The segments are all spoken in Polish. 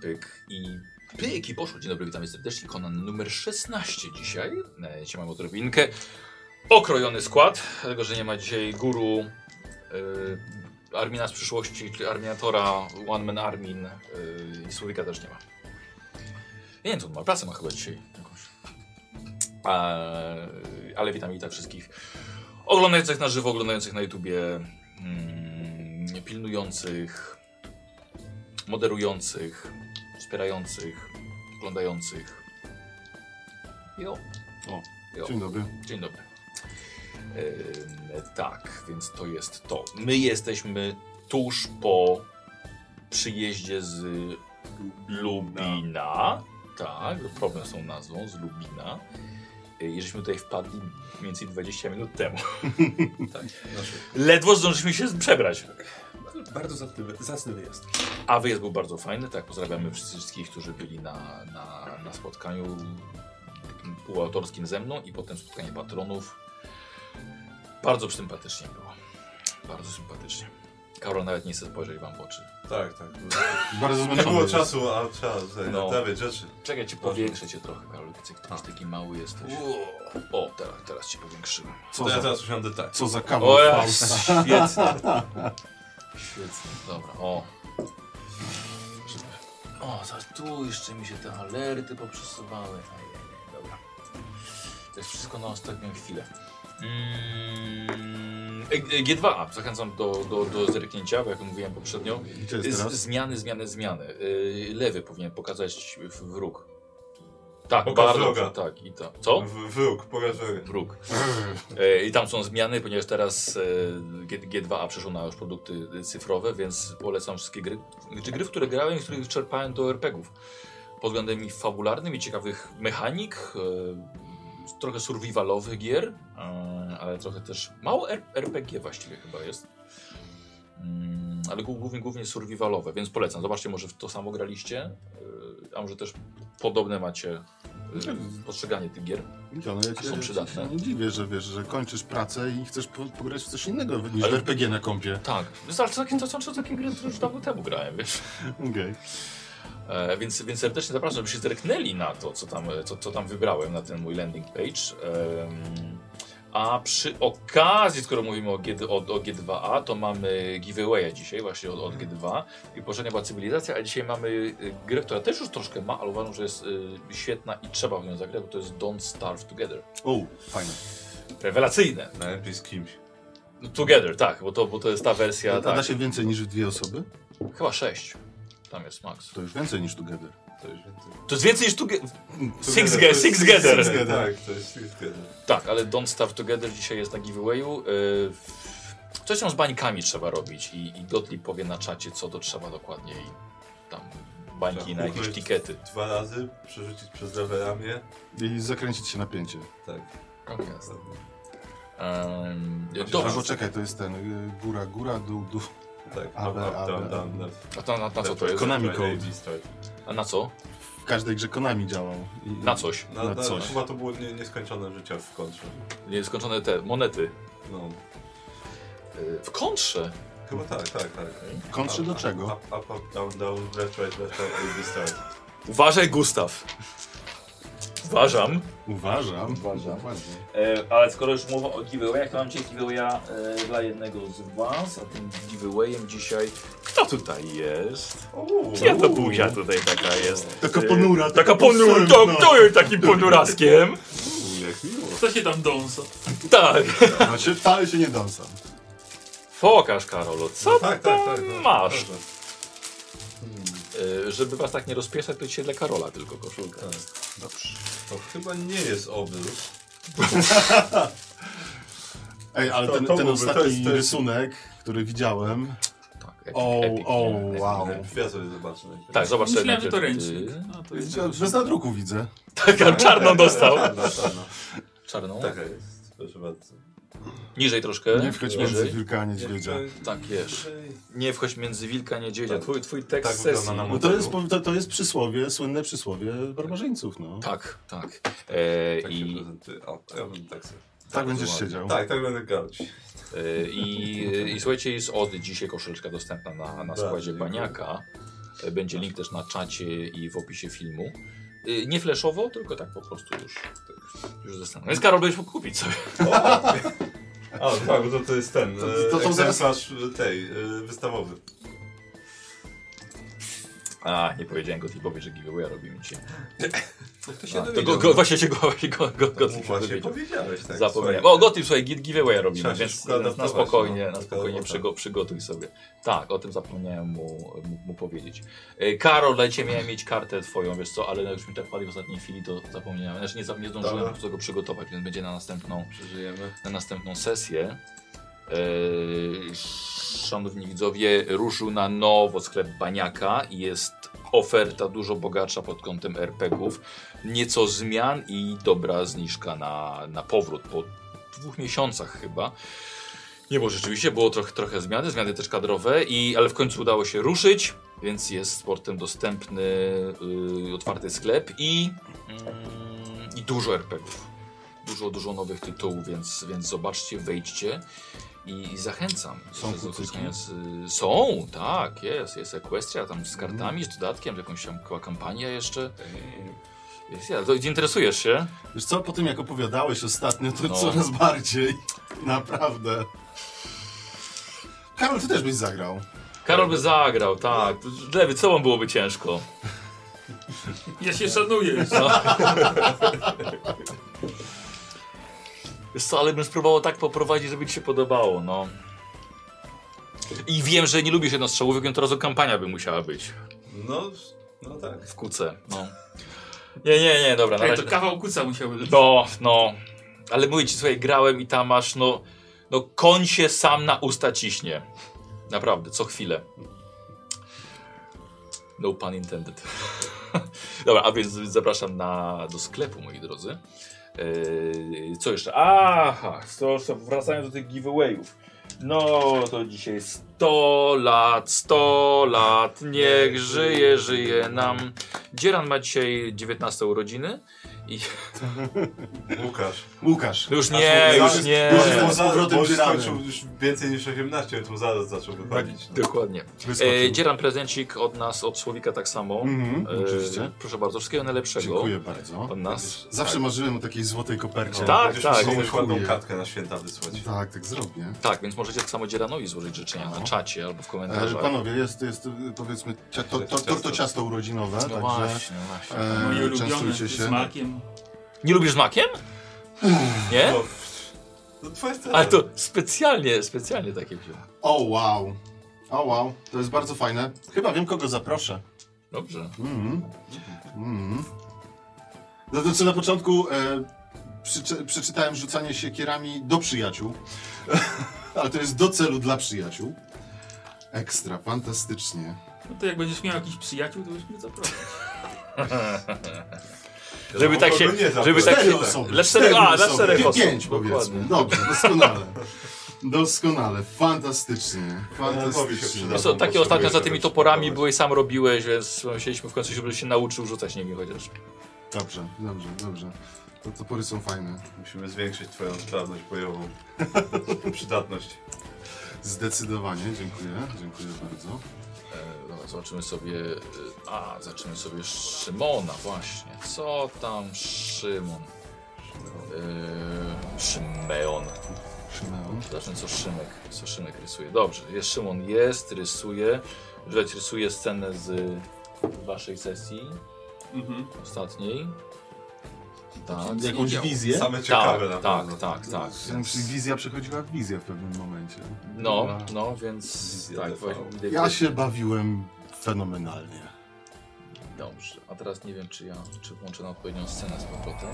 pyk i pyk i poszło. Dzień dobry, witamy serdecznie. Konan numer 16 dzisiaj. E, Dzisiaj mamy odrobinkę. Okrojony skład, dlatego że nie ma dzisiaj guru e, Armina z przyszłości, czyli Arminatora, One Man Armin e, i Słowika też nie ma. Nie wiem, co on ma, pracę ma chyba dzisiaj jakąś. E, ale witam i tak wszystkich oglądających na żywo, oglądających na YouTubie, mm, pilnujących, moderujących, wspierających, oglądających. Jo. O, jo. Dzień dobry. Dzień dobry. Ym, tak, więc to jest to. My jesteśmy tuż po przyjeździe z Lubina. Tak, problem z tą nazwą, z Lubina. Y, I żeśmy tutaj wpadli mniej więcej 20 minut temu. Tak, no, Znaczy, Ledwo zdążyliśmy się przebrać. bardzo zacny, zacny wyjazd. A wyjazd był bardzo fajny, tak. Pozdrawiamy wszystkich, którzy byli na, na, na spotkaniu półautorskim ze mną i potem spotkanie patronów. Bardzo sympatycznie było. Bardzo sympatycznie. Karol nawet nie chce spojrzeć wam w oczy. Tak, tak. Bardzo Nie zmęczony było jest. czasu, a trzeba tutaj No. naprawiać rzeczy. Czekaj, ci powiększę cię trochę, Karol. Ty jesteś taki mały jesteś. O, teraz, teraz cię powiększyłem. Co To ja za, teraz usiądę tak. co za kawał O, ja, Fausta. świetnie. Świetnie, dobra, o. Żeby- O, zaraz tu jeszcze mi się te alerty poprzesuwały. Ajajaj, Dobra. To jest wszystko na ostatnią chwilę. Mm, e- e, G2, zachęcam do, do, do zerknięcia, bo jak mówiłem poprzednio. Gdzie jest Z, teraz? zmiany, zmiany, zmiany. Yy, lewy powinien pokazać w- wróg. Tak, Pokaż bardzo wroga. dobrze, tak. I to. Co? W- Wróg, porażery. Wróg. E, I tam są zmiany, ponieważ teraz e, G, G2A przeszło na już produkty e, cyfrowe, więc polecam wszystkie gry, czy gry, w które grałem i z których czerpałem do RPG-ów. Pod względem ich fabularnym i ciekawych mechanik, e, trochę survivalowych gier, e, ale trochę też mało R- RPG właściwie chyba jest. Mm, Ale głó- głównie, głównie survivalowe, więc polecam. Zobaczcie, może w to samo graliście, e, a może też podobne macie e, postrzeganie tych gier. John, no, ja cię, są ja przydatne. się nie dziwię, że wiesz, że kończysz pracę i chcesz po, pograć w coś innego niż Ale- w RPG na kompie. Tak, wystarczy takie, to są takie gry, które już dawno temu grałem, wiesz. Okej. E, więc, więc serdecznie zapraszam, żebyście zerknęli na to, co tam, e, co, co tam wybrałem na ten mój landing page. Em, a przy okazji, skoro mówimy o, G, o, o G2A, to mamy giveawaya dzisiaj właśnie od, od G2 i poprzednia była cywilizacja, a dzisiaj mamy y, grę, która też już troszkę ma, ale uważam, że jest y, świetna i trzeba w nią zagrać, bo to jest Don't Starve Together. O, fajne. Rewelacyjne. Najlepiej z kimś. No, Together, tak, bo to, bo to jest ta wersja, A da tak, się więcej niż w dwie osoby? chyba 6. Tam jest max. To już więcej niż together. To już więcej. To jest więcej niż tu. Six, Together, ge- to six jest- Gather. Six Gather, Tak, to jest Six Gather. Tak, ale Don't Starve Together dzisiaj jest na giveawayu. Yy, Coś tam z bańkami trzeba robić i, i Gottlieb powie na czacie, co to trzeba dokładnie i tam bańki na jakieś Ukryć tikety. Dwa razy, przerzucić przez lewe ramię. I zakręcić się napięcie. Tak. Em, Dobra, Dobra, bo czekaj, to jest ten y, góra, góra, dół, dół. Tak, up, Aby, up, aby, down, down, aby. left. Tak, a to, na, na co to Left, jest? Konami right, Code. AB, start. A na co? W każdej grze Konami działał. I, Na coś. Na, Na na, coś. Chyba to było nie, nieskończone życie w kontrze. Nieskończone te monety. No. Yy, W kontrze. Chyba tak, tak, tak. W kontrze Up, do up, czego? Up, up, up, down, down, left, right, left, right, AB, start. Uważaj, Gustaw. Uważam. Uważam. Uważam. Dokładnie. E, ale skoro już mowa o giveawayach, to mam dzisiaj giveawaya e, dla jednego z Was, a tym giveawayem dzisiaj... Kto tutaj jest? Uuu. Ja to buzia tutaj taka jest. Taka ponura, E, taka no. Taka ponura, posępna. to kto jest takim ponuraskiem? Jak miło. Kto się tam dąsa? Tak. Znaczy, wcale się nie dąsam. Pokaż Karolu, co Tak, tam tak, tak. no, masz? dobrze. E, żeby Was tak nie rozpieszać, to dzisiaj dla Karola tylko koszulka. Tak. Dobrze. To chyba nie jest obrót. Ej, ale To- ten, to ten byłby- to ostatni jest- to jest- rysunek, który widziałem. Tak, epic, O, epic, o, nie? Epic, wow. nie? Ja sobie zobaczę. najpierw. Tak, zobacz sobie Myślałem, że to najpierw, ręcznik. y, A, to jest Ja Bez nadruku widzę. Tak, czarną dostał. Czarna, czarna. Czarną. No, Taka jest. Proszę bardzo. Niżej troszkę. Nie wchodź między Niżej. wilka a niedźwiedzia. Jeszcze- Tak, wiesz. Nie wchodź między wilka niedźwiedzia. Tak. Twój, twój tekst Tak wygląda sesji. na No to jest, po- to, to jest przysłowie, słynne przysłowie barbarzyńców, no. Tak, tak. E, Tak się i, prezentuje. O, to ja bym tak sobie. Tak będziesz ładnie. siedział. Tak, tak będę grał. e, i, I słuchajcie, jest od dzisiaj koszuleczka dostępna na, na Bardzo składzie dziękuję. Baniaka. E, Będzie link też na czacie i w opisie filmu. Y, Nie fleszowo, tylko tak po prostu już, już zastanawiam. Więc Karol, będziesz mógł kupić sobie. A, tak, bo to, to jest ten. To- to- to To, to, zaraz- egzemplarz e, tej, e, wystawowy. A, nie powiedziałem Gotipowi, że giveaway robimy dzisiaj. To się A, to dowiedział. go, go, właśnie się go, go, go, go, go, To mu Tak właśnie powiedziałeś, tak. Zapomniałem. słuchaj. O, Gotip, słuchaj, gi- giveaway robimy, Trzeba się więc szybko na adaptować, spokojnie, no. na Taka spokojnie robota. przygo, przygotuj sobie. Tak, o tym zapomniałem mu, mu, mu powiedzieć. E, Karol, dla Ciebie miałem mieć kartę Twoją, wiesz co, ale już mi tak pali w ostatniej chwili, to zapomniałem. Znaczy nie, za- nie zdążyłem Dobra. po prostu tego przygotować, więc będzie na następną, Przeżyjemy. na następną sesję. E, szanowni widzowie, ruszył na nowo sklep Baniaka i jest oferta dużo bogatsza pod kątem RPGów. Nieco zmian i dobra zniżka na, na powrót po dwóch miesiącach chyba. Nie, bo rzeczywiście było trochę, trochę zmiany, zmiany też kadrowe, i, ale w końcu udało się ruszyć, więc jest z portem dostępny yy, otwarty sklep i, mm, i dużo RPGów. Dużo, dużo nowych tytułów, więc, więc zobaczcie, wejdźcie i, i zachęcam. Są do kucyki? korzystania z, y, są, tak, jest, jest Equestria tam z Mm. kartami, z dodatkiem, jakąś tam była kampania jeszcze. Jest, ja, to interesujesz się? Wiesz co, po tym jak opowiadałeś ostatnio, to No. coraz bardziej. Naprawdę. Karol, ty też byś zagrał. Karol by zagrał, tak. Lewy, co wam byłoby ciężko? Ja się szanuję. Wiesz co, ale bym spróbował tak poprowadzić, żeby ci się podobało, no. I wiem, że nie lubisz jednostrzałówek, więc teraz kampania by musiała być No, no tak. w kuce, no. Nie, nie, nie, dobra, na Tak, razie. to kawał kuca musiałby być. No, no. Ale mówię ci, słuchaj, grałem i tam masz, no, no koń się sam na usta ciśnie. Naprawdę, co chwilę. No pun intended. Dobra, a więc zapraszam na, do sklepu, moi drodzy. Yy, co jeszcze? Aha, to, to wracając do tych giveawayów. No, to dzisiaj 100 lat, 100 lat, niech żyje, żyje nam. Dzieran ma dzisiaj 19 urodziny. I Łukasz. Łukasz. no już nie, już nie. już jest- Bo z za- powrotem bo już dzierany. skończył już więcej niż 18, to zaraz zaczął wychodzić. No. Dokładnie. E, dzieran prezencik od nas, od Słowika tak samo. Mhm, E, oczywiście. proszę bardzo, wszystkiego najlepszego. Dziękuję bardzo. Od nas. Zawsze tak. marzyłem o takiej złotej kopercie. Tak, Będziesz tak. musiał jakąś ładną Chuje. kartkę na święta wysłać. Tak, tak zrobię. Tak, więc możecie tak samo Dzieranowi złożyć życzenia na No. czacie albo w E, komentarzach. panowie, jest, jest y, powiedzmy cia- to, to, to, to ciasto urodzinowe, no także właśnie, no właśnie. Moje e, ulubione częstujcie z się. makiem. Nie lubisz makiem? Nie? No, w- no twoje sceny. Ale to specjalnie, specjalnie takie wziąłem. O wow, o wow, to jest bardzo fajne. Chyba wiem kogo zaproszę. Dobrze. Mhm. Mhm. No to co na początku e, przyczy, przeczytałem rzucanie siekierami do przyjaciół, ale to jest do celu dla przyjaciół. Ekstra, fantastycznie. No to jak będziesz miał jakiś przyjaciół, to byś mnie zaprosił. Żeby tak się- Kogo No nie zabrać? żeby tak Cztery się- osoby. Dla czterech- cztery a, dla osoby. czterech osób, Pięć dokładnie. powiedzmy. Dobrze, doskonale. Doskonale, fantastycznie. No, Fantastycznie. przyda. Wiesz Albo co, takie potrzebuję ostatnio za czegoś tymi toporami spróbować. byłeś, sam robiłeś, więc musieliśmy w końcu, żeby się nauczył rzucać nimi chociaż. Dobrze, dobrze, dobrze. To topory są fajne. Musimy zwiększyć twoją sprawność bojową. Przydatność. Zdecydowanie, dziękuję, dziękuję bardzo. E, Dobra, zobaczymy sobie. e, A, zobaczymy sobie Szymona, właśnie. Co tam Szymon? Y, E, Szymeon. Szymon. Zobaczmy, co Szymek, co Szymek rysuje. Dobrze, jest Szymon, jest, rysuje. Widać, rysuje scenę z waszej sesji Mhm. ostatniej. Tak, Jakąś Widział. wizję? Same ciekawe tak, na tak, pewno. tak, tak. Wizja przechodziła w wizję w pewnym momencie. No, no, więc Wizja tak, TV. właśnie. Ja się bawiłem fenomenalnie. Dobrze, a teraz nie wiem, czy ja czy włączę na odpowiednią scenę z powrotem.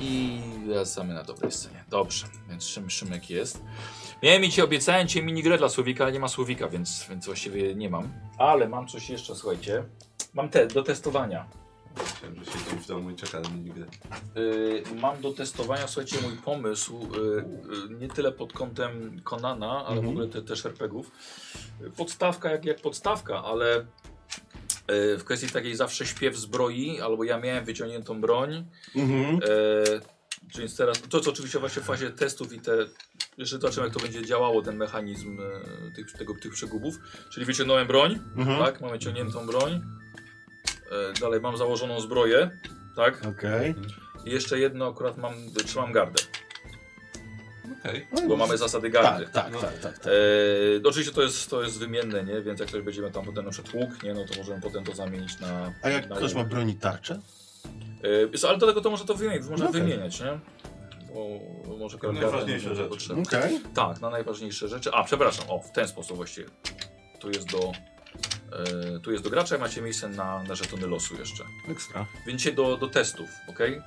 I wracamy na dobrej scenie. Dobrze, więc Szym, Szymek jest. Miałem ci obiecałem ci minigrę dla Słowika, ale nie ma Słowika, więc, więc właściwie nie mam. Ale mam coś jeszcze, słuchajcie. Mam te do testowania. Chciałem, że siedzimy w domu i czeka na minigę. Y, mam do testowania, słuchajcie, mój pomysł, y, y, nie tyle pod kątem Konana, ale w ogóle te, też RPGów. Y, Podstawka jak, jak podstawka, ale y, w kwestii takiej zawsze śpiew zbroi, albo ja miałem wyciągniętą broń. Mhm. y, Czyli teraz, to co oczywiście właśnie w fazie testów i te, jeszcze zobaczymy jak to będzie działało, ten mechanizm e, tych, tego, tych przegubów. Czyli wyciągnąłem broń, Mhm. tak, mamy ciągniętą broń. E, dalej mam założoną zbroję, tak. Okej. I jeszcze jedno akurat mam, trzymam gardę, Okej. bo mamy zasady gardy. Tak, tak, tak, tak. tak. Eee, oczywiście to jest, to jest wymienne, nie? Więc jak ktoś będziemy tam potem na przykład tłuk, nie? No to możemy potem to zamienić na... A jak na ktoś ma łuk. broni tarczę? Eee, wiesz co, ale do tego to może to wymienić, można No Okej. wymieniać, nie? Bo może kolega- Najważniejsze może rzeczy. potrzebne. Okej. Tak, na najważniejsze rzeczy. A, przepraszam, o, w ten sposób właściwie. Tu jest do... eee, tu jest do gracza i macie miejsce na, na żetony losu jeszcze. Ekstra. Więc się do, do testów, ok? Eee,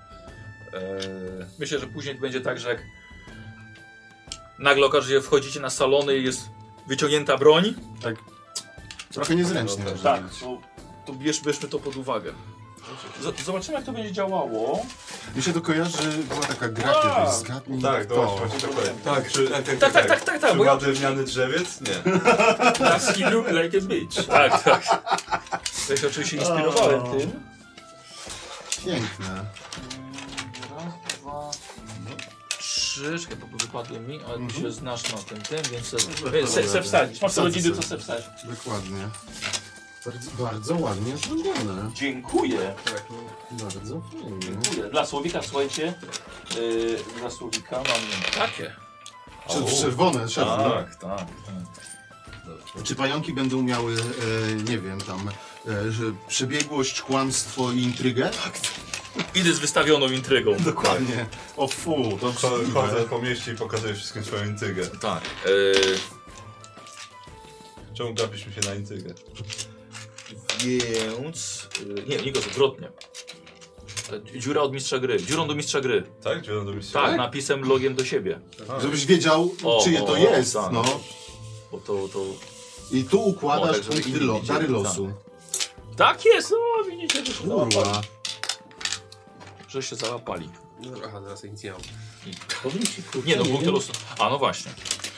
myślę, że później będzie tak, że jak nagle okaże się, wchodzicie na salony i jest wyciągnięta broń, Trochę niezręcznie. Dobra, Tak, No. to, to bierz, bierzmy to pod uwagę. Z, zobaczymy, jak to będzie działało. Mi się to kojarzy, była taka gra A, kiedyś, zgadnij Tak, to to. właśnie tak powiem. Tak, czy- tak, tak, No Tak, tak, tak, tak, tak. Czy bo ja- ma drewniany drzewiec? Nie. Does he look like a bitch? Tak, tak. Ja się oczywiście inspirowałem tym. Piękne. Raz, dwa, trzy. Czekaj, bo wypadły mi, ale ty się znasz na tym, tym, więc se, se, se, se wsadzisz. Masz Wsadzę rodziny, se. to se wsadzisz. Dokładnie. Bardzo, bardzo ładnie zrobione. Dziękuję. Bardzo fajnie. Dziękuję. Dla Słowika, słuchajcie, yy, dla Słowika mam takie. Czy czerwone, czerwone. Tak, tak. Czy pająki będą miały, e, nie wiem, tam e, że przebiegłość, kłamstwo i intrygę? Tak, Idę z wystawioną intrygą. dokładnie. O fu, to Cho- Chodzę brzydliwe. po mieście i pokazuję wszystkim swoją intygę. Tak. Yy, Czemu gapiśmy się na intygę? Więc. y, Nie, Nikos, odwrotnie. E, Dziura od mistrza gry. Dziurą do mistrza gry. Tak? Gdzie on do mistrza? Tak, napisem, logiem do siebie. Żebyś wiedział, O, czyje o, to o, jest, tak. no. Bo to, to... I tu O, układasz tak, żeby punkty inni lo- widzieli, dary tak. No, losu. Tak jest! O, widzicie, że się załapali. Kurwa. Że się załapali. Aha, teraz ja nic nie mam. Nie, no punkty losu. A, no właśnie.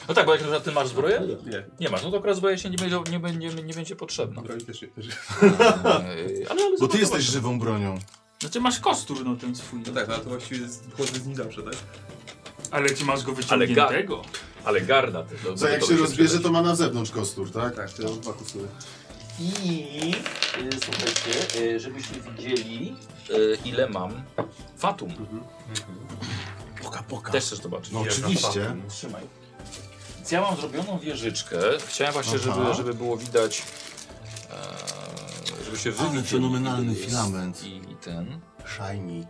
No tak, bo jak na przykład ty masz zbroję? Nie, Nie masz, no to akurat zbroja się nie będzie, nie będzie, nie będzie potrzebna. broń też nie. Eee, ale, ale Bo ty zobacz, jesteś zobacz. żywą bronią. No, Znaczy masz kostur no ten swój. No tak, ale to właściwie z- chodzę z nim zawsze, tak? Ale czy masz go Ale ga- wyciągniętego? Ale garda ty. To, Co, jak to się by rozbierze, no, to przydać. ma na zewnątrz kostur, tak? Tak, to mam dwa kostury. I y, słuchajcie, y, żebyście widzieli, y, ile mam fatum. Poka, poka. Też chcesz zobaczyć. No oczywiście. Trzymaj. Więc ja mam zrobioną wieżyczkę. Chciałem właśnie, Aha. żeby, żeby było widać. E, żebyście wy Ale widzieli, fenomenalny ile jest filament. I, I ten. Shiny.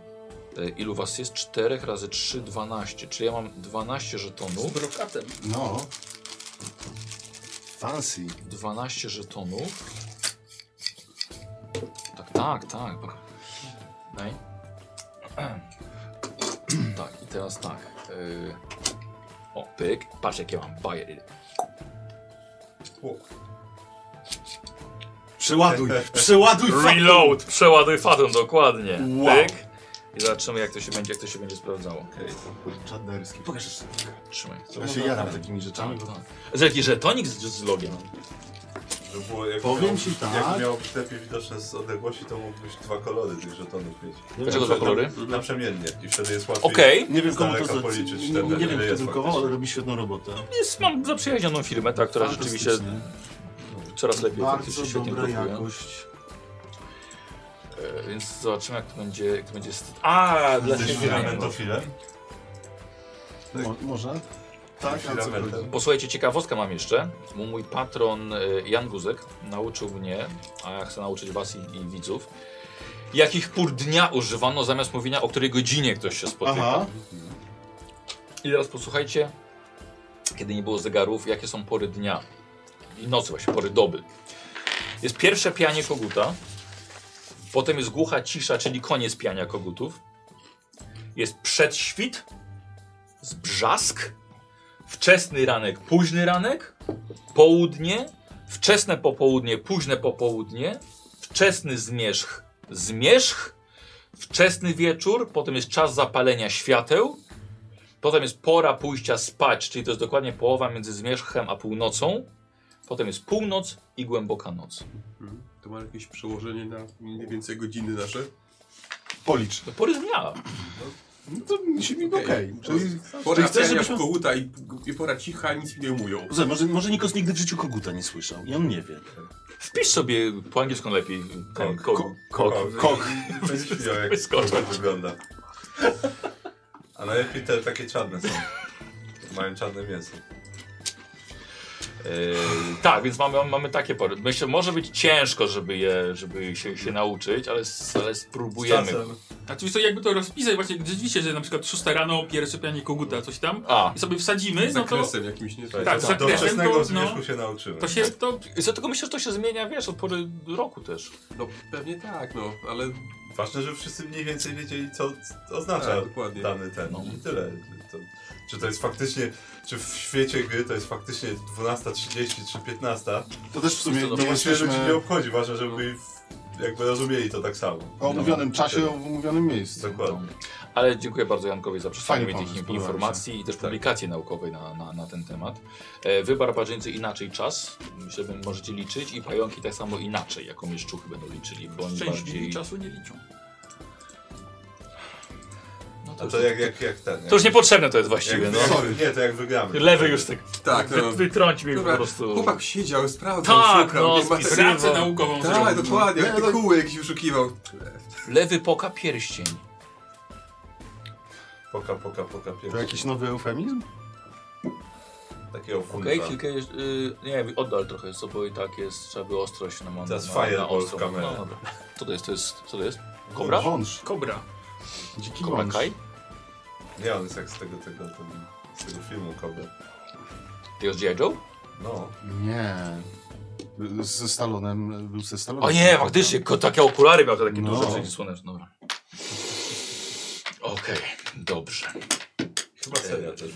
E, ilu was jest? 4 razy 3, 12. Czyli ja mam 12 Z żetonów. brokatem. No. Fancy. 12 żetonów. Tak, tak, tak. pok- Daj. Tak, i teraz tak. y, O, pyk. Patrz, jakie mam bajery. Tak. Przeładuj, przeładuj Reload, przeładuj fatum, dokładnie. Wow. Pyk. I zobaczymy jak to się będzie, jak to się będzie sprawdzało. Czadnerski. Pokaż jeszcze. Trzymaj. Ja się jaram takimi rzeczami. Tak, tak. Jaki żetonik z, z logiem. Żeby było, No jak Powiem miał- ci tak. Jak miał lepiej widoczne z odległości, to mógłbyś dwa kolory tych żetonów mieć. Dlaczego dwa kolory? Naprzemiennie. I wtedy jest łatwiej. Okej. Nie wiem, Z komu to daleka za... Tak, policzyć nie, ten, nie ile wiem, kto jest drukował, ale faktycznie. robi świetną robotę. Jest, mam zaprzyjaźnioną firmę, ta, która rzeczywiście Fantastycznie. coraz lepiej Bardzo faktycznie świetnie dobra produkuje. jakość. E, Więc zobaczymy jak to będzie. Jak to będzie st- A, dla Jesteś siebie. filamentofilem? Mo może? Tak, a co Filamentem. chodzi? Posłuchajcie, ciekawostka mam jeszcze. Mój- Mój patron e, Jan Guzek nauczył mnie, a ja chcę nauczyć was i, i widzów, jakich pór dnia używano zamiast mówienia, o której godzinie ktoś się spotyka. Aha. I teraz posłuchajcie, kiedy nie było zegarów, jakie są pory dnia i nocy, właśnie pory doby. Jest pierwsze pianie koguta, potem jest głucha cisza, czyli koniec piania kogutów. Jest przedświt, zbrzask, wczesny ranek, późny ranek, południe, wczesne popołudnie, późne popołudnie, wczesny zmierzch, zmierzch, wczesny wieczór, potem jest czas zapalenia świateł, Potem jest pora pójścia spać, czyli to jest dokładnie połowa między zmierzchem a północą. Potem jest północ i głęboka noc. Mhm. To ma jakieś przełożenie na mniej więcej godziny nasze? Policz. To pory dnia. No to mi się mi okej. Czyli- Pora chcesz, chcesz, żebyśmy- w koguta i, i pora cicha, nic mi nie mówią. Słuchaj, może, może Nikos nigdy w życiu koguta nie słyszał i on nie wie. Wpisz sobie po angielsku lepiej. Ten Kok. kog. Kok. Kok. Będziesz widział, jak Wyskoczył. to wygląda. A najlepiej te takie czarne są. Mają czarne mięso. E, tak, więc mamy, mamy takie pory. Myślę, może być ciężko, żeby je żeby się, się nauczyć, ale, s- ale spróbujemy. A czy wiesz co, jakby to rozpisać właśnie rzeczywiście, że na przykład 6 rano, pierwsze pianie koguta, coś tam A, i sobie wsadzimy, Z no to, zakresem jakimś nie Tak, do, za do kresem wczesnego to, zmierzchu no. się nauczyłem. to się to... dlatego myślę, że to się zmienia, wiesz, od pory roku też. No pewnie tak, no, ale Ważne, że wszyscy mniej więcej wiedzieli, co co oznacza Tak, dokładnie. dany ten. No. I tyle. To, czy to jest faktycznie, czy w świecie gry to jest faktycznie 12.30 czy 15, To też w sumie To to nie no, się ludzi nie jesteśmy obchodzi. Ważne, żeby byli w- jakby rozumieli to tak samo. o omówionym czasie, o omówionym miejscu. no, Dokładnie. Ale dziękuję bardzo Jankowi za Fajny przedstawienie pomysł, tych podoba mi się. informacji i też publikacji naukowej na, na, na ten temat. E, Wy, barbarzyńcy, inaczej czas, myślę, że możecie liczyć i pająki tak samo inaczej, jako mieszczuchy będą liczyli, bo oni bardziej... Szczęśliwi czasu nie liczą. No to, A już, to jak, jak, jak ten. Jak, to już niepotrzebne to jest jak, właściwie, no. jak, Sorry. Nie, to jak wygramy. Lewy już tak tak, no. wytrącił mnie po Dobra, prostu. Chłopak siedział, sprawdzał, Tak, szukał, no, nie ma- spisy. Pracę Sywo. naukową Tak, zrobił. dokładnie, Nie, no- artykuły jakiś wyszukiwał. Lewy poka pierścień. Poka, poka, poka, To Tak. pierwszy. jakiś nowy eufemizm? Takiego funta. Okej, kilka jeszcze. y, nie wiem, oddal trochę co, bo i tak jest, trzeba by ostrość na mam. To jest na, fireball w kamerę. No, dobra. Co to jest? To jest. Co to jest? Kobra? Wąż. Kobra. Dziki Kobra wąż. Kai? Nie, on jest jak z tego, tego, tego, z tego filmu Kobe. To jest G.I. Joe? No. Nie. Ze Stalonem, był ze Stalonem. O nie, faktycznie, ko- takie okulary miał, te takie No. duże przeciw słoneczne, dobra. Okej, dobrze. Chyba seria też.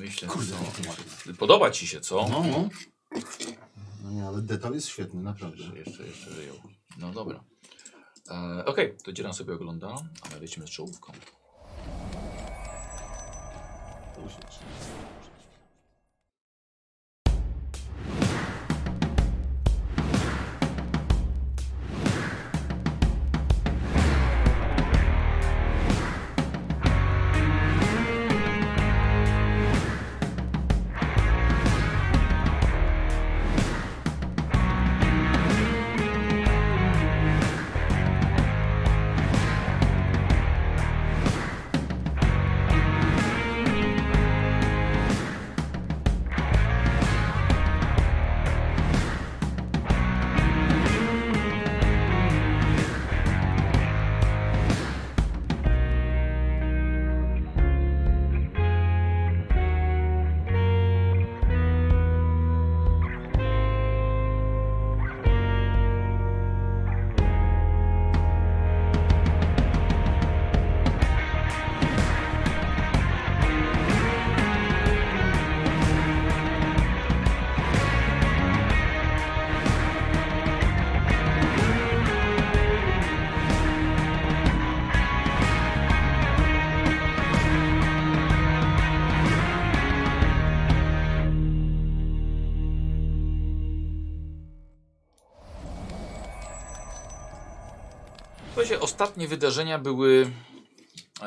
Myślę, Kurde, że- nie tłumaczę. Podoba ci się, co? No, no. No nie, ale detal jest świetny, naprawdę. Że Jeszcze, jeszcze żyją. No dobra. E, Okej, to dzieram sobie ogląda, a my lecimy z czołówką. Słuchajcie, ostatnie wydarzenia były e,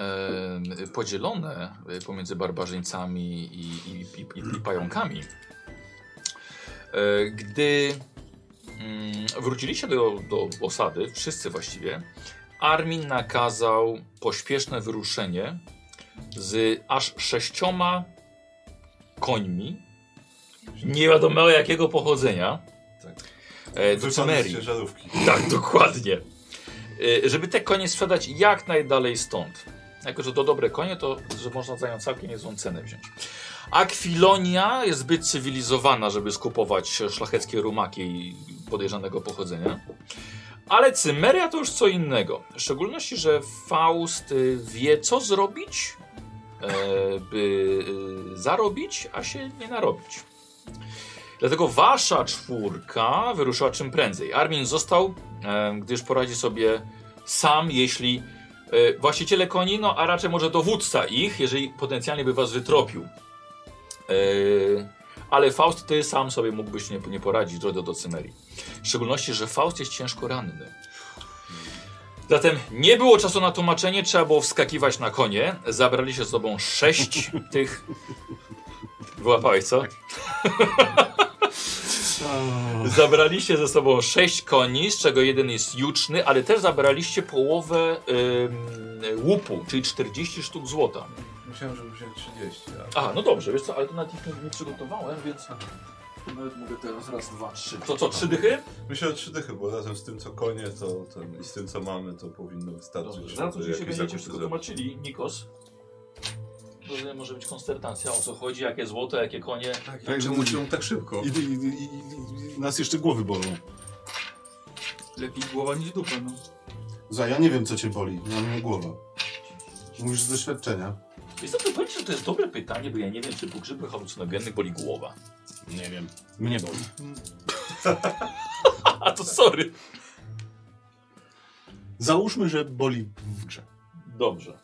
podzielone e, pomiędzy barbarzyńcami i, i, i, i, i pająkami. E, gdy mm, wróciliście do, do osady, wszyscy właściwie, Armin nakazał pośpieszne wyruszenie z aż sześcioma końmi, nie wiadomo jakiego pochodzenia, Tak. e, do Wypadł z Cymerii. ciężarówki. Tak, dokładnie. Y, Żeby te konie sprzedać jak najdalej stąd. Jako, że to dobre konie, to że można za nią całkiem niezłą cenę wziąć. Akwilonia jest zbyt cywilizowana, żeby skupować szlacheckie rumaki podejrzanego pochodzenia. Ale Cymeria to już co innego. W szczególności, że Faust y, wie, co zrobić, e, by y, zarobić, a się nie narobić. Dlatego wasza czwórka wyruszyła czym prędzej. Armin został, e, gdyż poradzi sobie sam, jeśli e, właściciele koni, no a raczej może dowódca ich, jeżeli potencjalnie by was wytropił. E, ale Faust, ty sam sobie mógłbyś nie, nie poradzić w drodze do Cymerii. W szczególności, że Faust jest ciężko ranny. Zatem nie było czasu na tłumaczenie, trzeba było wskakiwać na konie. Zabraliście z sobą sześć tych. Wyłapałeś, co? Zabraliście ze sobą sześć koni, z czego jeden jest juczny, ale też zabraliście połowę ym, łupu, czyli 40 sztuk złota. Myślałem, że wziąłem 30, ale... A, no dobrze, wiesz co, ale to nawet ich nie przygotowałem, więc nawet mogę teraz raz, dwa, trzy. To co, trzy dychy? Myślę o trzy dychy, bo razem z tym co konie to ten, i z tym co mamy to powinno wystarczyć. Dobrze, żeby zaraz oczywiście jakieś będziecie zakupy wszystko zrobić. tłumaczyli, Nikos. To może być konsternacja, o co chodzi, jakie złote, jakie konie. Tak, Tak, tak że czemu mówi. się tak szybko? I, i, i, i, i nas jeszcze głowy bolą. Lepiej głowa niż dupa, no. Za, ja nie wiem, co cię boli. Ja mam głowa. Mówisz z doświadczenia. Wiesz co, powiem ci, że to jest dobre pytanie, bo ja nie wiem, czy po grzybach halucynogennych boli głowa. Nie wiem. Mnie boli. A to sorry. Załóżmy, że boli w grze. Dobrze.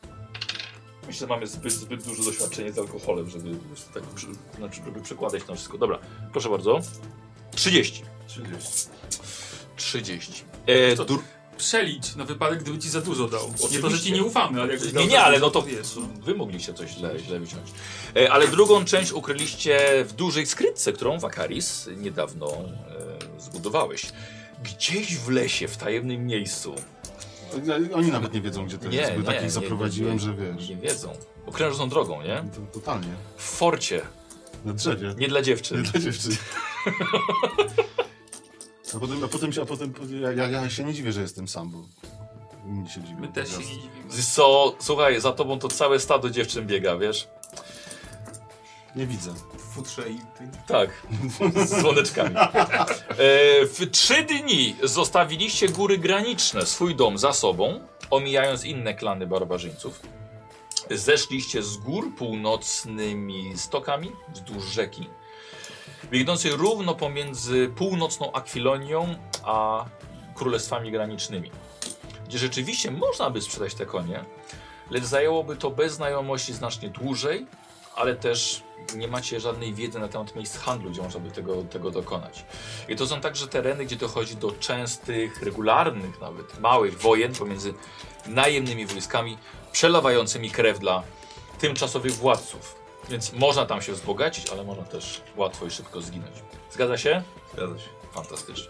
Myślę, że mamy zbyt, zbyt duże doświadczenie z alkoholem, żeby wiesz, tak przy, znaczy, żeby przekładać to wszystko. Dobra, proszę bardzo. 30. 30. 30. E, To- dur- Przelicz na wypadek, gdyby ci za dużo dał. Nie to, że Oczywiście. ci nie ufamy, ale jak nie, nie, ale no to wiesz. no. wy mogliście coś źle, źle wyciąć. E, ale drugą część ukryliście w dużej skrytce, którą Wakaris niedawno e, zbudowałeś. Gdzieś w lesie, w tajemnym miejscu. Oni nawet nie wiedzą, gdzie to jest, bo Tak, takich zaprowadziłem, nie, że wiesz. Nie wiedzą. Okrężną drogą, nie? To totalnie. W forcie, Na drzewie. nie dla Nie dziewczyn. dla dziewczyn. A potem, a potem, się- a potem ja, ja, ja się nie dziwię, że jestem sam, bo inni się dziwią. no- My też się Jasne. nie dziwimy. Wiesz Co, słuchaj, za tobą to całe stado dziewczyn biega, wiesz? Nie widzę. W futrze i... Ty... Tak, z dzwoneczkami. E, w trzy dni zostawiliście góry graniczne, swój dom za sobą, omijając inne klany barbarzyńców. Zeszliście z gór północnymi stokami wzdłuż rzeki, biegnącej równo pomiędzy północną Akwilonią a królestwami granicznymi, gdzie rzeczywiście można by sprzedać te konie, lecz zajęłoby to bez znajomości znacznie dłużej, ale też nie macie żadnej wiedzy na temat miejsc handlu, gdzie można by tego, tego dokonać. I to są także tereny, gdzie dochodzi do częstych, regularnych nawet, małych wojen pomiędzy najemnymi wojskami, przelewającymi krew dla tymczasowych władców. Więc można tam się wzbogacić, ale można też łatwo i szybko zginąć. Zgadza się? Zgadza się. Fantastycznie.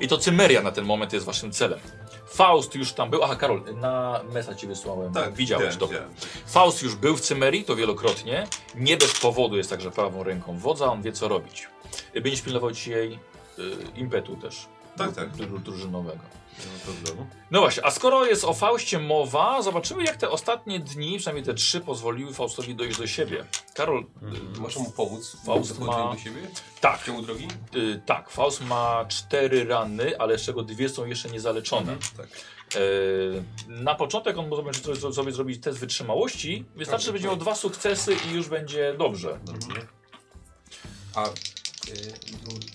I to Cymeria na ten moment jest waszym celem. Faust już tam był. Aha, Karol, na mesa ci wysłałem. Tak, widziałeś, widziałem, dobrze. widziałem. Faust już był w Cymerii, to wielokrotnie. Nie bez powodu jest także prawą ręką wodza, on wie co robić. Będziesz pilnował ci jej y, impetu też. Tak, tak. dru- dru- Drużynowego. Nie ma problemu. No właśnie, a skoro jest o Faustie mowa, zobaczymy jak te ostatnie dni, przynajmniej te trzy, pozwoliły Faustowi dojść do siebie. Karol, y, Hmm. Masz mu pomóc w Faust dochodzeniu ma- do siebie? W tak, ciągu drogi? y, tak, Faust ma cztery rany, ale z czego dwie są jeszcze niezaleczone. Tak. Yy, na początek on może będzie sobie- sobie zrobić test wytrzymałości. Wystarczy, Tak, że będzie miał dwa sukcesy i już będzie dobrze. Dobrze. A... y,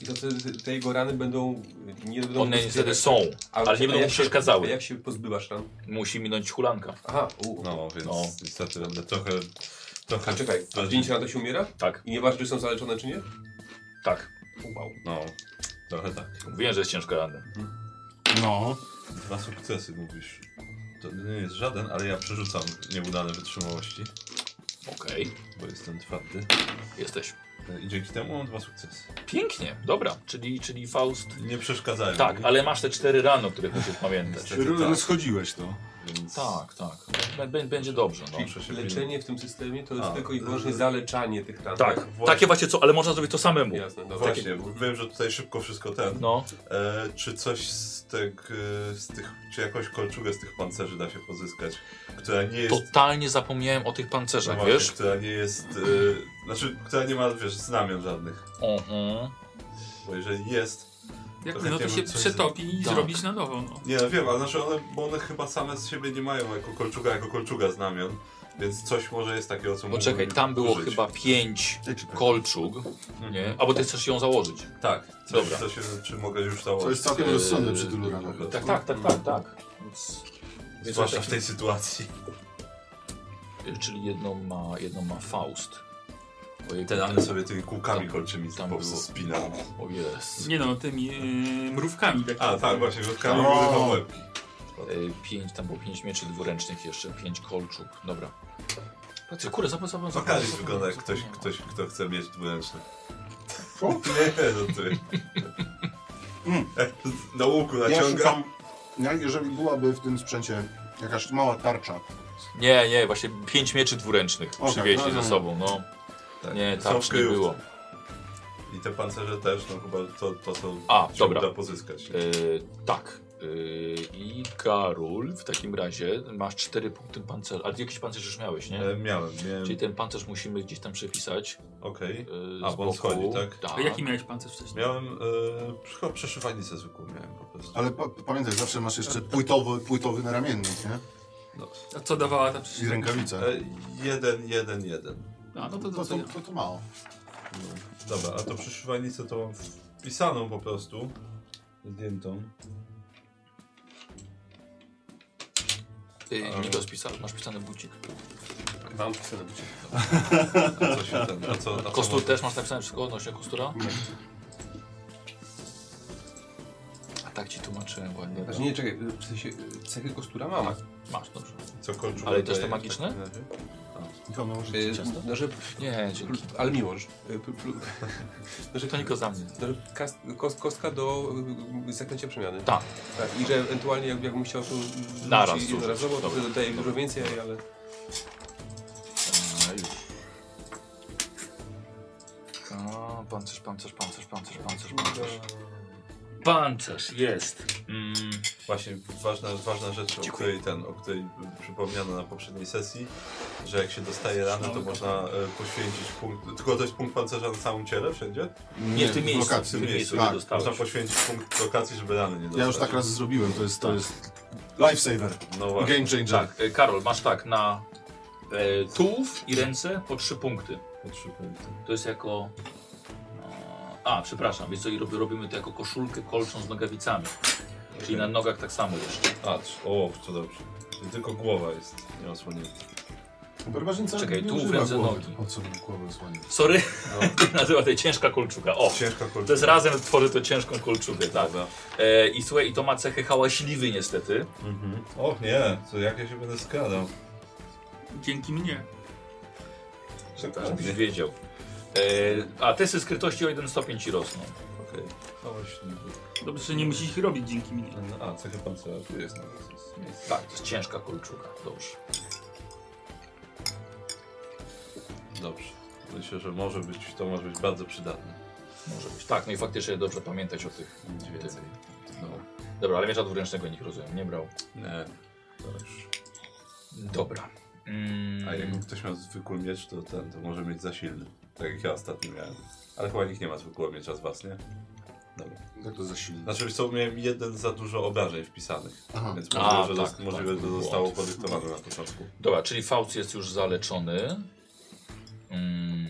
I to wtedy te jego rany będą... Nie będą tak- One niestety są, A- ale nie a będą mu jak się- A przeszkadzały. jak się pozbywasz ran? Musi minąć hulanka. Aha, u. No, więc No. niestety będę trochę... trochę A czekaj, a bardziej- 9 ran to się umiera? Tak, I nieważne, czy są zaleczone, czy nie? tak. Wow. No, trochę tak. Wiem, że jest ciężko ranny. No. Dwa sukcesy mówisz. To nie jest żaden, ale ja przerzucam nieudane wytrzymałości, Okej, bo jestem twardy. E, jesteś. I dzięki temu mam dwa sukcesy. Pięknie, dobra. Czyli, czyli Faust. Nie przeszkadzają Tak, mi, ale masz te cztery rany, o których musisz pamiętać. Niestety Ro- tak. Rozchodziłeś no. to. więc Tak, tak. Bę- bę- Będzie dobrze. No. Muszę się pilnować. Leczenie w tym systemie to jest A, tylko i wyłącznie y- zaleczanie tych ran. Tak, takie właśnie co, ale można zrobić to samemu. Jasne, no dobra. Właśnie, bo wiem, że tutaj szybko wszystko ten. No, E, czy coś z, tych, e, z tych, czy jakąś kolczugę z tych pancerzy da się pozyskać, która nie jest... totalnie zapomniałem o tych no pancerzach, właśnie, tak, wiesz? Która nie jest... E, znaczy, która nie ma, wiesz, znamion żadnych. Mhm. Bo jeżeli jest, Jak trochę no nie to się wiem, coś przetopi i Tak. zrobisz na nowo, no. Nie no wiem, ale znaczy one, bo one chyba same z siebie nie mają jako kolczuga, jako kolczuga znamion, więc coś może jest takiego, co Poczekaj, mógłbym No tam było użyć. chyba pięć Ekipek. kolczug, nie? Albo ty chcesz ją założyć. Tak, coś, Dobra. Co się, czy mogę już To założyć? jest całkiem Yy, rozsądne przy tylu ranach. dobra. Tak, tak, tak, tak, tak. Więc, więc Zwłaszcza tak- w tej sytuacji. Czyli jedną ma, jedną ma Faust. Ojej, Ten Anny sobie tymi kółkami Tam- kolczymi po tam prostu było. spinał. O jest. Nie no, tymi yy, mrówkami. Tak A tak, właśnie, kółkami O! były tam łebki. E, pięć, tam było pięć mieczy dwuręcznych jeszcze, pięć kolczuk, dobra. Patrzcie, kurde, zapłacam. Pokażę wygląda jak ktoś, ktoś, kto chce mieć dwuręczny. O. Nie, no ty. Mm. Jak Na łuku Ja naciągam. szukam, ja, jeżeli byłaby w tym sprzęcie jakaś mała tarcza, Nie, nie, właśnie pięć mieczy dwuręcznych O, tak, przywieźli no, no. ze sobą, no. Tak, Nie, są w tarcz nie kryjówce. było. I te pancerze też, no chyba to, to są... A, się dobra. uda pozyskać. E, tak. E, I Karol, w takim razie masz cztery punkty pancerza. Ale jakiś pancerz już miałeś, nie? E, miałem, miałem... Czyli ten pancerz musimy gdzieś tam przepisać. Okej. E, A, z bo on boku. schodzi, tak? A jaki miałeś pancerz wcześniej? Miałem... E, chyba przeszywalnicę zwykłą miałem po prostu. ale pa, pamiętaj, zawsze masz jeszcze płytowy, płytowy naramiennik, nie? No. A co dawała ta I przecież? rękawice. E, jeden, jeden, jeden. A, no to, To, to, to, to, to, to mało. No. Dobra, a to przeszywalnicę to mam wpisaną po prostu. Zdjętą. E, nie rozpisałeś, masz pisany bucik. Mam pisane bucie. A co się ten... A co, a co Kostur też masz napisane wszystko odnośnie kostura? Nie. A tak ci tłumaczyłem ładnie. Znaczy nie, czekaj, w sensie y, cechy kostura mam. e, Masz, dobrze. Co kolczugę Ale też te daje w magiczne? takim razie? Nikomu może Y, ciasto. No, że, Nie, dzięki. ale miłoż. Y, pl- pl- No, że, To tylko za mnie. no, że kas- kos- kostka do y, zaklęcia przemiany. Tak. Tak, I że ewentualnie jakby- jakbym chciał to rzucić Naraz użyć. jednorazowo, to Dobra. wtedy daje dużo więcej, ale... A, już. A, pancerz, pancerz, pancerz, pancerz, pancerz, pancerz. Pancerz, jest. Mm. Właśnie ważna, ważna rzecz, o której, ten, o której przypomniano na poprzedniej sesji, że jak się dostaje rany, to można e, poświęcić punkt. Tylko to jest punkt pancerza na całym ciele wszędzie? Nie w tym miejscu. lokacji. W tym miejscu, Tak, gdzie dostałeś. Można poświęcić punkt lokacji, żeby rany nie dostać. Ja już tak raz zrobiłem, to jest, to jest lifesaver, No właśnie. game changer. Tak, e, Karol, masz tak na e, tułów i ręce po trzy punkty. Po trzy punkty. To jest jako. e, A, przepraszam, więc co i rob- robimy to jako koszulkę kolczą z nogawicami. Czyli na nogach tak samo jeszcze. A, trz- o, to dobrze. Czyli tylko głowa jest nieosłonięta. Barbarzyńca Czekaj, nie tu używa wrędzę głowy. nogi. O co mi głowę słanie? Sorry, nazywa tej ciężka kolczuga. O! No. Ciężka kolczuga. To jest razem tworzy to ciężką kolczugę, tak. Dobra. E, I słuchaj, i to ma cechę hałaśliwy niestety. Mhm. Och nie, co jak ja się będę skradał. Dzięki mnie. Tak, żebyś wiedział. E, a testy skrytości o jeden stopień ci rosną. Okej. A właśnie. Dobrze, że nie musisz ich robić dzięki mnie. A, cechy pancerza tu jest nawet. Jest miejsce. Tak, to jest ciężka kolczuga. Dobrze. Dobrze. Myślę, że może być, to może być bardzo przydatne. Może być. Tak, no i faktycznie dobrze pamiętać o tych. Nic więcej. No. Dobra, ale miecza dwuręcznego nikt rozumiem, nie brał. Nie. To już. Dobra. Mm, A jakby ktoś miał zwykły miecz, to ten to może mieć za silny. Tak jak ja ostatnio miałem. Ale chyba nikt nie ma zwykłego miecza z was, nie? Dobra. Jak to za silne? Znaczy wiesz co, miałem jeden za dużo obrażeń wpisanych. Aha. Więc A, możliwe, że, tak, dos- tak. możliwe, że zostało podyktowane na początku. Dobra, czyli Faust jest już zaleczony. Mm.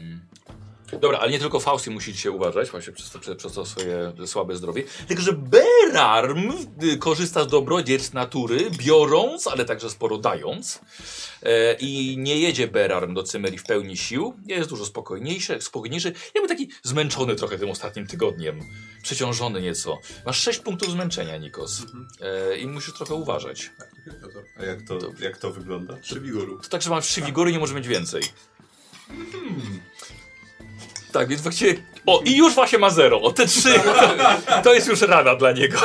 Dobra, ale nie tylko Faustie musicie uważać właśnie przez to, przez to swoje słabe zdrowie. Tylko, że Berarm y, korzysta z dobrodziejstw natury, biorąc, ale także sporo dając. E, I nie jedzie Berarm do Cymerii w pełni sił. Jest dużo spokojniejszy, spokojniejszy. Jakby taki zmęczony trochę tym ostatnim tygodniem. Przeciążony nieco. Masz 6 punktów zmęczenia, Nikos. E, I musisz trochę uważać. A jak to, jak to wygląda? Przy wigoru. To tak, że mam trzy wigory, nie może mieć więcej. Hmm. Tak, więc właściwie... O, i już właśnie ma zero. O, te trzy... To, to jest już rana dla niego.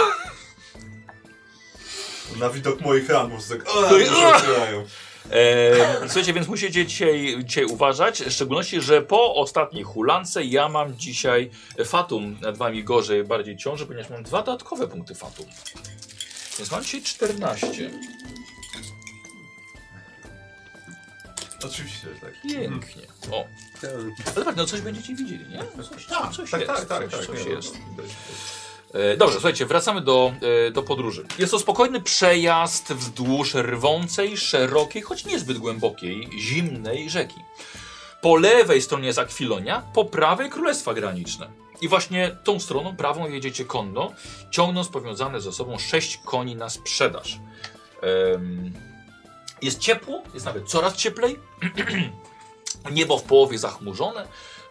Na widok moich ran po prostu tak... To- "Aaa", się otwierają. E, słuchajcie, więc musicie dzisiaj, dzisiaj uważać, w szczególności, że po ostatniej hulance ja mam dzisiaj fatum nad wami gorzej, bardziej ciąży, ponieważ mam dwa dodatkowe punkty fatum. Więc mam dzisiaj 14. Oczywiście, że tak. Pięknie. O. Ale tak, no coś będziecie widzieli, nie? Coś, coś Tak, jest, tak, tak, coś, tak. coś nie, jest. no, widać. E, Dobrze, słuchajcie, wracamy do, e, do podróży. Jest to spokojny przejazd wzdłuż rwącej, szerokiej, choć niezbyt głębokiej, zimnej rzeki. Po lewej stronie jest Akwilonia, po prawej Królestwa Graniczne. I właśnie tą stroną, prawą, jedziecie konno, ciągnąc powiązane ze sobą sześć koni na sprzedaż. Em, jest ciepło, jest nawet coraz cieplej. Niebo w połowie zachmurzone,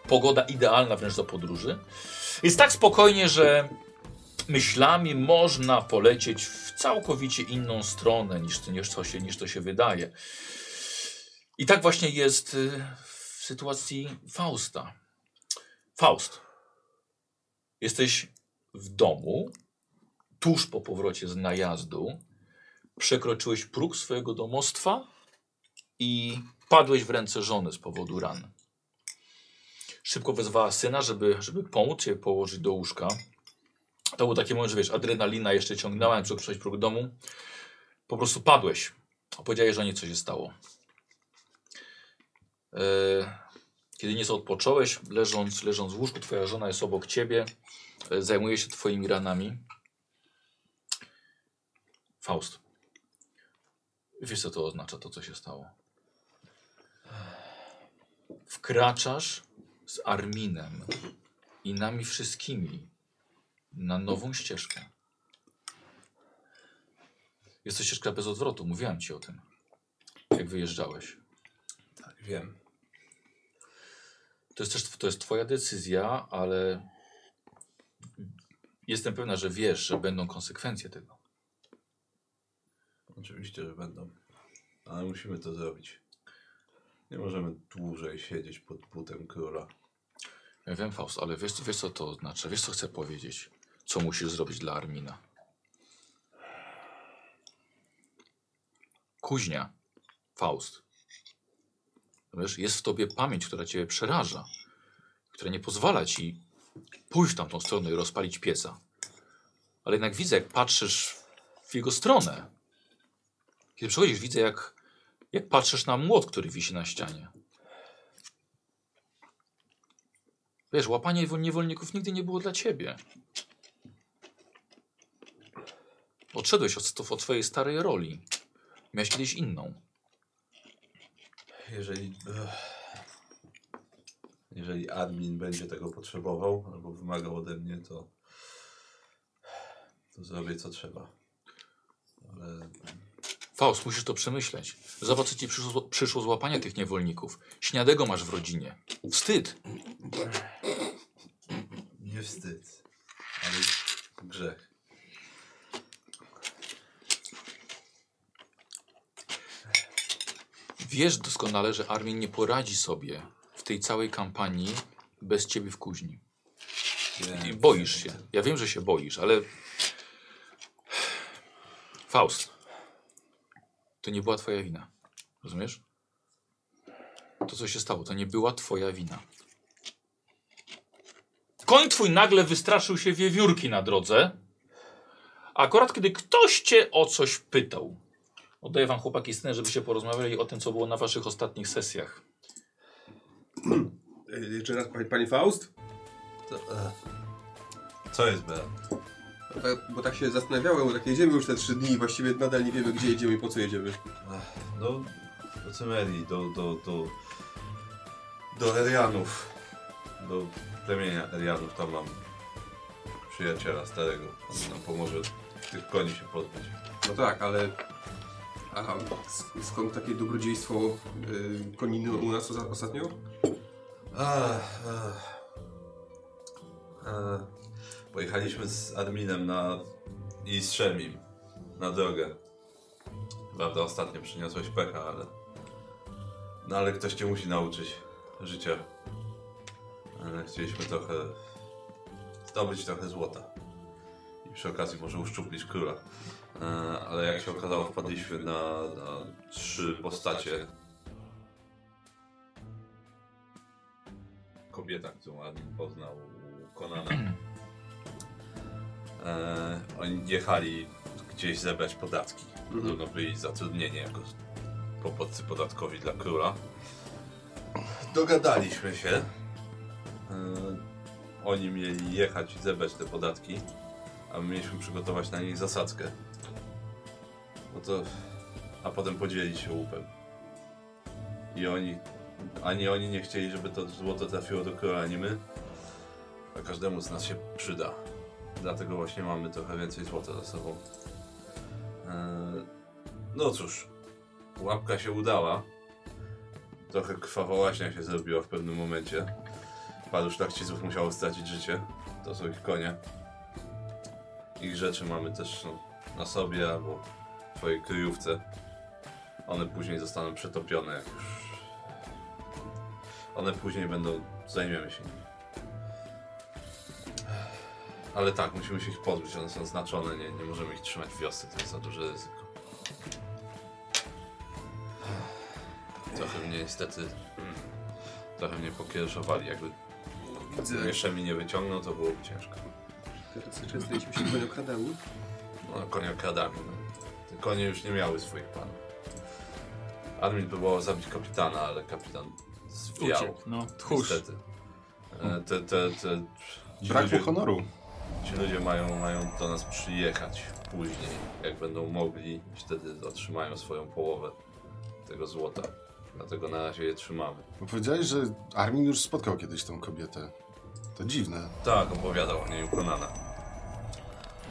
pogoda idealna wręcz do podróży. Jest tak spokojnie, że myślami można polecieć w całkowicie inną stronę niż, niż, to, się, niż to się wydaje. I tak właśnie jest y, w sytuacji Fausta. Faust, jesteś w domu, tuż po powrocie z najazdu, przekroczyłeś próg swojego domostwa i padłeś w ręce żony z powodu ran. Szybko wezwała syna, żeby, żeby pomóc cię położyć do łóżka. To był taki moment, że wiesz, adrenalina jeszcze ciągnęła, jak przekroczyłeś próg domu. Po prostu padłeś. Powiedziałeś, że nie coś się stało. E, Kiedy nieco odpocząłeś, leżąc, leżąc w łóżku, twoja żona jest obok ciebie, e, zajmuje się twoimi ranami. Faust. Wiesz, co to oznacza, to co się stało. Wkraczasz z Arminem i nami wszystkimi na nową ścieżkę. Jest to ścieżka bez odwrotu, mówiłem ci o tym, jak wyjeżdżałeś. Tak, wiem. To jest też to jest twoja decyzja, ale jestem pewna, że wiesz, że będą konsekwencje tego. Oczywiście, że będą. Ale musimy to zrobić. Nie możemy dłużej siedzieć pod butem króla. Ja wiem, Faust, ale wiesz, wiesz co to oznacza? Wiesz, co chcę powiedzieć? Co musisz zrobić dla Armina? Kuźnia, Faust. Wiesz, jest w tobie pamięć, która cię przeraża, która nie pozwala ci pójść w tamtą stronę i rozpalić pieca. Ale jednak widzę, jak patrzysz w jego stronę. Kiedy przychodzisz, widzę, jak, jak patrzysz na młot, który wisi na ścianie. Wiesz, łapanie wol- niewolników nigdy nie było dla ciebie. Odszedłeś od, sto- od swojej starej roli. Miałeś kiedyś inną. Jeżeli. Ech, jeżeli admin będzie tego potrzebował albo wymagał ode mnie, to. to zrobię co trzeba. Ale. Faust, musisz to przemyśleć. Zobacz, co ci przyszło, przyszło z łapania tych niewolników. Śniadego masz w rodzinie. Wstyd. nie wstyd. Ale grzech. Wiesz doskonale, że Armin nie poradzi sobie w tej całej kampanii bez ciebie w kuźni. I Wiem. boisz się. Ja wiem, że się boisz, ale. Faust. To nie była twoja wina. Rozumiesz? To, co się stało, to nie była twoja wina. Koń twój nagle wystraszył się wiewiórki na drodze. Akurat kiedy ktoś cię o coś pytał. Oddaję wam chłopaki scenę, żeby się porozmawiali o tym, co było na waszych ostatnich sesjach. Y, Jeszcze raz, pani, pani Faust? To, ech. Co jest B? Bo tak, bo tak się zastanawiałem, bo tak jedziemy już te trzy dni i właściwie nadal nie wiemy, gdzie jedziemy i po co jedziemy. Ech, Do, do Cymerii, do, do, do, do Erianów, do plemienia Erianów, tam mam przyjaciela starego, on nam pomoże tych koni się pozbyć. No tak, ale... Aha, sk- skąd takie dobrodziejstwo y, koniny u nas oza- ostatnio? Ach, ach. Ach. Pojechaliśmy z adminem na... i z Szemim na drogę. Prawda, ostatnio przyniosłeś pecha, ale... No ale ktoś cię musi nauczyć życia. Ale chcieliśmy trochę... zdobyć trochę złota. I przy okazji może uszczuplić króla. E, Ale jak się okazało wpadliśmy na, na trzy postacie kobieta, którą Admin poznał u Konana. E, oni jechali gdzieś zebrać podatki. Podobno byli zatrudnieni jako popłatcy podatkowi dla króla. Dogadaliśmy się. E, oni mieli jechać i zebrać te podatki, a my mieliśmy przygotować na nich zasadzkę. No to... A potem podzielić się łupem. I oni ani oni nie chcieli, żeby to złoto trafiło do króla, ani my. A każdemu z nas się przyda. Dlatego właśnie mamy trochę więcej złota za sobą. Eee, no cóż, łapka się udała. Trochę krwawołaśnia się zrobiła w pewnym momencie. Paru szlachciców musiało stracić życie. To są ich konie. Ich rzeczy mamy też no, na sobie albo w twojej kryjówce. One później zostaną przetopione, jak już. One później będą. Zajmiemy się nimi. Ale tak, musimy się ich pozbyć. One są znaczone, nie, nie możemy ich trzymać w wiosce, to jest za duże ryzyko. Trochę mnie niestety. mm, Trochę mnie pokierowali. Jakby Widzę, jeszcze mi nie wyciągnął, to byłoby ciężko. teraz często jeśli się konie okradały. No, koniokradami. No. Te konie już nie miały swoich panów. Armin próbował zabić kapitana, ale kapitan zwijał. Uciekł, no. Tchórz. Niestety. E, Te, te, te, ci Brak mu ludzie, honoru. ci ludzie mają, mają do nas przyjechać później, jak będą mogli. i Wtedy otrzymają swoją połowę tego złota. Dlatego na razie je trzymamy. Bo Powiedziałeś, że Armin już spotkał kiedyś tą kobietę. To dziwne. Tak, opowiadał o niej ukonana.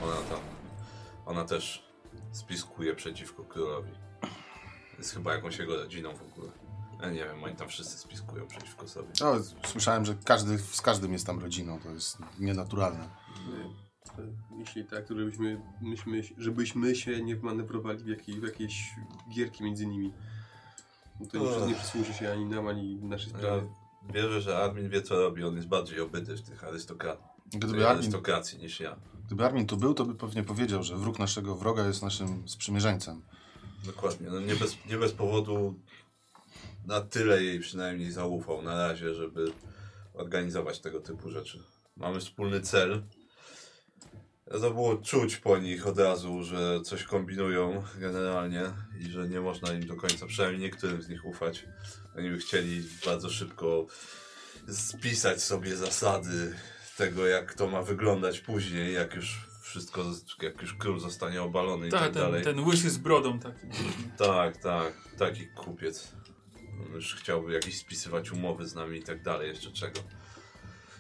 Ona tam. Ona też spiskuje przeciwko królowi. Jest chyba jakąś jego rodziną w ogóle. Ja nie wiem, oni tam wszyscy spiskują przeciwko sobie. No, słyszałem, że każdy, z każdym jest tam rodziną. To jest nienaturalne. Jeśli tak, to żebyśmy, myśmy, żebyśmy się nie wmanewrowali w, jakiej, w jakieś gierki między nimi. Bo To nie, Ach. przy- nie przysłuży się ani nam, ani naszej Ja sprawie. wierzę, że Armin wie co robi, on jest bardziej obyty w tych arystokra- tej Gdyby Armin, arystokracji niż ja. gdyby Armin tu był, to by pewnie powiedział, że wróg naszego wroga jest naszym sprzymierzeńcem. Dokładnie, no nie bez, nie bez powodu na tyle jej przynajmniej zaufał na razie, żeby organizować tego typu rzeczy. Mamy wspólny cel. To było czuć po nich od razu, że coś kombinują generalnie i że nie można im do końca, przynajmniej niektórym z nich ufać. Oni by chcieli bardzo szybko spisać sobie zasady tego, jak to ma wyglądać później, jak już wszystko, jak już król zostanie obalony i tak, Tak, ten, dalej. ten łysy z brodą taki. Tak, tak, taki kupiec. On już chciałby jakieś spisywać umowy z nami i tak dalej, jeszcze czego.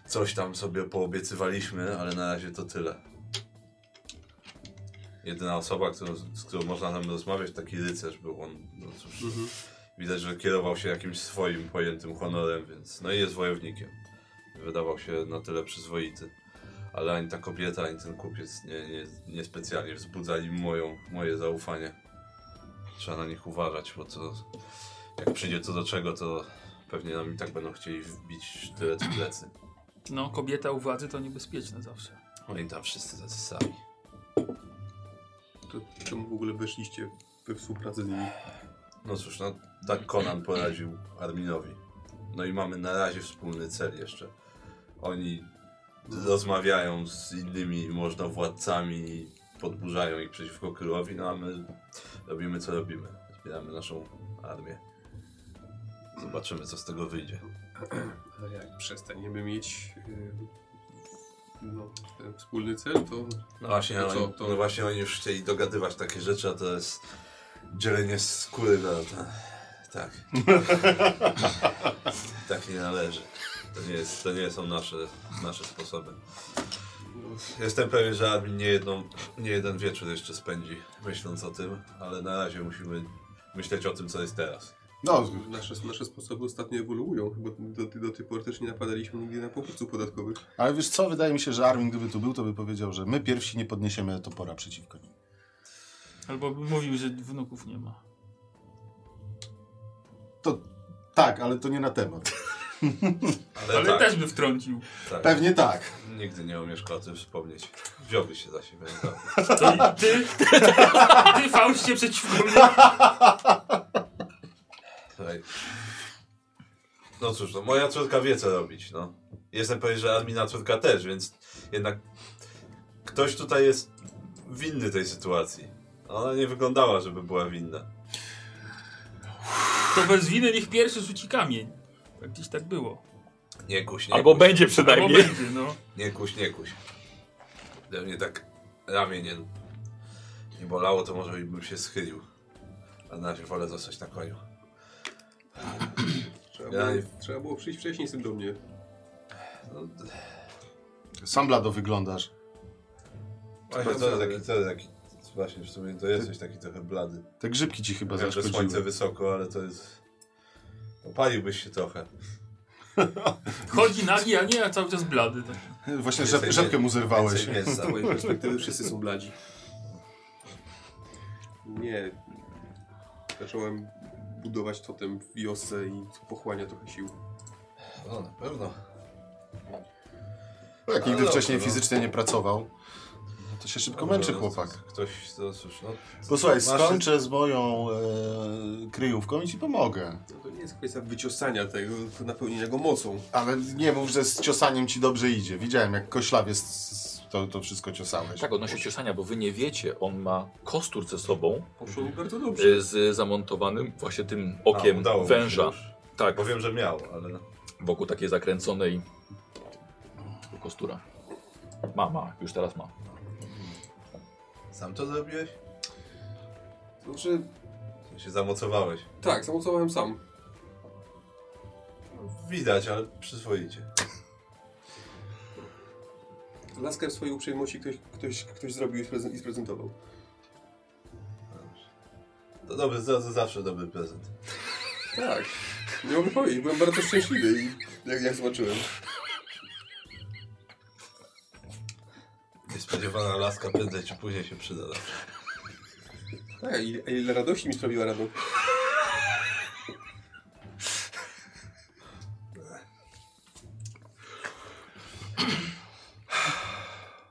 Coś tam sobie poobiecywaliśmy, ale na razie to tyle. Jedyna osoba, którą, z którą można nam rozmawiać, taki rycerz był on. No cóż, widać, że kierował się jakimś swoim pojętym honorem, więc. No i jest wojownikiem. Wydawał się na tyle przyzwoity. Ale ani ta kobieta, ani ten kupiec nie, nie, nie specjalnie wzbudzali moją, moje zaufanie. Trzeba na nich uważać, bo to jak przyjdzie co do czego, to pewnie nam i tak będą chcieli wbić tyle w plecy. No, kobieta u władzy to niebezpieczne zawsze. Oni No tam wszyscy tacy sami. To czemu w ogóle weszliście we współpracę z nimi? No cóż, no tak Conan poradził Arminowi. No i mamy na razie wspólny cel jeszcze. Oni rozmawiają z innymi można władcami i podburzają ich przeciwko królowi, no a my robimy co robimy. Zbieramy naszą armię. Zobaczymy co z tego wyjdzie. Ale jak przestaniemy mieć y, no, ten wspólny cel, to No właśnie, To oni, co, to- no właśnie oni już chcieli dogadywać takie rzeczy, a to jest dzielenie skóry na... na tak. tak nie należy. To nie, jest, to nie są nasze, nasze sposoby. no, Jestem pewien, że Armin nie, jedną, nie jeden wieczór jeszcze spędzi myśląc o tym, ale na razie musimy myśleć o tym, co jest teraz. No, nasze, nasze sposoby ostatnio ewoluują. Chyba do, do tej pory też nie napadaliśmy nigdy na pochówców podatkowych. ale wiesz co, wydaje mi się, że Armin gdyby tu był, to by powiedział, że my pierwsi nie podniesiemy topora przeciwko nim. Albo by mówił, że wnuków nie ma. To tak, ale to nie na temat. Ale, Ale tak, też by wtrącił. tak, Pewnie tak. nigdy nie umieszkał o tym wspomnieć. Wziąłby się za siebie. naprawdę. To i ty, ty Faustie przeciwko mnie. Tutaj. No cóż, no moja córka wie co robić, no. Jestem pewien, że Admina córka też, więc jednak ktoś tutaj jest winny tej sytuacji. Ona nie wyglądała, żeby była winna. To bez winy niech pierwszy rzuci kamień. Tak Gdzieś tak było. Nie kuś, nie Albo kuś. będzie Albo przynajmniej. będzie, no. Nie kuś, nie kuś. Gdyby mnie tak ramię nie, nie bolało, to może bym się schylił. A na razie wolę zostać na koniu. Trzeba, Ja było, trzeba było przyjść wcześniej z tym do mnie. No, Sam blado wyglądasz. właśnie, to jest taki, to jest taki, właśnie w sumie to jesteś taki trochę blady. Te grzybki ci chyba Wiem, że zaszkodziły. słońce wysoko, ale to jest... Opaliłbyś się trochę. Chodzi nagi, a nie, a cały czas blady. Tak. Właśnie Więcej rzep, rzepkę nie- mu zerwałeś. więcej mięsa. tak- Z mojej perspektywy wszyscy są bladzi. Nie. Zacząłem budować totem w wiosce i pochłania trochę sił. No na pewno. Jak Ale nigdy dobra, wcześniej no. fizycznie nie pracował, no to się szybko męczy No, chłopak. Ktoś, to cóż, no... Posłuchaj, masz- skończę z moją e, kryjówką i ci pomogę. No to nie jest kwestia wyciosania tego, tylko napełnienia go mocą. Ale nie mów, że z ciosaniem ci dobrze idzie. Widziałem, jak koślawie s- s- to, to wszystko ciosałeś. Tak, odnośnie ciosania, bo wy nie wiecie, on ma kostur ze sobą Poszło mi bardzo dobrze. y, z zamontowanym właśnie tym A, okiem udało mi się węża. już. Tak, Bo wiem, że miał, ale... no. wokół takiej zakręconej kostura. Ma, ma, już teraz ma. Sam to zrobiłeś? Znaczy, Ty Się zamocowałeś. tak, zamocowałem sam. Widać, ale przyswoicie. Laskę w swojej uprzejmości ktoś, ktoś, ktoś zrobił i sprezen- i sprezentował. To dobry, za, za zawsze dobry prezent. Tak. Nie mogę powiedzieć, byłem bardzo szczęśliwy i jak, jak zobaczyłem. Niespodziewana laska prędzej czy później się przyda. Tak, a ile, a ile radości mi sprawiła radość.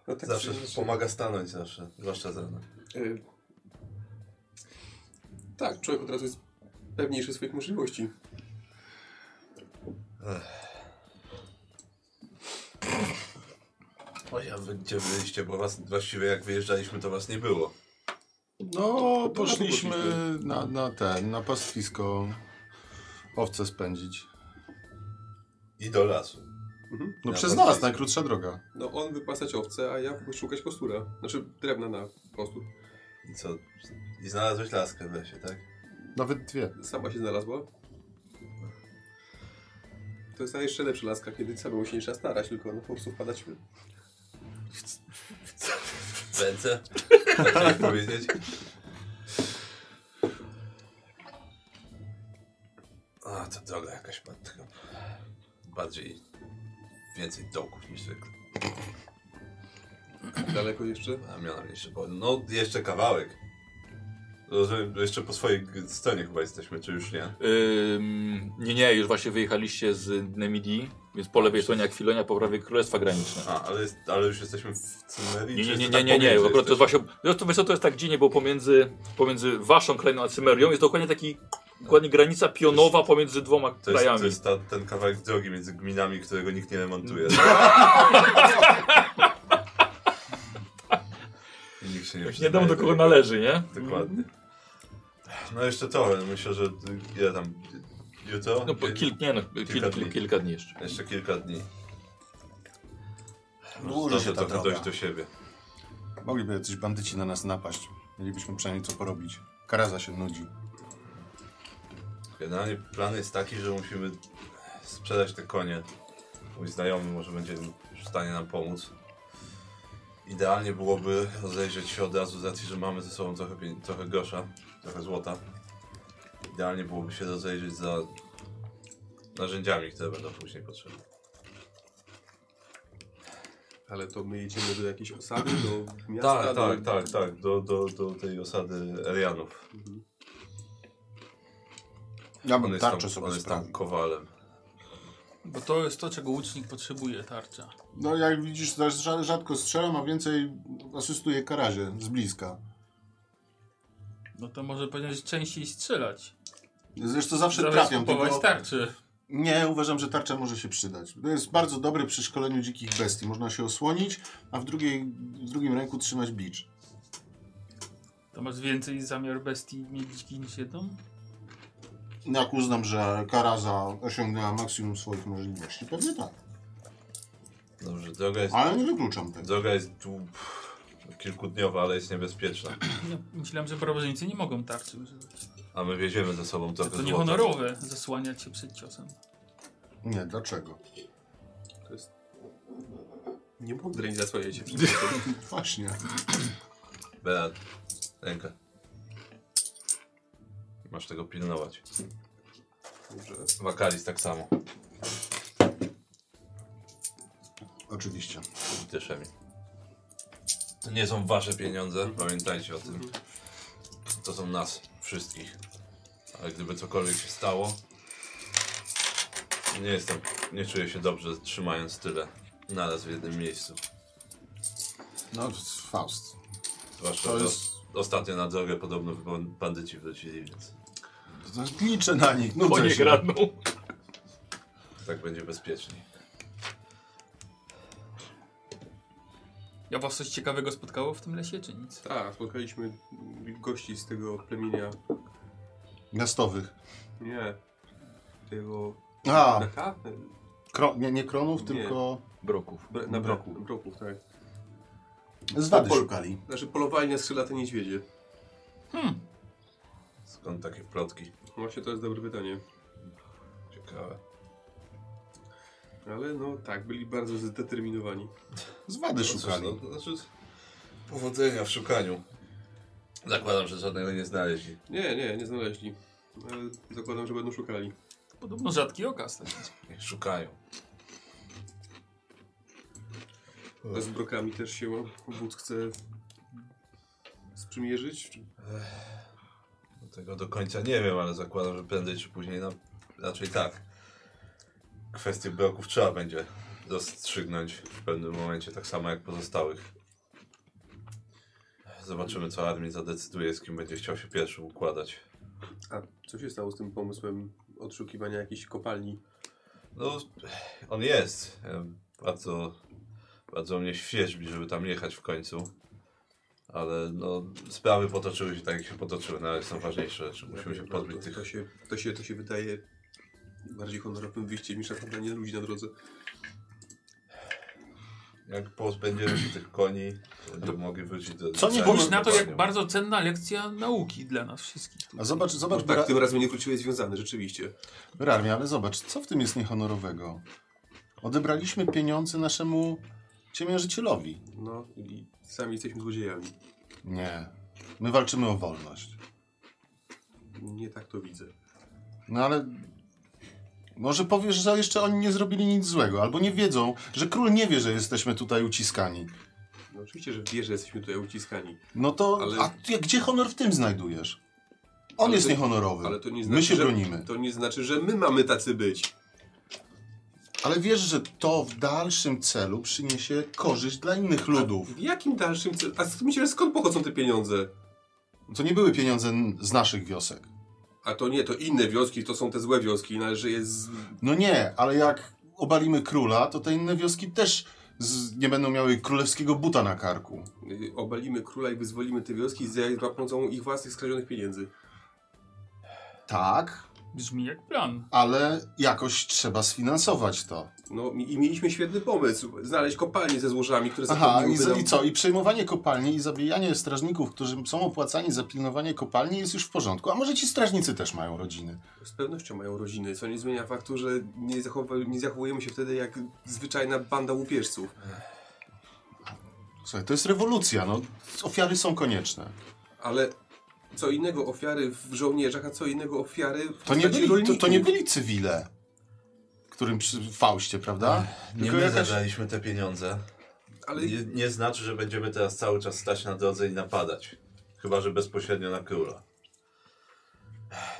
No tak Zawsze szczerze, pomaga stanąć zawsze, zwłaszcza z rana. y, Tak, człowiek od razu jest pewniejszy swoich możliwości. O ja, wy gdzie byliście, bo was, właściwie jak wyjeżdżaliśmy to was nie było. No, poszliśmy poszliśmy. na, na ten, na pastwisko owce spędzić. I do lasu. No Na przez pastwisko. nas, najkrótsza droga. No on wypasać owce, a ja szukać kostura. Znaczy drewna na kostur. I co? I znalazłeś laskę w lesie, tak? Nawet dwie. Sama się znalazła. To jest jeszcze lepsza laska, kiedy samemu się nie trzeba starać, tylko no, po prostu wpadać w W ręce? Tak chciałeś powiedzieć? A, to droga jakaś matka. Bardziej... Więcej dołków niż zwykle. daleko jeszcze. Ramiona jeszcze bo... No, jeszcze kawałek. Rozumiem, że jeszcze po swojej g- stronie chyba jesteśmy, czy już nie? Ym, nie, nie, już właśnie wyjechaliście z Nemidii, więc po lewej stronie Akwilonia, po prawej Królestwa Graniczne. A, ale, jest, ale już jesteśmy w Cymerii? Nie, czy nie, jeszcze nie, nie, tak nie, nie, pomiędzy bo akurat to jest jesteśmy? właśnie, no to wiesz co, to jest tak dziwnie, bo pomiędzy, pomiędzy waszą krainą a Cymerią jest dokładnie taki, dokładnie granica pionowa pomiędzy dwoma To jest, krajami. to jest ta, ten kawałek drogi między gminami, którego nikt nie remontuje. No. I nikt się nie Nie przyznaje wiadomo do kogo należy, nie? Dokładnie. No jeszcze to, myślę, że ile tam, jutro? No, po, kilk, nie, no, Kilka kilka, dni. dni. kilka dni jeszcze. Jeszcze kilka dni. Dłuży się ta trochę droga. dojść do siebie. Mogliby jacyś bandyci na nas napaść. Mielibyśmy przynajmniej co porobić. Karaza się nudzi. Generalnie plan jest taki, że musimy sprzedać te konie. Mój znajomy może będzie w stanie nam pomóc. Idealnie byłoby rozejrzeć się od razu z racji, że mamy ze sobą trochę, pieni- trochę grosza, trochę złota. Idealnie byłoby się rozejrzeć za narzędziami, które będą później potrzebne. Ale to my jedziemy do jakiejś osady, do miasta. Tak, do... tak, tak, tak, do, do, do tej osady Erianów. Ja On bym jest tarczę tam, sobie on jest tam sprawił. kowalem. Bo to jest to, czego łucznik potrzebuje, tarcza. No jak widzisz, też rza- rzadko strzelam, a więcej asystuję karazie z bliska. No to może powinieneś częściej strzelać. Zresztą zawsze Zamiast trafiam, kupować tak. tylko... tarczy. Nie, uważam, że tarcza może się przydać. To jest bardzo dobre przy szkoleniu dzikich bestii. Można się osłonić, a w, drugiej, w drugim ręku trzymać bicz. To masz więcej zamiar bestii mieć dziki niż jedną? No, Jak uznam, że Karaza osiągnęła maksimum swoich możliwości, pewnie tak. Dobrze, droga jest, Ale nie wykluczam tego. droga jest dłu- kilkudniowa, ale jest niebezpieczna. No, myślałem, że barbarzyńcy nie mogą tarczy używać. A my wieziemy ze sobą To, trochę to złota. niehonorowe zasłaniać się przed ciosem. Nie, dlaczego? To jest... Nie mądre nie zasłaniajcie. Właśnie. Beat, rękę. Masz tego pilnować. Dobrze. Wakaris tak samo. Oczywiście. Dyszemi. To nie są wasze pieniądze, pamiętajcie o tym. To są nas, wszystkich. Ale gdyby cokolwiek się stało, nie jestem, nie czuję się dobrze trzymając tyle naraz w jednym miejscu. No, to jest Faust. Zwłaszcza, To że jest- ostatnio na drogę podobno ban- bandyci wrócili, więc To Liczę na nich, Bo nudzę nie się. kradną. tak będzie bezpieczniej. Ja was coś ciekawego spotkało w tym lesie, czy nic? Tak, spotkaliśmy gości z tego plemienia. Miastowych. Nie. Tego. A, Braka? kro, nie, nie kronów, Nie. tylko Broków. Bra- Na broku. Broków, tak. zwady Pol- szukali. Znaczy polowali na skrzylate niedźwiedzie. Skąd takie plotki? Właśnie to jest dobre pytanie. Ciekawe. Ale no tak, byli bardzo zdeterminowani. Zwady No cóż, szukali. no, to znaczy, powodzenia w szukaniu. Zakładam, że żadnego nie znaleźli. Nie, nie, nie znaleźli. Ale zakładam, że będą szukali. Podobno rzadki okaz. taki. Niech szukają. A z brokami też się wódz chce sprzymierzyć? Czy- No Tego do końca nie wiem, ale zakładam, że prędzej czy później, no raczej tak. Kwestię bloków trzeba będzie rozstrzygnąć w pewnym momencie, tak samo jak pozostałych. Zobaczymy, co armii zadecyduje, z kim będzie chciał się pierwszy układać. A co się stało z tym pomysłem odszukiwania jakiejś kopalni? No, on jest. Ja Bardzo, bardzo mnie świeżbi, żeby tam jechać w końcu. Ale no, sprawy potoczyły się tak, jak się potoczyły, no ale są ważniejsze rzeczy. Musimy się pozbyć To tych się, to się, to się wydaje bardziej honorowym wyjściem niż nakładanie ludzi na drodze. No, Jak pozbędziemy się tych koni, to będziemy mogli wrócić do... Co nie Spójrz Panu- na to, jak Panią. bardzo cenna lekcja nauki dla nas wszystkich. A zobacz, No zobacz, tak, Bra- tym razem nie wróciłeś związany, rzeczywiście. Rarmia, ale zobacz, co w tym jest niehonorowego? Odebraliśmy pieniądze naszemu ciemiężycielowi. No i sami jesteśmy złodziejami. Nie. My walczymy o wolność. Nie tak to widzę. No ale... Może powiesz, że jeszcze oni nie zrobili nic złego, albo nie wiedzą, że król nie wie, że jesteśmy tutaj uciskani. No oczywiście, że wie, że jesteśmy tutaj uciskani. No to... Ale- A ty- gdzie honor w tym znajdujesz? On Ale jest to- niehonorowy. Ale to nie znaczy, My się że, bronimy. To nie znaczy, że my mamy tacy być. Ale wiesz, że to w dalszym celu przyniesie korzyść dla innych ludów. W jakim dalszym celu? A skąd myślisz, skąd pochodzą te pieniądze? To nie były pieniądze n- z naszych wiosek. A to nie, to inne wioski, to są te złe wioski i należy je z... No nie, ale jak obalimy króla, to te inne wioski też z, nie będą miały królewskiego buta na karku. y, Obalimy króla i wyzwolimy te wioski za pomocą ich własnych skradzionych pieniędzy. Tak, Brzmi jak plan. ale jakoś trzeba sfinansować to. No mi- i mieliśmy świetny pomysł. Znaleźć kopalnie ze złożami, które Aha, i, zapewniłyby z- nam- i co? I przejmowanie kopalni i zabijanie strażników, którzy są opłacani za pilnowanie kopalni jest już w porządku. A może ci strażnicy też mają rodziny? Z pewnością mają rodziny, co nie zmienia faktu, że nie, zachowa... nie zachowujemy się wtedy jak zwyczajna banda łupieżców. Słuchaj, to jest rewolucja, no. Ofiary są konieczne. Ale co innego ofiary w żołnierzach, a co innego ofiary w To nie, postaci byli, to, rolników. to nie byli cywile, którym przy Fauście, prawda? Nie Tylko my jakaś- zabraliśmy te pieniądze. Ale Nie, nie znaczy, że będziemy teraz cały czas stać na drodze i napadać. Chyba, że bezpośrednio na króla.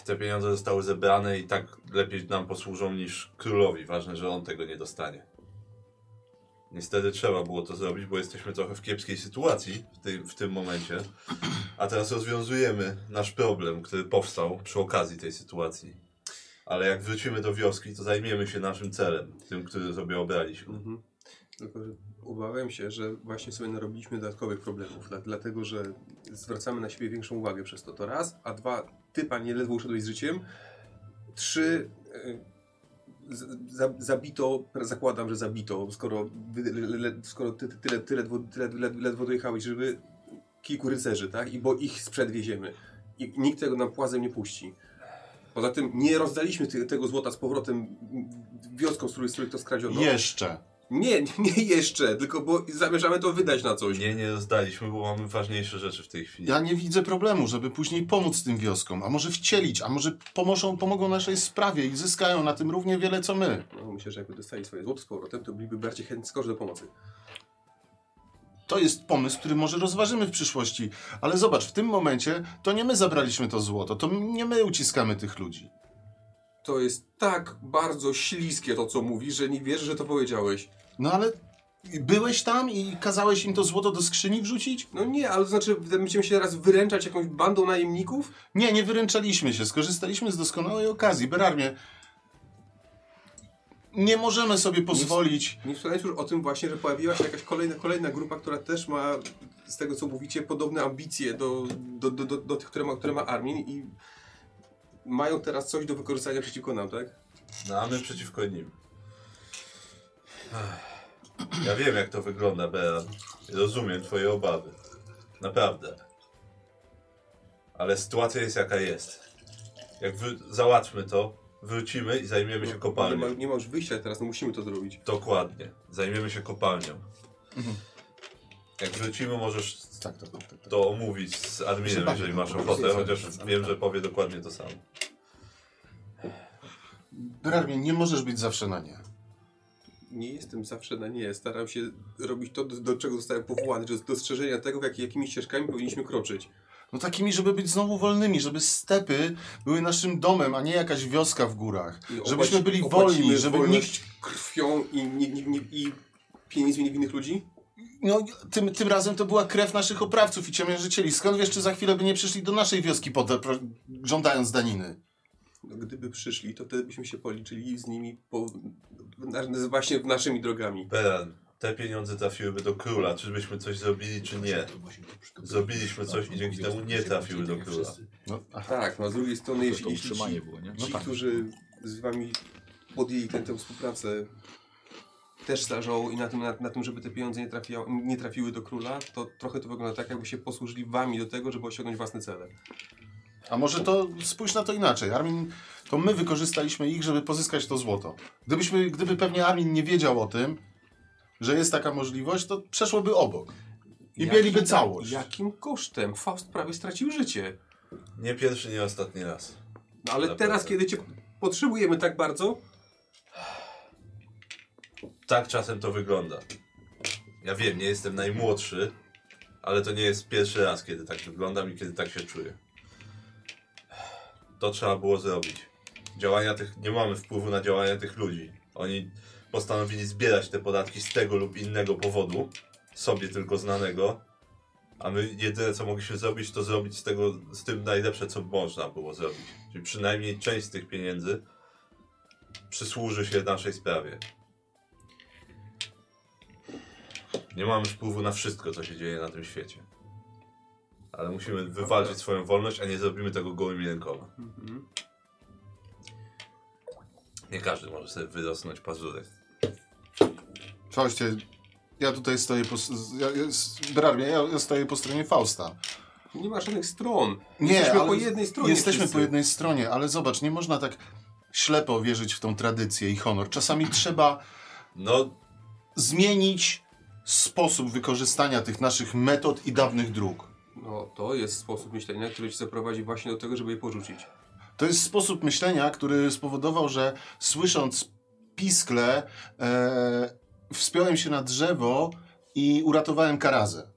Te pieniądze zostały zebrane i tak lepiej nam posłużą niż królowi. Ważne, że on tego nie dostanie. Niestety trzeba było to zrobić, bo jesteśmy trochę w kiepskiej sytuacji w, tej, w tym momencie. A teraz rozwiązujemy nasz problem, który powstał przy okazji tej sytuacji. Ale jak wrócimy do wioski, to zajmiemy się naszym celem, tym, który sobie obraliśmy. Mhm. Tylko że obawiam się, że właśnie sobie narobiliśmy dodatkowych problemów, dla, dlatego że zwracamy na siebie większą uwagę przez to. To raz, a dwa, ty panie ledwo uszedłeś z życiem. Trzy, e, z- za, zabito, zakładam, że zabito, skoro, wy, le, le, skoro ty, ty, tyle, tyle, ledwo, tyle, led- ledwo dojechałeś, żeby kilku rycerzy, tak? I bo ich sprzedwieziemy. I nikt tego nam płazem nie puści. Poza tym nie rozdaliśmy ty, tego złota z powrotem wioskom, z których, z których to skradziono. Jeszcze. Nie, nie, nie jeszcze, tylko bo zamierzamy to wydać na coś. Nie, nie zdaliśmy, bo mamy ważniejsze rzeczy w tej chwili. Ja nie widzę problemu, żeby później pomóc tym wioskom, a może wcielić, a może pomożą, pomogą naszej sprawie i zyskają na tym równie wiele co my. No, myślę, że jakby dostali swoje złoto z powrotem, to byliby bardziej chętni skorzy do pomocy. To jest pomysł, który może rozważymy w przyszłości, ale zobacz, w tym momencie to nie my zabraliśmy to złoto, to nie my uciskamy tych ludzi. To jest tak bardzo śliskie to, co mówisz, że nie wierzę, że to powiedziałeś. No ale byłeś tam i kazałeś im to złoto do skrzyni wrzucić? No nie, ale to znaczy, będziemy się teraz wyręczać jakąś bandą najemników? Nie, nie wyręczaliśmy się. Skorzystaliśmy z doskonałej okazji. Berarmie, nie możemy sobie pozwolić. Nie wspomniałeś już o tym właśnie, że pojawiła się jakaś kolejna, kolejna grupa, która też ma, z tego co mówicie, podobne ambicje do, do, do, do, do tych, które ma, które ma Armin i mają teraz coś do wykorzystania przeciwko nam, tak? No a my przeciwko nim. Ech. Ja wiem jak to wygląda, Bea. Rozumiem twoje obawy. Naprawdę. Ale sytuacja jest jaka jest. Jak wy... załatwmy to, wrócimy i zajmiemy No, się No, Nie, kopalnią. ma, nie ma już wyjścia teraz, no musimy to zrobić. Dokładnie. Zajmiemy się kopalnią. Jak wrócimy, możesz Mhm. Tak, tak, tak. tak. to omówić z adminem, Zobaczmy jeżeli to masz po ochotę, prostu. chociaż wiem, że powie dokładnie to samo. Berarmie, nie możesz być zawsze na nie. Nie jestem zawsze na nie, staram się robić to, do, do czego zostałem powołany, do dostrzeżenia tego, w jak, jakimi ścieżkami powinniśmy kroczyć. No takimi, żeby być znowu wolnymi, żeby stepy były naszym domem, a nie jakaś wioska w górach. I opłaci- Żebyśmy byli opłacimy wolni, żeby nikt... wolność krwią i, nie, nie, nie, i pieniędzmi niewinnych ludzi? No, tym, tym razem to była krew naszych oprawców i ciemiężycieli. Skąd wiesz, czy za chwilę by nie przyszli do naszej wioski pod... pro- żądając daniny? No, Gdyby przyszli, to wtedy byśmy się policzyli z nimi po, na, właśnie naszymi drogami. Beran, te pieniądze trafiłyby do króla. Czy byśmy coś zrobili, czy nie? Zrobiliśmy coś i dzięki temu nie trafiły do króla. No, a Tak, no a z drugiej strony, To, to jeśli, jeśli utrzymanie ci, było, No nie? tak. ci którzy z wami podjęli tę, tę współpracę, też zależało i na tym, na, na tym żeby te pieniądze nie, trafia, nie trafiły do króla, to trochę to wygląda tak, jakby się posłużyli wami do tego, żeby osiągnąć własne cele. A może to spójrz na to inaczej. Armin, to my wykorzystaliśmy ich, żeby pozyskać to złoto. Gdybyśmy, gdyby pewnie Armin nie wiedział o tym, że jest taka możliwość, to przeszłoby obok. I mieliby tak? całość. Jakim kosztem? Faust prawie stracił życie. Nie pierwszy, nie ostatni raz. No ale Naprawdę. teraz, kiedy cię potrzebujemy tak bardzo, Tak czasem to wygląda. Ja wiem, nie jestem najmłodszy, ale to nie jest pierwszy raz, kiedy tak wyglądam i kiedy tak się czuję. To trzeba było zrobić. Działania tych, nie mamy wpływu na działania tych ludzi. Oni postanowili zbierać te podatki z tego lub innego powodu, sobie tylko znanego, a my jedyne co mogliśmy zrobić, to zrobić z tego, z tym najlepsze co można było zrobić. Czyli przynajmniej część z tych pieniędzy przysłuży się naszej sprawie. Nie mamy wpływu na wszystko, co się dzieje na tym świecie. Ale musimy wywalczyć swoją wolność, a nie zrobimy tego gołymi rękoma. Mhm. Nie każdy może sobie wyrosnąć pazurek. Fauście, ja tutaj stoję po... s- Ja, ja, Berarmie, ja, ja stoję po stronie Fausta. nie ma żadnych stron. Nie, jesteśmy ale po jednej stronie. Jesteśmy wszyscy. po jednej stronie, ale zobacz, nie można tak ślepo wierzyć w tą tradycję i honor. Czasami trzeba No, zmienić sposób wykorzystania tych naszych metod i dawnych dróg. No, to jest sposób myślenia, który cię zaprowadzi właśnie do tego, żeby je porzucić. To jest sposób myślenia, który spowodował, że słysząc piskle, e, wspiąłem się na drzewo i uratowałem karazę.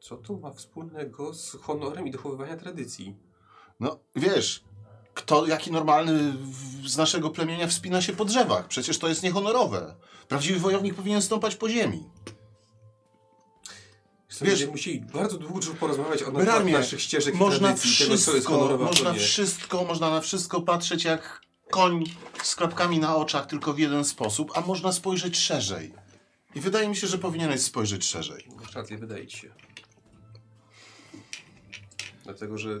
Co to ma wspólnego z honorem i dochowywania tradycji? No, wiesz, kto, jaki normalny w- z naszego plemienia wspina się po drzewach? Przecież to jest niehonorowe. Prawdziwy wojownik powinien stąpać po ziemi. Wiesz, Wiesz- będziemy musieli bardzo długo porozmawiać o na temat Berarmie, naszych ścieżek i Można tradycji, tego, co jest wszystko, honorowe, a co można nie. wszystko, można na wszystko patrzeć jak koń z klapkami na oczach tylko w jeden sposób, a można spojrzeć szerzej. I wydaje mi się, że powinieneś spojrzeć szerzej. Masz rację, wydaje ci się. Dlatego, że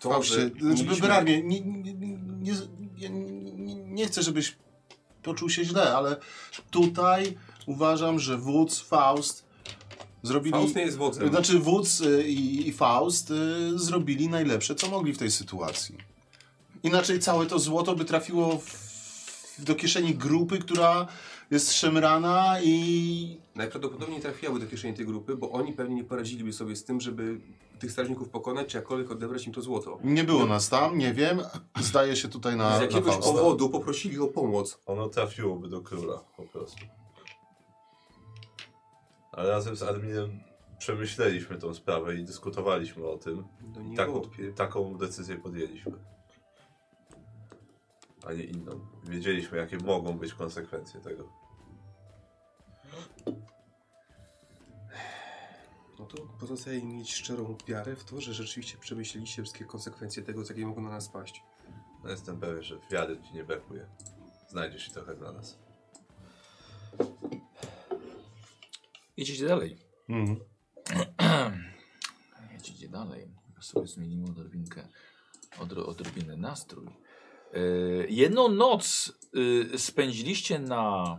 to, Fałszy, że znaczy, mieliśmy- wyraźnie, nie, nie, nie, nie, nie, nie chcę, żebyś poczuł się źle, ale tutaj uważam, że wódz, Faust zrobili... Faust nie jest wodzem. Znaczy wódz y, i, i Faust y, zrobili najlepsze, co mogli w tej sytuacji. Inaczej całe to złoto by trafiło w, do kieszeni grupy, która jest szemrana i Najprawdopodobniej trafiały do kieszeni tej grupy, bo oni pewnie nie poradziliby sobie z tym, żeby tych strażników pokonać, czy jakkolwiek odebrać im to złoto. nie było nas tam, nie wiem. Zdaje się tutaj na, Z na jakiegoś Fausta. powodu poprosili o pomoc. Ono trafiłoby do króla po prostu. Ale razem z adminem przemyśleliśmy tą sprawę i dyskutowaliśmy o tym. No nie Tak, wątpię. taką decyzję podjęliśmy. A nie inną. Wiedzieliśmy, jakie mogą być konsekwencje tego. No to pozostaje im mieć szczerą wiarę w to, że rzeczywiście przemyśleliście wszystkie konsekwencje tego, z jakie mogą na nas paść. No jestem pewien, że wiary ci nie brakuje. Znajdzie się trochę dla nas. Jedziecie dalej. Mhm. Jedziecie dalej. Sobie zmienimy odrobinkę, odro, odrobinę nastrój. E, jedną noc e, spędziliście na,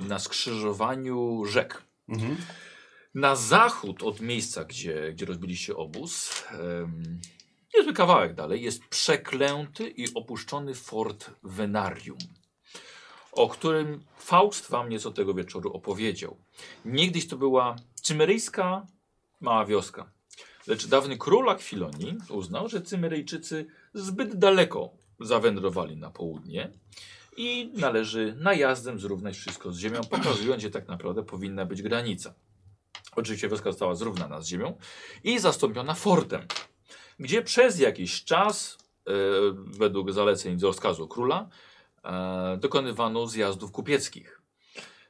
na skrzyżowaniu rzek. Mhm. Na zachód od miejsca, gdzie, gdzie rozbiliście obóz, em, niezły kawałek dalej, jest przeklęty i opuszczony fort Venarium, o którym Faust wam nieco tego wieczoru opowiedział. Niegdyś to była cymeryjska mała wioska, lecz dawny król Akwilonii uznał, że Cymeryjczycy zbyt daleko zawędrowali na południe i należy najazdem zrównać wszystko z ziemią, pokazując, gdzie tak naprawdę powinna być granica. Oczywiście wioska została zrównana z ziemią i zastąpiona fortem, gdzie przez jakiś czas, e, według zaleceń z rozkazu króla, e, dokonywano zjazdów kupieckich.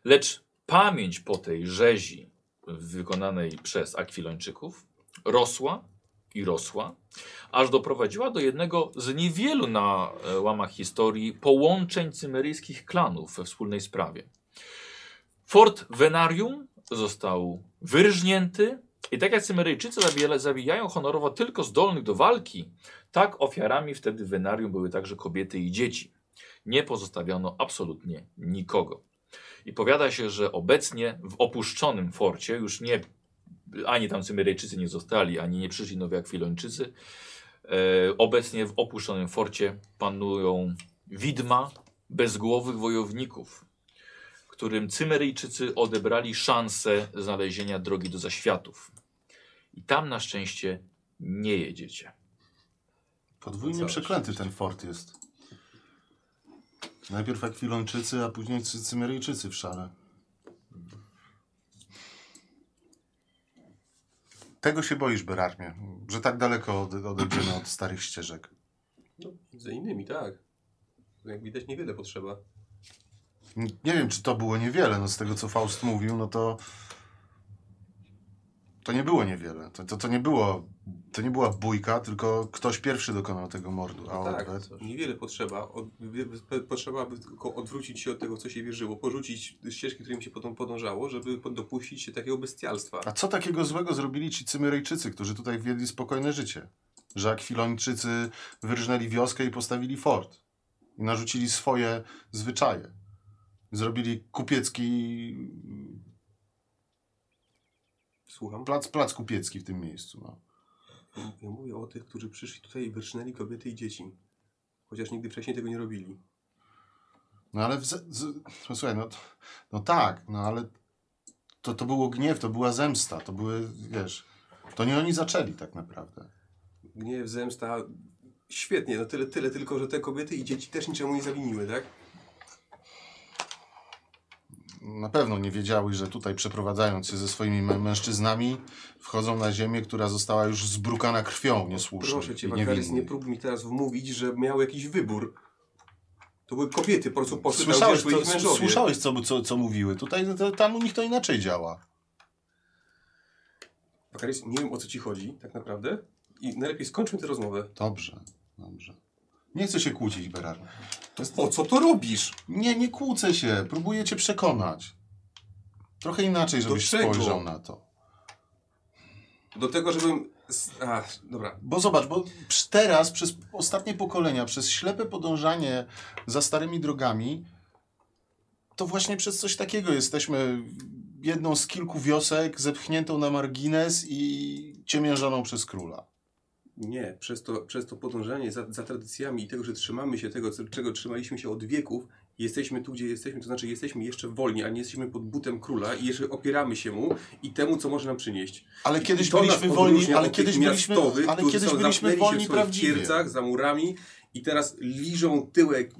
Lecz pamięć po tej rzezi wykonanej przez Akwilończyków rosła i rosła, aż doprowadziła do jednego z niewielu na e, łamach historii połączeń cymeryjskich klanów we wspólnej sprawie. Fort Venarium został wyrżnięty i tak jak Cymeryjczycy zabija- zabijają honorowo tylko zdolnych do walki, tak ofiarami wtedy w Venarium były także kobiety i dzieci. Nie pozostawiano absolutnie nikogo. I powiada się, że obecnie w opuszczonym forcie już nie ani tam Cymeryjczycy nie zostali, ani nie przyszli nowi akwilończycy. E, obecnie w opuszczonym forcie panują widma bezgłowych wojowników, którym Cymeryjczycy odebrali szansę znalezienia drogi do zaświatów. I tam na szczęście nie jedziecie. Podwójnie Całe przeklęty ten fort jest. Najpierw Akwilończycy, a później Cy- Cymeryjczycy w szale. Tego się boisz, Berarmie, że tak daleko ode- odejdziemy od starych ścieżek. No, między innymi tak. Jak widać niewiele potrzeba. N- Nie wiem, czy to było niewiele, no z tego co Faust mówił, no to... To nie było niewiele. To, to, to, nie, było, to nie była bójka, tylko ktoś pierwszy dokonał tego mordu. A tak, odwet- niewiele potrzeba. Od, wy- wy- potrzeba by tylko odwrócić się od tego, co się wierzyło, porzucić ścieżki, którym się potem podążało, żeby pod- dopuścić się takiego bestialstwa. A co takiego złego zrobili ci Cymeryjczycy, którzy tutaj wiedli spokojne życie? Że Akwilończycy wyrżnęli wioskę i postawili fort. I narzucili swoje zwyczaje. Zrobili kupiecki... Słucham. Plac, plac kupiecki w tym miejscu. No. Ja mówię o tych, którzy przyszli tutaj i wyrżnęli kobiety i dzieci. Chociaż nigdy wcześniej tego nie robili. No ale, w, z, z, no, słuchaj, no, t- no tak, no ale to, to było gniew, to była zemsta, to były, wiesz, to nie oni zaczęli tak naprawdę. Gniew, zemsta. Świetnie, no tyle, tyle tylko, że te kobiety i dzieci też niczemu nie zawiniły, tak? Na pewno nie wiedziały, że tutaj przeprowadzając się ze swoimi mę- mężczyznami wchodzą na ziemię, która została już zbrukana krwią niesłusznie. Proszę cię, Wakaris, nie próbuj mi teraz wmówić, że miał jakiś wybór. To były kobiety, po prostu poszły Słyszałeś, tam, to, gdzie byli ich mężowie. słyszałeś co, co, co mówiły. Tutaj to, tam u nich to inaczej działa. Wakaris, nie wiem o co ci chodzi, tak naprawdę. I najlepiej skończmy tę rozmowę. Dobrze, dobrze. Nie chcę się kłócić, Berard. To jest- Po co to robisz? Nie, nie kłócę się. Próbuję cię przekonać. Trochę inaczej, Do żebyś czego? spojrzał na to. Do tego, żebym... s- A, dobra. Bo zobacz, bo psz- teraz przez ostatnie pokolenia, przez ślepe podążanie za starymi drogami, to właśnie przez coś takiego jesteśmy jedną z kilku wiosek zepchniętą na margines i ciemiężoną przez króla. Nie, przez to, przez to podążanie za, za tradycjami i tego, że trzymamy się tego, co- czego trzymaliśmy się od wieków, Jesteśmy tu, gdzie jesteśmy, to znaczy jesteśmy jeszcze wolni, a nie jesteśmy pod butem króla i jeszcze opieramy się mu i temu, co może nam przynieść. Ale I kiedyś to nas byliśmy odróżnia wolni, ale od tych kiedyś byliśmy, miastowych, ale którzy kiedyś są- byliśmy zamknęli się w wolni swoich prawdziwie. twierdzach, za murami i teraz liżą tyłek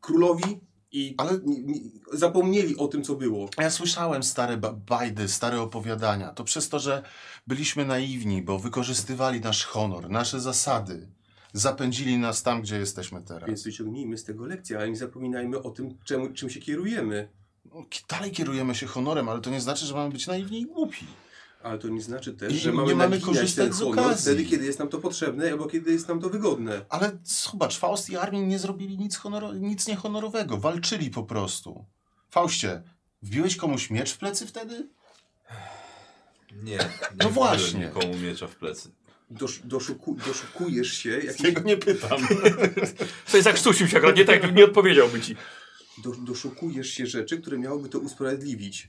królowi i Ale- ni- ni- zapomnieli o tym, co było. Ja słyszałem stare ba- bajdy, stare opowiadania. To przez to, że byliśmy naiwni, bo wykorzystywali nasz honor, nasze zasady. Zapędzili nas tam, gdzie jesteśmy teraz. Więc wyciągnijmy z tego lekcję, ale nie zapominajmy o tym, czemu, czym się kierujemy. No, ki- Dalej kierujemy się honorem, ale to nie znaczy, że mamy być naiwni i głupi. Ale to nie znaczy też, I że nie mamy, mamy naginać korzystać ten z honor okazji. wtedy, kiedy jest nam to potrzebne, albo kiedy jest nam to wygodne. Ale zobacz, Faust i Armin nie zrobili nic, honoro- nic niehonorowego. Walczyli po prostu. Faustie, wbiłeś komuś miecz w plecy wtedy? Nie. nie No właśnie. wbiłem Nikomu miecza w plecy. Dosz, doszuku, doszukujesz się, jak, Tego nie pytam. Coś zakrztusił się akurat, nie, tak, nie odpowiedziałby ci. do, doszukujesz się rzeczy, które miałoby to usprawiedliwić.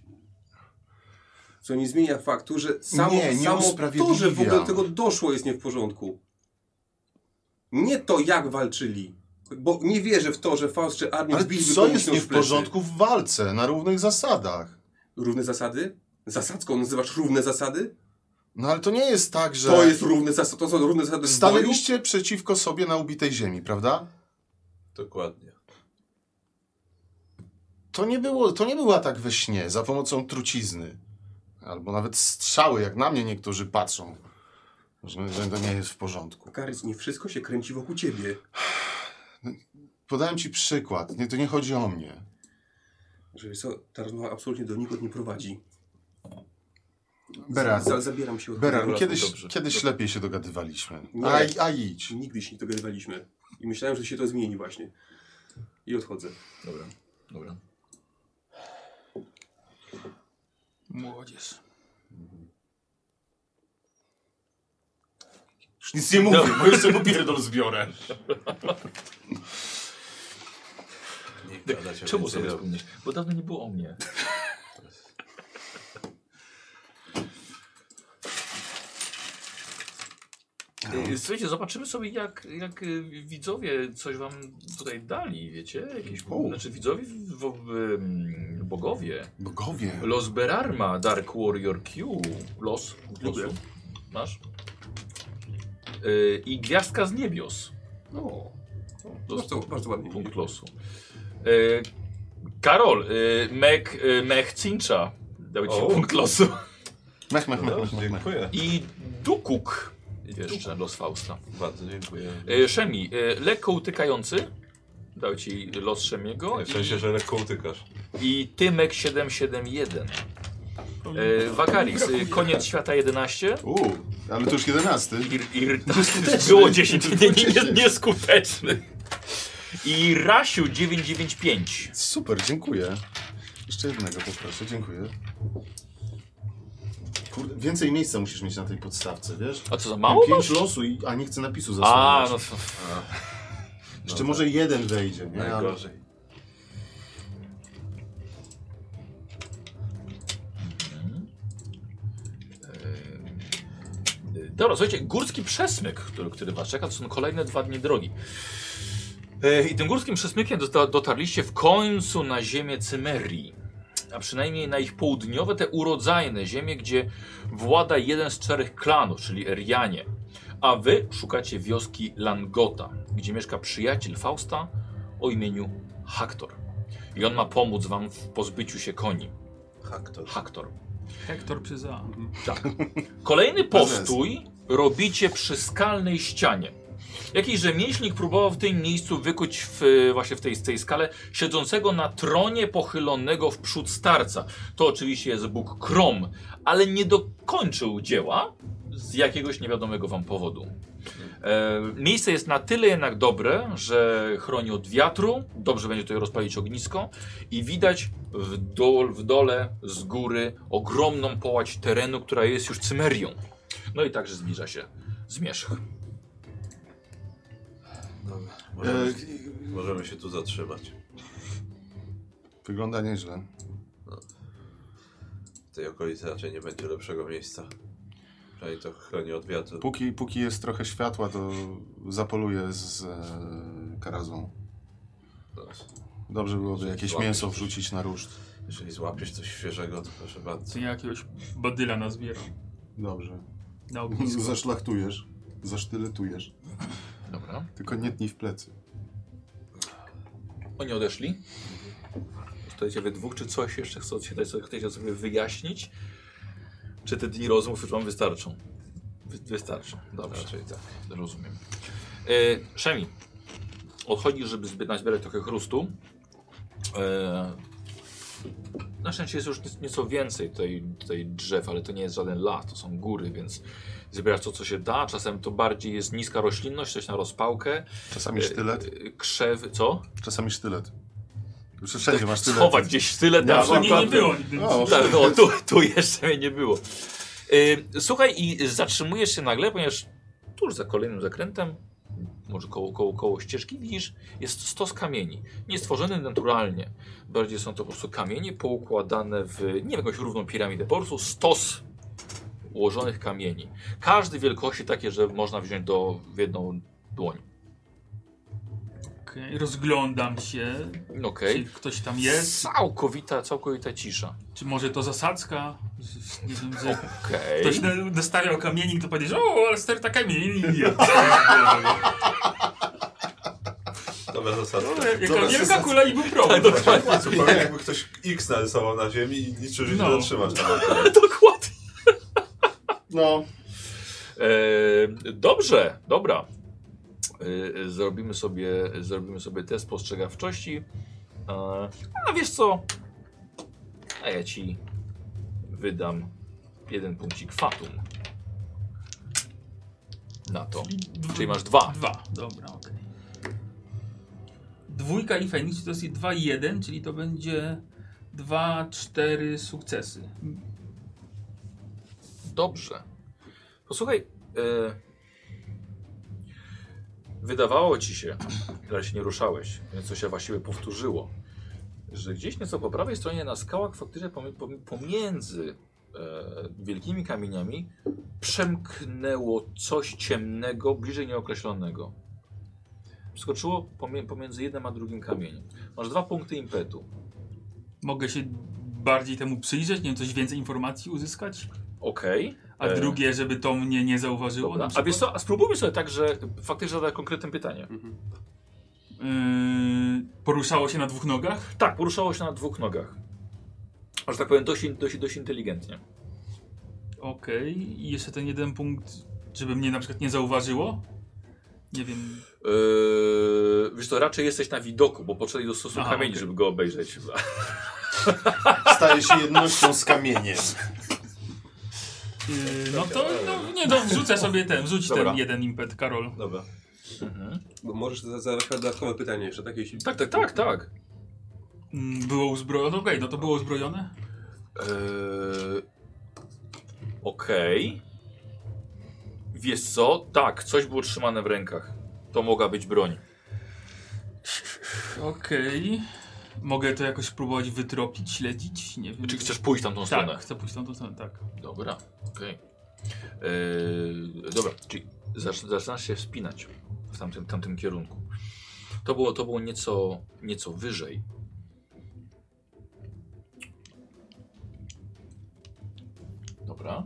Co nie zmienia faktu, że samo, Nie, nie samo to, że w ogóle usprawiedliwiam. do tego doszło jest nie w porządku. Nie to, jak walczyli. Bo nie wierzę w to, że Faust czy Armin Ale wbiliby co komuś jest nóż nie w plecy. porządku w walce, na równych zasadach? Równe zasady? Zasadzką nazywasz równe zasady? No ale to nie jest tak, że... To jest równe zasady, to są równe zasady w boju? Stanęliście przeciwko sobie na ubitej ziemi, prawda? Dokładnie. To nie, było, to nie był atak we śnie za pomocą trucizny. Albo nawet strzały, jak na mnie niektórzy patrzą. Że, że to nie jest w porządku. Karyc, nie wszystko się kręci wokół ciebie. Podałem ci przykład. Nie, to nie chodzi o mnie. Że co, ta rozmowa absolutnie do nikąd nie prowadzi. Beraru, Za- zabieram się od Beraru tego kiedyś, dobrze. kiedyś Dobrze. lepiej się dogadywaliśmy. Nie. A, a idź. latu. Nigdy się nie dogadywaliśmy. I myślałem, że się to zmieni właśnie. I odchodzę. Dobra, dobra. Młodzież. Już nic nie mówię, bo już sobie popierdol zbiorę. Nie gadacie Czemu więcej sobie o- wspomnieć? Bo dawno nie było o mnie. Y, Słuchajcie, zobaczymy sobie, jak, jak y, widzowie coś wam tutaj dali, wiecie? Jakieś, O. znaczy widzowie, w, w, em, bogowie. Bogowie. Los Berarma, Dark Warrior Q. Los. po Lubię. prostu. Masz. Y, I Gwiazdka z Niebios. No. Dostał Bardzo, bardzo ładnie. punkt losu. E, Karol, e, Mech, e, Mech Cincha dał ci O. punkt losu. Mech, mech, No mech, dobrze, mech, mech. dziękuję. I Dukuk. Jeszcze los Fausta. Bardzo dziękuję. E, Szemi, e, lekko utykający. Dał ci los Szemiego. W sensie, że lekko utykasz. I Tymek 771. E, Wakaris, e, koniec świata 11. Uuu, ale to już jedenasty. Ir, ir, tak. Nieskuteczny. było 10, nie, nie, nie, Nieskuteczny. nieskuteczny. I Rasiu 995. Super, dziękuję. Jeszcze jednego poproszę, dziękuję. Kurde, więcej miejsca musisz mieć na tej podstawce, wiesz? A co za mało? Pięć masz? losu, i, a nie chcę napisu za A, sobą. no to... Jeszcze może jeden wejdzie, nie? Ale... Najgorzej. Yy, Dobra, słuchajcie, górski przesmyk, który, który was czeka, to są kolejne dwa dni drogi. Yy, I tym górskim przesmykiem dota- dotarliście w końcu na ziemię Cymerii. A przynajmniej na ich południowe, te urodzajne ziemie, gdzie włada jeden z czterech klanów, czyli Erianie. A wy szukacie wioski Langota, gdzie mieszka przyjaciel Fausta o imieniu Haktor. I on ma pomóc wam w pozbyciu się koni. Haktor. Haktor. Hektor przez A. Tak. Kolejny Bez postój robicie przy skalnej ścianie. Jakiś rzemieślnik próbował w tym miejscu wykuć w, e, właśnie w tej, tej skale siedzącego na tronie pochylonego w przód starca. To oczywiście jest Bóg Krom, ale nie dokończył dzieła z jakiegoś niewiadomego wam powodu. E, miejsce jest na tyle jednak dobre, że chroni od wiatru, dobrze będzie tutaj rozpalić ognisko i widać w, dol, w dole z góry ogromną połać terenu, która jest już cymerią. No i także zbliża się zmierzch. Dobra. E, No, Możemy, możemy się tu zatrzymać. wygląda nieźle. W tej okolicy raczej nie będzie lepszego miejsca. Przynajmniej to chroni od wiatru. Póki, póki jest trochę światła, to zapoluję z e, karazą. Dobrze byłoby jakieś Złapiesz mięso coś. wrzucić na ruszt. Jeżeli złapiesz coś świeżego, to proszę bardzo. Co ja jakiegoś badyla nazbieram Dobrze. na Mm. ognisku. Zaszlachtujesz, zasztyletujesz, Dobra. tylko nie tnij w plecy. Oni odeszli. Stoicie wy dwóch, czy coś jeszcze chcecie, chcecie sobie wyjaśnić? Czy te dni rozmów już wam wystarczą? Wy, wystarczą, dobrze. Raczej tak. Rozumiem. E, Szemi, odchodzisz, żeby zbie- nazbierać trochę chrustu. E, na szczęście jest już nie- nieco więcej tej, tej drzew, ale to nie jest żaden las, to są góry, więc zbierasz to, co się da. Czasem to bardziej jest niska roślinność, coś na rozpałkę. Czasami sztylet, E, e, krzew, co? czasami sztylet. Już wszędzie masz sztylet. Tak Schować gdzieś sztylet. Ja na To mam nie, przykład. nie było nigdy. O, Tak, no, tu, tu jeszcze mnie nie było. Y, słuchaj, i zatrzymujesz się nagle, ponieważ tuż za kolejnym zakrętem, może koło, koło, koło ścieżki, widzisz, jest stos kamieni. Nie stworzony naturalnie. Bardziej są to po prostu kamienie poukładane w nie wiem, jakąś równą piramidę. Po prostu stos ułożonych kamieni. Każdy wielkości takie, że można wziąć do, w jedną dłoń. Okej, Rozglądam się, Okej. czy ktoś tam jest, Całkowita, całkowita cisza. czy może to zasadzka, Z- z- nie wiem, że Okej. ktoś na- dostawiał kamieni, to powiedział, o, ale sterta kamieni. Dobra zasada. No, jak Dobra, wielka zasadzka. kula i był Tak, problem. Zupełnie jakby ktoś X narysował na ziemi i liczył, że się No. zatrzymasz. Dokładnie. No, E, dobrze, dobra. E, zrobimy, sobie, zrobimy sobie test postrzegawczości. E, a wiesz co? A ja ci wydam jeden punkcik fatum. Na to. Czyli masz dwa. Dwa, dobra, okej. Dwójka i Feniks to jest 2 i 1, czyli to będzie 2, 4 sukcesy. Dobrze. Posłuchaj. E, wydawało ci się, ale się nie ruszałeś, więc to się właściwie powtórzyło, że gdzieś nieco po prawej stronie na skałach faktycznie pomi- pomi- pomiędzy e, wielkimi kamieniami przemknęło coś ciemnego, bliżej nieokreślonego. Skoczyło pomie- pomiędzy jednym a drugim kamieniem. Masz dwa punkty impetu. Mogę się bardziej temu przyjrzeć, nie wiem, coś więcej informacji uzyskać? Okej. A E. drugie, żeby to mnie nie zauważyło Dobra. na A przykład? wiesz co, a spróbujmy sobie tak, że faktycznie zadać konkretne pytanie. Mhm. Yy, poruszało się na dwóch nogach? Tak, poruszało się na dwóch nogach. Aż tak powiem, dość, in- dość, dość inteligentnie. Okej. I jeszcze ten jeden punkt, żeby mnie na przykład nie zauważyło? Nie wiem. Yy, wiesz to raczej jesteś na widoku, bo potrzebny do stosu Aha, kamieni, okej. żeby go obejrzeć. staje się jednością z kamieniem. Yy, no to no, nie, no, wrzucę sobie ten, wrzuć Dobra. ten jeden impet, Karol. Dobra. No Bo możesz za- zadać dodatkowe pytanie jeszcze, takie jeśli... Tak, tak, tak, tak. Mm, Było uzbrojone? Okej, no to było uzbrojone? Yy, Okej. Wiesz co? Tak, coś było trzymane w rękach. To mogła być broń. Okej. Mogę to jakoś próbować wytropić, śledzić? Nie wiem. Czy chcesz pójść tam tą stronę? Tak, chcę pójść na tą stronę, tak. Dobra, okej. Yy, dobra, czyli zacz, zaczynasz się wspinać w tamtym, tamtym kierunku. To było, to było nieco, nieco wyżej. Dobra.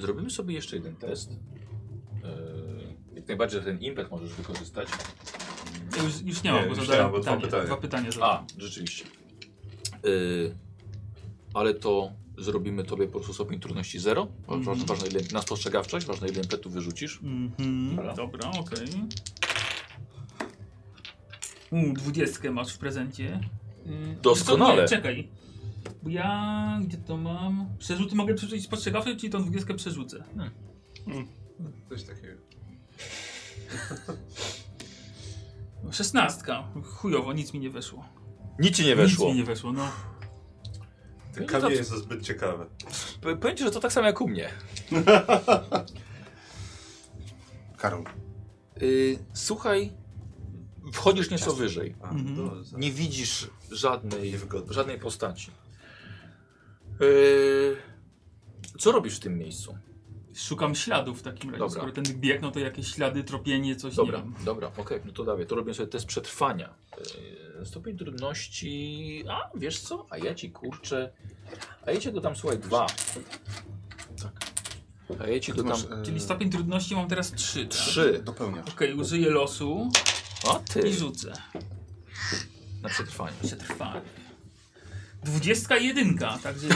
Zrobimy sobie jeszcze jeden test. Yy, jak najbardziej ten impet możesz wykorzystać. Ja Już, już nie mam, Nie, bo już nie mam, zadałem bo dwa pytanie. pytania. Dwa pytania zadałem. A, rzeczywiście. Yy, ale to zrobimy tobie po prostu stopień trudności 0. Mhm. Ważne ile na spostrzegawczość, ważne ile impetu wyrzucisz. Mhm, Dobra. dobra, okej. U, dwudziestkę masz w prezencie. Yy, Doskonale. Nie, czekaj. Bo ja gdzie to mam? Przerzuty mogę przerzucić spostrzegawczy, czyli tą dwudziestkę przerzucę. Coś takiego. No, Szesnastka. Chujowo, nic mi nie weszło. Nic ci nie Nic weszło. mi nie weszło, no. Te No kamienie dobrze. są zbyt ciekawe. P- Powiem ci, że to tak samo jak u mnie. Karol, Yy, słuchaj, wchodzisz nieco Jasne. wyżej. A, Mhm. to za- Nie widzisz żadnej, Niewygodne. żadnej postaci. Yy, co robisz w tym miejscu? Szukam śladów w takim razie. Dobra. Skoro ten bieg, no to jakieś ślady, tropienie, coś Dobra, nie wiem. dobra, okej, no to dawaj. To robię sobie test przetrwania. Stopień trudności. A wiesz co? A ja ci kurczę. A ja ci go tam słuchaj dwa. Tak. A ja ci go tam. Masz, e, Czyli stopień trudności mam teraz 3. Trzy. Dopełniasz. Okej, użyję losu A ty. i rzucę. Na przetrwanie. Przetrwanie. Dwudziestka i jedynka, także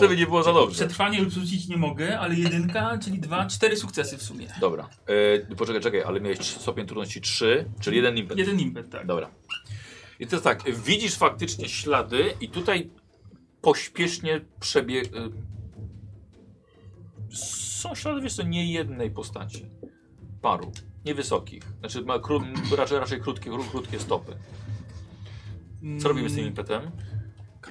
Żeby nie było za dobrze. przetrwanie lub rzucić nie mogę, ale jedynka, czyli dwa, cztery sukcesy w sumie. Dobra. E, poczekaj, czekaj, ale miałeś stopień trudności 3, czyli jeden impet. Jeden impet, tak. Dobra. I to jest tak, widzisz faktycznie ślady i tutaj pośpiesznie przebie... y, Są ślady, wiesz co, nie jednej postaci. Paru. Niewysokich. Znaczy ma kró... raczej, raczej krótkie, kró- krótkie stopy. Co robimy z tym impetem? Yy,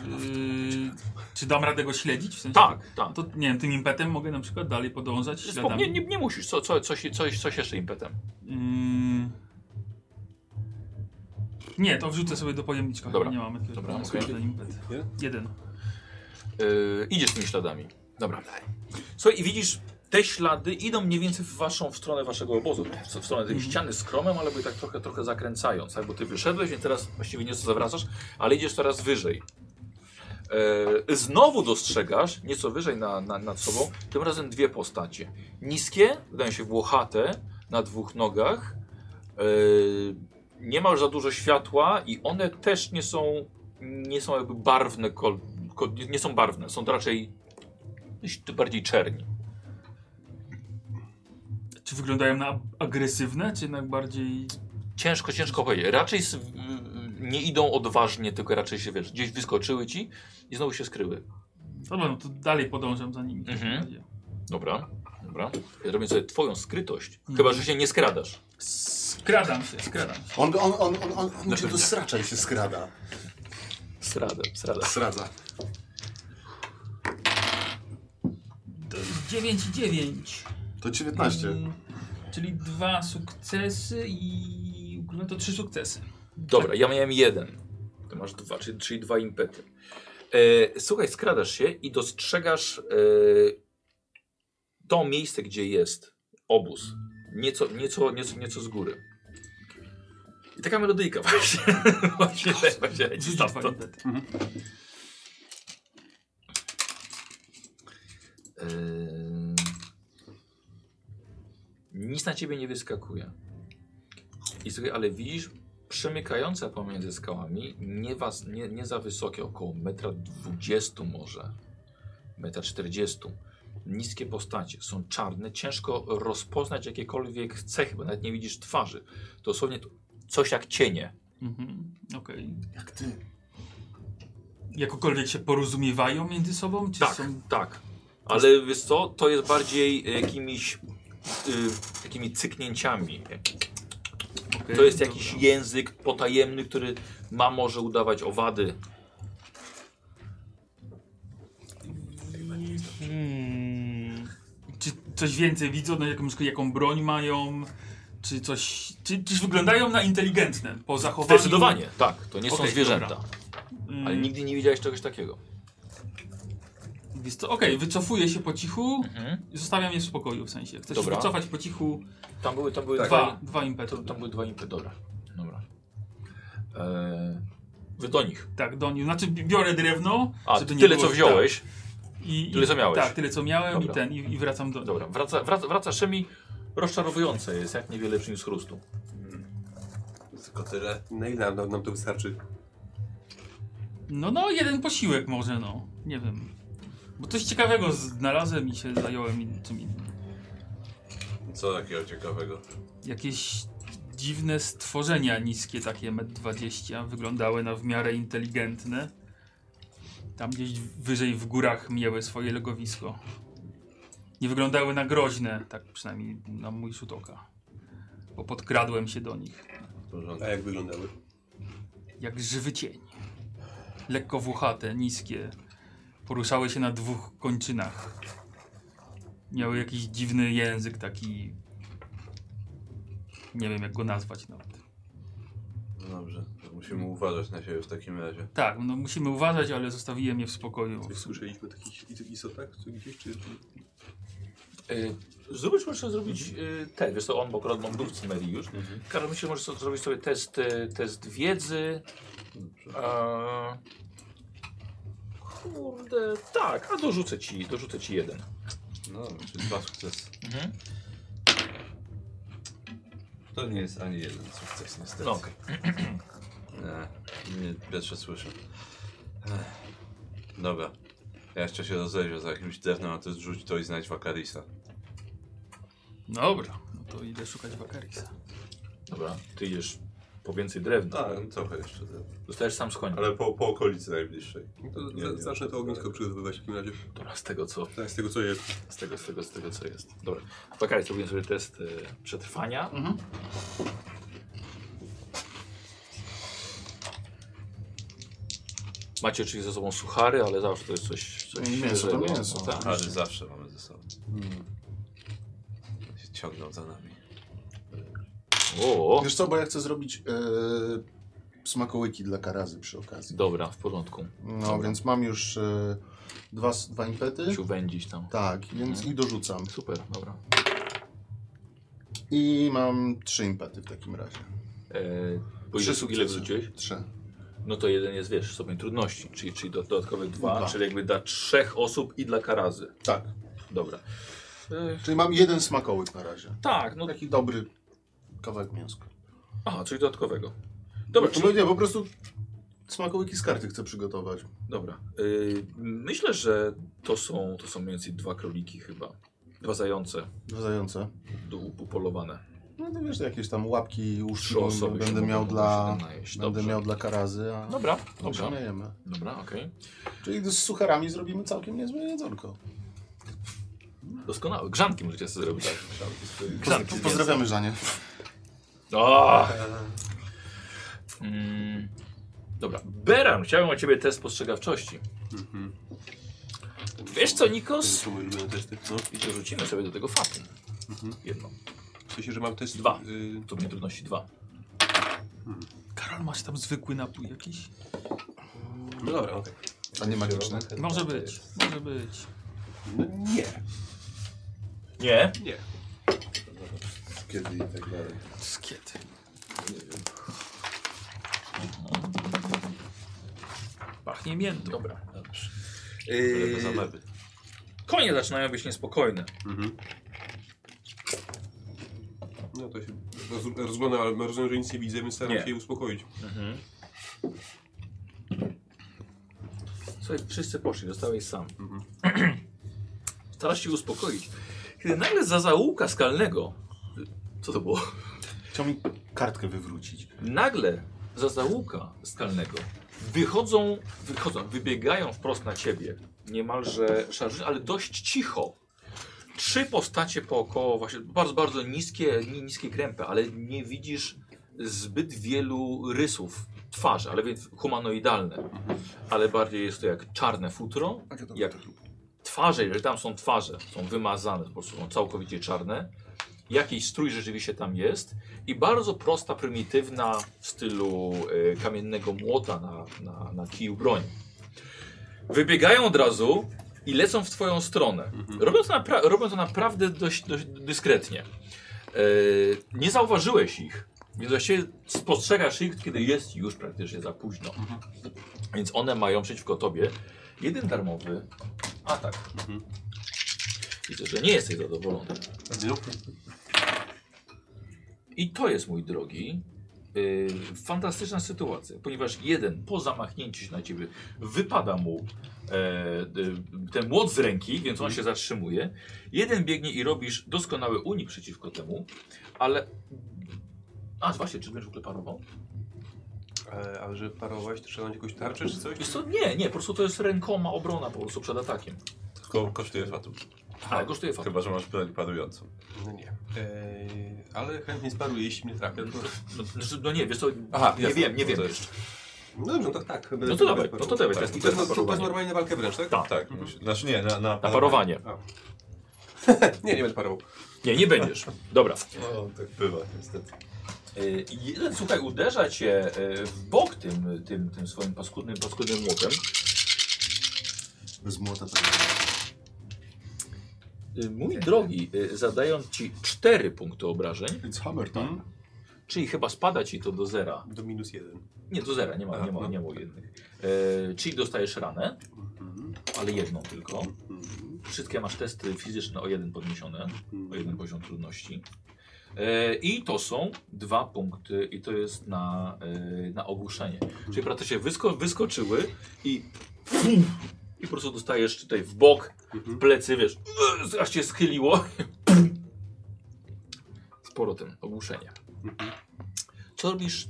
Mm, czy dam radę go śledzić? W sensie, Tak, tak. To nie wiem, tym impetem mogę na przykład dalej podążać Spok- nie, śladami. nie, nie musisz, co, co, coś, coś, coś jeszcze impetem. Mm. Nie, to wrzucę sobie do pojemniczka. Dobra. Nie mamy jakiegoś Dobra, pomysłu okej. na ten impet. Nie? Jeden. Yy, idziesz tymi śladami. Dobra. Słuchaj, i widzisz, te ślady idą mniej więcej w waszą w stronę waszego obozu. W w stronę tej ściany z kromem, ale by tak trochę, trochę zakręcając. Tak? Bo ty wyszedłeś, więc teraz właściwie nieco zawracasz, ale idziesz coraz wyżej. Yy, znowu dostrzegasz, nieco wyżej na, na, nad sobą, tym razem dwie postacie. Niskie, wydają się włochate, na dwóch nogach. Yy, nie ma już za dużo światła i one też nie są, nie są jakby barwne, kol, ko- nie- nie są barwne, są to raczej gdzieś tu bardziej czerni. Czy wyglądają na agresywne, czy jednak bardziej... Ciężko, ciężko powiedzieć. Raczej s- w- w- nie idą odważnie, tylko raczej się wiesz, gdzieś wyskoczyły ci i znowu się skryły. Dobra, no to dalej podążam za nimi. w takim Mhm. razie. Dobra, dobra. Ja robię sobie twoją skrytość, Mhm. chyba że się nie skradasz. Skradam się, skradam się. On, on, on, on, on, on cię pewno. do sracza i się skrada. Sradę, sradę. Sradza. To jest 9 i 9. To 19. Mm, czyli dwa sukcesy i... No to trzy sukcesy. Dobra, ja miałem jeden. Ty masz dwa, czyli, czyli dwa impety. E, słuchaj, skradasz się i dostrzegasz e, to miejsce, gdzie jest obóz. Nieco, nieco, nieco, nieco z góry. I taka melodyjka właśnie. właśnie, właśnie leci Rzucić dwa stamtąd. impety. E, nic na ciebie nie wyskakuje. I słuchaj, ale widzisz przemykające pomiędzy skałami, nie, was, nie, nie za wysokie, około metra 20 może, metra 40. Niskie postacie, są czarne, ciężko rozpoznać jakiekolwiek cechy, bo nawet nie widzisz twarzy. Dosłownie to coś jak cienie. Mhm, okej. Jak ty. Jakokolwiek się porozumiewają między sobą, czy Tak, są... tak. Ale wiesz co, to jest bardziej jakimiś y, takimi cyknięciami. okej, To jest jakiś dobra. język potajemny, który ma może udawać owady. Hmm. Czy coś więcej widzą, no, jaką, jaką broń mają? Czy coś. Czy, czyż wyglądają na inteligentne po zachowaniu? Zdecydowanie, tak. To nie są Okej, zwierzęta. dobra. Mm, Ale nigdy nie widziałeś czegoś takiego. wiesz co, Okej, wycofuję się po cichu. Mhm. Zostawiam je w spokoju w sensie. Chcesz Dobra. się wycofać po cichu? Tam były, tam były Tak. Dwa, dwa. dwa impety. Tak. To, tam były dwa impy. Dobra. Dobra. Eee, wy do nich. Tak, do nich. Znaczy biorę drewno. A żeby nie tyle było- co wziąłeś. tak, i, i- tyle, co miałeś. Tak, tyle co miałem Dobra. i ten i, i wracam do. Dobra, wraca, wraca, wraca Szemi. Rozczarowujące jest, jak niewiele przyniósł chrustu. Tylko tyle. Na ile nam, nam to wystarczy? No, no, jeden posiłek może, no. Nie wiem. Bo coś ciekawego znalazłem i się zająłem in- czym innym. Co takiego ciekawego? jakieś dziwne stworzenia niskie, takie M20, wyglądały na w miarę inteligentne. Tam gdzieś wyżej w górach miały swoje legowisko. Nie wyglądały na groźne, tak przynajmniej na mój rzut oka. Bo podkradłem się do nich, W porządku. A jak wyglądały? jak żywy cień. Lekko włochate, niskie. Poruszały się na dwóch kończynach. Miały jakiś dziwny język, taki... Nie wiem, jak go nazwać nawet. No dobrze. to Musimy uważać na siebie w takim razie. Tak, no musimy uważać, ale zostawiłem je w spokoju. Coś słyszeliśmy o takich i- istotach czy gdzieś? Czy, czy... Y, Zróbmy, proszę zrobić y, ten, wiesz to on, bo akurat mam w Mary już. Mhm. Karol, myślę, możesz sobie zrobić sobie test, y, test wiedzy. A... Kurde, tak, a dorzucę ci, dorzucę ci jeden. No, czyli dwa sukcesy. Mhm. To nie jest ani jeden sukces niestety. No okej. Nie, nie, pierwsze słyszę. Ech. Dobra. Ja jeszcze się rozejrzę za jakimś drewnem, a ty zrzuć to i znajdź Wakarisa. Dobra, no to idę szukać Wakarisa. Dobra, ty idziesz po więcej drewna. Tak, trochę jeszcze drewna. Dostajesz sam z konia. Ale po, po okolicy najbliższej. no To Nie, za, nie. zacznę to ognisko przygotowywać w takim razie. Dobra, z tego co, Tak, z tego co jest. z tego, z tego, z tego co jest. Dobra, Bakary, zrobiłem sobie test y, przetrwania. Mhm. Macie oczywiście ze sobą suchary, ale zawsze to jest coś, coś Mięso to świeżego. mięso. Tak. Ale zawsze mamy ze sobą. Mm. Hmm. Się Ciągną za nami. O, Wiesz co, bo ja chcę zrobić yy, smakołyki dla karazy przy okazji. dobra, w porządku. No więc mam już e, dwa, s- dwa impety. Musiał wędzić tam. Tak, więc Mhm. i dorzucam. Super, dobra. I mam trzy impety w takim razie. E, bo ile, Trzy sukcesy. ile wrzuciłeś? Trzy. No to jeden jest, wiesz, stopień trudności, czyli, czyli do- dodatkowe dwa, Dwa. czyli jakby dla trzech osób i dla karazy. Tak. Dobra. E, Czyli mam jeden smakołyk na razie. tak, no Taki dobry kawałek mięska. aha, coś dodatkowego. Dobra, No to czyli, nie, po prostu smakołyki z karty chcę przygotować. dobra. Y, myślę, że to są, to są mniej więcej dwa króliki chyba. Dwa zające Dwa zające. do upolowane. No to wiesz, jakieś tam łapki Trzy uszy osoby będę się miał mogą dla... się najeść. Będę Dobrze. miał dla karazy, a Dobra, my się dobra, najemy. dobra, okej. Czyli z sucharami zrobimy całkiem niezłe jedzonko. Doskonałe. Grzanki możecie sobie zrobić. Tak, Grzanki. Po- z Pozdrawiamy Żanie. O! Mm, dobra. Beran, chciałem od ciebie test postrzegawczości. Mhm. Wiesz co, To Nikos? są moje ulubione testy. No. I dorzucimy sobie do tego fatum. Jedno. W sensie, że mam test... Dwa. Y, To będzie trudności dwa. Karol, masz tam zwykły napój jakiś? no dobra, okej. A nie magiczne. Może być, może być. No nie. Nie? Nie. Kiedy i tak dalej. Skiety. Pachnie miętą. Dobra. Dobrze. Żeby za Yy, meby. konie zaczynają być niespokojne. Mhm. No to się roz- rozglądam, ale rozumiem, że nic nie widzę, więc staram Nie. się je uspokoić. Słuchaj, wszyscy poszli, zostałeś sam. Starasz się uspokoić. Kiedy nagle za załuka skalnego... Co to było? Chciał mi kartkę wywrócić. Nagle za załuka skalnego wychodzą, wychodzą, wybiegają wprost na ciebie, niemalże szarży, ale dość cicho. Trzy postacie pookoło, właśnie bardzo, bardzo niskie, ni- niskie krępy, ale nie widzisz zbyt wielu rysów twarzy, ale więc humanoidalne. Ale bardziej jest to jak czarne futro, jak twarze, jeżeli tam są twarze, są wymazane, po prostu są całkowicie czarne. Jakiś strój rzeczywiście tam jest. I bardzo prosta, prymitywna w stylu e, kamiennego młota na, na, na kiju broń. Wybiegają od razu i lecą w twoją stronę. Robią to, napra- robią to naprawdę dość, dość dyskretnie. E, nie zauważyłeś ich, więc właściwie spostrzegasz ich, kiedy jest już praktycznie za późno. Więc one mają przeciwko tobie jeden darmowy atak. Mhm. Widzę, że nie jesteś zadowolony. No. I to jest, mój drogi, yy, fantastyczna sytuacja, ponieważ jeden po zamachnięciu się na ciebie wypada mu e, y, ten młot z ręki, więc Mhm. on się zatrzymuje. Jeden biegnie i robisz doskonały unik przeciwko temu, ale... A, właśnie, czy będziesz w ogóle parował? Ale, E, ale że parować, to trzeba mieć jakąś tarczę czy coś? Wiesz co, nie, nie, po prostu to jest rękoma obrona po prostu przed atakiem. Tylko kosztuje fatum. Ale kosztuje fakt. Chyba, że masz broń parującą. No nie. Eee, ale chętnie sparuję, jeśli mnie trafię. To... No, znaczy, no nie, wiesz co, Aha, nie jasne, wiem, nie no wiem to jeszcze. No dobrze, to tak. będę- No to będę dawaj, no parował. to dawaj, Tak. to jest I to jest, na- to jest parowanie. normalnie na walkę wręcz, tak? Tak, Tak, musi- znaczy nie, na, na na parowanie. Nie, nie będę parował. Nie, nie będziesz. Dobra. No, tak bywa niestety. Y, Jeden, słuchaj, uderza cię y, w bok tym, tym, tym swoim paskudnym, paskudnym młotem. E, Bez młota tak. Y, Mój drogi, y, zadając ci 4 punkty obrażeń, It's hammer time. czyli chyba spada ci to do zera. Do minus jeden. Nie, do zera, nie ma, Aha, nie ma, no. nie ma jednych. E, czyli dostajesz ranę, Mhm. ale jedną tylko. Mhm. Wszystkie masz testy fizyczne o jeden podniesione, o jeden Mhm. poziom trudności. E, I to są dwa punkty i to jest na, e, na ogłuszenie. Mhm. Czyli praktycznie wysko, wyskoczyły i i po prostu dostajesz tutaj w bok, Mhm. w plecy, wiesz, e, aż cię schyliło. Sporo ten, ogłuszenie. Mhm. Co robisz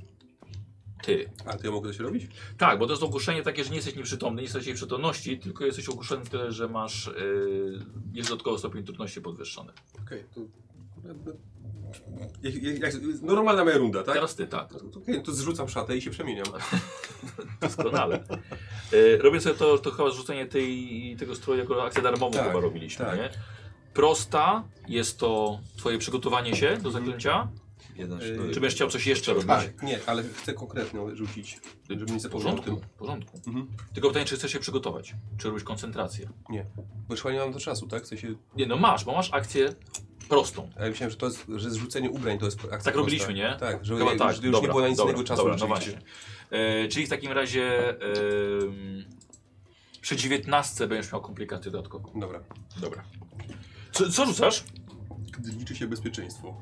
ty? A ty ja mogę coś robić? Tak, bo to jest ogłuszenie takie, że nie jesteś nieprzytomny, nie jesteś jej przytomności, tylko jesteś ogłuszony w tyle, że masz yy, jest dodatkowo stopień trudności podwyższony. Okej, to... Jak, jak, jak, normalna moja runda, tak? Teraz ty, tak, No to- to Okej, to zrzucam szatę i się przemieniam. doskonale. yy, robię sobie to, to chyba zrzucenie tej, tego stroju jako akcję darmową Tak, chyba robiliśmy, tak. nie? Prosta jest to twoje przygotowanie się Mhm. do zaklęcia. Jeden Yy, sztylet. Czy będziesz chciał coś jeszcze robić? Tak. Nie, ale chcę konkretną rzucić, żeby nie W zapomniał o porządku, tym. w porządku. Mhm. Tylko pytanie, czy chcesz się przygotować? Czy robisz koncentrację? Bo chyba nie mam do czasu, tak? W sensie, Nie, no masz, bo masz akcję prostą. a ja myślałem, że to jest, że zrzucenie ubrań to jest akcja Tak robiliśmy, prosta. nie? Tak, żeby Chyba już, tak. już dobra, nie było na nic dobra, innego czasu Dobra, no rzeczywiście. właśnie. E, czyli w takim razie em, przy 19 będziesz miał komplikację dodatkową. Dobra. Dobra. Co, co rzucasz? Gdy liczy się bezpieczeństwo,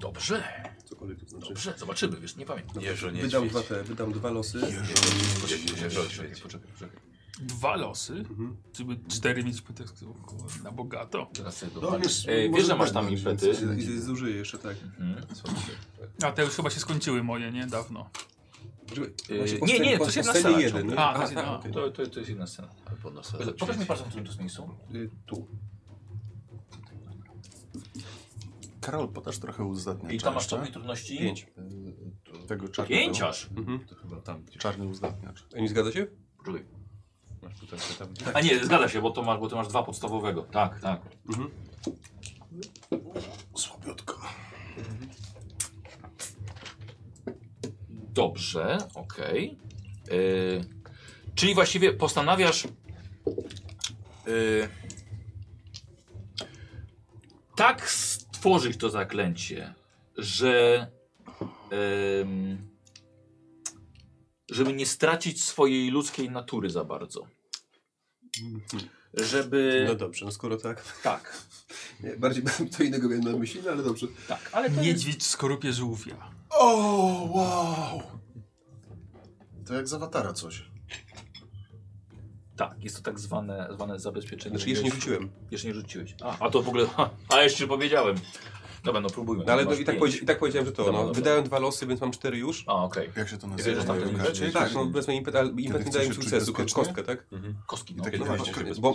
Dobrze, cokolwiek to znaczy. dobrze, zobaczymy, wiesz, nie pamiętam. Jeżo nie Wydam świeć. dwa, te, wydam dwa losy. Jeżo, Jeżo świeć. poczekaj, poczekaj. Dwa losy? Mhm. Żeby cztery mieć po tekstu. Na bogato. Teraz sobie No, dobra. wiesz, E, wiesz, może że masz tam tak być, impety. więc- I- I zużyję jeszcze, tak. Mhm. A te już chyba się skończyły moje, nie? Dawno. Yy, Znaczy, nie, nie, to po- jest jedna po scenie scena jeden, ciągle. nie? A, to jest Aha, jedna. okej. To, to, to jest jedna scena. Albo na Pokaż mi palcem, w którym to jest miejscu. Y, Tu. Karol, podasz trochę uzdatniacz. I tam masz stopień trudności? tak? Pięć. Tego czarnego. Pięć aż. Mhm. To chyba tam gdzieś. Czarny uzdatniacz. A nie zgadza się? Poczekaj. Masz No, tutaj, tam A nie, zgadza się, bo to masz, bo to masz dwa podstawowego. Tak, tak. Mhm. Słabiutko. Dobrze, okej. Yy, czyli właściwie postanawiasz. Yy, tak stworzyć to zaklęcie, że. em, żeby nie stracić swojej ludzkiej natury za bardzo. Żeby. No dobrze, no skoro tak. E. tak, Nie, bardziej to innego miałem na myśli, no ale dobrze. tak, ale to jest. Niedźwiedź w skorupie żółwia. O, wow! To jak z awatara coś. Tak, jest to tak zwane, zwane zabezpieczenie. Znaczy jeszcze nie rzuciłem. Jeszcze nie rzuciłeś. A, a to w ogóle. Ha, a jeszcze powiedziałem. Dobra, no próbujmy. No ale no, Masz i, tak pięć. powiedzi- i tak powiedziałem, że to. Dobra, no, dobra. Wydałem dwa losy, więc mam cztery już. A, okej. Jak się to Jeżeli nazywa? zostaw ten Kecie? impet. Tak, no wezmę impet, ale impet Kiedy nie daje mi chcesz czuć sukcesu, bezpiecznie? kostkę, tak? Kostki. I No, takie no, właśnie. właśnie. kostkę Bo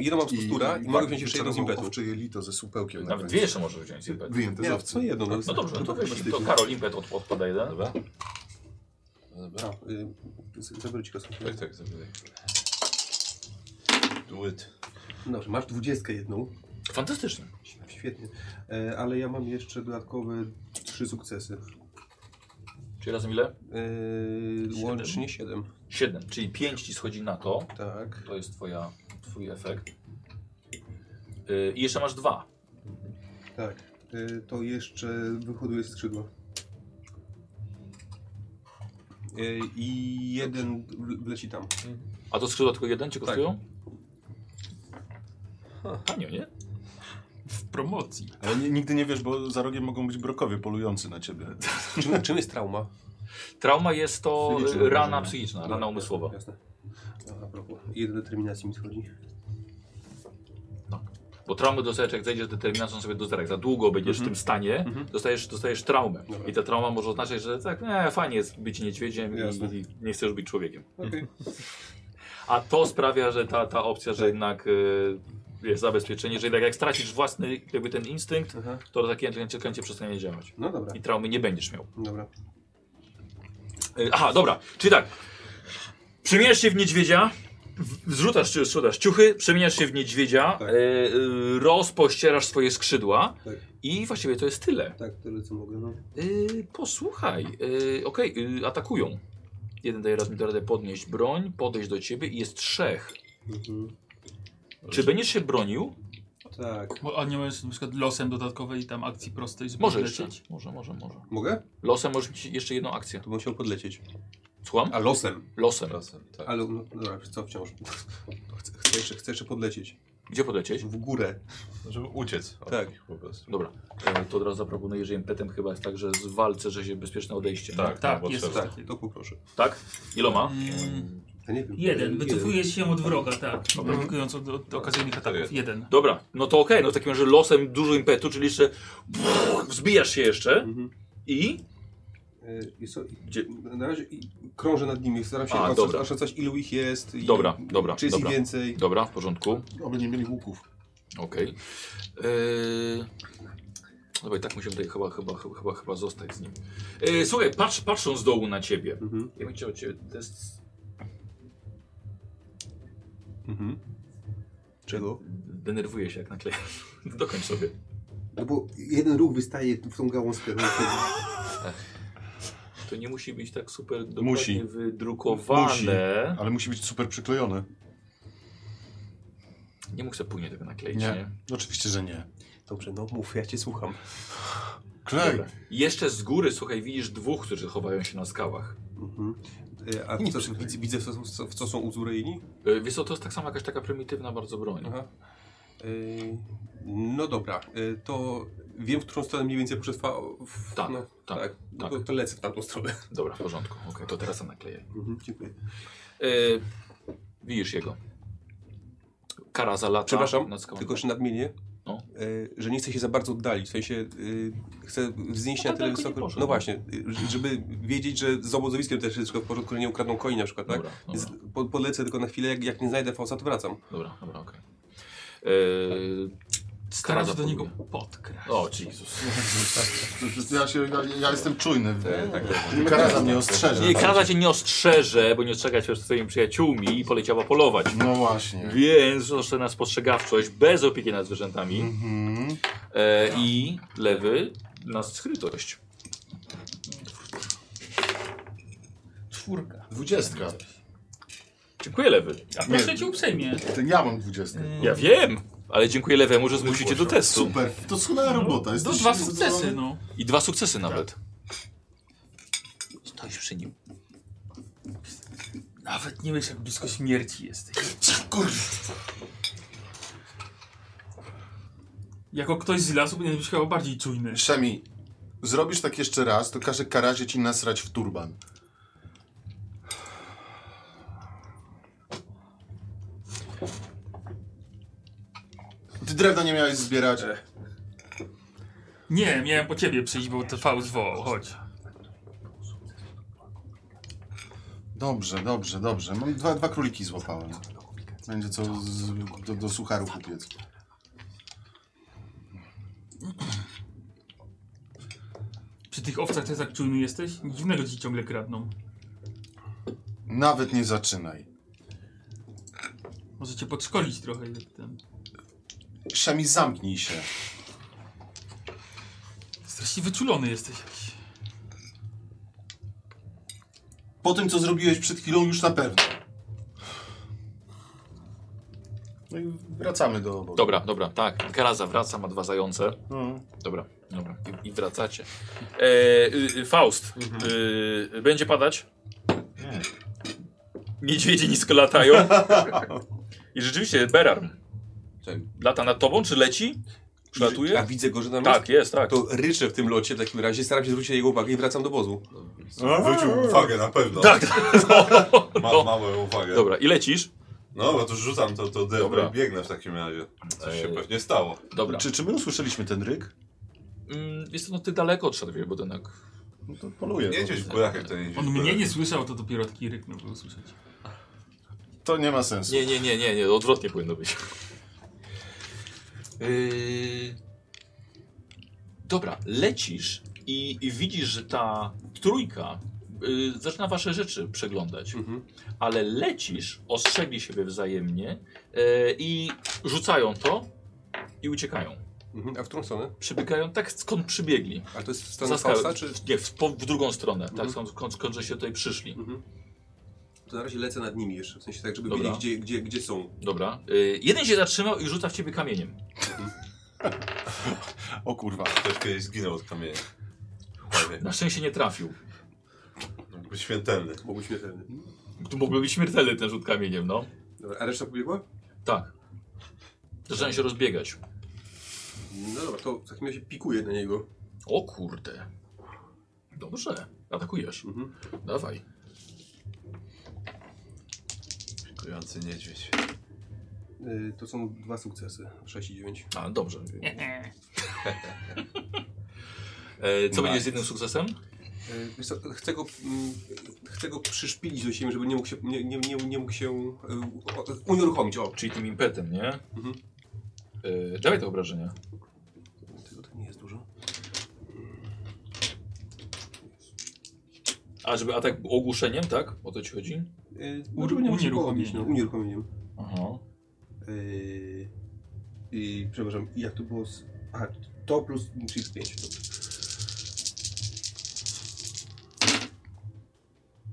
i, jedną mam z kostura i, tak mogę wziąć jeszcze jedną z wyczerpał impetu. owcze jelito ze supełkiem Nawet dwie jeszcze możesz wziąć. Impet. Wyjęte z Nie, owcy. co jedno. No, No dobrze, no to weź. To to Karol impet od, odpada jeden. Dobra. Dobra. A, y, z- Zabiorę ci kostkę. Tak, tak, zabieraj. Tak. Do it. Dobrze, masz dwudziestkę jedną. Fantastycznie. Świetnie. E, ale ja mam jeszcze dodatkowe trzy sukcesy. Czyli razem ile? E, łącznie siedem. Siedem. Czyli pięć ci schodzi na to. Tak. To jest twoja, twój efekt. Yy, I jeszcze masz dwa. Tak. Y, To jeszcze wyhoduje skrzydła. Y, I jeden w- wleci tam. A to skrzydła tylko jeden cię Tak. kosztują? Tanio, nie? W promocji. Ale ni- nigdy nie wiesz, bo za rogiem mogą być brokowie polujący na ciebie. Czym, czym jest trauma? Trauma jest to Psychiczna. y, rana psychiczna, rana umysłowa. Jasne. A propos, jeden determinacji mi schodzi. Bo traumy dostajesz, jak zejdziesz z determinacją sobie do zera. Jak Za długo będziesz w tym stanie, dostajesz, dostajesz traumę. Mhm. Dobra. I ta trauma może oznaczać, że tak, e, fajnie jest być niedźwiedziem Jasne. i, i nie chcesz być człowiekiem. A to sprawia, że ta, ta opcja, Tak. że jednak y, jest zabezpieczenie, że jednak jak stracisz własny jakby ten instynkt, Aha. to takie kręcie przestanie działać. No dobra, I traumy nie będziesz miał. dobra. Y, Aha, dobra, czyli tak. Przemieniasz się w niedźwiedzia, w- zrzucasz, czy- zrzucasz ciuchy, przemieniasz się w niedźwiedzia, Tak. y, y, rozpościerasz swoje skrzydła Tak. i właściwie to jest tyle. Tak, tyle co mogę. No. Y, posłuchaj, y, okej, y, atakują. Jeden daje raz mi da radę podnieść broń, podejść do ciebie i jest trzech. Mhm. Czy będziesz się bronił? Tak, Tak. Bo- A nie możesz na przykład losem dodatkowej tam akcji prostej, żeby Może jeszcze. lecieć? Może, może, może. Mogę? Losem możesz mieć jeszcze jedną akcję. Tu bym musiał podlecieć. Słucham? A losem. Losem. Czasem, tak. Ale no, dobra, co wciąż? Chcę, chcę, jeszcze, chcę jeszcze podlecieć. Gdzie podlecieć? W górę. Żeby uciec od Tak. nich po prostu. Dobra. E, To od razu zaproponuję, że impetem chyba jest tak, że w walce, że się bezpieczne odejście. nie? Tak, Tak, no, bo jest trzeba. takie. To poproszę. Tak? Iloma? Mm, Ja nie wiem. jeden, wycofuje się od wroga, tak. Dobra. Blokując od, od okazyjnych ataków, jeden. jeden. Dobra, no to okej, no w takim razie losem dużo impetu, czyli jeszcze wzbijasz się jeszcze Mhm. i Y, I so, Gdzie? Na na razie i- krążę nad nimi, staram się A, oszac- dobra. oszacować ilu ich jest. I Dobra, dobra, Czy jest dobra. ich więcej? dobra, w porządku, Oby nie mieli łuków. okej. Yy... Dobra, i tak musimy tutaj chyba, chyba, chyba, chyba, chyba zostać z nim. Yy, słuchaj, patrz, patrzą z dołu na ciebie. Mhm. Ja bym chciał od ciebie test Mhm. Czego? Denerwuję się jak naklejasz. Dokończ sobie. No bo jeden ruch wystaje w tą gałązkę. To nie musi być tak super dokładnie Musi. wydrukowane. Ale musi być super przyklejone. Nie mógł sobie później tego nakleić, nie? Nie. Oczywiście, że nie. Dobrze, no mów, ja cię słucham. Tak. Klej! Dobra. Jeszcze z góry, słuchaj, widzisz dwóch, którzy chowają się na skałach. Mhm. Y, A co, widzę, widzę w, co, są- w co są uzbrojeni? E, Wiesz co, to jest tak samo jakaś taka prymitywna bardzo broń. Aha. Y, No dobra, y, to wiem, w którą stronę mniej więcej muszę trwa... w- Tak, no, tak, No tak. To, to lecę w tamtą stronę. Dobra, w porządku. Okej, to teraz naklejaj. Mhm, dziękuję. E, widzisz jego. Kara za lata. Przepraszam, nad skałą. tylko że nadmienię, tak. No. y, że nie chcę się za bardzo oddalić. W sensie y, chcę wznieść No na tak tyle daleko nie wysoko. poszedł. No właśnie, y, ż- żeby wiedzieć, że z obozowiskiem też jest wszystko w porządku, że nie ukradną koni na przykład, tak? Dobra, dobra. Z, po, polecę tylko na chwilę, jak, jak nie znajdę fałsa, to wracam. Dobra, dobra, okej. E, kara Stara za się do niego podbiję. podkra. O, Jezus. Ja, się, ja, ja jestem czujny. tak, Kara za mnie ostrzeże. Nie, kara cię nie ostrzeże, bo nie ostrzegać się z swoimi przyjaciółmi i poleciała polować. No właśnie. Więc proszę na spostrzegawczość bez opieki nad zwierzętami. Mhm. E, I lewy na skrytość. Czwórka. Dwudziestka. Dziękuję lewy. A proszę cię uprzejmie. To ja mam dwudziestkę. Ja wiem, ale dziękuję lewemu, że zmusicie do testu. Super, doskonała robota. Do Jesteś dwa sukcesy, no. I dwa sukcesy nawet. Stoisz przy nim. Nawet nie wiesz, jak blisko śmierci jesteś. Jako ktoś z lasu powinien być chyba bardziej czujny. Szemi, zrobisz tak jeszcze raz, to każę karazie ci nasrać w turban. Ty drewna nie miałeś zbierać. Nie, miałem po ciebie przyjść, bo TV zwołał, chodź. Dobrze, dobrze, dobrze. Mam dwa, dwa króliki złapałem. Będzie co z, do, do sucharu kupiec. Przy tych owcach też tak czujny jesteś? Nic Dziwnego ci ciągle kradną. Nawet nie zaczynaj. Może cię podszkolić trochę jak ten. Szemi, zamknij się. Strasznie wyczulony jesteś jakiś. Po tym, co zrobiłeś przed chwilą, już na pewno. No i wracamy do obozu. Dobra, dobra, tak. Karaza wraca, ma dwa zające. No. Dobra, dobra. I, i wracacie. E, y, y, Faust, y, będzie padać? Niedźwiedzie nisko latają. I rzeczywiście, Berarm. Tak. Lata nad tobą, czy leci? A Przylatuje? widzę go, że tam Tak, jest, tak. jest. To ryczę w tym locie w takim razie, staram się zwrócić na jego uwagę i wracam do bozu. Wrócił uwagę na pewno. Tak, Ma, mamy uwagę. Dobra, i lecisz? No, no to rzucam to, to Dobra. debra i biegnę w takim razie. E, Coś się Ej. pewnie stało. Dobra. Czy, czy my usłyszeliśmy ten ryk? Mm, jest to no, ty daleko odszedł, wiesz, bo ten jak... No to poluję. Nie no. gdzieś w górach, jak to nie On mnie nie słyszał, to dopiero taki ryk miał usłyszeć. To nie ma sensu. Nie, nie, nie, nie, nie, odwrotnie powinno być. Yy... Dobra, lecisz i, i widzisz, że ta trójka yy, zaczyna wasze rzeczy przeglądać, Mhm. ale lecisz, ostrzegli siebie wzajemnie yy, i rzucają to i uciekają. Mhm. A w którą stronę? Przybiegają tak, skąd przybiegli. A to jest w Za stronę skałę. Fausta, czy... Nie, w, po, w drugą stronę, tak, Mhm. skąd, skąd, skąd że się tutaj przyszli. Mhm. to na razie lecę nad nimi jeszcze, w sensie tak, żeby Dobra. wiedzieć gdzie, gdzie, gdzie są. Dobra. Y, jeden się zatrzymał i rzuca w ciebie kamieniem. O kurwa. Ktoś kiedyś zginął od kamienia. Chłopie, no. Na szczęście nie trafił. był śmiertelny. Mogły śmiertelny. Tu mógłby być śmiertelny ten rzut kamieniem, no. Dobra, a reszta pobiegła? Tak. Zaczynają się rozbiegać. No dobra, to w takim razie pikuję na niego. O kurde. Dobrze. Atakujesz. Mhm. Dawaj. Kojący niedźwiedź. Y, to są dwa sukcesy, 6 i 9. A, dobrze. E, co będzie z jednym sukcesem? E, wiesz co, Chcę go, mm, chcę go przyszpilić do siebie, żeby nie mógł się, nie, nie, nie, nie mógł się e, o- unieruchomić. O, Czyli tym impetem, nie? Mhm. E, dawaj te obrażenia. tego tak nie jest dużo. A, żeby atak ogłuszeniem, tak? O to ci chodzi? E, Ur- żeby nie mógł się unieruchomienie. połowić, no, Unieruchomieniem. Aha. E, I przepraszam, jak to było z... Aha, to plus, czyli 5.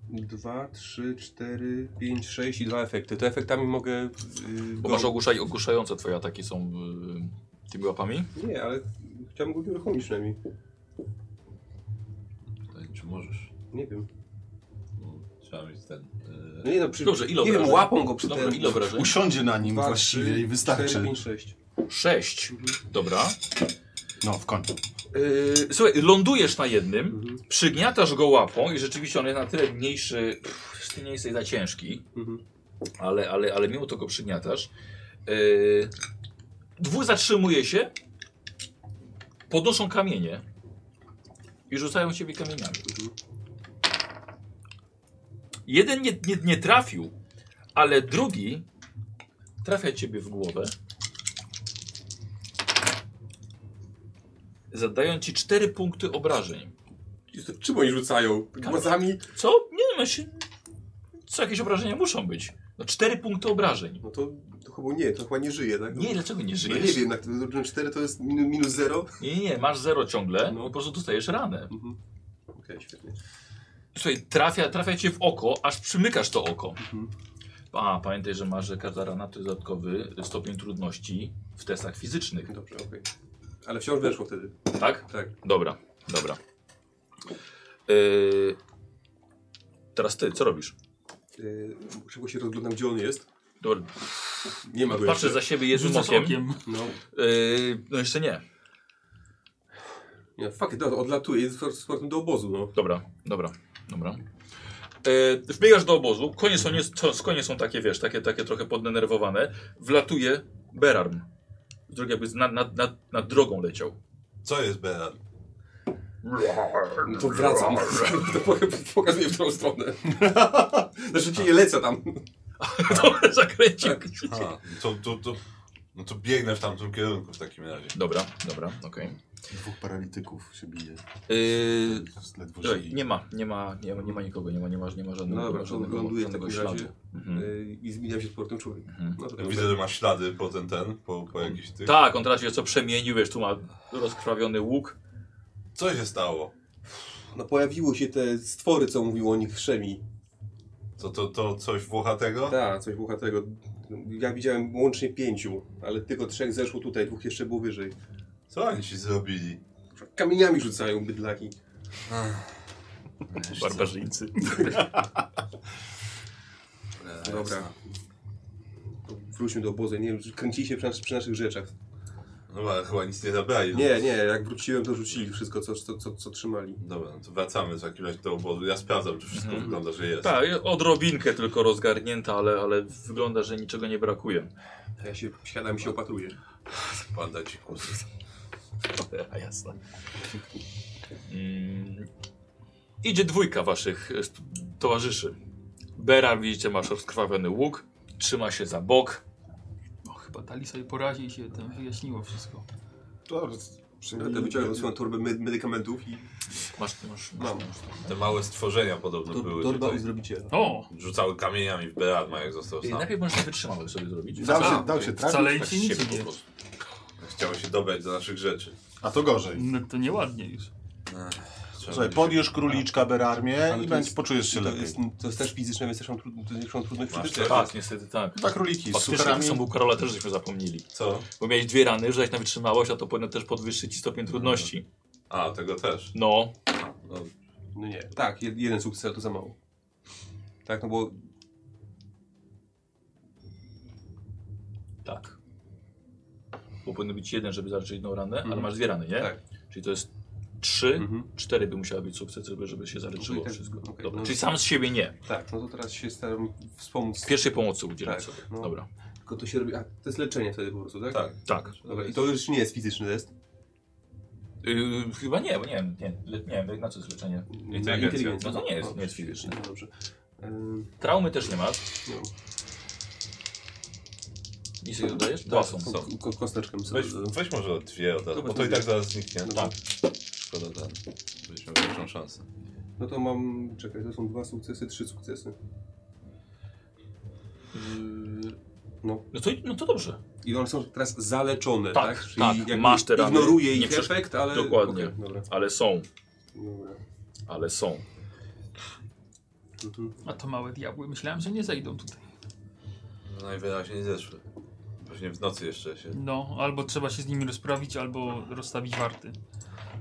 Dwa, trzy, cztery, pięć, sześć i dwa efekty. To efektami mogę... y, Bo go- masz ogłuszaj, ogłuszające twoje ataki są y, tymi łapami? Nie, ale chciałbym go unieruchomić przynajmniej. Tutaj, Czy możesz? Nie wiem. No, trzeba mieć ten... No Yy, nie, no, przy, Dobrze, ile nie wiem, obrażeń? łapą go przy Dobra, tym. ile obrażeń? Usiądzie na nim Dwa, właściwie trzy, i cztery, wystarczy. pięć, sześć. Sześć. Mhm. Dobra. No, w końcu. Y, słuchaj, lądujesz na jednym, przygniatasz go łapą i rzeczywiście on jest na tyle mniejszy, pff, ty nie jesteś za ciężki, Mhm. ale, ale, ale mimo to go przygniatasz. Yy, dwóch zatrzymuje się, podnoszą kamienie i rzucają ciebie kamieniami. Jeden nie, nie, nie trafił, ale drugi trafia ciebie w głowę. Zadają ci cztery punkty obrażeń. Jezu, Czym oni rzucają? Głazami? Co? Nie no, się... Co jakieś obrażenia muszą być? No, cztery punkty obrażeń. No to, to chyba nie, to chyba nie żyje, tak? Nie, dlaczego nie no, żyjesz? nie wiem, jak to, to 4 to jest minu- minus 0. Nie, nie, nie, masz zero ciągle, No. no. po prostu dostajesz ranę. Mhm. Okej, świetnie. Słuchaj, trafia, trafia cię w oko, aż przymykasz to oko. Mhm. A, pamiętaj, że masz, że każda rana to jest dodatkowy stopień trudności w testach fizycznych, Dobrze, okej. Ale wciąż weszło wtedy. tak? Tak. Dobra, dobra. Yy, teraz ty, co robisz? Yy, szybko się rozglądam, gdzie on jest. Dobra, Nie ma go patrzę za jeszcze. siebie jednym Rzucasz okiem. okiem. No. Yy, no jeszcze nie. Nie, fuck it, no, odlatuję, jest z powrotem do obozu, no. Dobra, dobra, dobra. E, wbiegasz do obozu, konie są, nie, co, konie są takie, wiesz, takie, takie trochę poddenerwowane. Wlatuje Berarm. Drugi jakby z- nad, nad, nad, nad drogą leciał. co jest Beran? No to wracam. to poka- pokazuję w tą stronę. Znaczy, nie lecę tam. To zakręcił. A, to, to, to, no to biegnę w tamtym kierunku w takim razie. Dobra, dobra, okej. Dwóch paralityków się bije. Yy, Ledwo dobra, żyje. nie ma, nie ma, nie ma, nie ma nikogo, nie ma, nie ma, nie ma żadnego, No dobra, to żadnego, ląduję w żadnego takim razie. śladu. Mhm. Yy, I zmieniam się z powrotem człowieka. Mhm. No Ja to dobra. widzę, że ma ślady po ten, ten, po, po jakichś tych... Tak, on teraz się co przemienił, wiesz, tu ma rozkrwawiony łuk. Co się stało? No pojawiły się te stwory, co mówił o nich Szemi. To, to, to coś włochatego? Tak, coś tego. Ja widziałem łącznie pięciu, ale tylko trzech zeszło tutaj, dwóch jeszcze było wyżej. Co oni ci zrobili? Kamieniami rzucają bydlaki. Barbarzyńcy. Dobra. To Wróćmy do obozu. Nie wiem, kręcili się przy, nas, przy naszych rzeczach. No ale chyba nic nie zabrali. no. Nie, nie, jak wróciłem, to rzucili wszystko, co, co, co, co trzymali. Dobra, no to wracamy w takim razie do obozu. Ja sprawdzam, czy wszystko Mhm. wygląda, że jest. Tak, odrobinkę tylko rozgarnięta, ale, ale wygląda, że niczego nie brakuje. Ja się siadam i się opatruję. Panda ci kurzy. A jasne. Mm, idzie dwójka waszych e, st- towarzyszy. Bera, widzicie, masz rozkrwawiony łuk, trzyma się za bok. O, No, chyba dali sobie porazie i się tam wyjaśniło wszystko. Dobra, Ja to wyciągam swoją torbę medy- medykamentów i Masz, ty masz, masz, mam. masz. Te małe stworzenia podobno były Torba i tutaj. zrobicie. O! Rzucały kamieniami w Beradma, jak został Ej, sam. najpierw możesz wytrzymały sobie zrobić. Dał A, się, dał się trafić, Wcale Tak ci z siebie nic po nie prostu. Chciały się dobrać do naszych rzeczy. a to gorzej. No to nieładnie już. Ech, Trzeba Słuchaj, będzie- podjesz króliczka berarmię Ale i to będziesz, jest- poczujesz się To lepiej. No jest, to jest też fizyczne, więc też są, trudne, to też są trudne Masz fizycznie. tak? Tak, niestety tak. Dwa króliki z Faktycznie cukrami. to są u Karola też żeśmy zapomnieli. Co? Bo miałeś dwie rany, żeś na wytrzymałość, a to powinno też podwyższyć ci stopień trudności. A, tego też. No, No, No nie. Tak, jed- jeden sukces, ale to za mało. Tak, no bo tak. Bo powinno być jeden, żeby zacząć jedną ranę, ale masz dwie rany, nie? Tak. Czyli to jest trzy, Mhm. cztery by musiały być sukcesy, żeby- żeby się zaryczyło Czyli tak- wszystko. okej, Dobra. no- Czyli sam z siebie nie. tak, no to teraz się staram wspomóc. W pierwszej pomocy udzielam Tak, sobie. no. Dobra. Tylko to się robi. A to jest leczenie wtedy po prostu, tak? tak. Tak. Dobra, i to już nie jest fizyczny test. Yy, chyba nie, bo nie wiem, nie, le- nie wiem, na co jest leczenie. Inteligencja. Na inteligencję. No to nie jest- O, nie jest fizyczny. No dobrze. Yy, Traumy też nie masz. no, I sobie dodajesz? Dwa są. ko- Tak, ko- ko- kosteczkę mi sobie Weź, dodam. weź może dwie od razu, Dobra, bo to i tak dwie. zaraz zniknie. Dobra. Szkoda, ten. Byliśmy większą szansę. No to mam. Czekaj, to są dwa sukcesy, trzy sukcesy. No. No to, no to dobrze. I one są teraz zaleczone, Tak, tak? tak, jakby masz te rany, Ignoruje nie ich przesz- efekt, ale. Dokładnie. E, okej, dobra. Ale są, dobra. ale są. Mhm. A to małe diabły. Myślałem, że nie zejdą tutaj. No najwyraźniej nie zeszły. Pewnie w nocy jeszcze się. No, albo trzeba się z nimi rozprawić, albo rozstawić warty.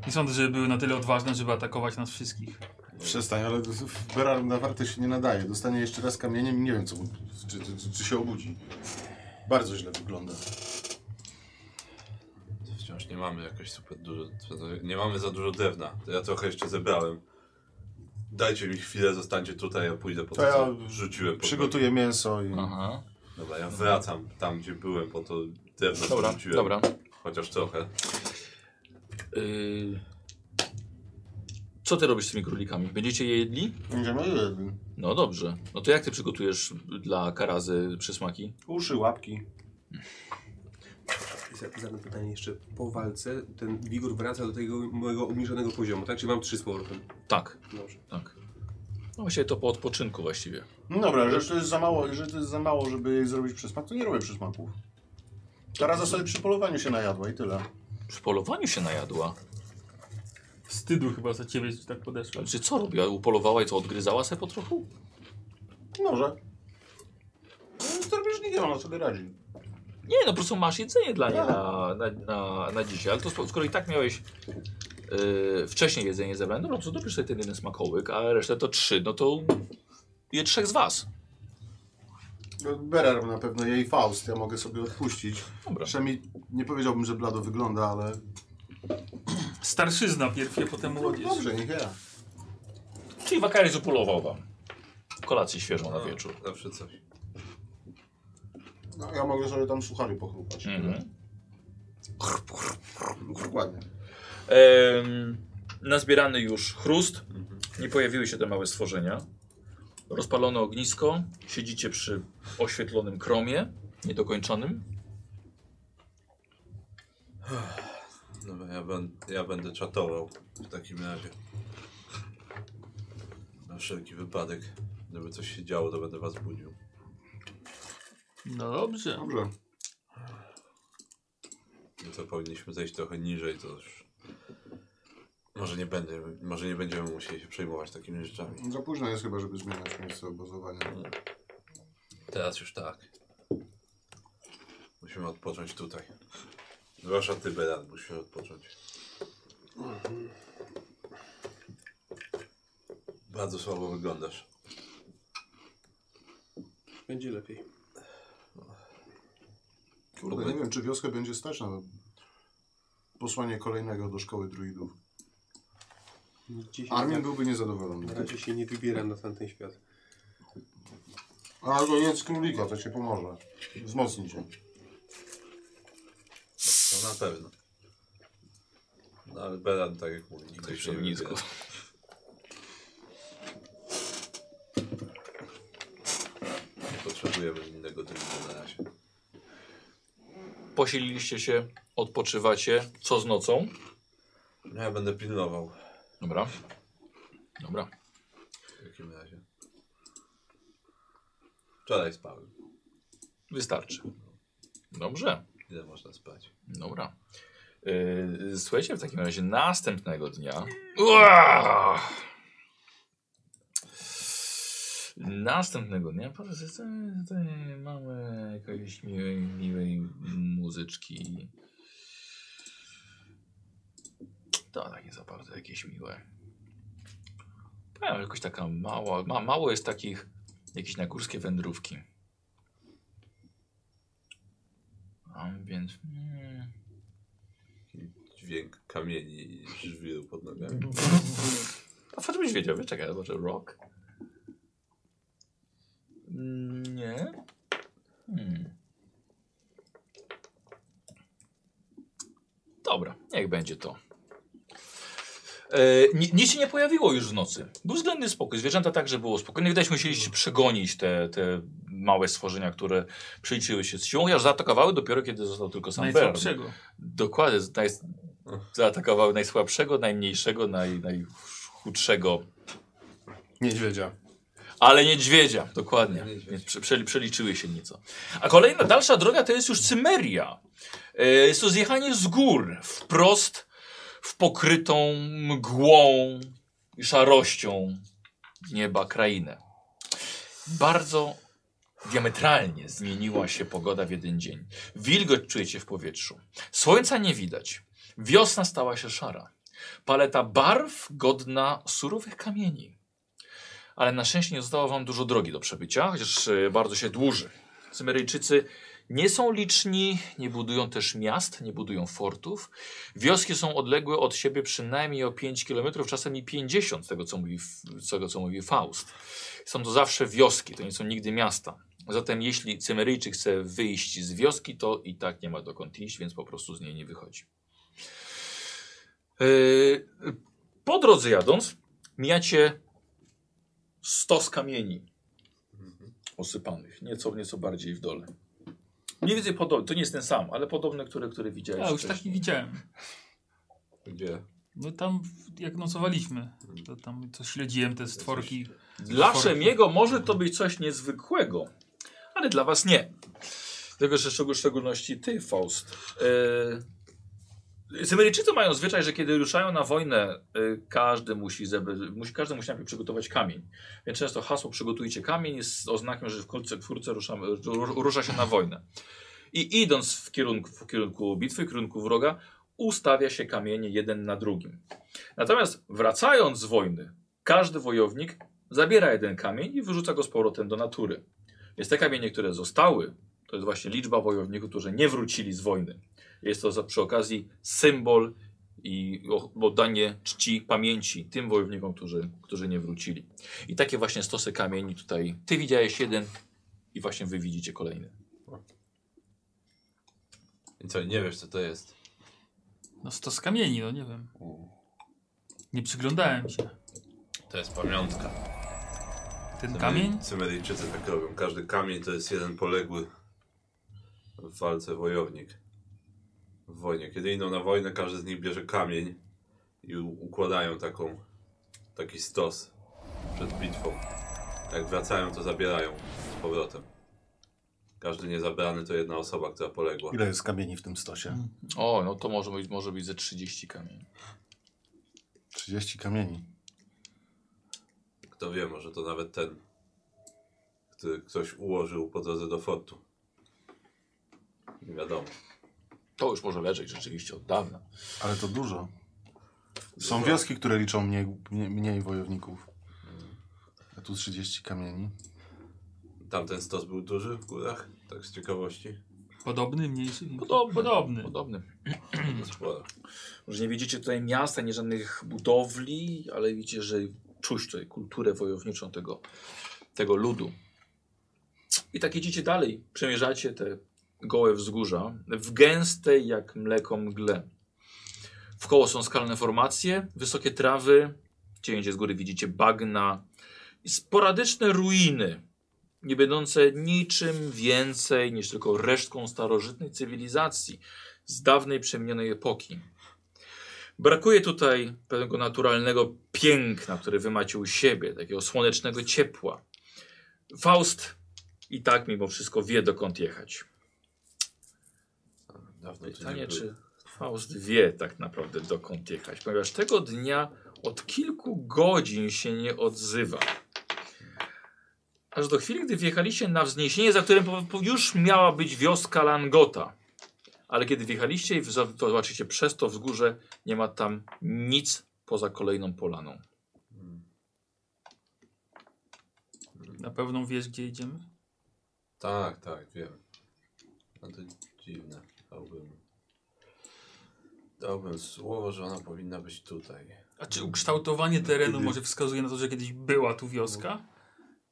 Nie sądzę, żeby były na tyle odważne, żeby atakować nas wszystkich. Przestań, ale Berar na warte się nie nadaje. Dostanie jeszcze raz kamieniem i nie wiem, co, mu- czy, czy, czy, czy się obudzi. Bardzo źle wygląda. Wciąż nie mamy jakoś super dużo. Nie mamy za dużo drewna. To ja trochę jeszcze zebrałem. Dajcie mi chwilę, zostańcie tutaj, ja pójdę po to, To ja co rzuciłem. po Przygotuję mięso i... Aha. drodze. Dobra, ja wracam tam, gdzie byłem, po to drewno co Dobra, rzuciłem. dobra. Chociaż trochę. Y, Co ty robisz z tymi królikami? Będziecie je jedli? Będziemy jedli. No dobrze. No to jak ty przygotujesz dla karazy przysmaki? Uszy, łapki. I za- Zadam pytanie jeszcze. Po walce ten wigor wraca do tego mojego obniżonego poziomu, tak? Czy mam trzy z powrotem? Tak, Dobrze. tak. No właściwie to po odpoczynku właściwie. No dobra, jeżeli to jest za mało, jeżeli to jest za mało, żeby jej zrobić przysmak, to nie robię przysmaków. Teraz sobie przy polowaniu się najadła i tyle. Przy polowaniu się najadła. Wstydu chyba za ciebie, że tak podeszła. Znaczy co robiła? Upolowała i co, odgryzała se po trochu? Może. No, Drobieżnikiem ona sobie radzi. Nie, no po prostu masz jedzenie dla niej na, na, na, na dzisiaj, ale to spo- skoro i tak miałeś yy, wcześniej jedzenie zebrane, no to dopisz sobie ten jeden smakołyk, a resztę to trzy, no to je trzech z was. Berar na pewno jej Faust, ja mogę sobie odpuścić. Dobra. Przynajmniej nie powiedziałbym, że blado wygląda, ale Starszyzna pierwszy, potem młodzież. dobrze, niech ja. Czyli Wakaris upolował wam. Kolację świeżą na wieczór. Zawsze coś. No, ja mogę sobie tam suchary pochrupać. Mhm. Dokładnie. Em, nazbierany już chrust, nie pojawiły się te małe stworzenia. Rozpalone ognisko, siedzicie przy oświetlonym kromie, niedokończonym. Dobra, ja, ben, ja będę czatował w takim razie. Na wszelki wypadek. Gdyby coś się działo, to będę was budził. No dobrze. Dobrze. No to powinniśmy zejść trochę niżej, to już... Może nie, będę, może nie będziemy musieli się przejmować takimi rzeczami. Za późno jest chyba, żeby zmieniać miejsce obozowania. Teraz już tak. Musimy odpocząć tutaj. Zwłaszcza ty, Berat, musisz odpocząć. Bardzo słabo wyglądasz. Będzie lepiej. Kurde, nie wiem, czy wioskę będzie stać na posłanie kolejnego do szkoły druidów. Gdzie się Armin na- byłby Na niezadowolony. razie się nie wybieram na tamten świat. Albo jedz królika, to ci pomoże. Wzmocni cię. To na pewno. No ale Beran, tak jak mówi, nigdy Ktoś się nie nisko. wybiera. Nie potrzebujemy innego drugiego na razie. Posililiście się, odpoczywacie. Co z nocą? No, Ja będę pilnował Dobra. Dobra. w takim razie. Wczoraj spałem. Wystarczy. Dobrze. Ile można spać? Dobra. Yy, słuchajcie, w takim razie następnego dnia. Ua! Następnego dnia po prostu tutaj- tutaj mamy jakiejś miłej, miłej muzyczki. To takie zaparte, jakieś miłe. Powiem, jakoś taka mała, ma, mało jest takich jakieś nagórskie wędrówki. A więc... Mm, Dźwięk kamieni i żwiru pod nogami. A facet byś wiedział, wiesz, czekaj, ja zobaczę, rock. Mm, Nie. Hmm. Dobra, niech będzie to. E, ni- nic się nie pojawiło już w nocy. Był względny spokój. No Zwierzęta także było spokojnie. Widać, musieliście przegonić te, te małe stworzenia, które przyliczyły się z siłą, aż zaatakowały dopiero, kiedy został tylko sam Bern. Najsłabszego. Dokładnie, z- naj, zaatakowały najsłabszego, najmniejszego, naj, najchudszego, Niedźwiedzia. ale niedźwiedzia, dokładnie. Więc prze- prze- przeliczyły się nieco. A kolejna, dalsza droga to jest już Cymeria. E, Jest to zjechanie z gór, wprost w pokrytą mgłą i szarością nieba krainę. Bardzo diametralnie zmieniła się pogoda w jeden dzień. Wilgoć czujecie w powietrzu. Słońca nie widać. Wiosna stała się szara. Paleta barw godna surowych kamieni. Ale na szczęście nie zostało wam dużo drogi do przebycia, chociaż e, bardzo się dłuży. Cymeryjczycy nie są liczni, nie budują też miast, nie budują fortów. Wioski są odległe od siebie przynajmniej o 5 km, czasem i 50, z tego co mówi, z tego, co mówi Faust. Są to zawsze wioski, to nie są nigdy miasta. Zatem jeśli Cymeryjczyk chce wyjść z wioski, to i tak nie ma dokąd iść, więc po prostu z niej nie wychodzi. Yy, Po drodze jadąc, mijacie stos kamieni osypanych, nieco, nieco bardziej w dole. Mniej więcej podobny, to nie jest ten sam, ale podobny, który, który widziałeś. Ja już tak wcześniej. taki widziałem. Gdzie? No tam w- jak nocowaliśmy, to tam to śledziłem te stworki. Dla Forki. Szemiego może to być coś niezwykłego, ale dla was nie. Dlatego, że szczegół- w szczególności ty, Faust. Yy, Symeryjczycy mają zwyczaj, że kiedy ruszają na wojnę, yy, każdy, musi zeby, musi, każdy musi najpierw przygotować kamień. Więc często hasło przygotujcie kamień jest oznakiem, że wkrótce, wkrótce ruszamy, ru- rusza się na wojnę. I idąc w kierunku, w kierunku bitwy, w kierunku wroga, ustawia się kamienie jeden na drugim. Natomiast wracając z wojny, każdy wojownik zabiera jeden kamień i wyrzuca go z powrotem do natury. Więc te kamienie, które zostały, to jest właśnie liczba wojowników, którzy nie wrócili z wojny. Jest to za- przy okazji symbol i o- oddanie czci, pamięci tym wojownikom, którzy, którzy nie wrócili. I takie właśnie stosy kamieni tutaj. Ty widziałeś jeden i właśnie wy widzicie kolejny. I co, nie wiesz co to jest? No stos kamieni, no nie wiem. Nie przyglądałem się. To jest pamiątka. Ten kamień? Cymeryjczycy tak robią. Każdy kamień to jest jeden poległy w walce wojownik. W wojnie. Kiedy idą na wojnę, każdy z nich bierze kamień i u- układają taką, taki stos przed bitwą. Jak wracają, to zabierają z powrotem. Każdy niezabrany to jedna osoba, która poległa. Ile jest kamieni w tym stosie? O, no to może być, może być ze 30 kamieni. 30 kamieni. Kto wie, może to nawet ten, który ktoś ułożył po drodze do fortu. Nie wiadomo. To już może leżeć rzeczywiście od dawna. Ale to dużo. Są wioski, które liczą mniej, mniej, mniej wojowników. A tu 30 kamieni. Tamten stos był duży w górach, tak z ciekawości. Podobny, mniejszy? większy? Podobny. Podobny. Podobny. Hmm. Sporo. Może nie widzicie tutaj miasta, nie żadnych budowli, ale widzicie, że czuć tutaj kulturę wojowniczą tego, tego ludu. I tak idziecie dalej, przemierzacie te gołe wzgórza w gęstej jak mleko mgle. W koło są skalne formacje, wysokie trawy, gdzie indziej z góry widzicie bagna i sporadyczne ruiny, nie będące niczym więcej niż tylko resztką starożytnej cywilizacji z dawnej przemienionej epoki. Brakuje tutaj pewnego naturalnego piękna, które wy macie u siebie, takiego słonecznego ciepła. Faust i tak mimo wszystko wie dokąd jechać. Dawno tu nie Pytanie, był. czy Faust wie tak naprawdę dokąd jechać, ponieważ tego dnia od kilku godzin się nie odzywa. Aż do chwili, gdy wjechaliście na wzniesienie, za którym po, po już miała być wioska Langota. Ale kiedy wjechaliście i za- to zobaczycie przez to wzgórze, nie ma tam nic poza kolejną polaną. Na pewno wiesz, gdzie idziemy? Tak, tak, wiem. No to dziwne. Dałbym... Dałbym słowo, że ona powinna być tutaj. A czy ukształtowanie terenu może wskazuje na to, że kiedyś była tu wioska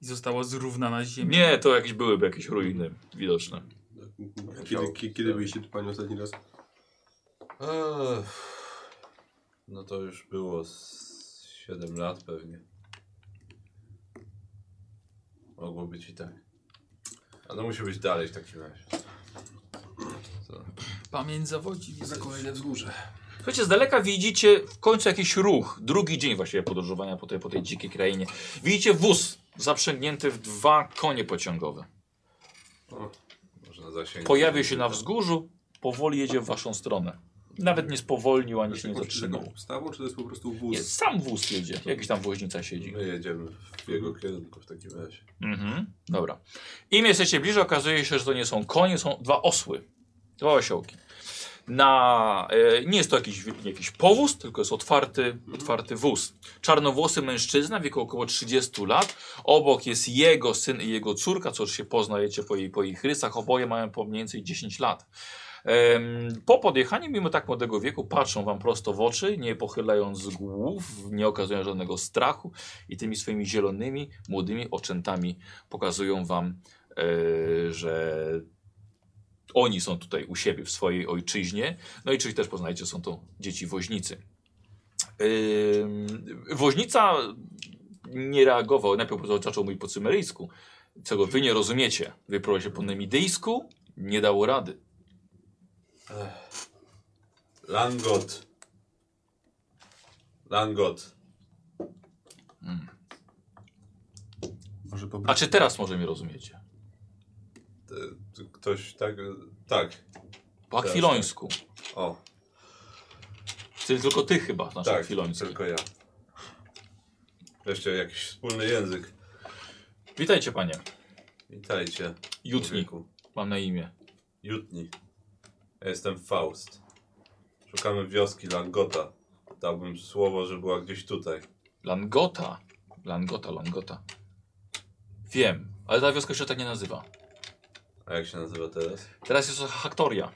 i została zrównana z ziemią? Nie, to jakieś byłyby jakieś ruiny widoczne. Kiedy, ki- kiedy byliście tu Pani ostatni raz? Eee, No to już było z 7 lat pewnie. Mogło być i tak. A no musi być dalej w takim razie. Co? Pamięć zawodzi. Za widzę. kolejne wzgórze. Słuchajcie, z daleka widzicie w końcu jakiś ruch. Drugi dzień właściwie podróżowania po tej, po tej dzikiej krainie. Widzicie wóz zaprzęgnięty w dwa konie pociągowe. Można zasięgnąć. Pojawia się na wzgórzu, powoli jedzie w waszą stronę. Nawet nie spowolnił, ani się nie zatrzymał. Ustawą, czy to jest po prostu Nie, wóz? sam wóz jedzie. Jakiś tam woźnica siedzi. My jedziemy w jego kierunku w takim razie. Mhm, dobra. Im jesteście bliżej, okazuje się, że to nie są konie, są dwa osły. Dwa osiołki. Na, e, nie jest to jakiś, jakiś powóz, tylko jest otwarty, otwarty wóz. Czarnowłosy mężczyzna, wieku około 30 lat. Obok jest jego syn i jego córka, co się poznajecie po, jej, po ich rysach. Oboje mają po mniej więcej 10 lat. Em, Po podjechaniu, mimo tak młodego wieku, patrzą wam prosto w oczy, nie pochylając głów, nie okazują żadnego strachu i tymi swoimi zielonymi, młodymi oczętami pokazują wam, e, że oni są tutaj u siebie, w swojej ojczyźnie. No i czyli też poznajcie, są to dzieci woźnicy. Ym, woźnica nie reagował, najpierw po prostu zaczął mówić po cymeryjsku, czego wy nie rozumiecie. Wypróbował się po nemidyjsku, nie dało rady. Langot. Langot. Może po A czy teraz może mnie rozumiecie? T- t- Ktoś tak. Tak. Po Teraz akwilońsku. O, Ty, tylko ty chyba znasz tak. akwiloński. Tylko ja. Wreszcie jakiś wspólny język. Witajcie panie, Witajcie. Jutnik człowieku. mam na imię. Jutni. Ja jestem Faust. Szukamy wioski Langota. Dałbym słowo, że była gdzieś tutaj. Langota. Langota, Langota. Wiem, ale ta wioska się tak nie nazywa. A jak się nazywa teraz? Teraz jest to Haktoria.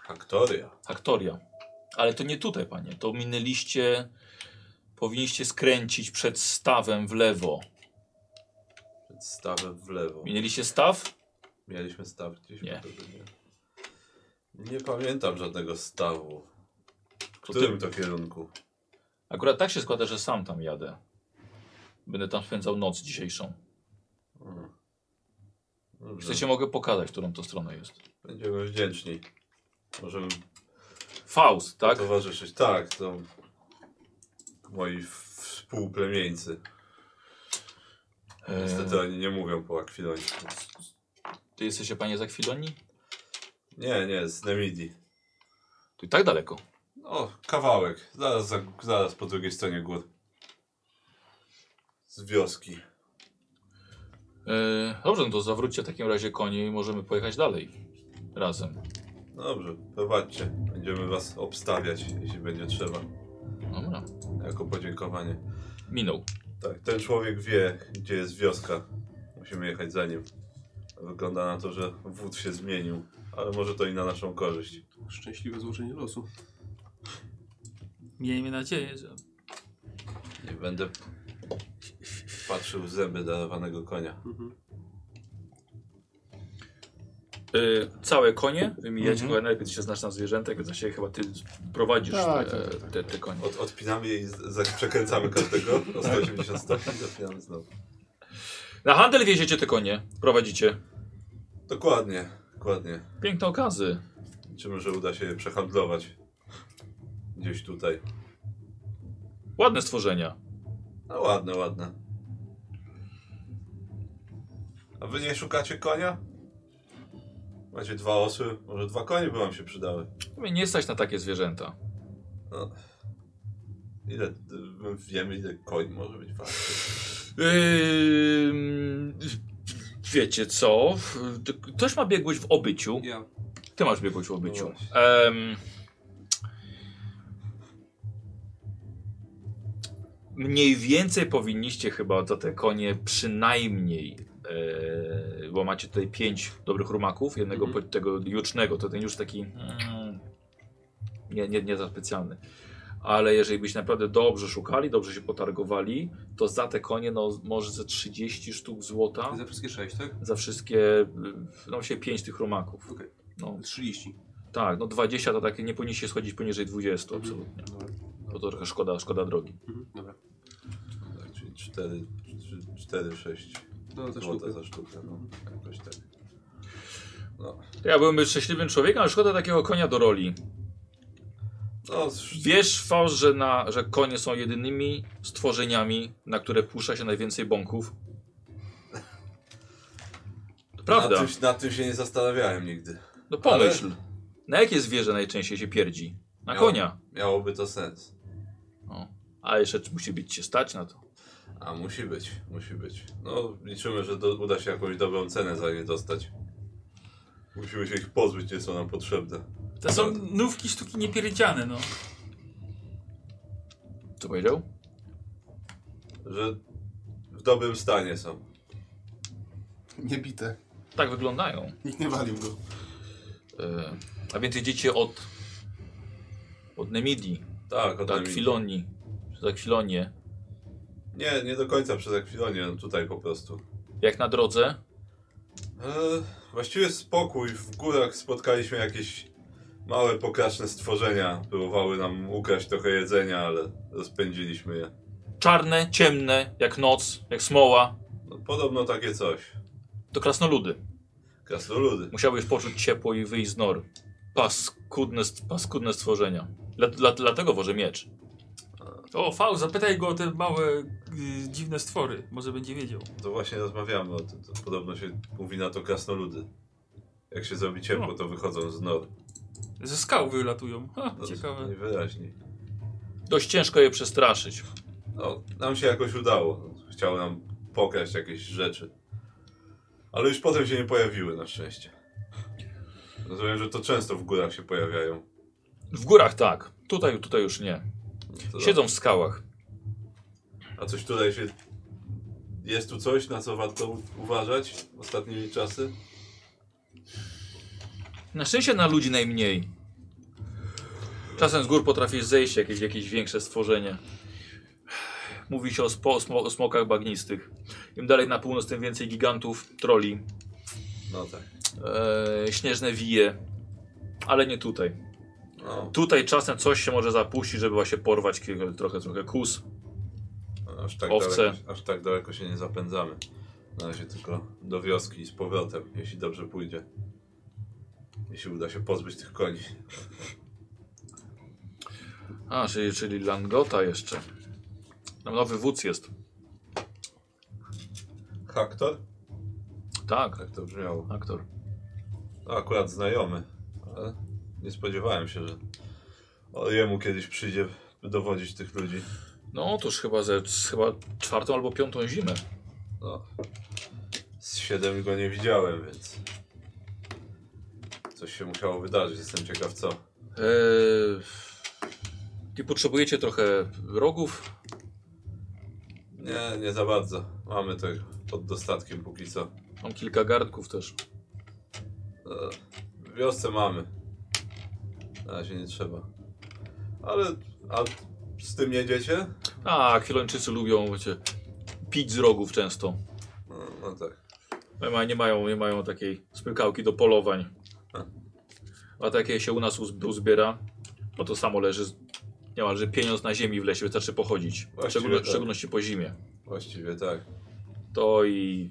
Haktoria. Haktoria. Ale to nie tutaj, panie. To minęliście. Powinniście skręcić przed stawem w lewo. Przed stawem w lewo. Minęliście staw? Mieliśmy staw gdzieś? Nie. Może nie. Nie pamiętam żadnego stawu. To W którym ty, to kierunku? akurat tak się składa, że sam tam jadę. Będę tam spędzał noc dzisiejszą. Hmm. Dobrze. Chcecie, mogę pokazać, którą to stronę jest. Będziemy wdzięczni. Możemy Faust, tak? towarzyszyć. Tak, to moi w- współplemieńcy. Eee. Niestety oni nie mówią po akwilońsku. Ty jesteście, panie, z Akwilonii? Nie, nie, z Nemidii. Tu i tak daleko. O, kawałek. Zaraz, za, zaraz po drugiej stronie gór. Z wioski. Yy, dobrze, no to zawróćcie w takim razie konie i możemy pojechać dalej. Razem. Dobrze, prowadźcie. Będziemy was obstawiać, jeśli będzie trzeba. Dobra. Jako podziękowanie. Minął. Tak, ten człowiek wie, gdzie jest wioska. Musimy jechać za nim. Wygląda na to, że wód się zmienił, ale może to i na naszą korzyść. Szczęśliwe złożenie losu. Miejmy nadzieję, że Nie będę patrzył w zęby darowanego konia. Y, całe konie, wymijać Mhm. mm najpierw się znasz na zwierzętach, więc się chyba ty prowadzisz Tak, te, tak, tak, tak. Te, te konie. Od, odpinamy je i z- za- przekręcamy każdego o 180 stopni i zapinamy znowu. Na handel wieziecie te konie, prowadzicie. Dokładnie, dokładnie. Piękne okazy. Liczymy, że uda się je przehandlować. Gdzieś tutaj. Ładne stworzenia. No ładne, ładne. A wy nie szukacie konia? Macie dwa osły, może dwa konie by wam się przydały. Mnie nie stać na takie zwierzęta. Ile, y, my wiemy ile koń może być warty. Ym, wiecie co? Ty- Ktoś ma biegłość w obyciu. Ja. Ty masz biegłość w obyciu. No właśnie. Em, mniej więcej powinniście chyba za te konie przynajmniej, e, bo macie tutaj pięć dobrych rumaków, jednego Mhm. po- tego jucznego, to ten już taki mm, nie, nie, nie za specjalny. Ale jeżeli byście naprawdę dobrze szukali, dobrze się potargowali, to za te konie no, może ze 30 sztuk złota, Za wszystkie 6, tak? za wszystkie, y, no się 5 tych rumaków. Okej. No, 30. tak, no 20 to takie nie powinniście się schodzić poniżej 20 Mhm. absolutnie. Dobra. Bo to trochę szkoda, szkoda drogi. Mhm. Dobra. Tak, czyli 4, 4 6 No za sztukę. złote za sztukę. No, jakoś tak. Ja byłbym szczęśliwym człowiekiem, ale szkoda takiego konia do roli. No, sz- Wiesz, Faust, że, na, że konie są jedynymi stworzeniami, na które puszcza się najwięcej bąków? To Na Prawda. tym, nad tym się nie zastanawiałem nigdy. No pomyśl. Na jakie zwierzę najczęściej się pierdzi? Na Ja- konia. Miałoby to sens. O. A jeszcze musi być cię stać na to. A musi być, musi być. No, liczymy, że do, uda się jakąś dobrą cenę za nie dostać. Musimy się ich pozbyć, nie są nam potrzebne. To są nówki sztuki niepierdziane, no. Co powiedział? Że w dobrym stanie są. Nie bite. Tak wyglądają. Nikt nie walił go. E, a więc jedziecie od... od Nemidii. Tak, od Od nami- Akwilonii. Przez Akwilonię. Nie, nie do końca przez akwilonię, no tutaj po prostu. Jak na drodze? E, właściwie spokój. W górach spotkaliśmy jakieś małe, pokraczne stworzenia. Próbowały nam ukraść trochę jedzenia, ale rozpędziliśmy je. Czarne, ciemne, jak noc, jak smoła. No, podobno takie coś. To krasnoludy. Krasnoludy. Musiałbyś poczuć ciepło i wyjść z nory. Paskudne, paskudne stworzenia. Dla, dla, dlatego wożę miecz. O, Faust, zapytaj go o te małe, y, dziwne stwory. Może będzie wiedział. To właśnie rozmawiamy o tym. To podobno się mówi na to krasnoludy. Jak się zrobi ciepło, to wychodzą z nor. Ze skał wylatują. Ha, To ciekawe. Najwyraźniej. Dość ciężko je przestraszyć. No, nam się jakoś udało. Chciały nam pokraść jakieś rzeczy. Ale już potem się nie pojawiły, na szczęście. Rozumiem, że to często w górach się pojawiają. W górach tak. Tutaj, tutaj już nie. To- Siedzą w skałach. A coś tutaj się... Jest tu coś, na co warto u- uważać ostatnimi czasy? Na szczęście na ludzi najmniej. Czasem z gór potrafisz zejść jakieś, jakieś większe stworzenie. Mówi się o, spo, o smo, o smokach bagnistych. Im dalej na północ, tym więcej gigantów, troli, No tak. e, śnieżne wije. Ale nie tutaj. No, Tutaj czasem coś się może zapuścić, żeby właśnie porwać kilka, trochę, trochę kus. aż tak, Owce. daleko, aż tak daleko się nie zapędzamy. Na razie tylko do wioski i z powrotem, jeśli dobrze pójdzie. Jeśli uda się pozbyć tych koni. A, czyli, czyli Langota jeszcze. Tam nowy wódz jest. Haktor? Tak, Tak to brzmiało. aktor. No, akurat znajomy, ale nie spodziewałem się, że o jemu kiedyś przyjdzie dowodzić tych ludzi. No, toż chyba ze z chyba czwartą albo piątą zimę. No. Z siedem go nie widziałem, więc coś się musiało wydarzyć. Jestem ciekaw co. Eee, I potrzebujecie trochę rogów. Nie, nie za bardzo. Mamy to pod dostatkiem póki co. Mam kilka garnków też. E, W wiosce mamy. Na razie nie trzeba. Ale a z tym jedziecie? A, Kwilończycy lubią wiecie, pić z rogów często. No, no tak. Nie, ma, nie, mają, nie mają takiej spykałki do polowań. A. A takie się u nas uz- uzbiera, no to samo leży z- niemalże pieniądz na ziemi w lesie, wystarczy pochodzić. W Właściwie szczególno- tak. w szczególności po zimie. Właściwie tak. To i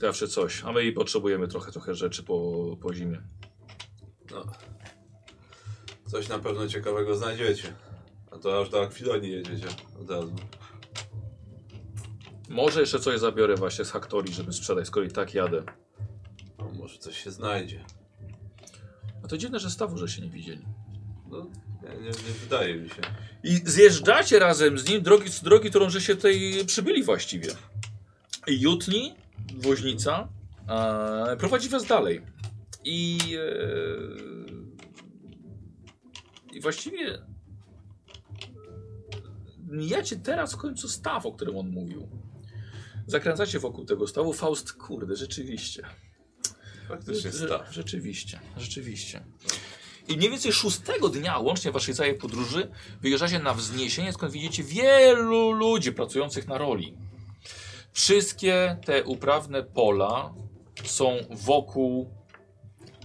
zawsze coś. A my i potrzebujemy trochę, trochę rzeczy po, po zimie. No. Coś na pewno ciekawego znajdziecie. A to aż do Akwilonii jedziecie od razu. Może jeszcze coś zabiorę właśnie z Haktori, żeby sprzedać, skoro i tak jadę. No, może coś się znajdzie. to dziwne, że stawu, że się nie widzieli. No, nie, nie, nie wydaje mi się. I zjeżdżacie razem z nim drogi, z drogi którą że się tutaj przybyli właściwie. I Jutni, woźnica, e, prowadzi was dalej. I, e, I właściwie mijacie teraz w końcu staw, o którym on mówił. Zakręcacie wokół tego stawu. Faust, kurde, rzeczywiście. Faktycznie Rze- staw. Rzeczywiście, rzeczywiście. I mniej więcej szóstego dnia, łącznie waszej całej podróży, wyjeżdżacie na wzniesienie, skąd widzicie wielu ludzi pracujących na roli. Wszystkie te uprawne pola są wokół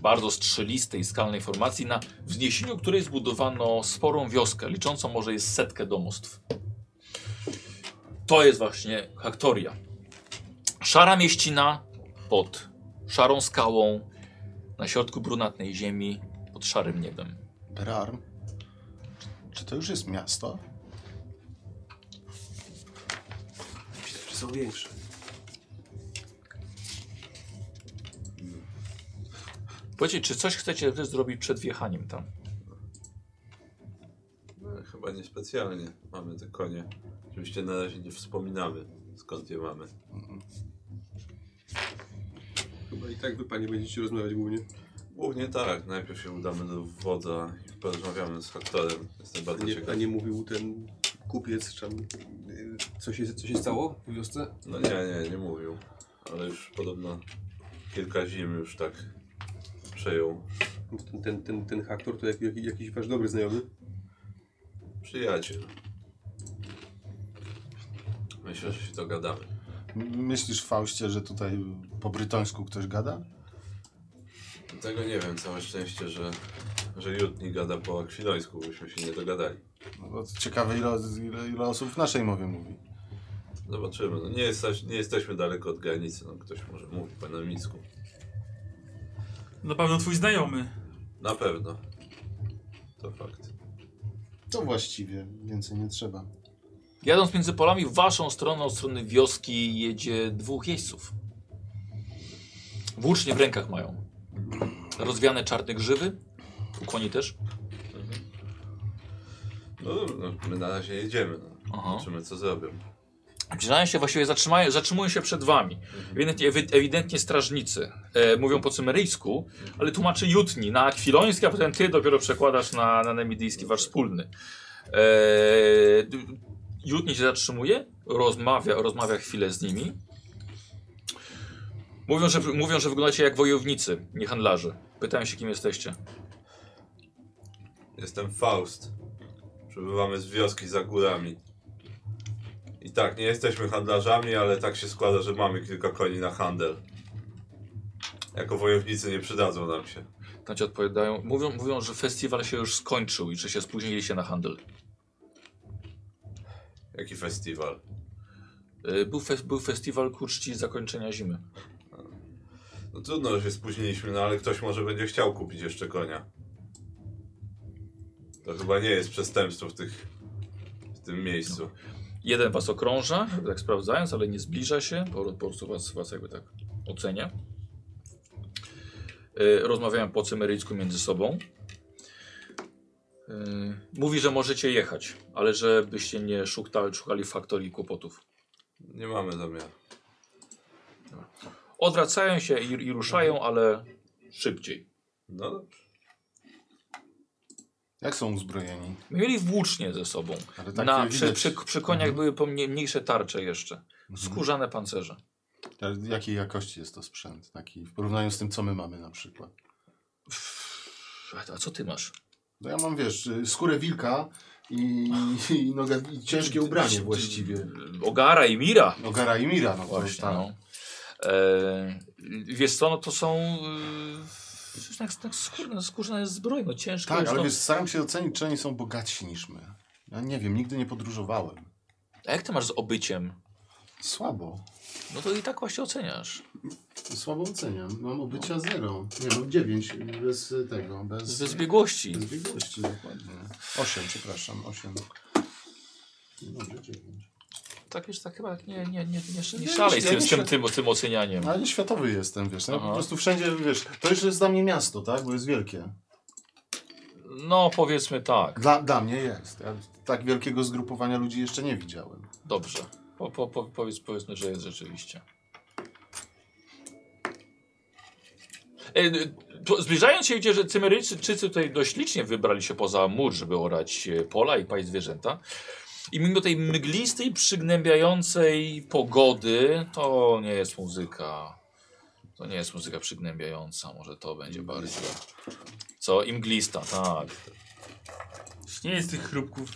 bardzo strzelistej, skalnej formacji, na wzniesieniu której zbudowano sporą wioskę, liczącą może jest setkę domostw. To jest właśnie Haktoria. Szara mieścina pod szarą skałą, na środku brunatnej ziemi, pod szarym niebem. Berarm? Czy to już jest miasto? Myślę, że są większe. Powiedzcie, czy coś chcecie wy zrobić przed wjechaniem tam? No, chyba niespecjalnie. Mamy te konie. Oczywiście na razie nie wspominamy, skąd je mamy. Chyba i tak wy panie będziecie rozmawiać głównie. Głównie tak. Najpierw się udamy do wodza i porozmawiamy z Haktorem. Jestem A bardzo nie, a ciekaw. nie mówił ten kupiec, czy tam, y, co się, co się stało w wiosce? No nie, nie, nie mówił. Ale już podobno kilka zim już tak przejął Ten, ten, ten, ten haktor to jak, jak, jakiś wasz dobry znajomy. przyjaciel. Myślę, że się dogadamy. M- Myślisz, Faustie, że tutaj po brytońsku ktoś gada? Tego nie wiem, całe szczęście, że, że Jutni gada po akwilońsku, byśmy się nie dogadali. No, bo ciekawe, ile, ile, ile osób w naszej mowie mówi. Zobaczymy. No nie, jesteś, nie jesteśmy daleko od granicy, no ktoś może mówi po namicku. Na pewno twój znajomy. Na pewno. To fakt. To właściwie więcej nie trzeba. Jadąc między polami, w waszą stronę, od strony wioski, jedzie dwóch jeźdźców. Włócznie w rękach mają. Rozwiane czarne grzywy, u koni też. No, no my na razie jedziemy. No. Aha. Zobaczymy, co zrobią. Zbliżają się, właściwie zatrzymają, zatrzymują się przed wami. Ewidentnie, ewi- ewidentnie strażnicy e, mówią po cymeryjsku, ale tłumaczy jutni na akwiloński, a potem ty dopiero przekładasz na, na nemidyjski wasz wspólny. E, d- jutni się zatrzymuje, rozmawia, rozmawia chwilę z nimi. Mówią że, mówią, że wyglądacie jak wojownicy, nie handlarze. Pytają się, kim jesteście. Jestem Faust. Przybywamy z wioski za górami. I tak, nie jesteśmy handlarzami, ale tak się składa, że mamy kilka koni na handel. Jako wojownicy nie przydadzą nam się. Tam ci odpowiadają. Mówią, mówią, że festiwal się już skończył i że się spóźniliście na handel. Jaki festiwal? E, był, fe, był festiwal ku czci zakończenia zimy. No trudno, że się spóźniliśmy, no ale ktoś może będzie chciał kupić jeszcze konia. To chyba nie jest przestępstwo w, tych, w tym miejscu. Jeden was okrąża, tak sprawdzając, ale nie zbliża się, po, po prostu was, was jakby tak ocenia. Yy, rozmawiają po cymeryjsku między sobą. Yy, mówi, że możecie jechać, ale żebyście nie szukali, szukali faktorii kłopotów. Nie mamy zamiaru. Odwracają się i, i ruszają, Mhm. ale szybciej. No dobrze. Jak są uzbrojeni? Mieli włócznie ze sobą. Ale Na, takie przy, Tak przy, widać. przy koniach były pomnie- mniejsze tarcze jeszcze. Mhm. Skórzane pancerze. Ale Jakiej jakości jest to sprzęt? Taki w porównaniu z tym, co my mamy na przykład. A, a co ty masz? No ja mam, wiesz, y, skórę wilka i, i, noga, i ciężkie ubranie właściwie. Ogara i Mira. Ogara i Mira, no Właśnie. właśnie. No. E, wiesz co, no to są e, tak, tak skórne, skórzne zbroje, no ciężkie. Tak, już, ale no. wiesz, staram się ocenić, czy oni są bogatsi niż my. Ja nie wiem, nigdy nie podróżowałem. A jak ty masz z obyciem? Słabo. No to i tak właśnie oceniasz. Słabo oceniam. Mam obycia zero. Nie, mam dziewięć bez y, tego, bez, Ze zbiegłości. bez biegłości. Dokładnie. Osiem, przepraszam, osiem. Nie, Dobrze, dziewięć. Tak już tak chyba nie, nie, nie, nie, nie Nie, szalej z ja tym, z tym, myślę- tym, tym ocenianiem. No, ale światowy jestem, wiesz. Ja Aha. po prostu wszędzie, wiesz, to już jest dla mnie miasto, tak? Bo jest wielkie. No, powiedzmy tak. Dla, dla mnie jest. Ja tak wielkiego zgrupowania ludzi jeszcze nie widziałem. Dobrze. Po, po, po, powiedz, powiedzmy, że jest rzeczywiście. E, to Zbliżając się, widzicie, że Cymeryjczycy tutaj dość licznie wybrali się poza mur, żeby orać e, pola i paść zwierzęta. I mimo tej mglistej, przygnębiającej pogody, to nie jest muzyka. To nie jest muzyka przygnębiająca, może to będzie bardziej. Co? I mglista, tak. Już nie jest tych chrupków.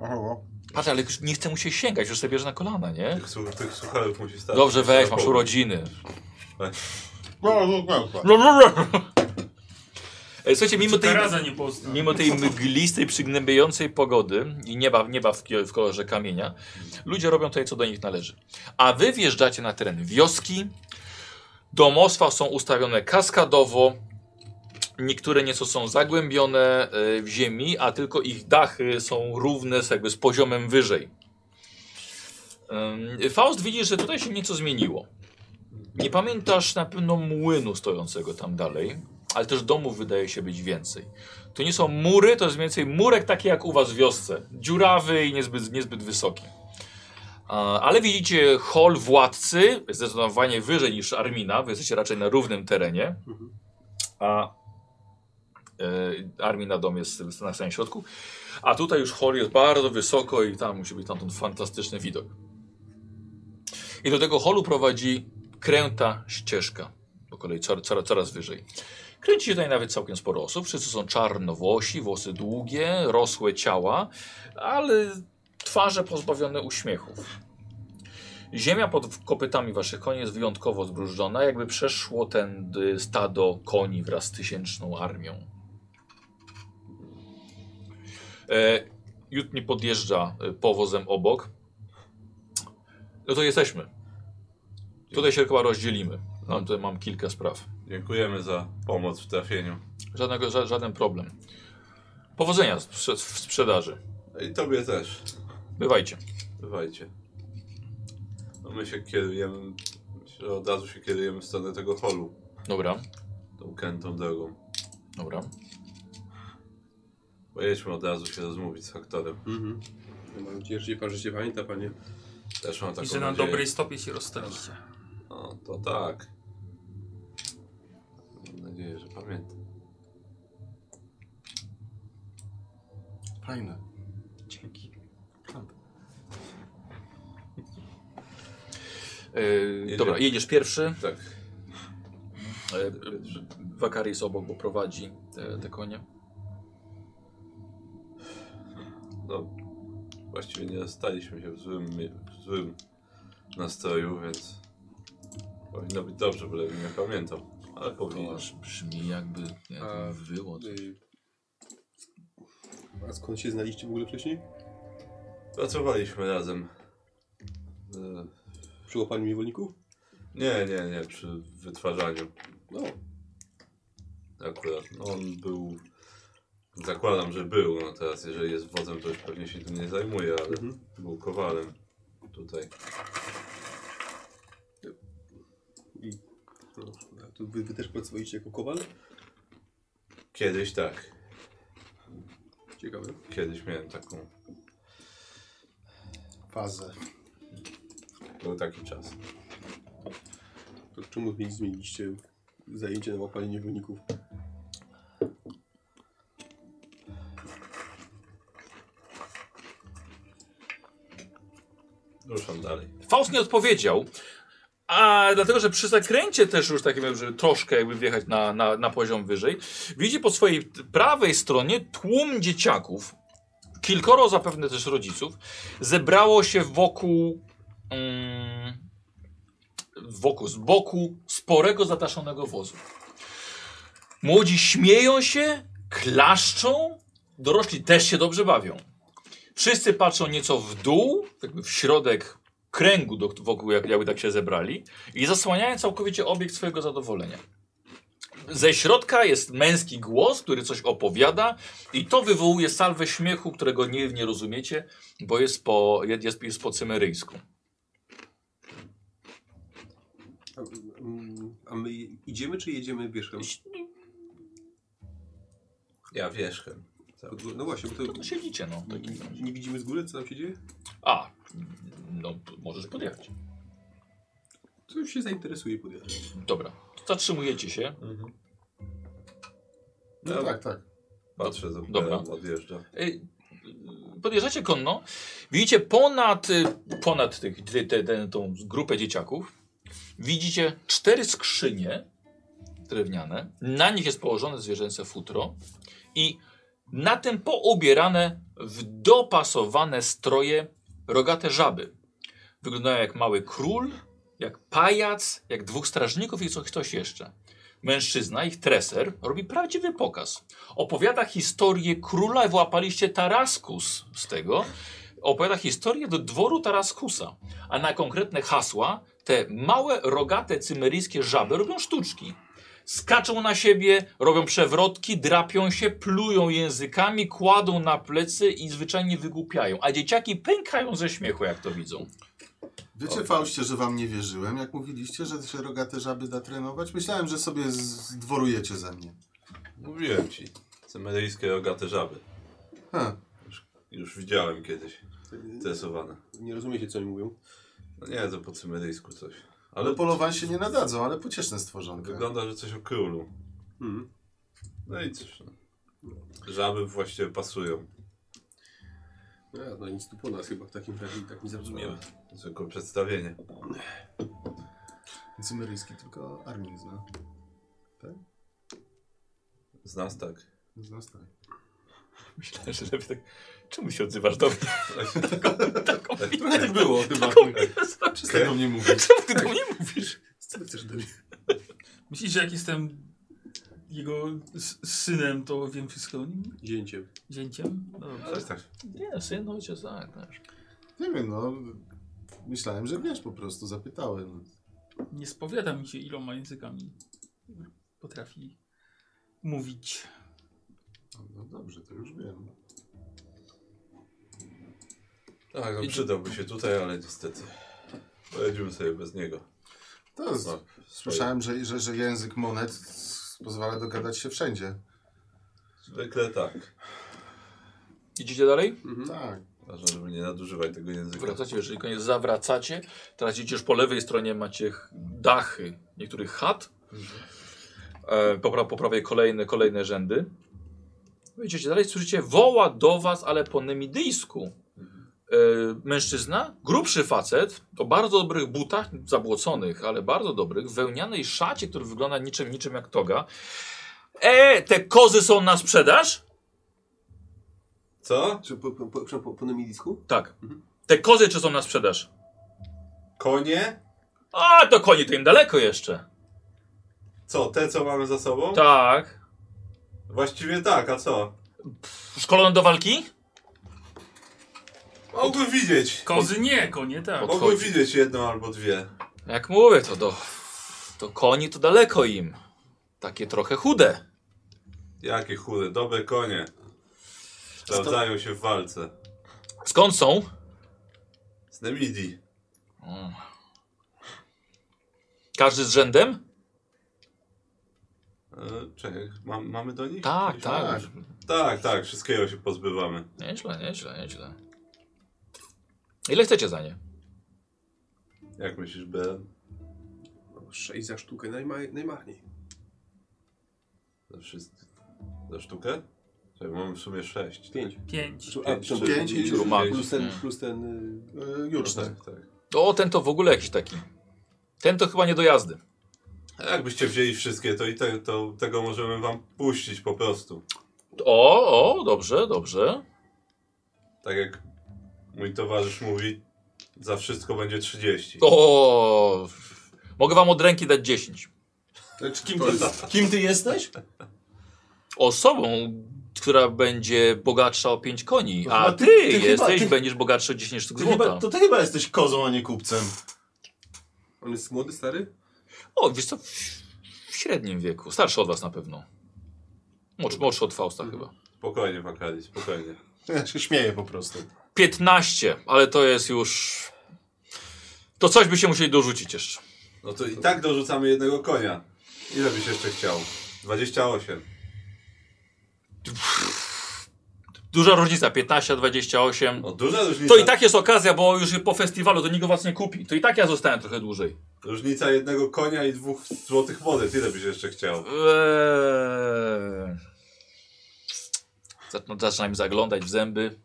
Oho. Patrz, ale już nie chce mu się sięgać, już sobie bierze na kolana, nie? Tych, słu- tych słuchawek musi stać. Dobrze, weź, Tak. masz urodziny. No, no, no, no. E, Słuchajcie, mimo tej, Teraz nie postał. mimo tej mglistej, przygnębiającej pogody i nieba, nieba w, ki- w kolorze kamienia, ludzie robią tutaj, co do nich należy. A wy wjeżdżacie na teren wioski, domostwa są ustawione kaskadowo, niektóre nieco są zagłębione e, w ziemi, a tylko ich dachy są równe z, jakby z poziomem wyżej. Ym, Faust widzisz, że tutaj się nieco zmieniło. Nie pamiętasz na pewno młynu stojącego tam dalej, ale też domów wydaje się być więcej. To nie są mury, to jest mniej więcej murek taki jak u was w wiosce. Dziurawy i niezbyt, niezbyt wysoki. A, Ale widzicie hol władcy, zdecydowanie wyżej niż Armina, wy jesteście raczej na równym terenie. A e, Armina dom jest na samym środku. A tutaj już hol jest bardzo wysoko i tam musi być tamtąd fantastyczny widok. I do tego holu prowadzi kręta ścieżka. Po kolei coraz, coraz, coraz wyżej. Kręci się tutaj nawet całkiem sporo osób. Wszyscy są czarnowłosi, włosy długie, rosłe ciała, ale twarze pozbawione uśmiechów. Ziemia pod w- kopytami waszych koni jest wyjątkowo zbrużdżona, jakby przeszło tędy stado koni wraz z tysięczną armią. E, Jutni podjeżdża e, powozem obok. No to jesteśmy. Tutaj się chyba rozdzielimy. Mam, tutaj mam kilka spraw. Dziękujemy za pomoc w trafieniu. Żadnego, ża żaden problem. Powodzenia w sprze- w sprzedaży. No I tobie też. Bywajcie. Bywajcie. No my się kierujemy, myślę, że od razu się kierujemy w stronę tego holu, Dobra, tą krętą drogą. dobra. Pojedźmy od razu się rozmówić z aktorem. Mhm. Ja mam nadzieję, że się pan, że się pamięta, panie. Też mam taką I że na nadzieję. dobrej stopie się rozstaliście. No to tak. Mam nadzieję, że pamiętam. Fajne. Dzięki. Yy, Jedziemy. E, dobra, jedziesz pierwszy. Tak. Yy, Wakary jest obok, bo prowadzi te, te konie. No, właściwie nie staliśmy się w złym, mi- w złym nastroju, więc powinno być dobrze, byle nie pamiętam. Ale powinno. aż brzmi jakby A, wyło. Y, A skąd się znaliście w ogóle wcześniej? Pracowaliśmy razem. E, Przy łapaniu niewolników? Nie, nie, nie, przy wytwarzaniu. No. Akurat no, on był. Zakładam, że był. No teraz, jeżeli jest wodzem, to już pewnie się tym nie zajmuje, ale Mhm. był kowalem tutaj. I no, a to wy, wy też pracowaliście jako kowal? Kiedyś tak. Ciekawe. Kiedyś miałem taką. Fazę. Był taki czas. To czemu zmieni- zmieniliście zajęcie na łapanie niewolników? Ruszam dalej. Faust nie odpowiedział. A dlatego, że przy zakręcie też już takim, żeby troszkę jakby wjechać na, na, na poziom wyżej, widzi po swojej t- prawej stronie tłum dzieciaków, kilkoro zapewne też rodziców, zebrało się wokół, mm, wokół z boku sporego zataszonego wozu. Młodzi śmieją się, klaszczą, dorośli też się dobrze bawią. Wszyscy patrzą nieco w dół, jakby w środek kręgu, do, wokół jak, jakby tak się zebrali i zasłaniają całkowicie obiekt swojego zadowolenia. Ze środka jest męski głos, który coś opowiada i to wywołuje salwę śmiechu, którego nie, nie rozumiecie, bo jest po, jest, jest po cymeryjsku. A, mm, a my idziemy czy jedziemy wierzchem? Ja wierzchem. Pod gó- No właśnie, bo to No siedzicie, no. w takim nie, razie. nie widzimy z góry, co tam się dzieje? A, no możesz podjechać. To już się zainteresuje podjechać. Dobra, zatrzymujecie się. No Dobra. tak, tak. Patrzę, za Dobra. Berem odjeżdża. Ej, Y, Podjeżdżacie konno, widzicie ponad, y, ponad tych, ty, te- te- tą grupę dzieciaków, widzicie cztery skrzynie drewniane, na nich jest położone zwierzęce futro i na tym poubierane w dopasowane stroje rogate żaby. Wyglądają jak mały król, jak pajac, jak dwóch strażników i co- ktoś jeszcze. Mężczyzna, ich treser, robi prawdziwy pokaz opowiada historię króla, wyłapaliście Taraskus z tego, opowiada historię do dworu Taraskusa, a na konkretne hasła te małe, rogate, cymeryjskie żaby robią sztuczki. Skaczą na siebie, robią przewrotki, drapią się, plują językami, kładą na plecy i zwyczajnie wygłupiają. A dzieciaki pękają ze śmiechu, jak to widzą. Wiecie, Faustie, że wam nie wierzyłem, jak mówiliście, że się rogate żaby da trenować? Myślałem, że sobie zdworujecie ze mnie. Mówiłem ci. Cymeryjskie rogate żaby. Ha. Już widziałem kiedyś. To nie- Tresowane. tak, Nie rozumiecie, co oni mówią. No nie, to po cymeryjsku coś. Ale Ale polowań się nie nadadzą, ale pocieszne stworzonka. wygląda, że coś o królu. Hmm. No i cóż. No. Żaby właściwie pasują. A, no nic tu po nas chyba w takim razie, i tak nie zrozumiałem. Zwykłe przedstawienie. Cymeryjski tylko Armin zna. Z nas tak. Z nas tak. Myślałem, że lepiej tak... Czemu się odzywasz do mnie? Taką Trochę tak było chyba. Przestań do mnie mówić. Czemu ty do mnie mówisz? Co ty chcesz do mnie? Myślisz, że jak jestem jego s- synem, to wiem wszystko o nim? Dzięciem. Zięciem? No Dobrze. Coś tak. Nie, syn, ojciec, tak, tak. Nie wiem, no. Myślałem, że wiesz po prostu, zapytałem. Nie spowiada mi się, iloma językami potrafi mówić. No, no dobrze, to już wiem. Tak, no, przydałby się tutaj, ale niestety. Pojedziemy sobie bez niego. To z... No, Słyszałem, że, że, że język monet pozwala dogadać się wszędzie. Zwykle tak. Idziecie dalej? Mhm. Tak. Ważne, żeby nie nadużywać tego języka. Wracacie, jeżeli koniec zawracacie, teraz idziecie już po lewej stronie, macie ch- dachy niektórych chat. E, po, pra- po prawej kolejne, kolejne rzędy. Idziecie dalej, słyszycie, woła do was, ale po nemidyjsku. E, mężczyzna, grubszy facet, o bardzo dobrych butach, zabłoconych, ale bardzo dobrych, w wełnianej szacie, który wygląda niczym, niczym jak toga. E, te kozy są na sprzedaż? Co? Czy po, po, po, przepraszam, po, po nemilisku? Tak. Te kozy czy są na sprzedaż? Konie? A, to koni, to im daleko jeszcze. Co, te co mamy za sobą? Tak. Właściwie tak, a co? Szkolony do walki? Mogłem widzieć. Kozy nie, konie tak. Pod- Mogłem Odchodzi. widzieć jedną albo dwie. Jak mówię, to do. To koni to daleko im. Takie trochę chude. Jakie chude, dobre konie. Sprawdzają się w walce. Skąd są? Z Nemidii. Mm. Każdy z rzędem? E, czekaj, ma, mamy do nich? Tak, Coś? tak. Tak, tak, wszystkiego się pozbywamy. Nieźle, nieźle, nieźle. Ile chcecie za nie? Jak myślisz, Ben? No, Sześć za sztukę, najma, najmarniej. Za, wszystko, za sztukę? Czekaj, mamy w sumie sześć. tak? Pięć. Pięć. A, przepraszam, pięć i rumak. plus ten, Nie. plus ten y, Yy, już tak. Tak, tak. O, ten to w ogóle jakiś taki. Ten to chyba nie do jazdy. A jakbyście wzięli wszystkie, to i te, to, tego możemy wam puścić po prostu. O, o, dobrze, dobrze. Tak jak mój towarzysz mówi, za wszystko będzie 30. O, mogę wam od ręki dać 10. Znaczy, kim, ty, kim ty jesteś? Osobą, która będzie bogatsza o 5 koni, No a chyba ty, ty- ty chyba- jesteś, ty- będziesz bogatszy o 10 sztuk Ty złota. chyba, to ty chyba jesteś kozą, a nie kupcem. On jest młody, stary? O, wiesz co, w, w średnim wieku. Starszy od was na pewno. Młodszy, młodszy od Fausta Mhm. chyba. Spokojnie, Wakali, spokojnie. Ja się śmieję po prostu. 15, ale to jest już... To coś by się musieli dorzucić jeszcze. No to i tak dorzucamy jednego konia. Ile byś jeszcze chciał? 28. Duża różnica, 15, 28. No duża różnica. To i tak jest okazja, bo już po festiwalu to nikt was nie kupi. To i tak ja zostałem trochę dłużej. Różnica jednego konia i dwóch złotych monet. Ile byś jeszcze chciał? Eee... Zaczynam- Zaczyna mi no, zaglądać w zęby.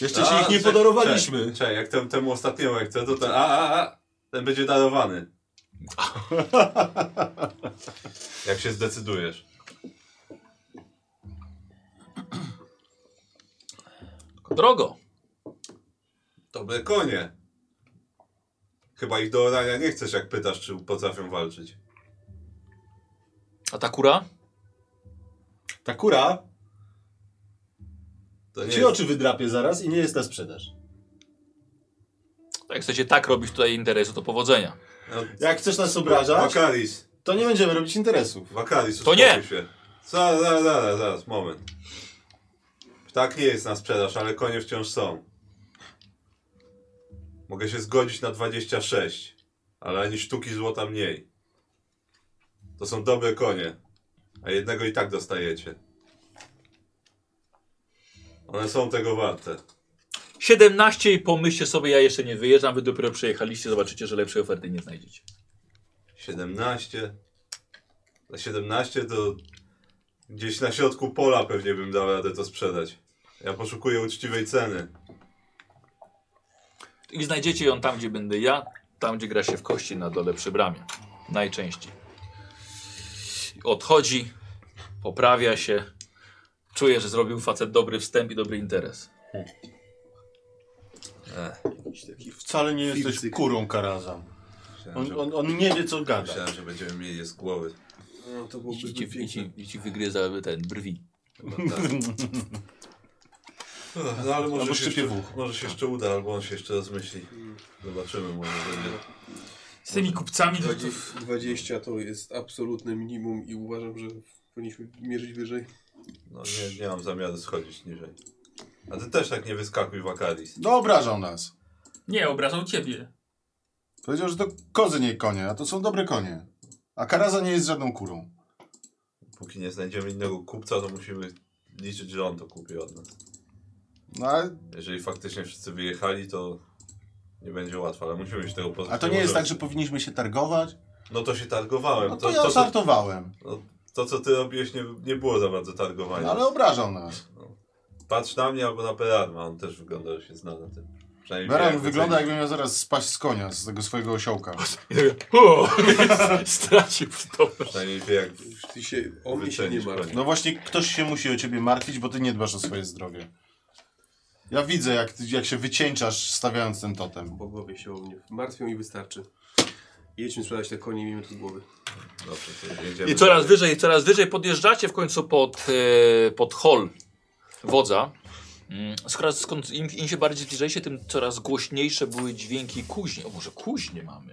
Jeszcze A, się ich nie czek- podarowaliśmy. Czekaj, czekaj, jak tem, temu ostatniemu jak chcę, to ten, a, a, a, ten będzie darowany. jak się zdecydujesz. Drogo. Dobre konie. Chyba ich do orania nie chcesz, jak pytasz, czy potrafią walczyć. A ta kura? Ta kura To nie ci jest... oczy wydrapie zaraz i nie jest na sprzedaż. Jak chcecie tak robić tutaj interesu, to powodzenia. No, Jak chcesz nas obrażać, Wakaris. to nie będziemy robić interesów. Wakaris, To nie! uspokój Się. Zaraz, zaraz, zaraz, zaraz, moment. Ptak nie jest na sprzedaż, ale konie wciąż są. Mogę się zgodzić na 26, ale ani sztuki złota mniej. To są dobre konie, a jednego i tak dostajecie. One są tego warte. 17 i pomyślcie sobie, ja jeszcze nie wyjeżdżam, wy dopiero przyjechaliście, zobaczycie, że lepszej oferty nie znajdziecie. 17. Za 17 to gdzieś na środku pola pewnie bym dał radę to sprzedać. Ja poszukuję uczciwej ceny. I znajdziecie ją tam, gdzie będę ja, tam, gdzie gra się w kości na dole przy bramie. Najczęściej. Odchodzi, poprawia się. Czuję, że zrobił facet dobry wstęp i dobry interes. Wcale nie jesteś Fizyk. kurą karazam. Myślałem, On, że, on, on nie wie co gada. myślałem, że będziemy mieli je z głowy. No, to I byłoby ci, zbyt i piękne. ci, i ci wygryza ten brwi. Chyba tak. No ale może Albo się, szczypie jeszcze, włóch. może się jeszcze uda, albo on się jeszcze rozmyśli. Zobaczymy, może będzie. Z tymi kupcami to, to, 20, 20 to jest absolutne minimum i uważam, że powinniśmy mierzyć wyżej. No nie, nie mam zamiaru schodzić niżej. A ty też tak nie wyskakuj Wakaris. No obrażał nas. Nie, obrażał ciebie. Powiedział, że to kozy nie konie, a to są dobre konie. A karaza nie jest żadną kurą. Póki nie znajdziemy innego kupca, to musimy liczyć, że on to kupi od nas. No, a, Jeżeli faktycznie wszyscy wyjechali, to nie będzie łatwo, ale musimy się tego pozbyć. a to nie jest tak, możemy. że powinniśmy się targować? No to się targowałem. No to, to to, ja co, żartowałem. no, to, co ty robiłeś, nie, nie było za bardzo targowania. No, ale obrażał nas. Patrz na mnie albo na Perarma, on też wygląda, że się zna na tym. Przynajmniej wie, Beran jak wygląda ocenić. jakby miał zaraz spaść z konia, z tego swojego osiołka. I tak, o, stracił przytomność. Przynajmniej wie, jak... Ty się o mnie się nie Wycenić martw. No właśnie, ktoś się musi o ciebie martwić, bo ty nie dbasz o swoje zdrowie. Ja widzę, jak, ty- jak się wycieńczasz stawiając ten totem. Bogowie się o mnie martwią i wystarczy. Jedźmy sprzedać te konie i miejmy to z głowy. Dobrze, no, to jedziemy. I coraz wyżej, coraz wyżej podjeżdżacie w końcu pod, e, pod hol wodza. Mm, Skoro, skąd im, im się bardziej zbliżaliście, tym coraz głośniejsze były dźwięki kuźni. O, może kuźnie mamy.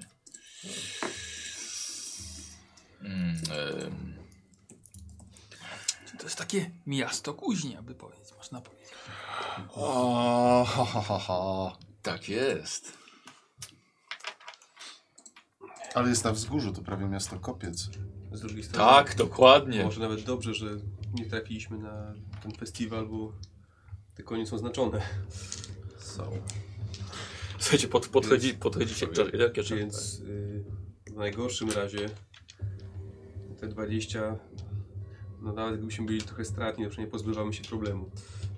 Mm, em, To jest takie miasto kuźni, aby powiedzieć, można powiedzieć. O, ha, ha, ha, ha. tak jest. Ale jest na wzgórzu, to prawie miasto Kopiec. Z drugiej strony. Tak, dokładnie. Może nawet dobrze, że nie trafiliśmy na ten festiwal, bo te konie są znaczone. Są. Słuchajcie, pod, podchodzi, podchodzicie. Jakie Więc y, w najgorszym razie te 20, no nawet gdybyśmy byli trochę stratni, to przynajmniej pozbywamy się problemu.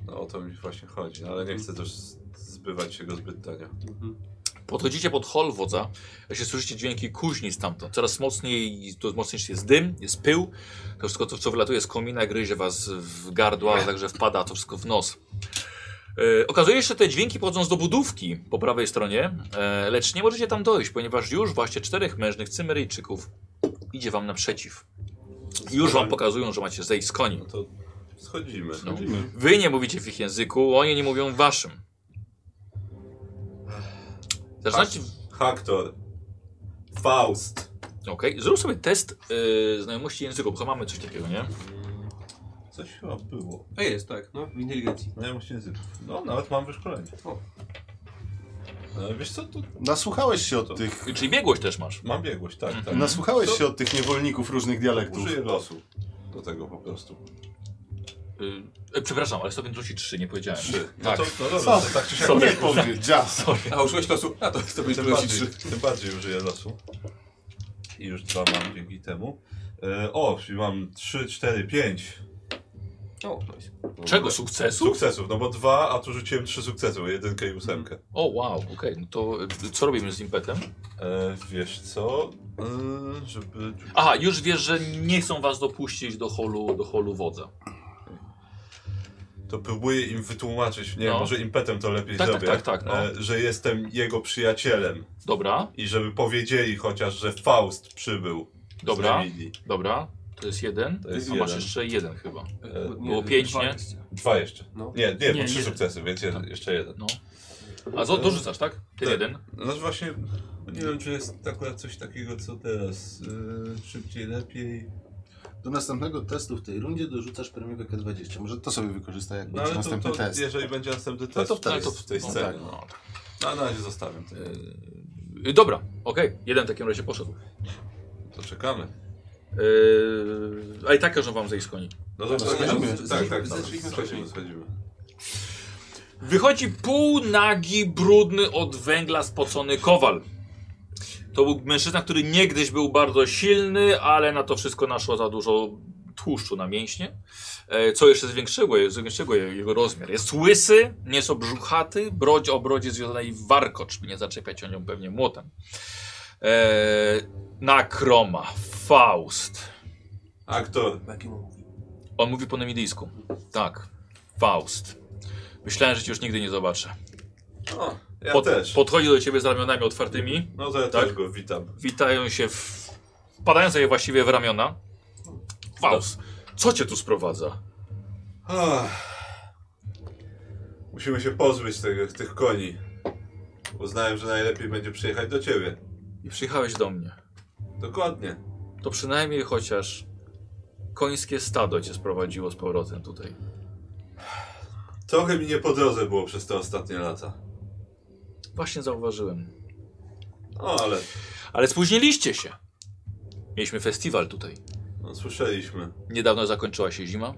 No o to mi właśnie chodzi, ale nie chcę też zbywać się go zbyt tanio. Podchodzicie pod hol wodza, jak się słyszycie dźwięki kuźni stamtąd. Coraz mocniej, to mocniejszy jest dym, jest pył. To wszystko, co, co wylatuje z komina, gryzie was w gardła, także wpada to wszystko w nos. E, okazuje się, że te dźwięki pochodzą z dobudówki po prawej stronie, e, lecz nie możecie tam dojść, ponieważ już właśnie czterech mężnych cymeryjczyków idzie wam naprzeciw. Już wam pokazują, że macie zejść z koni. No to schodzimy. No. Wy nie mówicie w ich języku, oni nie mówią waszym. Zaczynacie... Haktor. Faust. Okej, zrób sobie test y, znajomości języków, bo chyba mamy coś takiego, nie? Coś chyba było. A jest, tak, no, w inteligencji. Znajomość języków. No, nawet mam wyszkolenie. O. E, Wiesz co, tu Nasłuchałeś się od tych... Czyli biegłość też masz. mam biegłość, Mhm. tak, tak. Nasłuchałeś To- się od tych niewolników różnych dialektów. Użyję losu do tego po prostu. E, przepraszam, ale stopień trusi 3, nie powiedziałem. No Tak. to, no dobra, tak czy siak. Nie powiedz, dzias. A użyłeś losu? A to, to będzie Tym losi bardziej, 3. tym bardziej użyję losu. I już dwa mam dzięki temu. E, o, czyli mam 3, 4, 5. O, nice. Czego? Sukcesu? Sukcesów, no bo dwa, a tu rzuciłem trzy sukcesy, bo jedynkę i ósemkę. O, wow, okej. No to e, co robimy z impetem? E, wiesz co? E, żeby. Aha, już wiesz, że nie chcą was dopuścić do holu, do holu wodza. To próbuję im wytłumaczyć, nie No. wiem, może impetem to lepiej Tak, tak, zrobię, tak, tak, no. e, że jestem jego przyjacielem Dobra, i żeby powiedzieli chociaż, że Faust przybył. z dobra, Namidii. dobra. To jest jeden. To jest A masz jeden. jeszcze jeden chyba. E, Było pięć, nie? Dwa jeszcze. No. Nie, nie, Nie, bo trzy jeden. sukcesy, więc je, jeszcze jeden. No. A zo- dorzucasz, tak? Ten Tak. jeden. No właśnie, nie wiem, czy jest akurat coś takiego, co teraz. e, szybciej, lepiej. No, Do następnego testu w tej rundzie dorzucasz premię K20. Może to sobie wykorzystaj, jak No będzie ale to, następny to test. jeżeli będzie następny test, to to wtedy. jest w tej No scenie. tak, no. No, na razie zostawiam to. Yy, Dobra, okej, jeden w takim razie poszedł. To czekamy. Yy, a i tak każą wam zejść z koni. No to schodzimy. tak, tak, tak. Zeszliśmy schodzimy, wcześniej. schodzimy. Wychodzi półnagi, brudny od węgla spocony kowal. To był mężczyzna, który niegdyś był bardzo silny, ale na to wszystko naszło za dużo tłuszczu na mięśnie, e, co jeszcze zwiększyło, je- zwiększyło je- jego rozmiar. Jest łysy, nieco brzuchaty, broć o brodzie związanej w warkocz, by nie zaczepiać o nią pewnie młotem. E, nakroma, Faust. Aktor. Jaki mu mówi? On mówi po namidyjsku. Tak, Faust. Myślałem, że cię już nigdy nie zobaczę. O, ja Pod, też. Podchodzi do ciebie z ramionami otwartymi. No to ja Tak? też go witam. Witają się, w... wpadają sobie właściwie w ramiona. Faust, co cię tu sprowadza? Ach. Ah. Musimy się pozbyć tego, tych koni. Uznałem, że najlepiej będzie przyjechać do ciebie. I przyjechałeś do mnie. Dokładnie. To przynajmniej chociaż końskie stado cię sprowadziło z powrotem tutaj. Trochę mi nie po drodze było przez te ostatnie lata. Właśnie zauważyłem. No ale Ale spóźniliście się. Mieliśmy festiwal tutaj. no, słyszeliśmy. Niedawno zakończyła się zima.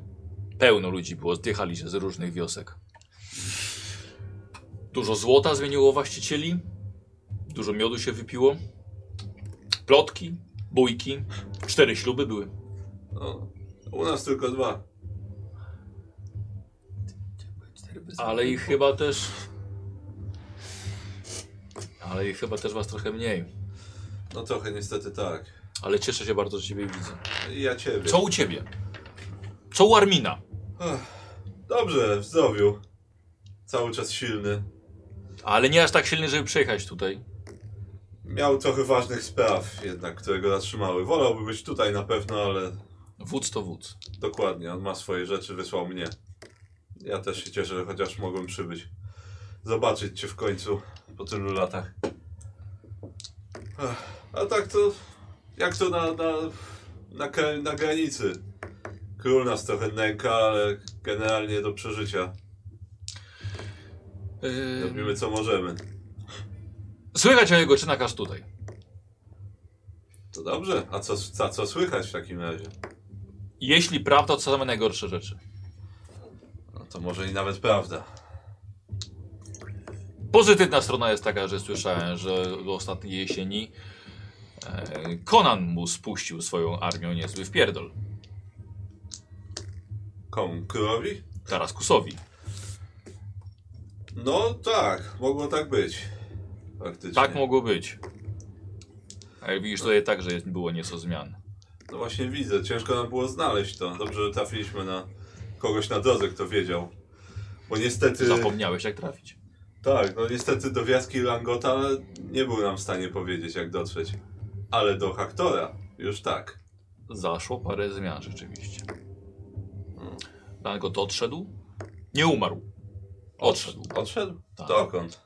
Pełno ludzi było, zdychali się z różnych wiosek. Dużo złota zmieniło właścicieli. Dużo miodu się wypiło. Plotki, bójki. Cztery śluby były. No, u nas tylko dwa. Ale ich chyba też... Ale ich chyba też was trochę mniej. No trochę niestety tak. Ale cieszę się bardzo, że ciebie widzę. I ja ciebie. Co u ciebie? Co u Armina? Dobrze, w zdrowiu. Cały czas silny. Ale nie aż tak silny, żeby przyjechać tutaj. Miał trochę ważnych spraw jednak, które go zatrzymały. Wolałby być tutaj na pewno, ale Wódz to wódz. Dokładnie, on ma swoje rzeczy, wysłał mnie. Ja też się cieszę, że chociaż mogłem przybyć. Zobaczyć cię w końcu po tylu latach. Ech, A tak to. Jak to na, na, na, gra- na granicy? Król nas trochę nęka, ale generalnie do przeżycia. Yy, Robimy co możemy. słychać o jego czynach aż tutaj. To dobrze. A co, co, co słychać w takim razie? Jeśli prawda, to same najgorsze rzeczy. No to może i nawet prawda. Pozytywna strona jest taka, że słyszałem, że do ostatniej jesieni e, Conan mu spuścił swoją armią niezły wpierdol. Komu? Królowi? Taraskusowi. No tak, mogło tak być. Faktycznie. Tak mogło być. Ale widzisz tutaj tak, że jest, było nieco zmian. No właśnie widzę, ciężko nam było znaleźć to. Dobrze, że trafiliśmy na kogoś na drodze, kto wiedział. Bo niestety. Zapomniałeś jak trafić. Tak, no niestety do wiaski Langota nie był nam w stanie powiedzieć, jak dotrzeć. Ale do Haktora już tak. Zaszło parę zmian rzeczywiście. Dango odszedł. Nie umarł. Odszedł. Odszedł? Tak. Dokąd?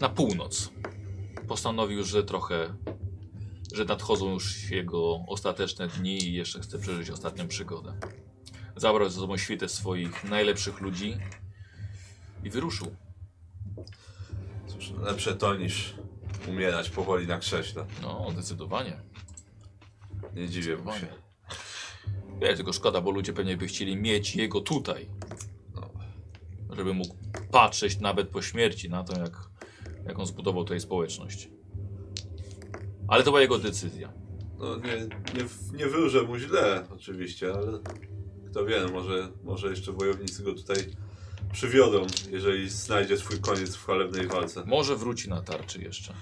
na północ. Postanowił, że trochę, że nadchodzą już jego ostateczne dni i jeszcze chce przeżyć ostatnią przygodę. Zabrał ze sobą świtę swoich najlepszych ludzi i wyruszył. Cóż, lepsze to niż umierać powoli na krześle. No, zdecydowanie. Nie dziwię mu się. Wiesz, tylko szkoda, bo ludzie pewnie by chcieli mieć jego tutaj. No, Żeby mógł patrzeć nawet po śmierci na to, jak, jak on zbudował tutaj społeczność. Ale to była jego decyzja. No nie, nie, w- nie wyłżę mu źle, oczywiście, ale kto wie, może, może jeszcze wojownicy go tutaj przywiodą, jeżeli znajdzie swój koniec w chalebnej walce. Może wróci na tarczy jeszcze.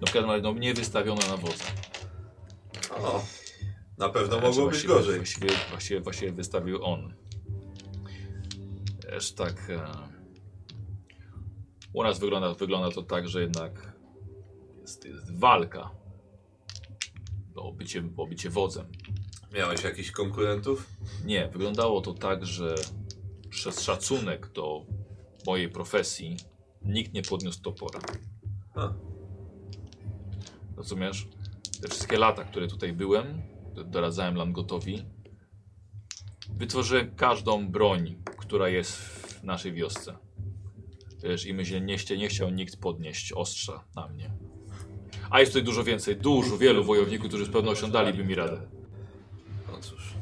No w każdym razie, no, nie wystawiono na wodę. O, na pewno Znaczy, mogło być właściwie- gorzej. Właściwie, właściwie, właściwie wystawił on. Wiesz, tak... E... U nas wygląda, wygląda to tak, że jednak jest, jest walka o bycie, o bycie wodzem. Miałeś jakichś konkurentów? Nie, wyglądało to tak, że przez szacunek do mojej profesji nikt nie podniósł topora. Ha. Rozumiesz? Te wszystkie lata, które tutaj byłem, d- doradzałem Langotowi, wytworzyłem każdą broń, która jest w naszej wiosce. Wiesz, i my się nie, chcie- nie chciał nikt podnieść ostrza na mnie. A jest tutaj dużo więcej, dużo, wielu wojowników, którzy z pewnością daliby mi radę. No cóż,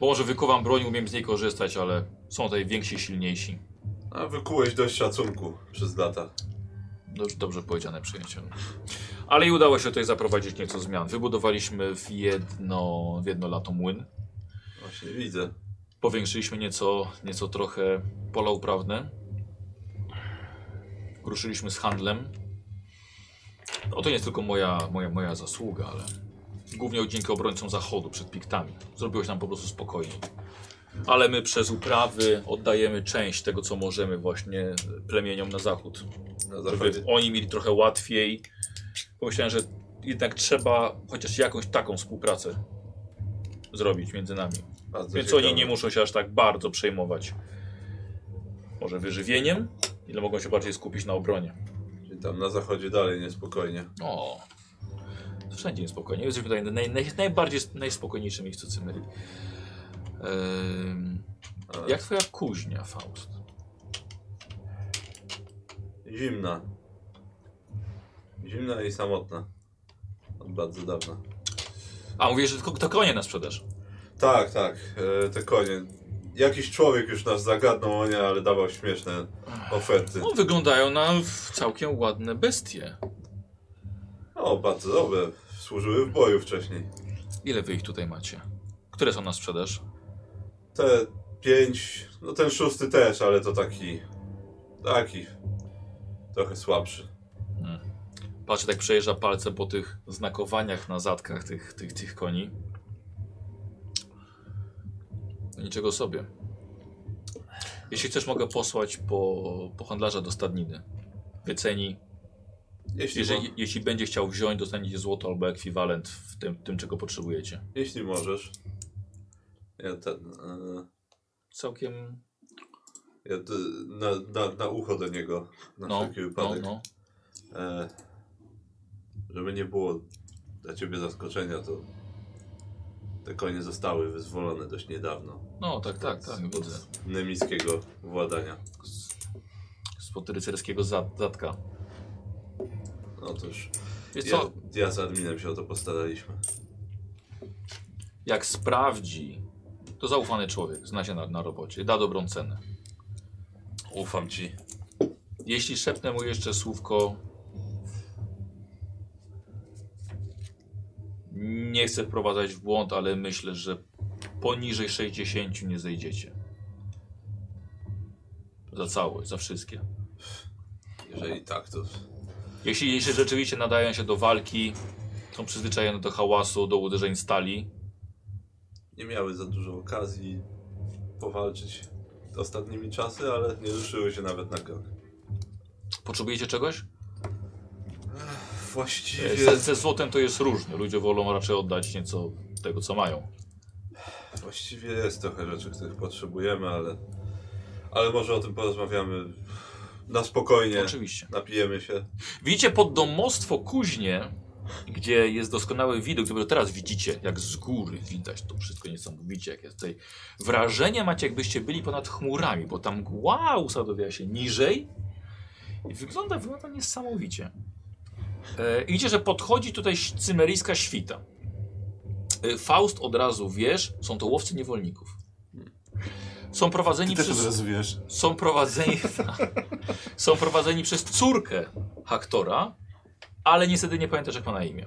Bo może wykuwam broń, umiem z niej korzystać, ale są tutaj więksi, silniejsi. a wykułeś dość szacunku przez lata. Dobrze, No dobrze powiedziane przyjacielu. Ale i udało się tutaj zaprowadzić nieco zmian. Wybudowaliśmy w jedno, w jedno lato młyn. Właśnie widzę. Powiększyliśmy nieco, nieco trochę pola uprawne. Ruszyliśmy z handlem. No to nie jest tylko moja, moja, moja zasługa, ale głównie dzięki obrońcom Zachodu przed Piktami. Zrobiło się nam po prostu spokojnie. Ale my przez uprawy oddajemy część tego, co możemy właśnie plemieniom na Zachód. Na Żeby zachodzie. oni mieli trochę łatwiej. Pomyślałem, że jednak trzeba chociaż jakąś taką współpracę zrobić między nami. Bardzo Więc ciekawe. oni nie muszą się aż tak bardzo przejmować. Może wyżywieniem, ile mogą się bardziej skupić na obronie. Czyli tam na zachodzie dalej niespokojnie. O. Wszędzie niespokojnie. Jesteśmy tutaj naj, naj, najbardziej najspokojniejsze miejscu Cymerii. Ehm, Ale jak twoja kuźnia, Faust? Zimna. Zimna i samotna. Od bardzo dawna. A, mówisz, że tylko to konie na sprzedaż. Tak, tak, e, te konie. Jakiś człowiek już nas zagadnął o nie, ale dawał śmieszne oferty. No, wyglądają na całkiem ładne bestie. O, bardzo dobre. Służyły w boju wcześniej. Ile wy ich tutaj macie? Które są na sprzedaż? Te pięć, no ten szósty też, ale to taki... Taki... Trochę słabszy. Patrzę, tak przejeżdża palce po tych znakowaniach na zadkach tych, tych, tych koni. No Niczego sobie. Jeśli chcesz, mogę posłać po, po handlarza do stadniny. Wyceni. Jeśli, Jeżeli, mo- jeśli będzie chciał wziąć, dostaniecie złoto albo ekwiwalent w tym, tym czego potrzebujecie. jeśli możesz. Ja ten... E, Całkiem. ja d- na, na, na ucho do niego. Na No, wszelki no, wypadek. no. E, żeby nie było dla ciebie zaskoczenia, to te konie zostały wyzwolone dość niedawno. No, tak, tak, tak. Widzę. Od nemickiego władania. Spod rycerskiego zad, zadka. No toż, Wiesz ja, co? ja z adminem się o to postaraliśmy. Jak sprawdzi, to zaufany człowiek, zna się na, na robocie, da dobrą cenę. Ufam ci. Jeśli szepnę mu jeszcze słówko. Nie chcę wprowadzać w błąd, ale myślę, że poniżej 60 nie zejdziecie. Za całość, za wszystkie. Jeżeli tak, to Jeśli, jeśli rzeczywiście nadają się do walki, są przyzwyczajone do hałasu, do uderzeń stali, nie miały za dużo okazji powalczyć ostatnimi czasy, ale nie ruszyły się nawet na krok. potrzebujecie czegoś? E, Właściwie, Ze, ze złotem to jest różnie. Ludzie wolą raczej oddać nieco tego, co mają. właściwie jest trochę rzeczy, których potrzebujemy, ale, ale może o tym porozmawiamy na spokojnie. Oczywiście. Napijemy się. Widzicie pod domostwo kuźnie, gdzie jest doskonały widok. Dopiero teraz widzicie, jak z góry widać to wszystko niesamowicie, jak jest tutaj. Wrażenie macie, jakbyście byli ponad chmurami, bo tam mgła usadowiła się niżej i wygląda, wygląda niesamowicie. E, i widzicie, że podchodzi tutaj ś- cymeryjska świta. Y, Faust od razu wiesz, są to łowcy niewolników. Są Ty prowadzeni też od przez razu wiesz. są prowadzeni, są prowadzeni przez córkę Haktora, ale niestety nie pamiętasz jak ma na imię.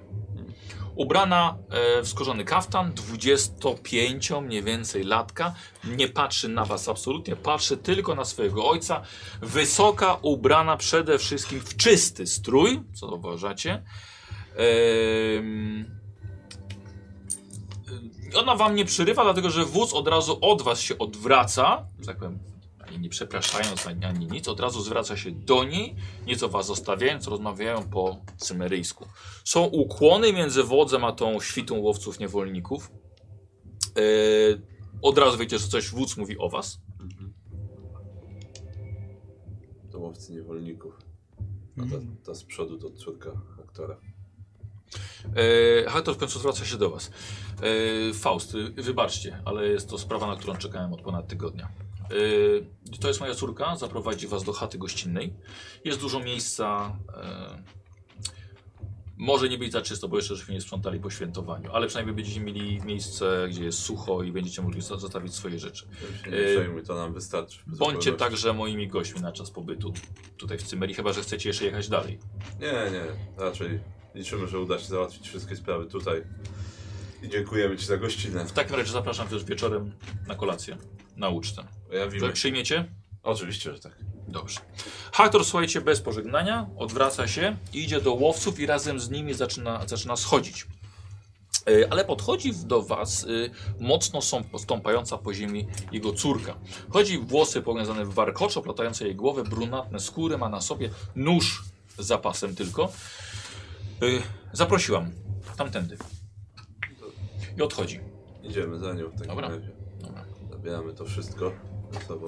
Ubrana e, w skorzony kaftan, 25 mniej więcej latka, nie patrzy na was absolutnie, patrzy tylko na swojego ojca. Wysoka, ubrana przede wszystkim w czysty strój, co uważacie. Ehm, e, ona wam nie przyrywa, dlatego że wóz od razu od was się odwraca, że tak powiem, ani nie przepraszając ani, ani nic, od razu zwraca się do niej, nieco was zostawiając, rozmawiają po cymeryjsku. Są ukłony między wodzem a tą świtą łowców niewolników. E, od razu wiecie, że coś wódz mówi o was. To łowcy niewolników. A ta, ta z przodu to córka aktora. E, Haktor w końcu zwraca się do was. E, Faust, y, wybaczcie, ale jest to sprawa, na którą czekałem od ponad tygodnia. E, to jest moja córka, zaprowadzi was do chaty gościnnej. Jest dużo miejsca. E, może nie być za czysto, bo jeszcze żeśmy nie sprzątali po świętowaniu, ale przynajmniej będziecie mieli miejsce, gdzie jest sucho i będziecie mogli za- zostawić swoje rzeczy. Ja się Yy, nie przejmuj, to nam wystarczy. Bądźcie Zupełności. także moimi gośćmi na czas pobytu tutaj w Cymerii, chyba że chcecie jeszcze jechać dalej. Nie, nie, raczej liczymy, że uda się załatwić wszystkie sprawy tutaj. I dziękujemy Ci za gościnę. W takim razie zapraszam też wieczorem na kolację, na ucztę. Pojawimy się. Przyjmiecie? Oczywiście, że tak. Dobrze. Haktor, słuchajcie, bez pożegnania, odwraca się i idzie do łowców i razem z nimi zaczyna, zaczyna schodzić. E, Ale podchodzi do was y, mocno są- stąpająca po ziemi jego córka. Chodzi włosy powiązane w warkoczo, platające jej głowę, brunatne skóry, ma na sobie nóż z zapasem tylko. Y, Zaprosiłam, tamtędy. I odchodzi. Idziemy za nią w takim Dobra. razie. Dobra. Zabieramy to wszystko ze sobą.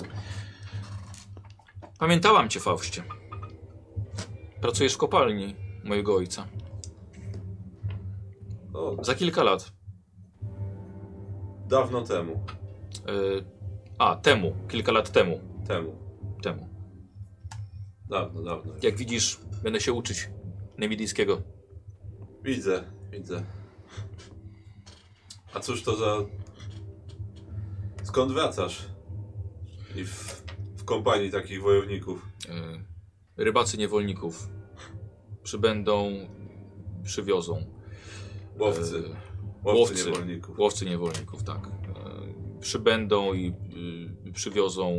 Pamiętałam cię, Faustie. Pracujesz w kopalni mojego ojca. O, Za kilka lat dawno temu. Y, a, temu, kilka lat temu. Temu. Temu. Dawno, dawno. Jak widzisz, będę się uczyć nemidyjskiego. Widzę, widzę. A cóż to za... Skąd wracasz? I w, w kompanii takich wojowników. Y, rybacy niewolników przybędą, przywiozą. Łowcy. Y, Łowcy, łowcy. niewolników. Łowcy niewolników, tak. Y, przybędą i y, przywiozą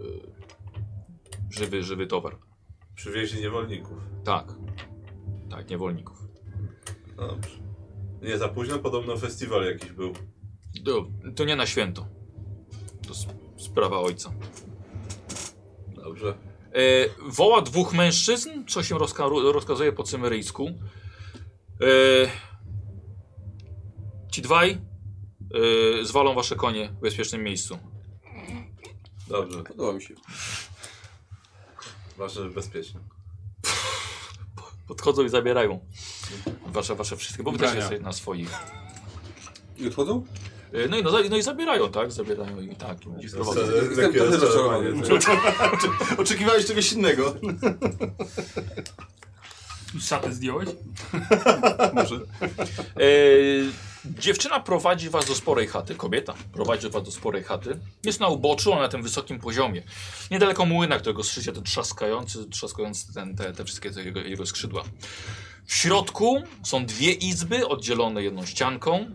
y, żywy, żywy towar. Przywieźli niewolników. Tak. Tak, niewolników. No dobrze. Nie za późno, podobno festiwal jakiś był. To, to nie na święto. To sp- sprawa ojca. Dobrze. E, woła dwóch mężczyzn, co się rozka rozkazuje po cymeryjsku. E, ci dwaj e, zwalą wasze konie w bezpiecznym miejscu. Dobrze. Podoba mi się. Ważne, że bezpiecznie. Podchodzą i zabierają wasze, wasze wszystkie, bo wy też Ubrania. jesteście na swoich. I odchodzą? E, no, i, no, za- no i zabierają, tak? Zabierają i tak. I prowadzą. Jestem- Jestem Lekkie trochę rozczarowanie. rozczarowany. Oczekiwałeś czegoś innego. Szatę zdjąłeś? Może. E, dziewczyna prowadzi was do sporej chaty, kobieta prowadzi was do sporej chaty. Jest na uboczu, ona na tym wysokim poziomie. Niedaleko młyna, którego słyszycie ten trzaskający, trzaskający ten, te, te wszystkie te jego, jego skrzydła. W środku są dwie izby oddzielone jedną ścianką. E,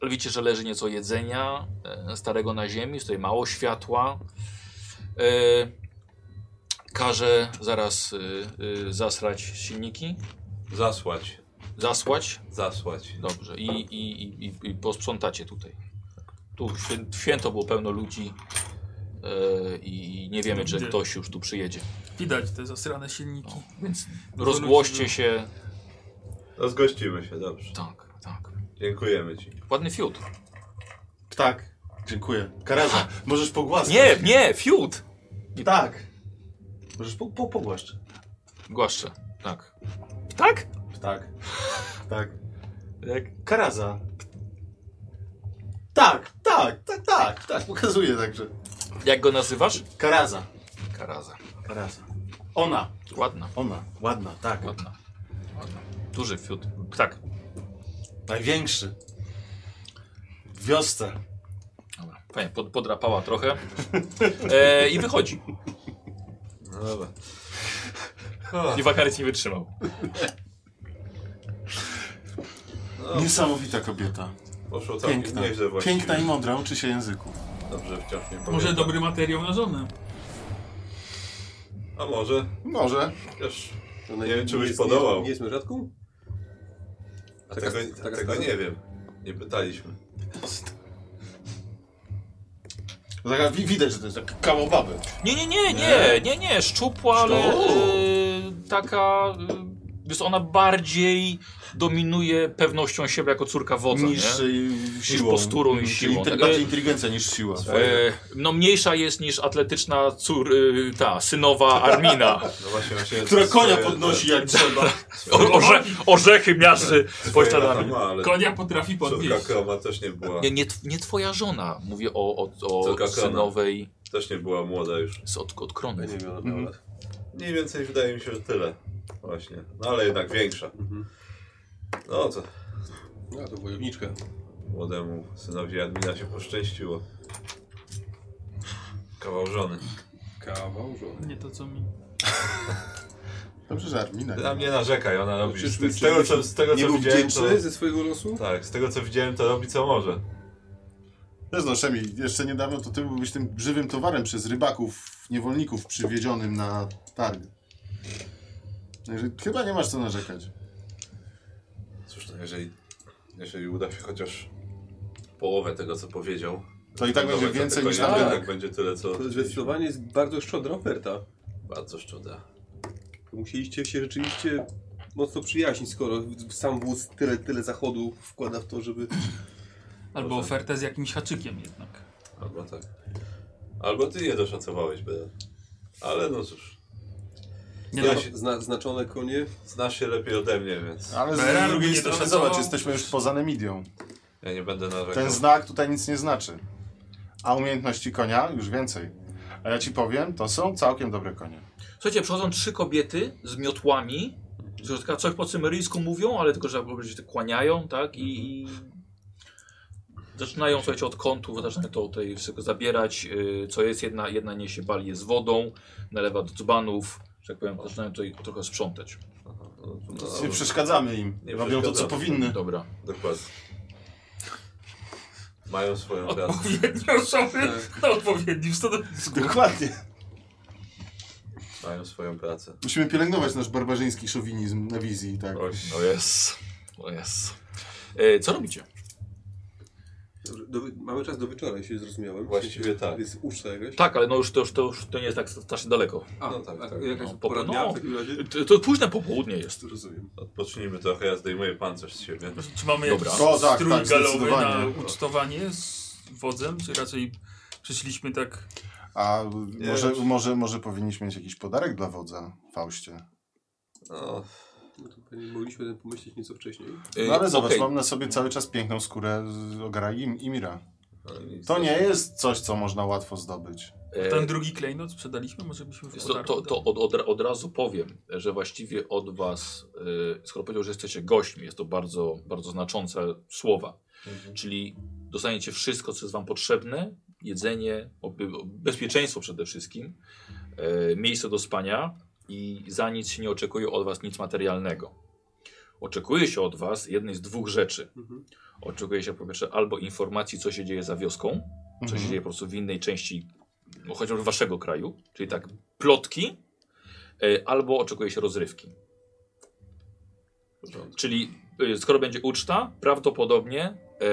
ale widzicie, że leży nieco jedzenia e, starego na ziemi, jest tutaj mało światła. E, każe zaraz e, e, zasrać silniki, Zasłać. zasłać Zasłać. Dobrze, i, i, i, i, i posprzątacie tutaj. Tu w świę- w święto było pełno ludzi e, i i nie wiemy, czy Gdzie? ktoś już tu przyjedzie. Widać te zasrane silniki. No, więc rozgłoście się. Rozgościmy się, dobrze. Tak, tak. Dziękujemy Ci. Ładny fiut. Tak. Dziękuję. Karaza, możesz pogłaskać. Nie, nie, fiut! Tak. Możesz po, po, pogłaszcz. Głaszcze, tak. Tak? Tak. Tak. Tak. Karaza. Tak, tak, tak, tak, tak. Pokazuję także. Jak go nazywasz? Karaza. Karaza. Karaza. Ona. Ładna, Ona. Ładna, tak. ładna. ładna. Duży fiut. Tak. Największy. wiosce. Dobra. Fajnie, pod, podrapała trochę e, i wychodzi. No dobra. I wakaryc nie wytrzymał. Niesamowita kobieta. Poszło całkiem Piękna. Tak, nieźle właściwie. Piękna i mądra, uczy się języku. Dobrze, wciąż nie pamiętam. Może dobry materiał na żonę. A może. Może. Chociaż To Nie wiem, czy nie byś jest- podołał. Nie jest mężatką? a Taka- tego, taka tego stara? nie wiem. Nie pytaliśmy. No Taka, wi- widać, że to jest taka kawał baby. Nie, nie, nie, nie, nie, nie, szczupła, ale e, taka... E, jest ona bardziej dominuje pewnością siebie jako córka wodza, niż nie? y, siłą. posturą i Czyli siłą. inte- Tak, bardziej e, inteligencja niż siła. E, no mniejsza jest niż atletyczna cór, e, ta, synowa Armina. No właśnie, właśnie Która konia swoje- podnosi jak trzeba. O, orze, orzechy miarzy swoje lata pośladami. ma, ale Konia potrafi Córka podnieść. Kroma też nie była. Nie, nie, tw- nie twoja żona. Mówię o, o, Córka o Krona. synowej Też nie była młoda już. no, z od, od Ja krony. nie wiem, Mhm. nawet. Mniej więcej wydaje mi się, że tyle. Właśnie. No ale jednak większa. Mhm. No to No to wojowniczka. młodemu synowi Admina się poszczęściło. Kawał żony. Kawał żony. Nie to co mi. Dobrze, że Armina. Dla mnie narzekaj, ona robi. czyż Z, mi- z tego co, z tego, Nie co był widziałem, to, wdzięczny ze swojego losu? Tak, z tego co widziałem, to robi co może. Też no, Szemi, jeszcze niedawno to ty byłbyś tym żywym towarem przez rybaków, niewolników przywiedzionym na targ. Także chyba nie masz co narzekać. Cóż, no jeżeli, jeżeli uda się chociaż połowę tego, co powiedział, To i tak Dobra, będzie to więcej tylko niż ja, na tak. targ. tak będzie tyle, co. To zdecydowanie jest bardzo szczodra oferta. Bardzo szczuda. To Musieliście się rzeczywiście mocno przyjaźnić, skoro w- sam wóz tyle, tyle zachodu wkłada w to, żeby... Albo Może. ofertę z jakimś haczykiem jednak. Albo tak. Albo ty je doszacowałeś, Beda. Ale no cóż, Nie Ja da się. Zna, znaczone konie. znasz się lepiej ode mnie, więc Ale Beran z drugiej nie strony doszacował. zobacz, jesteśmy już poza Nemidią. ja nie będę narzekał. Ten znak tutaj nic nie znaczy. A umiejętności konia już więcej. A ja ci powiem, to są całkiem dobre konie. Słuchajcie, przychodzą trzy kobiety z miotłami. że taka Coś po cymeryjsku mówią, ale tylko, że po prostu się kłaniają, tak? I, i zaczynają, słuchajcie, od kątu, bo zaczynają to tutaj wszystko zabierać. y, Co jest, jedna, jedna niesie balię z wodą, nalewa do dzbanów, że tak powiem, zaczynają tutaj trochę sprzątać. Aha, no, no, nie przeszkadzamy im. Nie Robią to, co przeszkadzamy. powinny. Dobra. dokładnie. Mają swoją rację. Odpowiednie osoby Tak. na odpowiednim stanowisku. Dokładnie. Mają swoją pracę. Musimy pielęgnować nasz barbarzyński szowinizm na wizji, tak. Oj, O jest. O jest. E, co robicie? Dobrze, Do, mamy czas do wieczora, jeśli zrozumiałem. Właściwie tak. Jest uczta jakaś. Tak, ale no już to, już, to, już to nie jest tak strasznie daleko. A, No tak, a tak. jakaś No, po- pora dnia no. w takim razie? To, to późne popołudnie jest. Y, Rozumiem. odpocznijmy trochę, ja zdejmuję pancerz z siebie. Czy mamy Dobra. jakiś O, tak, strój tak, galowy na zdecydowanie. ucztowanie z wodzem? Czy raczej przyszliśmy tak... A może, raczej. może, może powinniśmy mieć jakiś podarek dla wodza, Fauście. No, No to pewnie mogliśmy o tym pomyśleć nieco wcześniej. E, No ale zobacz, okej. mam na sobie cały czas piękną skórę z ogara Im Imira. no nic. To nie jest coś, co można łatwo zdobyć. E, Ten drugi klejnot sprzedaliśmy? Może byśmy w Wiesz co, podarku to, to dali? od, od, od razu powiem, że właściwie od was, y, skoro powiedział, że jesteście gośćmi, jest to bardzo, bardzo znaczące słowa. Mhm. Czyli dostaniecie wszystko, co jest wam potrzebne, jedzenie, oby- bezpieczeństwo przede wszystkim, y, miejsce do spania i za nic się nie oczekuje od was nic materialnego. Oczekuje się od was jednej z dwóch rzeczy. Mhm. Oczekuje się po pierwsze albo informacji, co się dzieje za wioską, co Mhm. się dzieje po prostu w innej części no, chociażby waszego kraju, czyli tak plotki, e, albo oczekuje się rozrywki. Czyli e, skoro będzie uczta, prawdopodobnie e,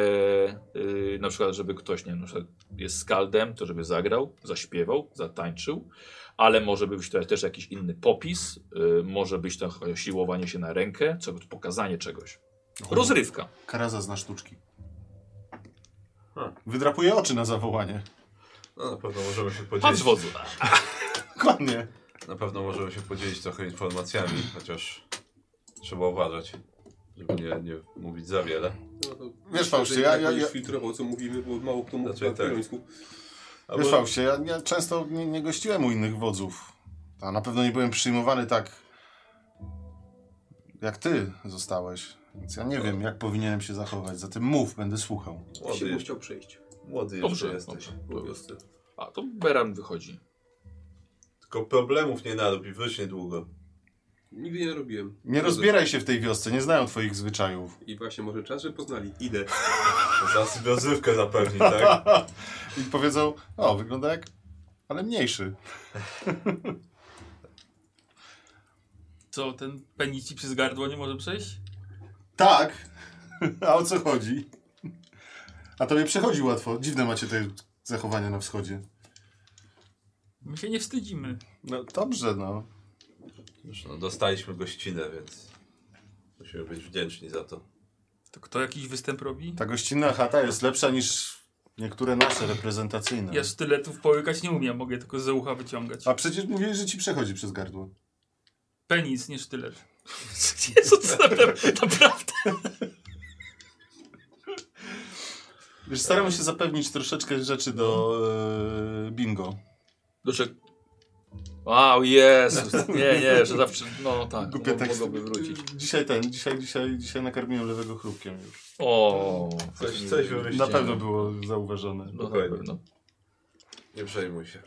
e, na przykład, żeby ktoś, nie wiem, na przykład jest skaldem, to żeby zagrał, zaśpiewał, zatańczył, ale może być to też jakiś inny popis, e, może być to siłowanie się na rękę, co, pokazanie czegoś. Rozrywka. Karaza zna sztuczki. Ha. Wydrapuje oczy na zawołanie. No, na pewno możemy się Patrz podzielić. wodzu. Dokładnie. Na pewno możemy się podzielić trochę informacjami, chociaż trzeba uważać, żeby nie, nie mówić za wiele. No to Wiesz, myślę, Fauście, że ja- jednak ja- będziesz ja- filtrował, co mówimy, bo mało kto mówi Znaczy, po tak. angielsku. Albo- Wiesz, Fauście, ja, ja często nie, nie gościłem u innych wodzów. A na pewno nie byłem przyjmowany tak, jak ty zostałeś. Więc ja nie wiem, jak powinienem się zachować. Zatem mów, będę słuchał. Młody. się Młody, bym chciał przyjść młody jeszcze Dobrze, jesteś. po wiosce. A to Beran wychodzi. Tylko problemów nie narób i wyjdź niedługo. Nigdy nie robiłem. Nie rozbieraj się w tej wiosce, nie znają twoich zwyczajów. I właśnie może czas, żeby poznali. Idę. Za sobie rozrywkę zapewni, tak? I powiedzą, o, wygląda jak... ale mniejszy. Co, ten penis ci przez gardło nie może przejść? Tak! A o co chodzi? A tobie przechodzi łatwo. Dziwne macie te zachowania na wschodzie. My się nie wstydzimy. No dobrze, no. Już, no, dostaliśmy gościnę, więc musimy być wdzięczni za to. To kto jakiś występ Tak. robi? Ta gościnna chata jest lepsza niż niektóre nasze reprezentacyjne. Ja sztyletów połykać nie umiem, mogę tylko z ucha wyciągać. A przecież mówiłeś, że ci przechodzi przez gardło. Penis, nie sztylet. Jezu, co naprawdę, naprawdę. Wiesz, staram się zapewnić troszeczkę rzeczy do e, bingo. Do czego? Wow, Jezus. Nie, nie, że zawsze. No tak, Głupie mo- teksty. mogłoby wrócić. Dzisiaj ten, dzisiaj, dzisiaj, dzisiaj nakarmiłem lewego chrupkiem już. O, Coś, coś Na wymyślimy. pewno było zauważone. No, na pewno. Nie przejmuj się.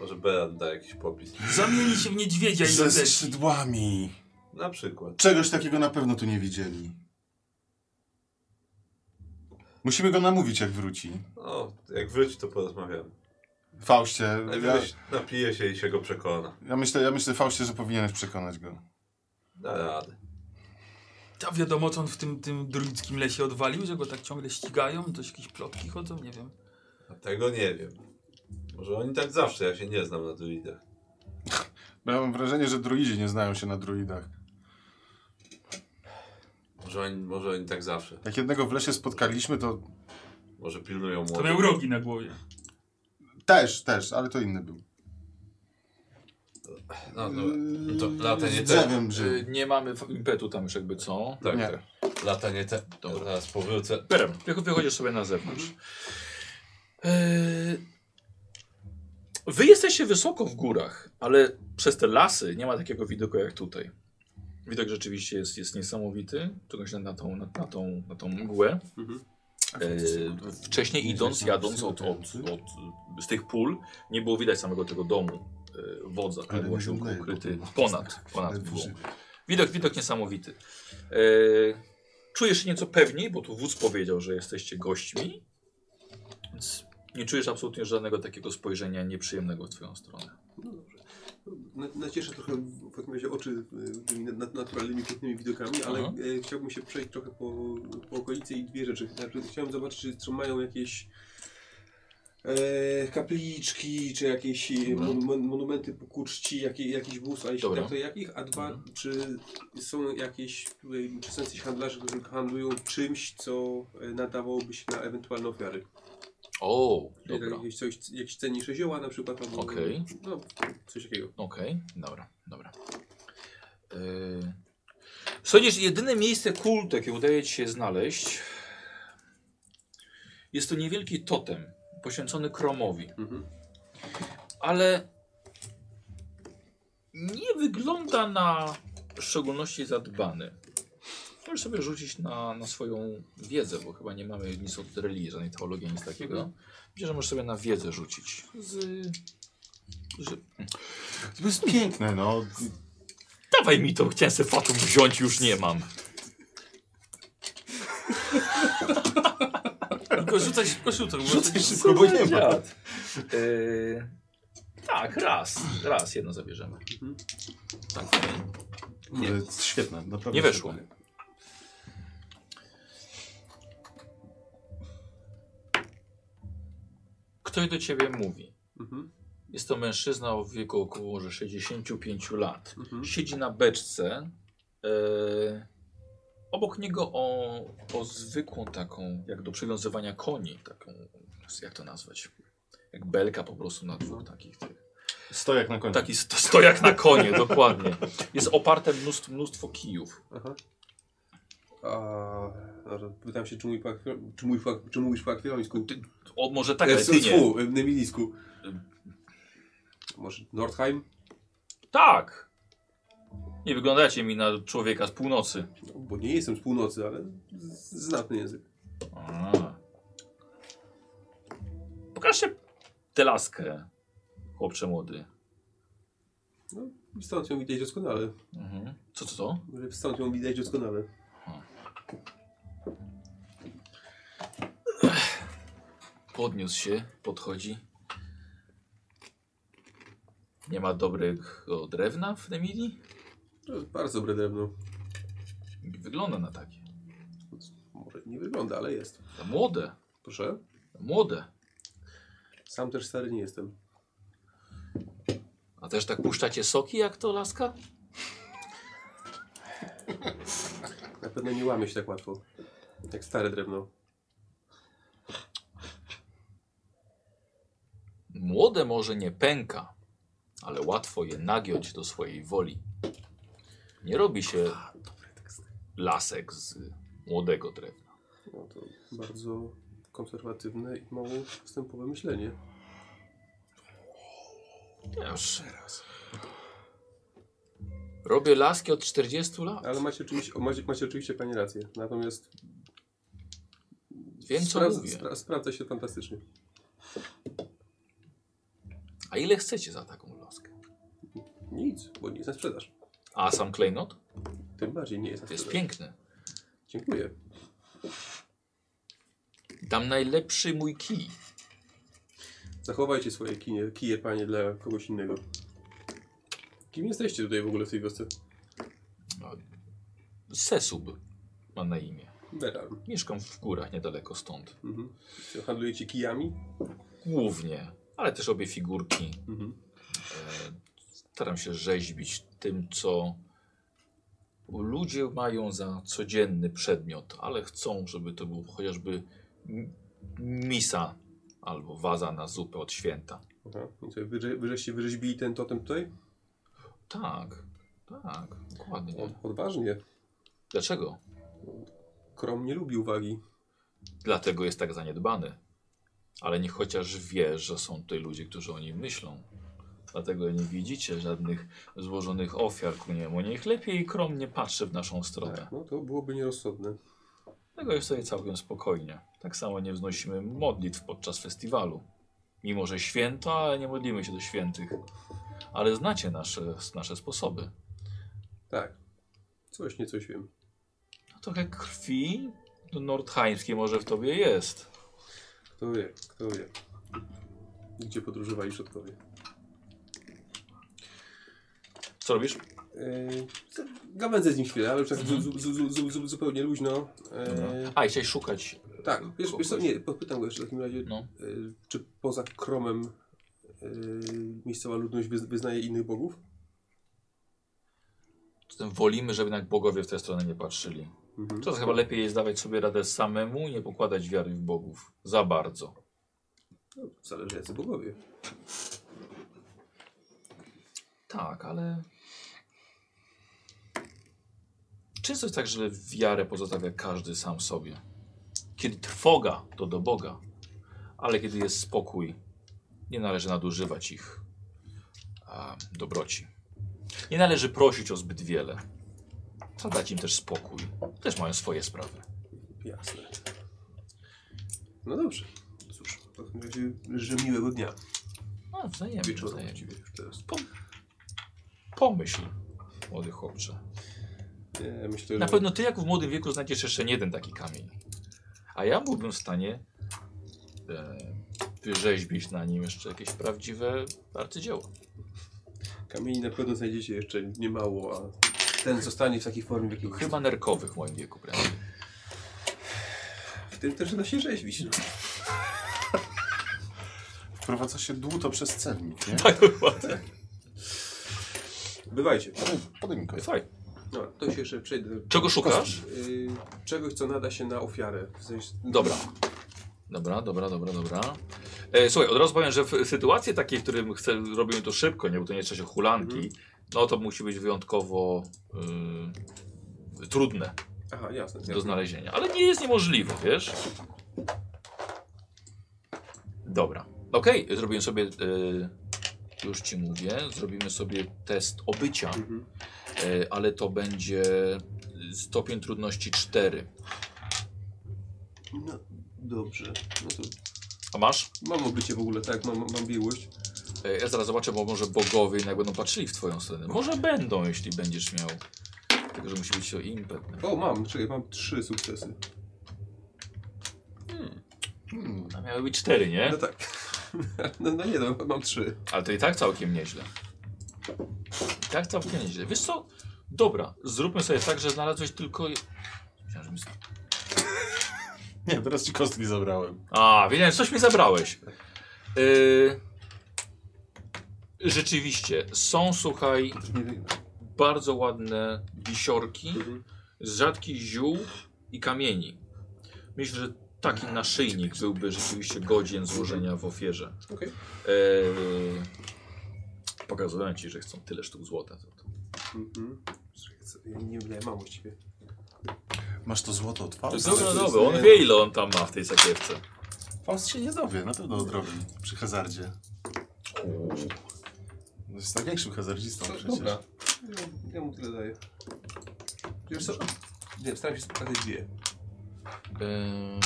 Może Beran da jakiś popis. Zamieni się w niedźwiedzia i Ze też. skrzydłami. Na przykład. Czegoś takiego na pewno tu nie widzieli. Musimy go namówić, jak wróci. No, jak wróci, to porozmawiamy. Fauście, ja, Najwyżej napije się i się go przekona. ja myślę, ja myślę, Fauście, że powinieneś przekonać go. Da radę. A wiadomo, co on w tym, tym druidzkim lesie odwalił, że go tak ciągle ścigają, to jakieś plotki chodzą, nie wiem. A Tego nie wiem. Może oni tak zawsze, ja się nie znam na druidach. Bo ja mam wrażenie, że druidzi nie znają się na druidach. Może oni, może oni tak zawsze. Jak jednego w lesie spotkaliśmy, to Może pilnują To młodych. miał rogi na głowie. też, też, ale to inny był. No, no, no to lata nie Z te. Yy, drzewem żył. Y, Nie mamy f- impetu tam już jakby co. Tak, Nie. tak. Lata nie te. Dobra. Dobra. Zaraz powrócę. Berem, wy- wychodzisz sobie na zewnątrz. Mhm. Eee, Wy jesteście wysoko w górach, ale przez te lasy nie ma takiego widoku jak tutaj. Widok rzeczywiście jest, jest niesamowity, czegoś na, na, tą, na, na, tą, na tą mgłę. Mhm. Eee, wcześniej idąc, jadąc od, od, od, z tych pól, nie było widać samego tego domu eee, wodza, który był się ukryty ponad, Tak, ponad mgłą. Widok, widok niesamowity. E, czujesz się nieco pewniej, bo tu wódz powiedział, że jesteście gośćmi. Więc nie czujesz absolutnie żadnego takiego spojrzenia nieprzyjemnego w twoją stronę. No dobrze. Na- Nacieszę trochę w- powiedzmy razie oczy y, tymi na- nat- naturalnymi, pięknymi widokami, ale Aha. e, chciałbym się przejść trochę po, po okolicy i dwie rzeczy. Znaczy, chciałem zobaczyć, czy, czy mają jakieś e, kapliczki, czy jakieś e, Dobra. mon, mon, monumenty ku czci, jakie, jakiś wóz, a jeśli Dobra. Mhm. tak, to jakich? A dwa, czy są jakieś, tutaj, czy są jacyś handlarze, którzy handlują czymś, co e, nadawałoby się na ewentualne ofiary? O, Czyli tak, dobra. jakieś, coś, jakieś cenniejsze zioła na przykład, albo Okej. no, coś takiego. Okej, dobra, dobra. E, Sądzisz, jedyne miejsce kultu, jakie udaje ci się znaleźć, jest to niewielki totem poświęcony Kromowi. Mhm. ale nie wygląda na w szczególności zadbany. Możesz sobie rzucić na, na swoją wiedzę, bo chyba nie mamy nic od religii, żadnej teologii, nic takiego. Myślę, że możesz sobie na wiedzę rzucić. Z... Że... To jest piękne, no. Dawaj mi to, chciałem sobie fatum wziąć, już nie mam. Tylko rzucaj szybko, rzucaj. Rzucaj szybko, bo nie ma. Dziad. Y, tak, raz, raz jedno zabierzemy. Tak, Kurde, jest świetne, naprawdę. nie weszło. świetne. Ktoś do ciebie mówi. Mhm. Jest to mężczyzna o wieku około może 65 lat. Mhm. Siedzi na beczce. E, obok niego o, o zwykłą taką, jak do przywiązywania koni, taką, jak to nazwać? Jak belka po prostu na dwóch takich tych. Stojak na końcu. Taki sto, stojak na konie, dokładnie. Jest oparte mnóstwo, mnóstwo kijów. Aha. A, dobra, pytam się, czy mój, pakwior, czy mój fak, czy mówisz po akwiońsku? Ty- O, może tak, ale E, ty nie. fu, e, Nemilisku. Może Nordheim? Tak. Nie wyglądacie mi na człowieka z północy. No, Bo nie jestem z północy, ale z- znam ten język. A. Pokażcie tę laskę, chłopcze młody. Stąd ją widać doskonale. Mhm. Co, co, co? Że Stąd ją widać doskonale. Podniósł się, podchodzi. Nie ma dobrego drewna w Nemili? To jest bardzo dobre drewno. Nie wygląda na takie. Może nie wygląda, ale jest. To Młode, Proszę. to młode. Sam też stary nie jestem. A też tak puszczacie soki jak to laska? Na pewno nie łamie się tak łatwo. Jak stare drewno. Młode może nie pęka, ale łatwo je nagiąć do swojej woli. Nie robi się lasek z młodego drewna. No to bardzo konserwatywne i mało wstępowe myślenie. Ja Już raz. Robię laski od 40 lat. Ale macie oczywiście, o, macie, macie oczywiście Pani rację. Natomiast Wiem, co sprawdza, mówię. spra- sprawdza się fantastycznie. A ile chcecie za taką laskę? Nic, bo nie jest na sprzedaż. A sam klejnot? Tym bardziej nie jest na To jest sprzedaż. piękny. Dziękuję. Dam najlepszy mój kij. Zachowajcie swoje kinie, kije, panie, dla kogoś innego. Kim jesteście tutaj w ogóle w tej wiosce? Sesub mam na imię. Beran. Mieszkam w górach niedaleko stąd. Mhm. Co, Handlujecie kijami? Głównie, ale też obie figurki. Mhm. E, Staram się rzeźbić tym, co ludzie mają za codzienny przedmiot, ale chcą, żeby to był chociażby m- misa albo waza na zupę od święta. Aha. I co, wyrze, wyrzeście wyrzeźbili ten totem tutaj? Tak, tak, dokładnie. O, odważnie. Dlaczego? Krom nie lubi uwagi. Dlatego jest tak zaniedbany. Ale niech chociaż wie, że są tutaj ludzie, którzy o nim myślą. Dlatego nie widzicie żadnych złożonych ofiar ku niemu. Niech lepiej kromnie patrzy w naszą stronę. No to byłoby nierozsądne. Tego jest sobie całkiem spokojnie. Tak samo nie wznosimy modlitw podczas festiwalu. Mimo, że święto, ale nie modlimy się do świętych. Ale znacie nasze, nasze sposoby. Tak. Coś niecoś wiem. A No trochę krwi nordhańskiej może w tobie jest. Kto wie, kto wie. Gdzie podróżowali przodkowie? Co robisz? Yy, gawędzę z nim chwilę, ale już tak zu, zu, zu, zu, zu, zupełnie luźno. Yy, A, i chciałeś szukać. tak, wiesz, wiesz co, nie, podpytam go jeszcze w takim razie, No. yy, czy poza Kromem yy, miejscowa ludność wyz, wyznaje innych bogów? Zatem wolimy, żeby jednak bogowie w tę stronę nie patrzyli. Mhm. To chyba lepiej jest dawać sobie radę samemu, nie pokładać wiary w bogów. Za bardzo. No, zależy jacy bogowie. Tak, ale... Często jest tak, że wiarę pozostawia każdy sam sobie. Kiedy trwoga, to do Boga. Ale kiedy jest spokój, nie należy nadużywać ich a, dobroci. Nie należy prosić o zbyt wiele. Trzeba dać im też spokój. Też mają swoje sprawy. Jasne. No dobrze. Cóż, w takim razie życzę miłego dnia. No, wzajemnie, Wieczór wzajemnie. właściwie już teraz. Pomyśl, młody chłopcze. Nie, Yy, myślę, że... Na pewno ty, jak w młodym wieku, znajdziesz jeszcze nie jeden taki kamień. A ja byłbym w stanie e, wyrzeźbić na nim jeszcze jakieś prawdziwe arcydzieło. Kamieni na pewno znajdziecie jeszcze niemało, a ten zostanie w takiej formie, w jakiej chyba. Chyba nerkowych w moim wieku, prawda? W tym też da się rzeźbić. No. Wprowadza się dłuto przez cewnik, nie? Tak, dokładnie. Bywajcie. Podaj mi kogoś. Fajnie. No, to się jeszcze przejdę. Czego szukasz? Yy, czegoś, co nada się na ofiarę. W sensie... Dobra. Dobra, dobra, dobra, dobra. E, słuchaj, od razu powiem, że w w sytuacji takiej, w którym chcę, robimy to szybko, nie, bo to nie trzeba się hulanki, Mhm. no to musi być wyjątkowo y, trudne Aha, jasne. do jasne. znalezienia. Ale nie jest niemożliwe, wiesz? Dobra. Okej, e, zrobiłem sobie. y, już ci mówię, zrobimy sobie test obycia. Mhm. E, ale to będzie stopień trudności 4. No, dobrze. No to A masz? mam obycie w ogóle, tak, mam, mam biłość. E, ja zaraz zobaczę, bo może bogowie jednak będą patrzyli w twoją stronę. Może będą, jeśli będziesz miał. Tylko, że musi być to impet. O, mam, czekaj, mam trzy sukcesy. A miały być 4, nie? No tak. No, no nie, no, mam trzy. Ale to i tak całkiem nieźle. I tak całkiem nieźle. Wiesz co? Dobra, zróbmy sobie tak, że znalazłeś tylko... je- Myślałem, że mi z- Nie, teraz ci kostki zabrałem. A, wiedziałem, coś mi zabrałeś. Yy... Rzeczywiście, są, słuchaj, Nie wiem. bardzo ładne wisiorki z rzadkich ziół i kamieni. Myślę, że taki naszyjnik byłby rzeczywiście godzien złożenia w ofierze. Okej. Eee, pokazałem ci, że chcą tyle sztuk złota. za to. Mhm. Czekaj, co- ja Nie wiem, mam właściwie. Masz to złoto od Fausta? Dobra, jest- dobra, on wie ile on tam ma w tej sakiewce. Faust się nie dowie, na pewno odrobi przy hazardzie. No Jest największym hazardzistą No, przecież. Dobra. Ja, ja mu tyle daję. Wiesz co? Nie, staram się spotkać dwie. Eee,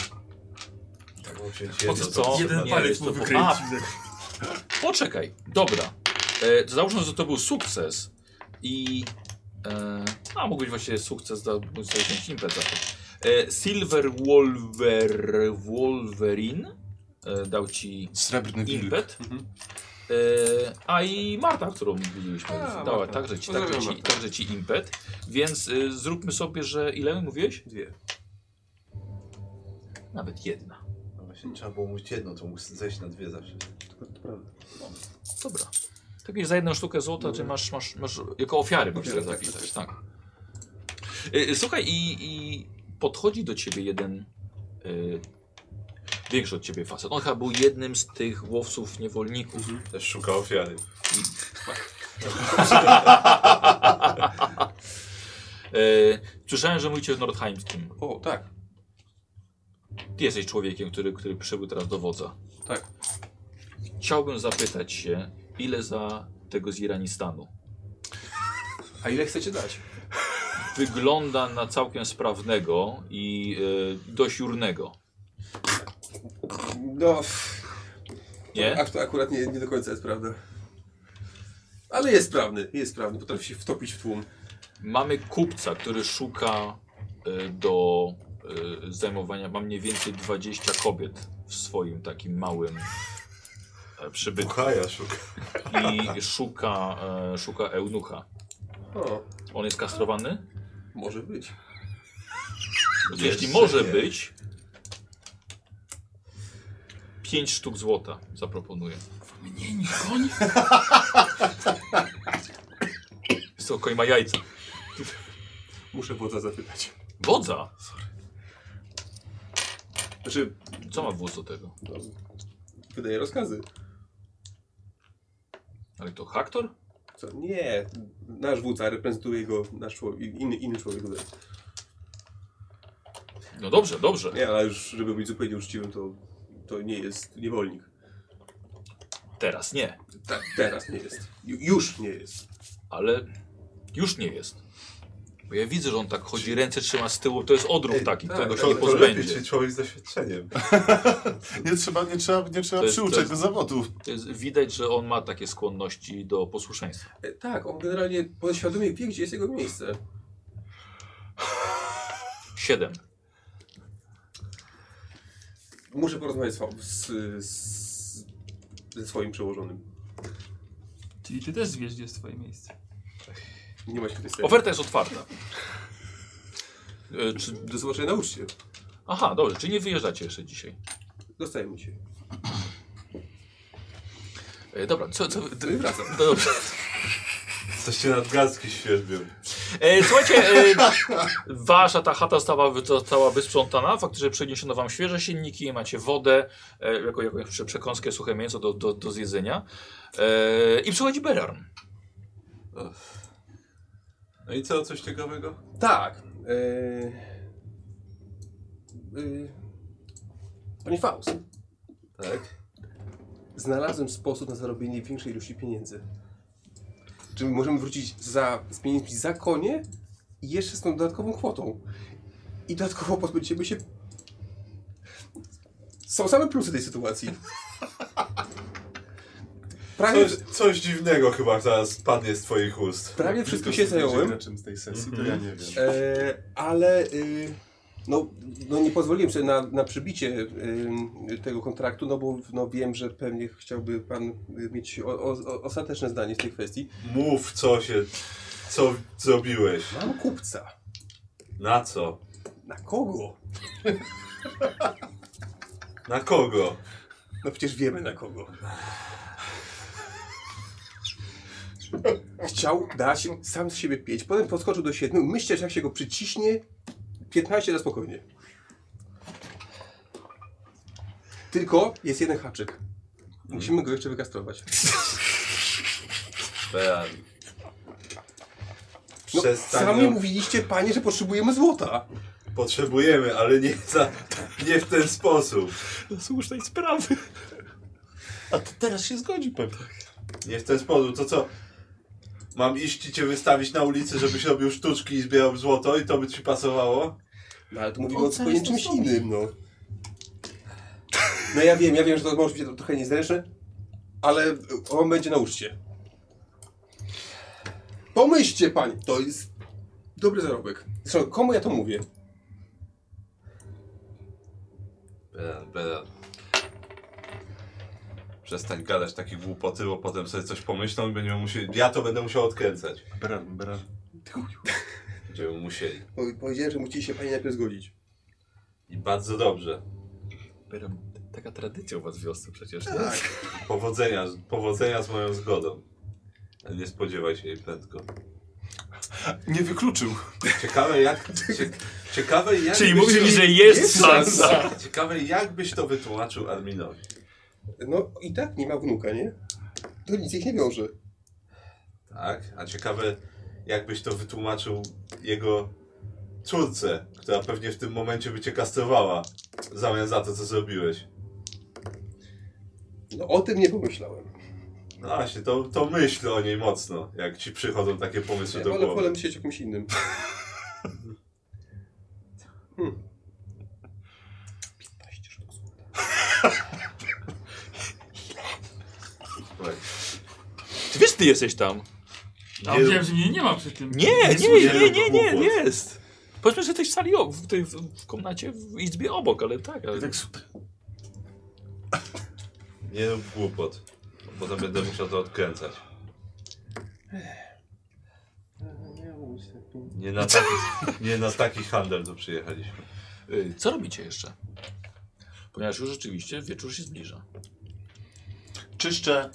Tak, bo się Po jedno, co? to Jeden nie, palec jest mu to po- wykręcił. Poczekaj, dobra. E, to załóżmy, że to był sukces i... E, a, mógł być właśnie sukces, da mógł sobie wziąć impet za to. E, Silver Wolver, Wolverine e, dał ci Srebrny wilk. impet. Mhm. E, a i Marta, którą widzieliśmy, A, dała Marta. także ci, także, Pozdrawiam ci, Martę. także ci impet. Więc e, zróbmy sobie, że ile mówiłeś? Dwie. Nawet jedna. No właśnie, trzeba było mówić jedno, to mógł zejść na dwie zawsze. To, to prawda. Dobra. Tak jest za jedną sztukę złota, czy masz, masz, masz jako ofiary masz Ofiary, teraz tak, zapisać, tak. Y, y, Słuchaj, i, i podchodzi do ciebie jeden y, większy od ciebie facet. On chyba był jednym z tych łowców niewolników. Też szuka ofiary. Y, słyszałem, że mówicie w Nordheimskim. O, tak, Ty jesteś człowiekiem, który, który przybył teraz do wodza. tak. Chciałbym zapytać się, ile za tego z Iranistanu? A ile chcecie dać? Wygląda na całkiem sprawnego i y, dość jurnego. No, pff, Nie? ak- akurat nie, nie do końca jest prawda. Ale jest sprawny, jest sprawny, potrafi się wtopić w tłum. Mamy kupca, który szuka y, do y, zajmowania, ma mniej więcej 20 kobiet w swoim takim małym e, przybytku Buchaja szuka. i szuka, e, szuka eunucha. O, On jest kastrowany? może być. To Jeszcze Jeśli może nie. być, 5 sztuk złota zaproponuję. Mniej niż koń? Jest to koń ma jajca. Muszę wodza zapytać. Wodza? Znaczy, Co ma wóz do tego? no, wydaje rozkazy. Ale to Haktor? Co? Nie, nasz wódca reprezentuje go nasz człowiek, inny, inny człowiek. tutaj. No dobrze, dobrze. Nie, ale już, żeby być zupełnie uczciwym, to, to nie jest niewolnik. Teraz nie, Tak, teraz nie jest. Ju- Już nie jest. ale już nie jest. Bo ja widzę, że on tak chodzi, ręce trzyma z tyłu, to jest odruch taki, tak, którego tak, się nie to- to pozbędzie. się człowiek z doświadczeniem. Nie trzeba, nie trzeba, nie trzeba To jest- przyuczać to jest- do zawodu. To jest, widać, że on ma takie skłonności do posłuszeństwa. E, Tak, on generalnie podświadomie wie, gdzie jest jego miejsce. Siedem. Muszę porozmawiać z, fa- z, z, ze swoim przełożonym. Czyli ty też wiesz, gdzie jest twoje miejsce. Nie ma się tej serii. Oferta jest otwarta. E, czy, Do zobaczenia na uczcie. aha, dobrze, czy nie wyjeżdżacie jeszcze dzisiaj? Dostajemy się. E, dobra, co... co No i wracam. no dobrze. Coś się nadgarstki świeżbią. E, słuchajcie, e, wasza ta chata została, wy- została wysprzątana, faktycznie przeniesiono wam świeże silniki, macie wodę, e, jako, jako prze- przekąskę, suche mięso do, do, do zjedzenia. E, I przychodzi Berarm. No i co, coś ciekawego? Tak. E, e, panie Faust, Tak. znalazłem sposób na zarobienie większej ilości pieniędzy. Czy możemy wrócić za, z pieniędzmi za konie i jeszcze z tą dodatkową kwotą. I dodatkowo pozbyliśmy się... Są same plusy tej sytuacji. Prawie, Coś, coś dziwnego chyba zaraz padnie z twoich ust. prawie wszystko się zająłem. Czym z tej sesji, to ja nie Mhm. wiem. E, ale y, no, no nie pozwoliłem sobie na, na przybicie y, tego kontraktu, no bo no wiem, że pewnie chciałby pan y, mieć o, o, o, ostateczne zdanie w tej kwestii. Mów co się... Co zrobiłeś? Mam kupca. Na co? Na kogo? Na kogo? No przecież wiemy na kogo. Chciał dać sam z siebie 5, potem podskoczył do 7. Myślę, że jak się go przyciśnie, 15 na spokojnie. Tylko jest jeden haczyk. Musimy go jeszcze wykastrować. Beran. No, Przestań sami nam- mówiliście, panie, że potrzebujemy złota. Potrzebujemy, ale nie, za, nie w ten sposób. Do słusznej sprawy. A to teraz się zgodzi pewnie. Nie w ten sposób. To co? Mam iść i cię wystawić na ulicy, żebyś robił sztuczki i zbierał złoto i to by ci pasowało? No ale to o mówimy o co zupełnie jest to czymś zrobić? innym, no. No ja wiem, ja wiem, że to może być trochę niezręczne, ale on będzie na uczcie. Pomyślcie, panie, to jest dobry zarobek. Zresztą, komu ja to mówię? Beran, Beran. Przestań gadać takie głupoty, bo potem sobie coś pomyślą i będziemy musieli... Ja to będę musiał odkręcać. Bram, bram. Będziemy musieli. Bo Powiedziałem, że musicie się panie najpierw zgodzić. I bardzo dobrze. Byram, Taka tradycja u was w wiosce przecież. Powodzenia, powodzenia z moją zgodą. Ale Nie spodziewaj się jej prędko. Nie wykluczył. Ciekawe jak... Cie, ciekawe jak... Czyli byś mówi to- mi, że jest szansa. Ciekawe jak byś to wytłumaczył Arminowi. No i tak nie ma wnuka, nie? To nic ich nie wiąże. Tak? A ciekawe, jakbyś to wytłumaczył jego córce, która pewnie w tym momencie by cię kastrowała w zamian za to, co zrobiłeś. No o tym nie pomyślałem. No właśnie, to, to myśl o niej mocno, jak ci przychodzą takie pomysły Ja do wolę, wolę głowy. myśleć o kimś innym. Hmm. 15 sztuk złota. Tak. Ty wiesz, ty jesteś tam. A Nie- wiem, że mnie No, nie ma przy tym. Nie, nie, słyszałem nie, nie, nie, głupot. jest. Powiedzmy, że jesteś w sali, o- w, tej, w, w komnacie, w izbie obok, ale tak. Ale... Tak super. Nie rób głupot, bo potem będę musiał to odkręcać. Nie na taki, nie na taki handel tu przyjechaliśmy. Y, Co robicie jeszcze? Ponieważ już rzeczywiście wieczór się zbliża. Czyszczę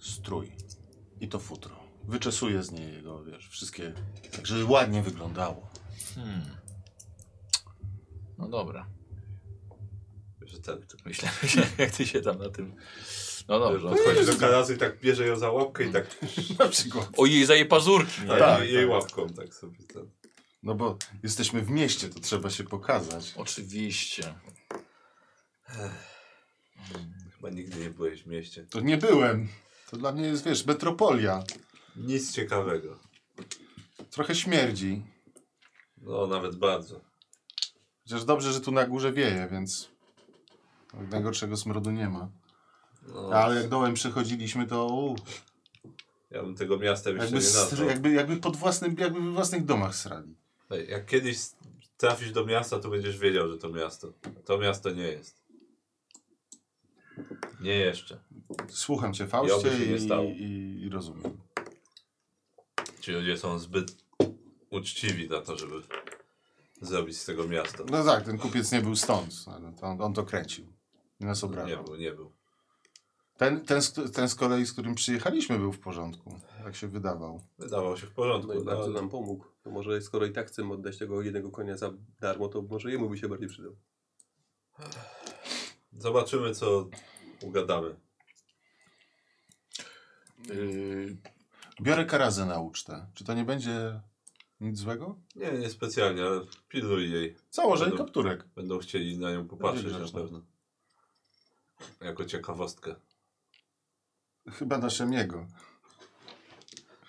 strój. I to futro. Wyczesuję z niej jego, wiesz, wszystkie... Tak, żeby ładnie wyglądało. Hmm. No dobra. Że ten Myślę, że jak ty się tam na tym... No dobrze. odchodzi do karazy i tak bierze ją za łapkę i tak Na przykład. O jej za jej pazurki. tak, tak, jej tak. łapką tak sobie ten. No bo jesteśmy w mieście, to trzeba się pokazać. Oczywiście. Chyba nigdy nie byłeś w mieście. To nie byłem. To dla mnie jest, wiesz, metropolia. Nic ciekawego. Trochę śmierdzi. No, nawet bardzo. Chociaż dobrze, że tu na górze wieje, więc najgorszego smrodu nie ma. No, Ale jak dołem przechodziliśmy, to u, Ja bym tego miasta jeszcze jakby, nie str- nazwał. Jak... jakby, jakby pod własnym, jakby we własnych domach srali. jak kiedyś trafisz do miasta, to będziesz wiedział, że to miasto. To miasto nie jest. Nie jeszcze. Słucham cię, Faustie, I oby się nie i, stało. i, i rozumiem. Ci ludzie są zbyt uczciwi na to, żeby zrobić z tego miasta. No tak, ten kupiec nie był stąd, ale to on, on to kręcił. I nas No Nie obrażał. był, nie był. Ten, ten, z- ten z kolei, z którym przyjechaliśmy, był w porządku. Tak się wydawał. Wydawał się w No porządku. i No, bardzo nam pomógł. To może skoro i tak chcemy oddać tego jednego konia za darmo, to może jemu by się bardziej przydał. Zobaczymy, co ugadamy. Y, Biorę karazę na ucztę. Czy to nie będzie nic złego? Nie, nie specjalnie, ale pilnuj jej. Założę jej Będą- kapturek. Będą chcieli na nią popatrzeć Będzie na grzeczna. pewno. Jako ciekawostkę. Chyba na Szemiego.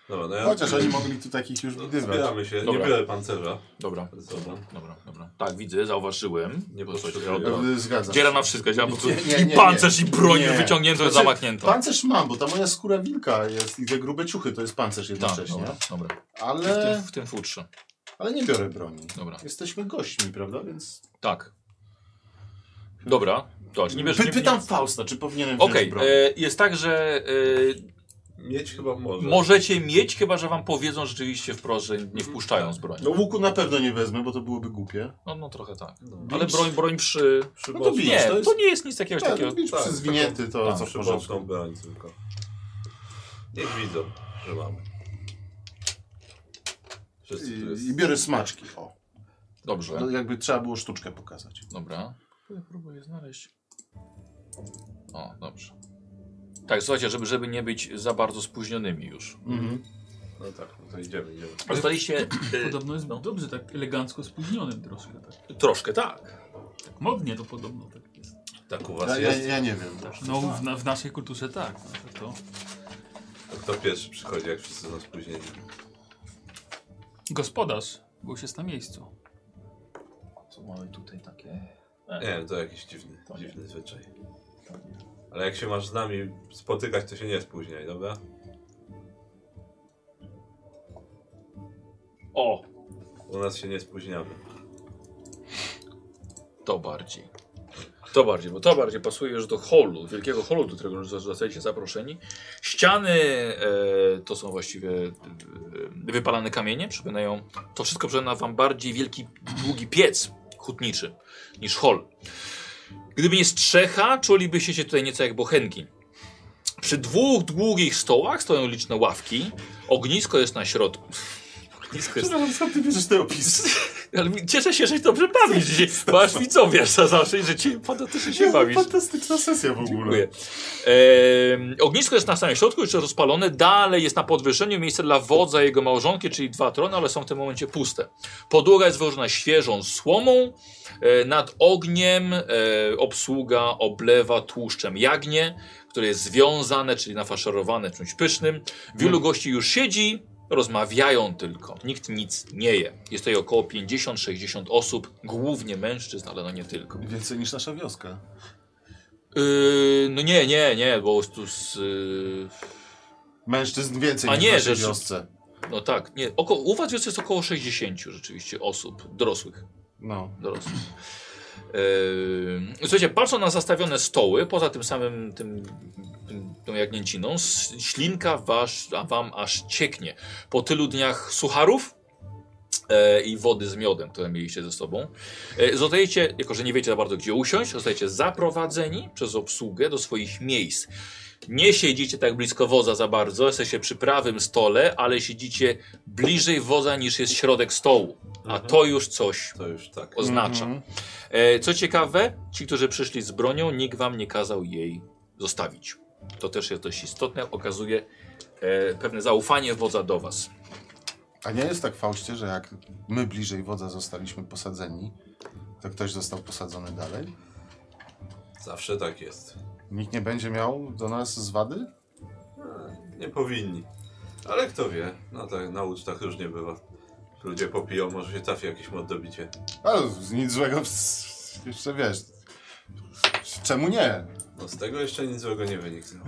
Dobra, no ja Chociaż oni mogli tu takich już widywać. zbieramy się. Dobra. Nie biorę pancerza. Dobra, ze sobą. dobra, dobra. Tak, widzę, zauważyłem. Nie Bo coś- postrzegam. dobra. E, Zgadzam Dziera się. na wszystko, chciałem po prostu... Nie, nie, nie, I nie. pancerz, i broń Nie. wyciągnięto, Znaczy, zamachnięto. Pancerz mam, bo ta moja skóra wilka jest i te grube ciuchy to jest pancerz Tak, jednocześnie. dobra, dobra. I W tym, ale, w tym futrze, ale nie biorę broni. dobra. Jesteśmy gośćmi, prawda? Więc. Tak. Dobra, to nie bierz... Py, nie- pytam Fausta, czy powinienem wziąć Okej, broń. e, jest tak, że e, Mieć chyba może. możecie mieć, chyba że wam powiedzą rzeczywiście wprost, że nie wpuszczają z broni. No łuku na pewno nie wezmę, bo to byłoby głupie. No, no trochę tak. No. Ale broń, broń przy... Przy No to bocznej- bij. Nie, to jest- to nie jest nic jakiegoś Tak, takiego... tak, taką- zwinięty to Tak, co w przy boczną porządku. broń tylko. Niech widzą, że mamy. Wszyscy tu jest. I, I biorę smaczki. O. Dobrze, No, jakby trzeba było sztuczkę pokazać. dobra. Próbuję znaleźć. O, dobrze. Tak, słuchajcie, żeby, żeby nie być za bardzo spóźnionymi już. Mhm. No tak, no to idziemy, idziemy. Zostaliście e, Podobno jest dobrze, tak elegancko spóźnionym troszkę. Tak, troszkę, tak. tak modnie to podobno tak jest. Tak u Ja, was ja, jest? ja nie wiem. No w, na, w naszej kulturze tak. No, to, to To Kto pierwszy przychodzi, jak wszyscy są spóźnieni? gospodarz był już jest na miejscu. Co mamy tutaj takie? Nie wiem, to jakiś dziwny, To nie. dziwny zwyczaj. Ale jak się masz z nami spotykać, to się nie spóźniaj, dobra? O, U nas się nie spóźniamy. to bardziej. To bardziej, bo to bardziej pasuje już do holu, wielkiego holu, do którego już zostajecie zaproszeni. Ściany e, to są właściwie e, wypalane kamienie, przypominają, to wszystko przypomina wam bardziej wielki, długi piec hutniczy niż hol. Gdyby nie strzecha, czulibyście się tutaj nieco jak bochenki. Przy dwóch długich stołach stoją liczne ławki, ognisko jest na środku. Ognisko jest Przepraszam, skąd ty bierzesz te opisy? ale mi- cieszę się, że się dobrze bawisz dzisiaj, bo aż widzowie za zawsze, że ci fantastycznie się bawisz. Fantastyczna sesja w ogóle. Dziękuję. Em, ognisko jest na samym środku, jeszcze rozpalone. Dalej jest na podwyższeniu miejsce dla wodza i jego małżonki, czyli dwa trony, ale są w tym momencie puste. Podłoga jest wyłożona świeżą słomą. E, nad ogniem e, obsługa oblewa tłuszczem jagnię, które jest związane, czyli nafaszerowane czymś pysznym. Wielu gości już siedzi, rozmawiają tylko. Nikt nic nie je. Jest tutaj około 50-60 osób, głównie mężczyzn, ale no nie tylko. Więcej niż nasza wioska. Yy, no nie, nie, nie, bo tu z, yy, Mężczyzn więcej A niż nie, w naszej że- wiosce. No tak, nie, oko, u was jest około 60 rzeczywiście osób, dorosłych. No. dorosłych. Yy, słuchajcie, patrząc na zastawione stoły, poza tym samym tym, tym, tą jagnięciną, s- ślinka wasz, a wam aż cieknie. Po tylu dniach sucharów e, i wody z miodem, które mieliście ze sobą, e, zostajecie, jako że nie wiecie za bardzo gdzie usiąść, zostajecie zaprowadzeni przez obsługę do swoich miejsc. Nie siedzicie tak blisko woza za bardzo, jesteście przy prawym stole, ale siedzicie bliżej woza niż jest środek stołu. A to już coś To już tak. oznacza. Mhm. E, co ciekawe, ci, którzy przyszli z bronią, nikt wam nie kazał jej zostawić. To też jest dość istotne, okazuje e, pewne zaufanie wodza do was. A nie jest tak, Faustie, że jak my bliżej wodza zostaliśmy posadzeni, to ktoś został posadzony dalej? Zawsze tak jest. Nikt nie będzie miał do nas zwady? Nie powinni. Ale kto wie, no tak, na ucztach różnie bywa. Ludzie popiją, może się trafi jakieś oddobicie. Ale nic złego, w- jeszcze wiesz. Czemu nie? No z tego jeszcze nic złego nie wyniknęło.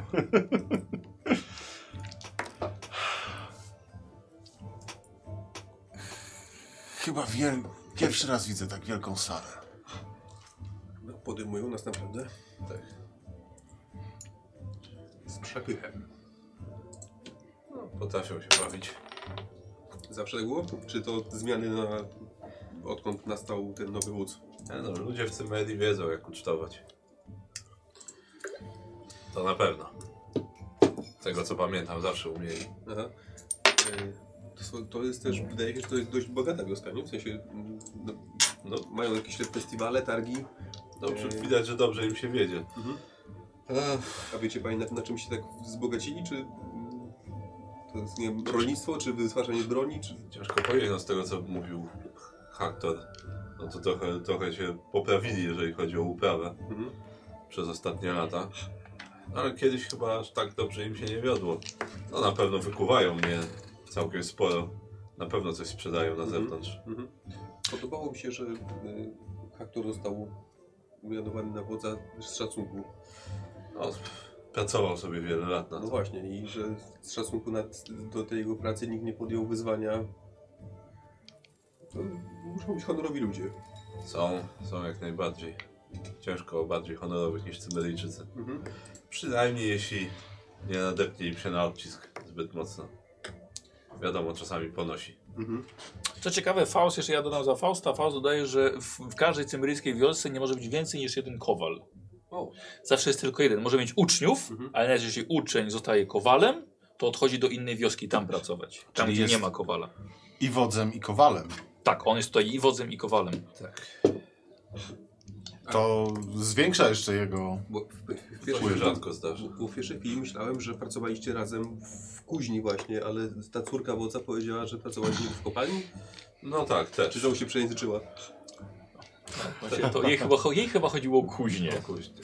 Chyba wiel... pierwszy raz widzę tak wielką salę. No, podejmują nas naprawdę Tak. z przepychem. No, potrafią się bawić. Zawsze tak było? Czy to zmiany na... odkąd nastał ten nowy wódz? Nie no, ludzie w Cymedii wiedzą jak ucztować. To na pewno. Z Tego co pamiętam, zawsze umieli. Aha. Y, To, są, to jest też, wydaje się, że to jest dość bogata wioska, nie? W sensie, mm, no, no, mają jakieś te festiwale, targi. Dobrze, Eee. widać, że dobrze im się wiedzie. A wiecie Pani, na, na czym się tak wzbogacili? Czy mm, to jest, nie wiem, rolnictwo, czy wytwarzanie broni, czy... Ciężko powiedzieć, no z tego co mówił Haktor. No to trochę, trochę się poprawili, jeżeli chodzi o uprawę Mhm. przez ostatnie lata. Ale kiedyś chyba aż tak dobrze im się nie wiodło. No na pewno wykuwają mnie Całkiem sporo. Na pewno coś sprzedają na Mhm. zewnątrz. Mhm. Podobało mi się, że y, Haktor został umianowany na wodza z szacunku. No, pracował sobie wiele lat na No to. właśnie, i że z szacunku na, do tej jego pracy nikt nie podjął wyzwania. To muszą być honorowi ludzie. Są, są jak najbardziej. Ciężko o bardziej honorowych niż Cyberyjczycy. Mhm. Przynajmniej jeśli nie nadepnie im się na odcisk zbyt mocno. Wiadomo, czasami ponosi. Mhm. Co ciekawe, Faust, jeszcze ja dodam za Fausta, Faust dodaje, że w, w każdej cymbryjskiej wiosce nie może być więcej niż jeden kowal. O. Zawsze jest tylko jeden. Może mieć uczniów, Mhm. ale nawet jeśli uczeń zostaje kowalem, to odchodzi do innej wioski tam pracować. Tam, Czyli gdzie jest- nie ma kowala. I wodzem, i kowalem. Tak, on jest tutaj i wodzem, i kowalem. To zwiększa jeszcze jego... Bo w, To w, w się pierwszej, rzadko zdarza. bo w pierwszej chwili myślałem, że pracowaliście razem w kuźni właśnie, ale ta córka wodza powiedziała, że pracowaliście w kopalni? No tak, Czy też. że mu się przejęzyczyła? Właśnie to jej, chyba, jej chyba chodziło o kuźnię. Kuźnie.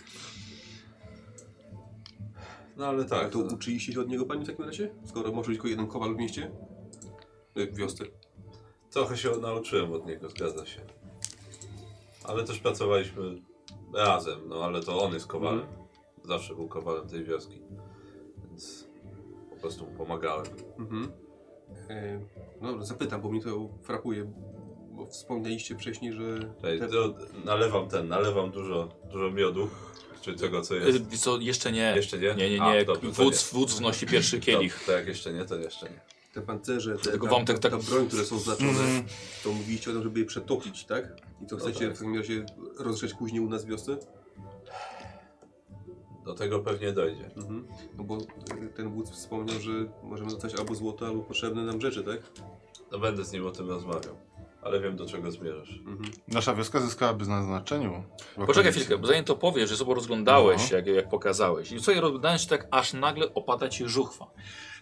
No ale Tak, tak. to To... uczyliście się od niego pani w takim razie? Skoro może być tylko jeden kowal w mieście? Y, W wiosce. Trochę się nauczyłem od niego, zgadza się. Ale też pracowaliśmy razem, no ale to on jest kowalem. Mhm. Zawsze był kowalem tej wioski. Więc po prostu mu pomagałem. Mhm. E, no dobra, zapytam, bo mnie to frapuje, bo wspomnieliście wcześniej, że... Tutaj, te- to, nalewam ten, nalewam dużo, dużo miodu, czy tego co jest. Y, Co, jeszcze nie. Jeszcze nie? Nie, nie, A, nie. dobrze, to wódz, wódz wnosi pierwszy kielich. To, to jak jeszcze nie, to jeszcze nie. Te pancerze, te, Tylko ta, wam ta, tak- Mhm. tak- broń, które są zaczone, to mówiliście o tym, żeby je przetopić, tak? I to chcecie tak. w takim razie rozgrzeć później u nas w wiosce? Do tego pewnie dojdzie. Mhm. No bo e, ten wódz wspomniał, że możemy dostać albo złoto, albo potrzebne nam rzeczy, tak? No będę z nim o tym rozmawiał. Ale wiem do czego zmierzasz. Mhm. Nasza wioska zyskałaby na znaczeniu. w Poczekaj okolicy. chwilkę, bo zanim to powiesz, że sobą rozglądałeś No. się, jak, jak pokazałeś. I co je rozglądałeś, się tak aż nagle opada ci żuchwa.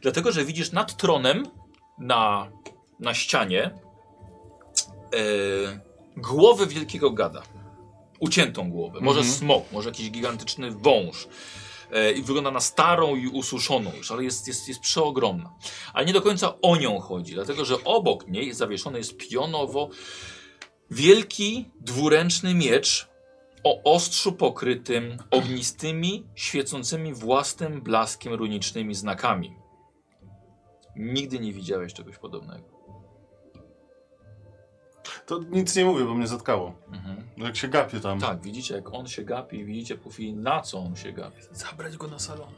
Dlatego, że widzisz nad tronem, na, na ścianie, e, głowę wielkiego gada. Uciętą głowę. Może Mhm. smok, może jakiś gigantyczny wąż. E, I wygląda na starą i ususzoną już, ale jest, jest, jest przeogromna. Ale nie do końca o nią chodzi, dlatego że obok niej zawieszony jest pionowo wielki dwuręczny miecz o ostrzu pokrytym ognistymi, świecącymi własnym blaskiem runicznymi znakami. Nigdy nie widziałeś czegoś podobnego. To nic nie mówię, bo mnie zatkało. Mhm. No Jak się gapię tam. Tak, widzicie jak on się gapi i widzicie po chwili na co on się gapi. Zabrać go na salon.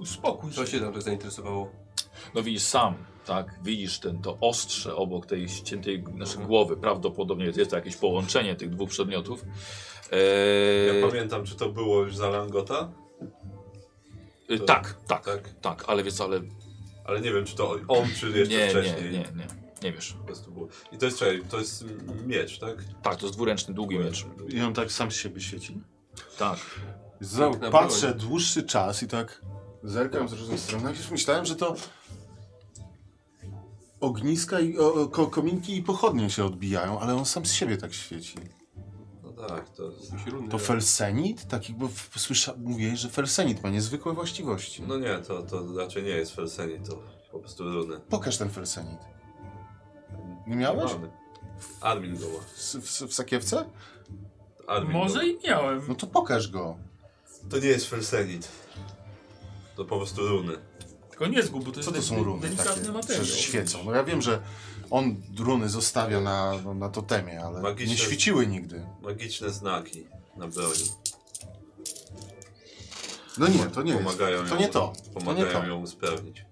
Uspokój się. Co się tam tak zainteresowało? No widzisz sam, tak, widzisz ten, to ostrze obok tej ściętej naszej głowy. Prawdopodobnie jest to jakieś połączenie tych dwóch przedmiotów. Ja Eee, pamiętam czy to było już za Langota, y, tak, tak, tak, tak? ale wiesz, ale Ale nie wiem czy to on, czy jeszcze nie, nie, wcześniej. nie, nie, nie wiesz. Po prostu było. I to jest czekaj, to jest m- miecz, tak? Tak, to jest dwuręczny, długi miecz. I on tak sam z siebie świeci. Tak. Znowu Piękna patrzę broń. dłuższy czas i tak zerkam z różnych stron. Najpierw myślałem, że to ogniska i o, o, ko, kominki i pochodnie się odbijają, ale on sam z siebie tak świeci. No tak, to jest... Jakiś runny, To ale- felsenit? Tak jakby w- słysza, mówię, że felsenit ma niezwykłe właściwości. No nie, to, to raczej nie jest Felseni, to po prostu runy. Pokaż ten felsenit. Nie miałeś? Mamy. Armin go ma. W, w, w sakiewce? Armin go ma. Może i miałem. No to pokaż go. To nie jest Felsenit. To po prostu runy. Tylko nie zgub, bo to jest Co to de- są de- runy delikatny takie? materiał. Przecież świecą. No ja wiem, że on runy zostawia na, no, na totemie, ale Magiczne- nie świeciły nigdy. Magiczne znaki na broni. No nie, to nie jest. Pomagają To ją, nie to. To nie Pomagają to. ją usprawnić.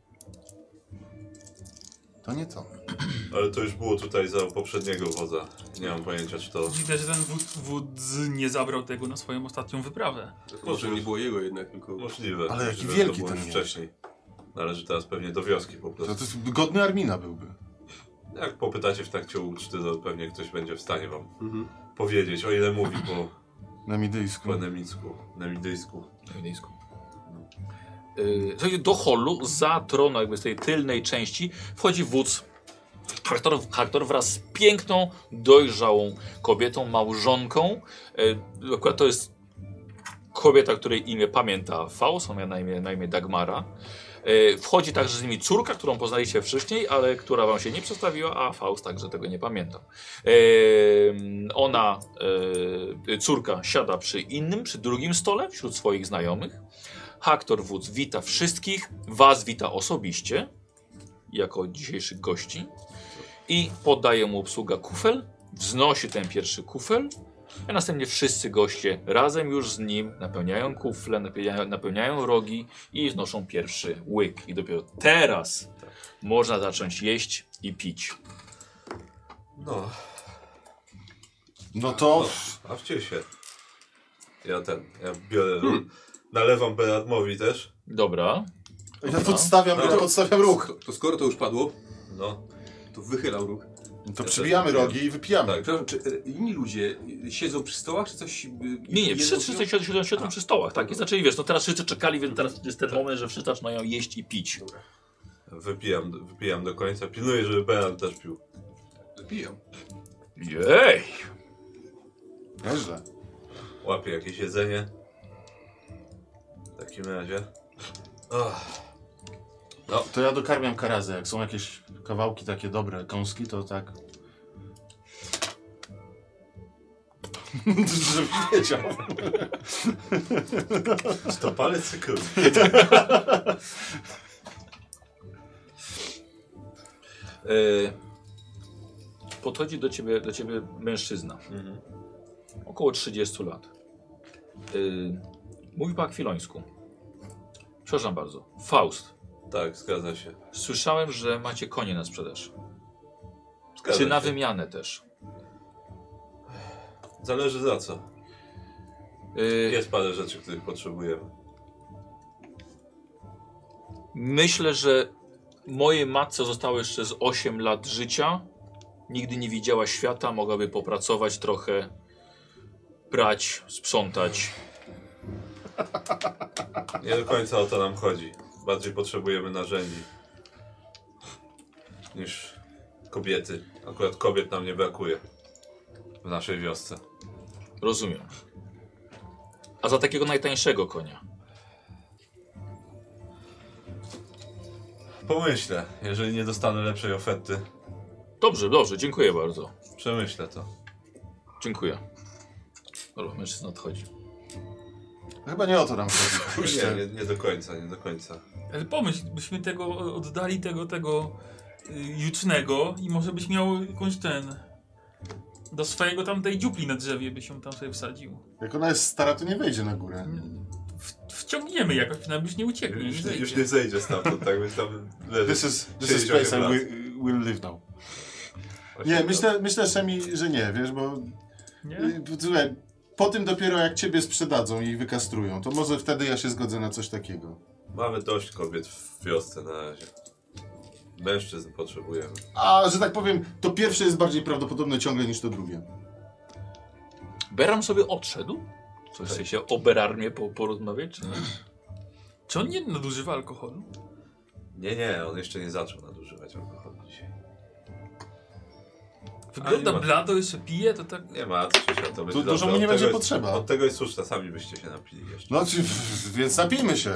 To nie to. Ale to już było tutaj za poprzedniego wodza. Nie mam pojęcia czy to... Dziwne, że ten wódz, wódz nie zabrał tego na swoją ostatnią wyprawę. To może nie było jego jednak, tylko... Możliwe. Ale jaki możliwe, że wielki to było ten już miecz. wcześniej. Należy teraz pewnie do wioski po To, prostu. to jest godny Armina byłby. Jak popytacie w trakcie uczty, to pewnie ktoś będzie w stanie wam Mhm. powiedzieć, o ile mówi po, Na Midyjsku. po nemicku, nemidyjsku. Gdyńsku. Yy, Słuchajcie, do holu, za troną jakby z tej tylnej części, wchodzi wódz. Haktor, Haktor wraz z piękną, dojrzałą kobietą, małżonką. Yy, Akurat to jest kobieta, której imię pamięta Faust, ona miała na imię, na imię Dagmara. E, Wchodzi także z nimi córka, którą poznaliście wcześniej, ale która wam się nie przedstawiła, a Faust także tego nie pamięta. E, Ona, e, córka, siada przy innym, przy drugim stole, wśród swoich znajomych. Haktor Wódz wita wszystkich, was wita osobiście, jako dzisiejszych gości. I podaje mu obsługa kufel, wznosi ten pierwszy kufel, a następnie wszyscy goście razem już z nim napełniają kufle, napełniają, napełniają rogi i znoszą pierwszy łyk. I dopiero teraz można zacząć jeść i pić. No, No to... a wciel się. Ja ten, ja biorę, Hmm. nalewam Beratmowi też. Dobra. Ja podstawiam, ja podstawiam róg. To, to skoro to już padło, No, to wychylał róg. To przybijamy rogi i wypijamy. tak. Przepraszam, czy e, inni ludzie e, siedzą przy stołach, czy coś... e, Nie, nie, jedzą, wszyscy, wszyscy piją? siedzą, siedzą, siedzą przy stołach, tak? I zaczęli, wiesz, no teraz wszyscy czekali, więc teraz jest ten moment, że wszyscy zaczynają jeść i pić. Wypijam, wypijam do końca. Pilnuję, żeby Berat też pił. Piją. Jej! Tak. Nieźle. Łapię jakieś jedzenie. W takim razie. Ach, To ja dokarmiam karazę. Jak są jakieś kawałki takie dobre, kąski, to tak. Żeby wiedział. to palec cyklu. E, podchodzi do ciebie, do ciebie mężczyzna. Mhm. Około 30 lat. E, mówi po akwilońsku. Przepraszam bardzo. Faust, Tak, zgadza się. słyszałem, że macie konie na sprzedaż. Zgadza Czy na się. wymianę też? Zależy za co. E, Jest parę rzeczy, których potrzebujemy. Myślę, że mojej matce zostało jeszcze z 8 lat życia. Nigdy nie widziała świata, mogłaby popracować trochę, prać, sprzątać. Nie do końca o to nam chodzi. Bardziej potrzebujemy narzędzi niż kobiety. Akurat kobiet nam nie brakuje w naszej wiosce. Rozumiem. A za takiego najtańszego konia. Pomyślę, jeżeli nie dostanę lepszej oferty, Dobrze, dobrze, dziękuję bardzo. przemyślę to. Dziękuję. Dobra, mężczyzna odchodzi. Chyba nie o to nam chodzi. Nie, nie, nie do końca, nie do końca. Ale E, pomyśl, byśmy tego oddali tego, tego y, jucznego i może byś miał jakąś ten... Do swojego tamtej dziupli na drzewie byś ją tam sobie wsadził. Jak ona jest stara, to nie wejdzie na górę. Mm. W, wciągniemy jakoś, przynajmniej już nie ucieknie, nie Już, już zejdzie. nie zejdzie stamtąd, tak więc tam leży. This is, this is 68 place I lat. will, will live now. Właśnie Nie, tak. myślę, myślę Szemi, że nie, wiesz, bo Nie? y, słuchaj, po tym dopiero jak ciebie sprzedadzą i wykastrują, to może wtedy ja się zgodzę na coś takiego. Mamy dość kobiet w wiosce na razie. Mężczyzn potrzebujemy. A, że tak powiem, to pierwsze jest bardziej prawdopodobne ciągle niż to drugie. Beram sobie odszedł? Coś chce się o Berarmie po, porozmawiać? Czy nie? Czy on nie nadużywa alkoholu? Nie, nie, on jeszcze nie zaczął nadużywać alkoholu dzisiaj. Wygląda nie ma. blado, jeszcze pije, to tak... Nie ma, co się to będzie dużo dobre. mu nie Od tego będzie jest- potrzeba. Od tego jest słuszna, sami byście się napili jeszcze. No, czy, więc napijmy się.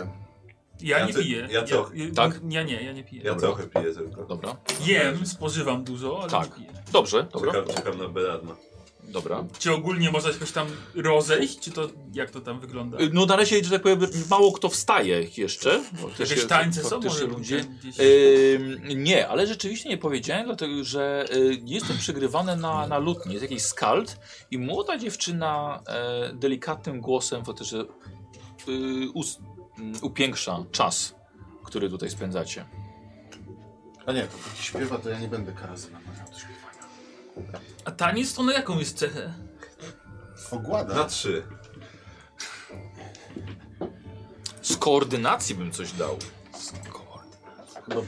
Ja, Ja nie ty- piję. ja trochę. Tak? Ja nie, ja nie piję. Ja Dobra. trochę piję tylko. Dobra, Jem, spożywam dużo, ale Tak. nie piję. dobrze, dobra, Czekam, czekam na Beradma. dobra. Czy ogólnie można się jakoś tam rozejść? Czy to jak to tam wygląda? Y, No na razie, że tak powiem, mało kto wstaje jeszcze. Bo też Jakieś jest- tańce są faktycznie może ludzie? Gdzieś... Ym, nie, ale rzeczywiście nie powiedziałem, dlatego że y, jest to przygrywane na, na lutni, jest jakiś skald i młoda dziewczyna e, delikatnym głosem to też e, y, us, m, upiększa czas, który tutaj spędzacie. A nie, to póki śpiewa, to ja nie będę karazy namawiał do śpiewania. A taniec to na jaką jest cechę? Na Ogłada? trzy. Z koordynacji bym coś dał.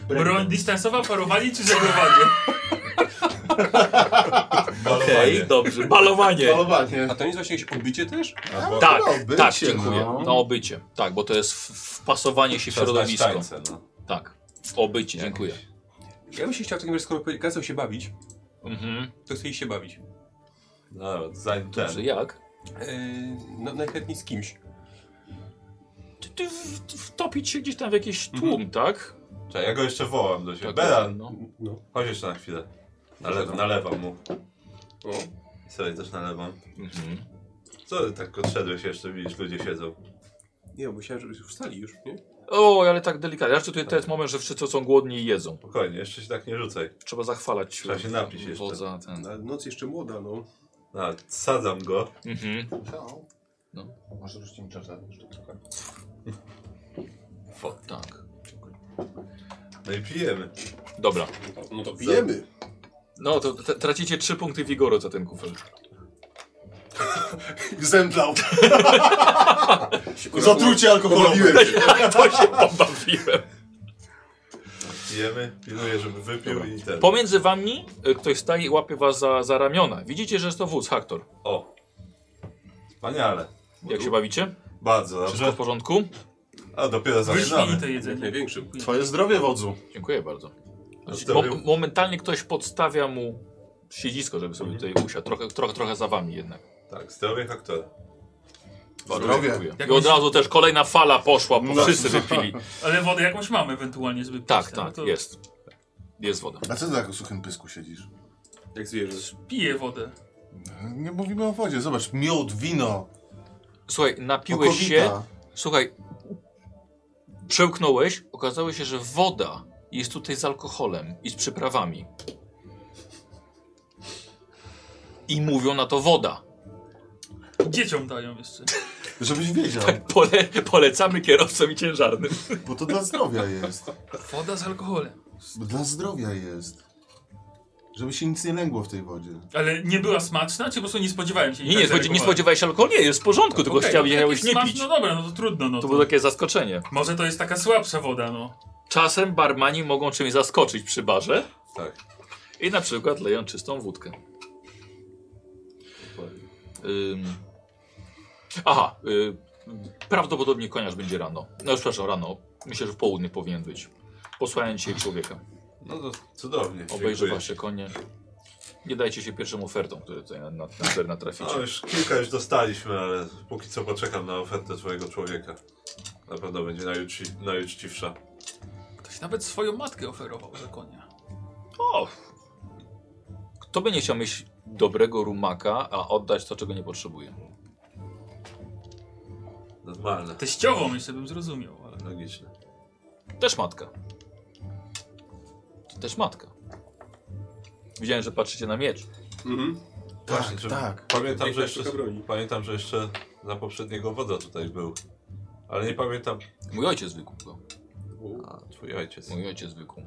Broń dystansowa, parowanie czy żeglowanie? Okej, No dobrze. Balowanie. Malowanie. A to nie jest właśnie jakieś odbicie też? Tak, No, bycie, tak, dziękuję. no. Na obycie. Tak, bo to jest w- wpasowanie się w Trzeba znać środowisko. tańce, no. Tak. Obycie, dziękuję. Ja bym się chciał w takim razie, skoro powie- kazał się bawić, Mhm. to chcę iść się bawić. No, zanim ten. Dobrze, jak? Yy, no, najchętniej z kimś. ty, ty w- wtopić się gdzieś tam w jakiś tłum, tak? Czekaj, ja go jeszcze wołam do siebie. tak Mhm. Beran, no. No. chodź jeszcze na chwilę. Nale nalewam mu. O, I sobie też nalewam. Mhm. Co ty tak odszedłeś jeszcze, widzisz, ludzie siedzą. nie, bo myślałem, że już wstali już, nie? O, ale tak delikatnie. Raczej tutaj to jest moment, że wszyscy są głodni i jedzą. Spokojnie, jeszcze się tak nie rzucaj. Trzeba zachwalać Trzeba się napić jeszcze. wodza, ten. Na noc jeszcze młoda, no. No, sadzam go. Mhm. No. No. Może rzucić mi czarza jeszcze trochę. Tak. No i pijemy. Dobra. No to pijemy. No to te- tracicie trzy punkty wigoru za ten kufel. Zemdlał. Zatrucie alkoholowe. to się pobawiłem. Pijemy, pilnuję, żeby wypił Dobra. i ten. Pomiędzy wami y, ktoś staje i łapie was za, za ramiona. Widzicie, że jest to wóz, Haktor. O. Wspaniale. Jak się bawicie? Bardzo Wszystko dobrze. w porządku? A dopiero zaczynamy. Wyśmienite Jak jedzenie. największym. Twoje zdrowie, wodzu. Dziękuję bardzo. Znaczy, Mo Zostawił. momentalnie ktoś podstawia mu siedzisko, żeby sobie tutaj usiadł. Trochę, trochę, trochę za wami jednak. Tak, zdrowie aktora. Dziękuję. I od razu też kolejna fala poszła, No. bo wszyscy wypili. Ale wodę jakąś mamy ewentualnie, żeby pić. Tak, Tak, no tak, to jest. Jest woda. A co ty tak o suchym pysku siedzisz? Jak zwierzę. Piję wodę. Nie mówimy o wodzie, zobacz, miód, wino, Słuchaj, napiłeś się. okowita. Słuchaj, przełknąłeś, okazało się, że woda jest tutaj z alkoholem i z przyprawami. I mówią na to woda. Dzieciom dają jeszcze. Żebyś wiedział, Pole, polecamy kierowcom i ciężarnym. bo to dla zdrowia jest. Woda z alkoholem. Bo Dla zdrowia jest. Żeby się nic nie lęgło w tej wodzie. Ale nie była smaczna, czy po prostu nie spodziewałem się? tak Nie, nie, spodziewa- nie spodziewałeś się alkoholu, nie, jest w porządku, tylko Okej, no, chciałeś jak nie smaczna, pić. No dobra, no to trudno. No To to było tak- takie zaskoczenie. Może to jest taka słabsza woda, no. Czasem barmani mogą czymś zaskoczyć przy barze Tak. i na przykład leją czystą wódkę. Ym... Aha, y... prawdopodobnie koniarz będzie rano. No już przepraszam, rano. Myślę, że w południe powinien być. Posłałem dzisiaj człowieka. No to cudownie. Obejrzy dziękuję. wasze konie. Nie dajcie się pierwszym ofertom, które tutaj na, na, na terena traficie. No już kilka już dostaliśmy, ale póki co poczekam na ofertę twojego człowieka. Na pewno będzie najuczci, najuczciwsza. Ktoś nawet swoją matkę oferował za konia. O! Kto by nie chciał mieć dobrego rumaka, a oddać to, czego nie potrzebuje? Normalne, Teściową jeszcze bym zrozumiał, ale... logiczne. Też matka. Też matka. Widziałem, że patrzycie na miecz. Mhm. Właśnie, że- tak. Pamiętam, że Piękna jeszcze, sztuka broni. pamiętam, że jeszcze za poprzedniego wodza tutaj był. Ale nie pamiętam. Mój ojciec wykuł go. A, twój ojciec. Mój ojciec wykuł.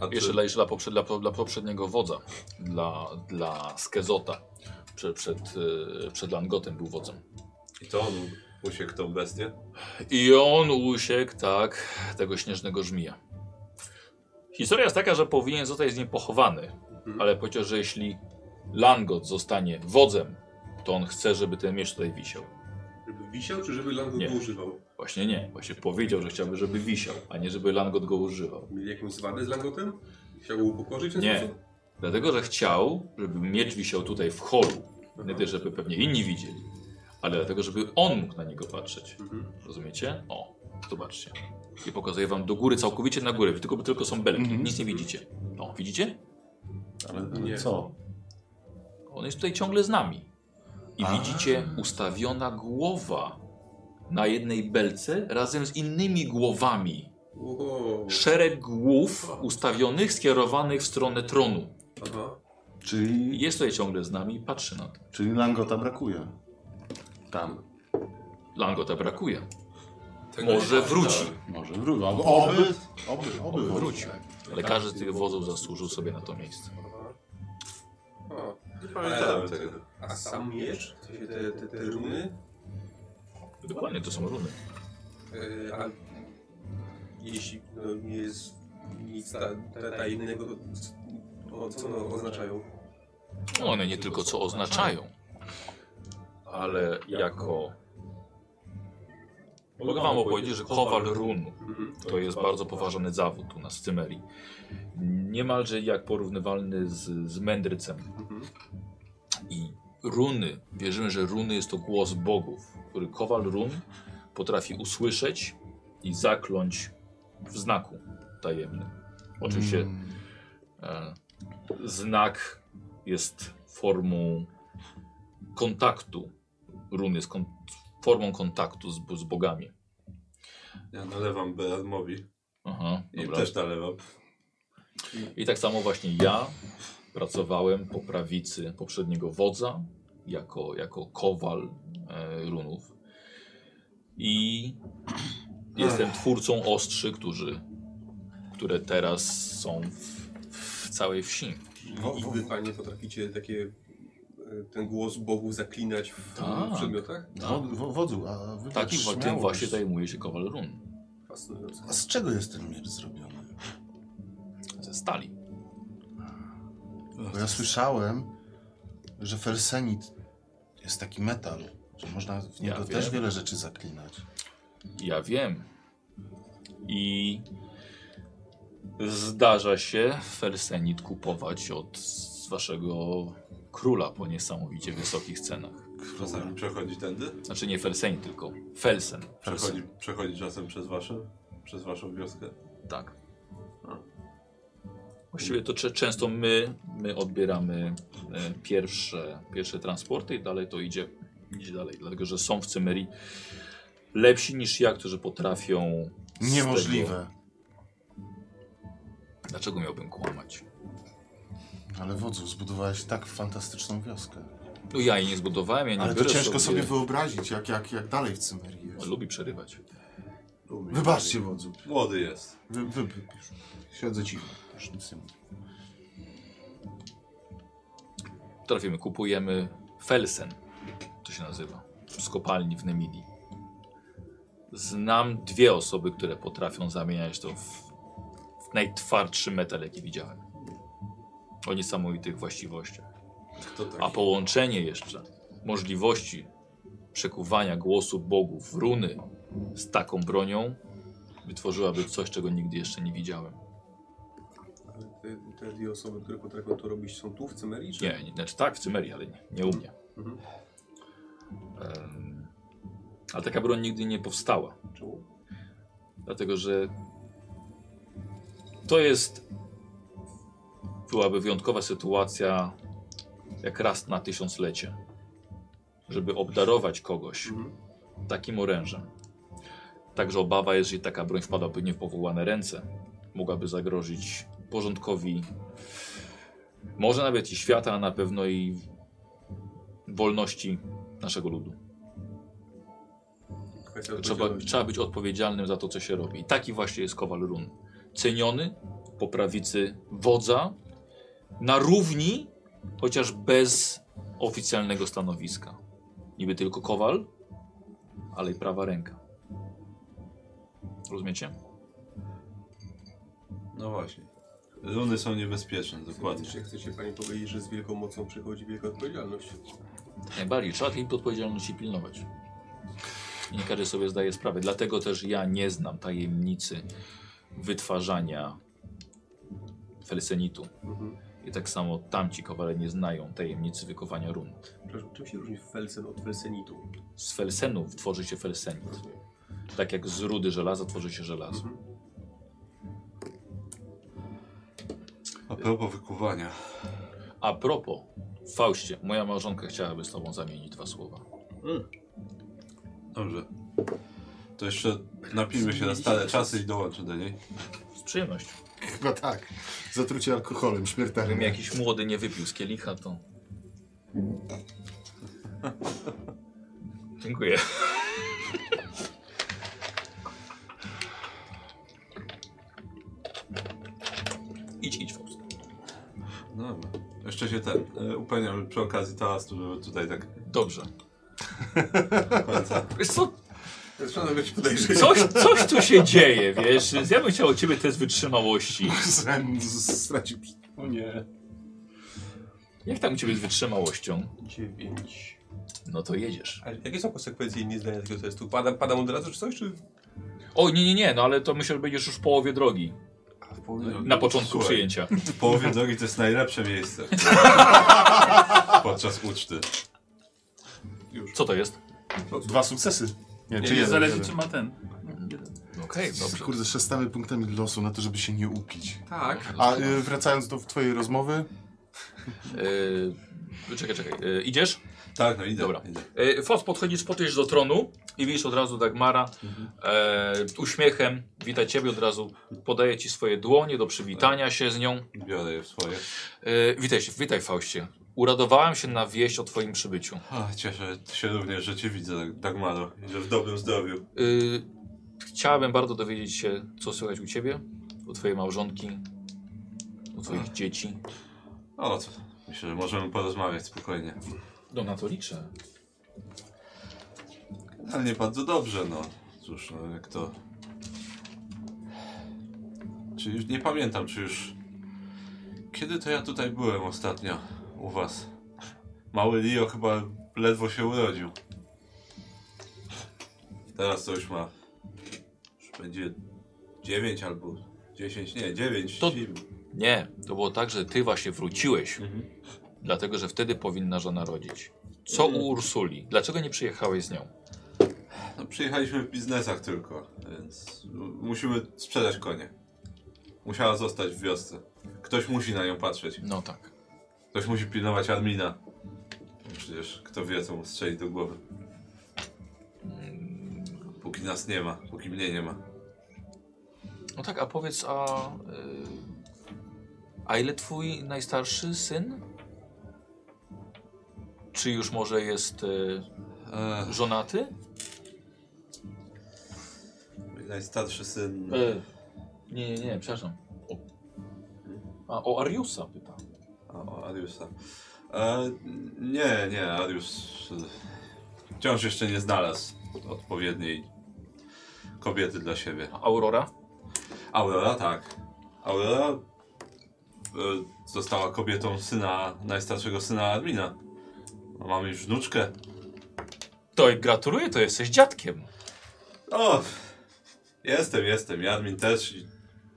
A ty, Jeszcze dla, jeszcze dla, poprze- dla, dla poprzedniego wodza. Dla, dla Skezota. Przed, przed, e, przed Langotem był wodzem. I to on usiekł tą bestię? I on usiekł, tak, tego śnieżnego żmija. Historia jest taka, że powinien zostać z nim pochowany, Mhm. ale powiedział, że jeśli Langot zostanie wodzem, to on chce, żeby ten miecz tutaj wisiał. Żeby wisiał, czy żeby Lango Nie. go używał? Właśnie nie, właśnie powiedział, że chciałby, żeby wisiał, a nie żeby Langot go używał. Mieli jakąś zwadę z Langotem? Chciał go upokorzyć w ten Nie. sposób? Dlatego, że chciał, żeby miecz wisiał tutaj w holu, nie tylko, żeby pewnie inni widzieli, ale dlatego, żeby on mógł na niego patrzeć. Mhm. Rozumiecie? O, zobaczcie. I pokazuję wam do góry, całkowicie na górę, tylko, tylko są belki, Mhm. nic nie widzicie. O, widzicie? Ale, No no Nie. ale co? On jest tutaj ciągle z nami. I A. widzicie ustawiona głowa na jednej belce razem z innymi głowami. Wow. Szereg głów ustawionych, skierowanych w stronę tronu. Aha. I Czyli, Jest tutaj ciągle z nami i patrzy na to. czyli langota brakuje. Tam. Langota brakuje. Może wróci. Może wróci. Oby, oby, oby. oby. Wrócił. Ale każdy z tych wozów zasłużył sobie na to miejsce. Aha. A. Nie pamiętam tego. A sam miecz? W sensie te, te, te runy? Dokładnie, to są runy. E, a jeśli no, nie jest nic ta, ta, tajnego, to o, co one oznaczają? No, One nie tylko co oznaczają, ale jako. Mogę Wam opowiedzieć, że kowal run Mhm. to jest bardzo poważny zawód u nas w Cymerii. Niemalże jak porównywalny z, z mędrcem. Mhm. I runy, wierzymy, że runy jest to głos bogów, który kowal run potrafi usłyszeć i zakląć w znaku tajemnym. Oczywiście Mm. e, znak jest formą kontaktu. Run jest kon formą kontaktu z, z bogami. Ja nalewam Beadmowi Aha, i dobra. też nalewam. I tak samo właśnie ja pracowałem po prawicy poprzedniego wodza jako, jako kowal e, runów. I jestem twórcą ostrzy, którzy, które teraz są w, w całej wsi. I wy panie potraficie takie e, ten głos bogów zaklinać w Tak. przedmiotach? Wo- wo- Wodzu, a wybacz Takim wa- Tak tym śmiałość. właśnie zajmuje się kowal run. Fascynujące. A z czego jest ten miecz zrobiony? Ze stali. Bo ja słyszałem, że felsenit jest taki metal, że można w niego wiem. też wiele rzeczy zaklinać. Ja wiem. I zdarza się felsenit kupować od z waszego króla po niesamowicie wysokich cenach. Czasami przechodzi tędy? Znaczy nie felsenit, tylko felsen. Przechodzi, przechodzi czasem przez wasze? Przez waszą wioskę? Tak. Właściwie to cze- często my, my odbieramy e, pierwsze, pierwsze transporty i dalej to idzie, idzie dalej, dlatego że są w Cymerii lepsi niż ja, którzy potrafią z Tego, Niemożliwe. dlaczego miałbym kłamać? Ale wodzu, zbudowałeś tak fantastyczną wioskę. No ja jej nie zbudowałem, ja nie Ale to biorę ciężko sobie wyobrazić, jak, jak, jak dalej w Cymerii jest. Lubi przerywać. Wybaczcie, wodzu. Młody jest. Wy, wy, wy, już. Siedzę cicho, już nic nie mówię. Trafimy, kupujemy felsen, to się nazywa, z kopalni w Nemidii. Znam dwie osoby, które potrafią zamieniać to w, w najtwardszy metal, jaki widziałem. O niesamowitych właściwościach. Kto taki? A połączenie jeszcze możliwości przekuwania głosu bogów, w runy z taką bronią wytworzyłaby coś, czego nigdy jeszcze nie widziałem. Ale te, te dwie osoby, które potrafią to robić są tu w Cymerii? Czy? Nie, nie znaczy tak, w Cymerii, ale nie, nie u mnie. Mhm. Em, ale taka broń nigdy nie powstała. Czemu? Dlatego, że to jest byłaby wyjątkowa sytuacja jak raz na tysiąclecie, żeby obdarować kogoś Mhm. takim orężem. Także obawa jest, że taka broń wpadłaby nie w powołane ręce. Mogłaby zagrozić porządkowi, może nawet i świata, a na pewno i wolności naszego ludu. Kwestia Trzeba, odpowiedzialności. trzeba być odpowiedzialnym za to, co się robi. I taki właśnie jest Kowal Run. Ceniony po prawicy wodza, na równi, chociaż bez oficjalnego stanowiska. Niby tylko kowal, ale i prawa ręka. Rozumiecie? No właśnie. Runy są niebezpieczne, dokładnie. Chcecie, chcecie Pani powiedzieć, że z wielką mocą przychodzi wielka odpowiedzialność? Najbardziej trzeba tej odpowiedzialności pilnować. I nie każdy sobie zdaje sprawę. Dlatego też ja nie znam tajemnicy wytwarzania felsenitu. Mhm. I tak samo tamci kowale nie znają tajemnicy wykowania run. Przepraszam, czym się różni felsen od felsenitu? Z felsenów tworzy się felsenit. Rozumiem. Tak jak z rudy żelaza tworzy się żelazo. Mhm. A propos wykuwania. A propos, Faustie, moja małżonka chciałaby z tobą zamienić dwa słowa. Dobrze. To jeszcze napijmy się na stare czasy i dołączę do niej. Z przyjemnością. Chyba tak. Zatrucie alkoholem, śmiertelnym. Gdybym jakiś młody nie wypił z kielicha, to... Dziękuję. idź, idź Faust. No dobra. Jeszcze się ten e, upewniam przy okazji toastu, żeby tutaj tak Dobrze. do końca. Wiesz co, Zaczyna być podejrzenie. coś, coś tu się dzieje, wiesz? Ja bym chciał od ciebie test wytrzymałości. Zem- z- stracił. O nie. Jak tam u ciebie z wytrzymałością? Dziewięć. No to jedziesz. A jakie są konsekwencje nie zdania takiego testu? Padam, padam od razu czy coś? Czy... O, nie, nie, nie, no ale to myślę, że będziesz już w połowie drogi. No, No Na początku Słuchaj, przyjęcia. W połowie drogi to jest najlepsze miejsce. Podczas uczty. Co to jest? Dwa sukcesy. Nie, Nie, czy jeden, zależy, jeden. czy ma ten. No, jeden. Okej, dobrze. Kurde, szastamy punktami losu na to, żeby się nie upić. Tak. A y, wracając do twojej rozmowy, Yy, czekaj, czekaj. E, idziesz? Tak, no idę. Dobra. idę. Yy, Fos, podchodzisz, podchodzisz do tronu i widzisz od razu Dagmara e, uśmiechem. Wita ciebie od razu. Podaje ci swoje dłonie do przywitania się z nią. Biorę je w swoje. E, witaj, się- witaj Faustie. Uradowałem się na wieść o twoim przybyciu. A, cieszę się również, że cię widzę, Dagmaro. I że w dobrym zdrowiu. Y, chciałabym bardzo dowiedzieć się, co słychać u ciebie, u twojej małżonki, u twoich dzieci. O, co? Myślę, że możemy porozmawiać spokojnie. No na to liczę. Ale nie bardzo dobrze, no. Cóż, no jak to... Czy już nie pamiętam, czy już... Kiedy to ja tutaj byłem ostatnio u was? Mały Leo chyba ledwo się urodził. Teraz to już ma... Już będzie 9 albo 10, nie, 9. To- Nie, to było tak, że ty właśnie wróciłeś, Mhm. dlatego że wtedy powinna żona rodzić. Co u Ursuli? Dlaczego nie przyjechałeś z nią? No, przyjechaliśmy w biznesach tylko, więc m- musimy sprzedać konie. Musiała zostać w wiosce. Ktoś musi na nią patrzeć. No tak. Ktoś musi pilnować Armina. Przecież kto wie, co mu strzeli do głowy. Mm, Póki nas nie ma, póki mnie nie ma. No tak, a powiedz, a... y, a ile twój najstarszy syn? Czy już może jest y, Ech, żonaty? mój najstarszy syn. E, nie, nie, nie, przepraszam. O, a, o Ariusa pyta. A, o, Ariusa. E, nie, nie, Arius e, wciąż jeszcze nie znalazł odpowiedniej kobiety dla siebie. A Aurora? Aurora tak. Aurora e, została kobietą syna, najstarszego syna Armina. A Mamy już wnuczkę. To i gratuluję, to jesteś dziadkiem. O! Jestem, jestem. I Armin też. I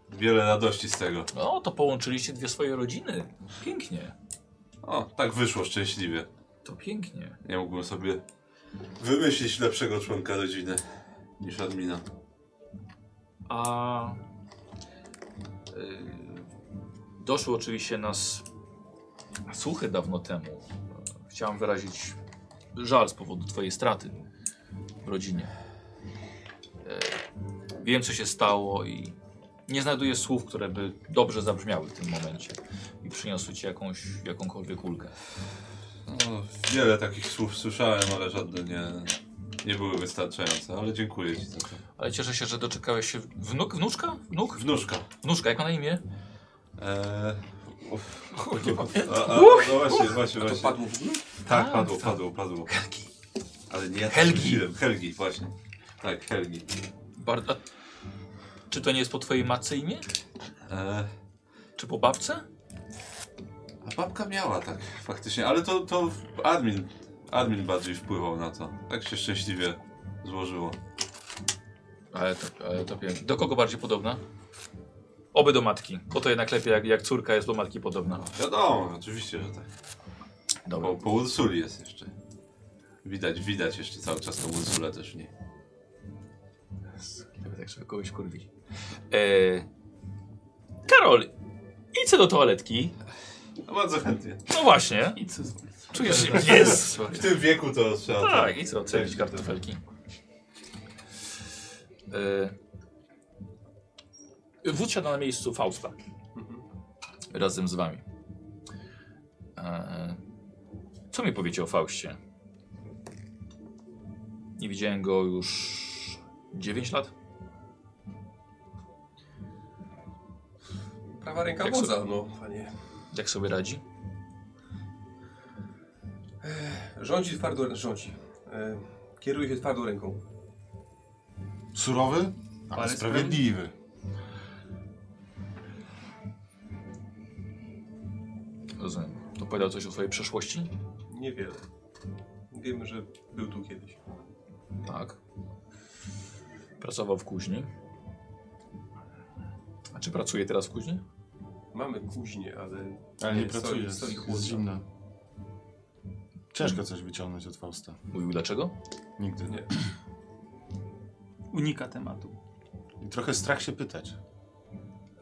wiele radości z tego. No, to połączyliście dwie swoje rodziny. Pięknie, O, tak wyszło szczęśliwie. to pięknie. Nie mógłbym sobie wymyślić lepszego członka rodziny niż Armina. A... y, doszły oczywiście nas słuchy dawno temu. Chciałem wyrazić żal z powodu twojej straty w rodzinie. Y, wiem, co się stało i nie znajduję słów, które by dobrze zabrzmiały w tym momencie i przyniosły ci jakąś, jakąkolwiek ulgę. No, wiele takich słów słyszałem, ale żadne nie, nie były wystarczające. Ale dziękuję ci za to. Ale cieszę się, że doczekałeś się wnuk, wnuczka? Wnuk? Wnuczka. Wnuczka, jak ma na imię? Eee, nie pamiętam. a, a, no właśnie, właśnie, A to właśnie. padł w ogóle? Tak, A, padło, tak. padło, padło. Helgi. Ale nie ja tak Helgi. myśliłem. Helgi, właśnie. Tak, Helgi. Barda. Czy to nie jest po twojej matce imię? E, Czy po babce? a babka miała, tak, faktycznie. Ale to, to admin, admin bardziej wpływał na to. Tak się szczęśliwie złożyło. Ale to, ale to wiem. Do kogo bardziej podobna? Oby do matki, bo to jednak lepiej jak, jak córka jest do matki podobna. Wiadomo, oczywiście, że tak. No, Dobra. Po, po Ursuli jest jeszcze. Widać, widać jeszcze cały czas tą Ursulę też w niej. Tak, żeby kogoś kurwić. E... Karol, idź do toaletki. No bardzo chętnie. No właśnie. I co? z- Czujesz się... Jest! W tym wieku to trzeba... Tak, i co, odstawić kartofelki. Yy, wódz siada na miejscu Fausta. Mhm. Razem z wami. E, co mi powiecie o Faustie? Nie widziałem go już 9 lat. Prawa ręka Jak wodza, sobie- no panie. Jak sobie radzi? Rządzi twardo, rządzi. E, Kieruje się twardą ręką. surowy, ale Ale sprawiedliwy. Rozumiem. To powiedział coś o swojej przeszłości? Niewiele. Wiemy, że był tu kiedyś. Tak. Pracował w kuźni. A czy pracuje teraz w kuźni? Mamy kuźnię, ale Ale nie Nie, stoi- pracuje, stoi jest, chłodno. jest zimna. Ciężko coś wyciągnąć od Fausta. Mówił dlaczego? Nigdy. Nie. unika tematu. I trochę strach się pytać.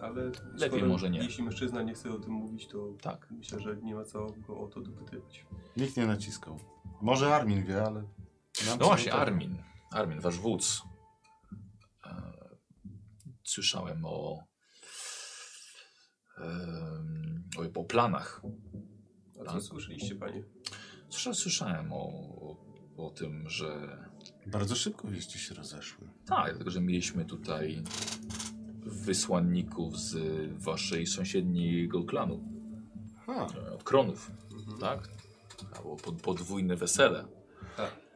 Ale Lepiej może nie. jeśli mężczyzna nie chce o tym mówić, to Tak. myślę, że nie ma co go o to dopytywać. Nikt nie naciskał. Może Armin wie, ale... nam No właśnie, to- Armin. Armin, wasz wódz. E, Słyszałem o. em, O, o planach. A co Tak. słyszeliście, panie? Słysza- Słyszałem o, o- o tym, że. Bardzo szybko wieści się rozeszły. Tak, dlatego że mieliśmy tutaj wysłanników z waszej sąsiedniego klanu. Ha, e, Od kronów, Mhm. tak? Albo pod, podwójne wesele.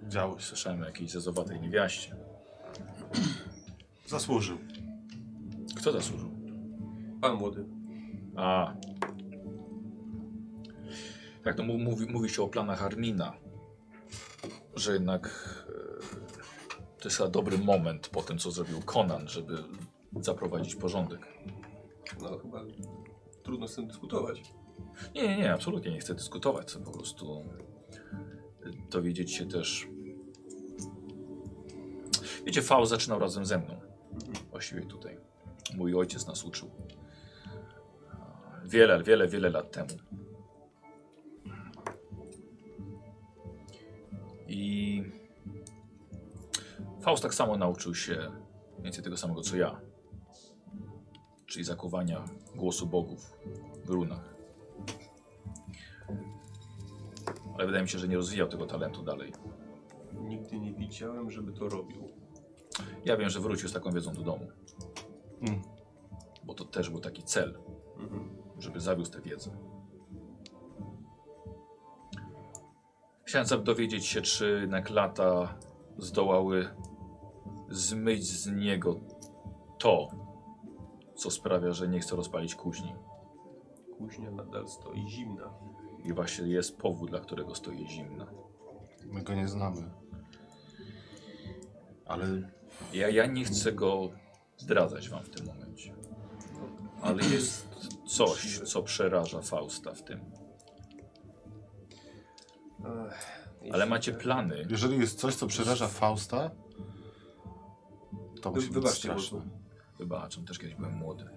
działo się. Słyszałem o jakiejś zezowatej niewiaście. Zasłużył. Kto zasłużył? Mhm. Pan młody. A. Tak, no mu- mówi, mówi się o planach Armina, że jednak e, to jest chyba dobry moment po tym, co zrobił Conan, żeby zaprowadzić porządek. No chyba trudno z tym dyskutować. Nie, nie, nie, absolutnie nie chcę dyskutować, chcę po prostu e, dowiedzieć się też. Wiecie, Faust zaczynał razem ze mną, właściwie tutaj. Mój ojciec nas uczył. Wiele, wiele, wiele lat temu. I Faust tak samo nauczył się mniej więcej tego samego co ja. Czyli zakuwania głosu bogów w runach. Ale wydaje mi się, że nie rozwijał tego talentu dalej. Nigdy nie widziałem, żeby to robił. Ja wiem, że wrócił z taką wiedzą do domu. Mm. Bo to też był taki cel, Mhm. żeby zawiózł tę wiedzę. Chciałem zap- dowiedzieć się, czy jednak lata zdołały zmyć z niego to, co sprawia, że nie chce rozpalić kuźni. Kuźnia nadal stoi zimna. I właśnie jest powód, dla którego stoi zimna. My go nie znamy. Ale Ja, ja nie chcę go zdradzać wam w tym momencie. Ale jest coś, co przeraża Fausta w tym. Ech, Ale jeśli- macie plany. jeżeli jest coś, co przeraża Fausta, to Wy- musi być wybaczcie, bo- straszne. Wybaczam, też kiedyś byłem młody.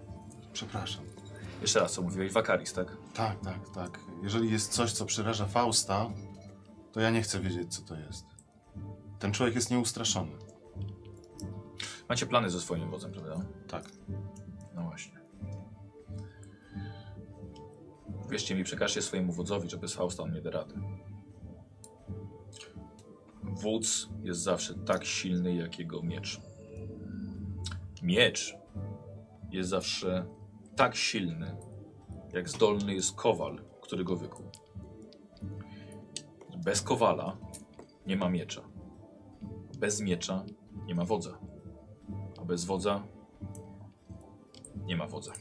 Przepraszam. Jeszcze raz, co mówiłeś? Wakaris, tak? Tak, tak, tak. Jeżeli jest coś, co przeraża Fausta, to ja nie chcę wiedzieć, co to jest. Ten człowiek jest nieustraszony. Macie plany ze swoim wodzem, prawda? Tak. No właśnie. Wierzcie mi, przekażcie swojemu wodzowi, żeby z Fausta on nie da rady. Wódz jest zawsze tak silny, jak jego miecz. Miecz jest zawsze tak silny, jak zdolny jest kowal, który go wykuł. Bez kowala nie ma miecza. Bez miecza nie ma wodza. A bez wodza nie ma wodza.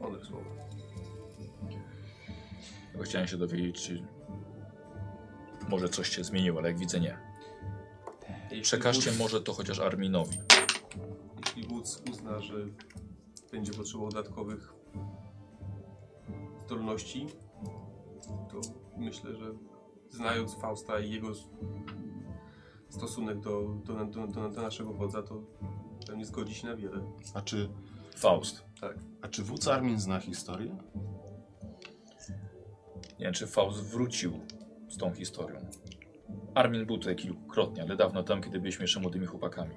Mądre słowo. Tylko Chciałem się dowiedzieć, czy może coś się zmieniło, ale jak widzę nie. Jeśli Przekażcie wódz- może to chociaż Arminowi. Jeśli wódz uzna, że będzie potrzebował dodatkowych zdolności, to myślę, że znając Fausta i jego s- stosunek do, do, do, do, do naszego wodza, to pewnie zgodzi się na wiele. A czy, Faust. a czy wódz Armin zna historię? Nie wiem, czy Faust wrócił z tą historią. Armin był tutaj kilkukrotnie, ale dawno tam, kiedy byliśmy jeszcze młodymi chłopakami.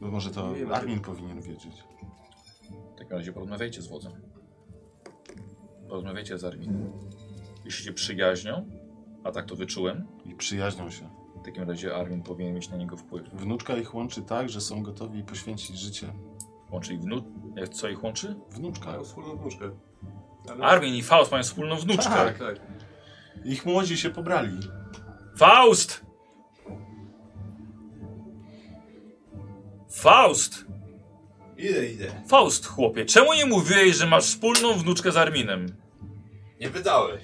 Bo może to Nie wiem, Armin powinien wiedzieć. W takim razie porozmawiajcie z wodzem. Porozmawiajcie z Arminem. Jeśli się przyjaźnią, a tak to wyczułem, I przyjaźnią się. w takim razie Armin powinien mieć na niego wpływ. Wnuczka ich łączy tak, że są gotowi poświęcić życie. Łączy ich wnu... jak- Co ich łączy? Wnuczka. Mają wspólną wnuczkę. Ale... Armin i Faust mają wspólną wnuczkę. Tak. Tak, tak. Ich młodzi się pobrali. Faust! Faust! Idę, idę. Faust, chłopie, czemu nie mówiłeś, że masz wspólną wnuczkę z Arminem? Nie pytałeś.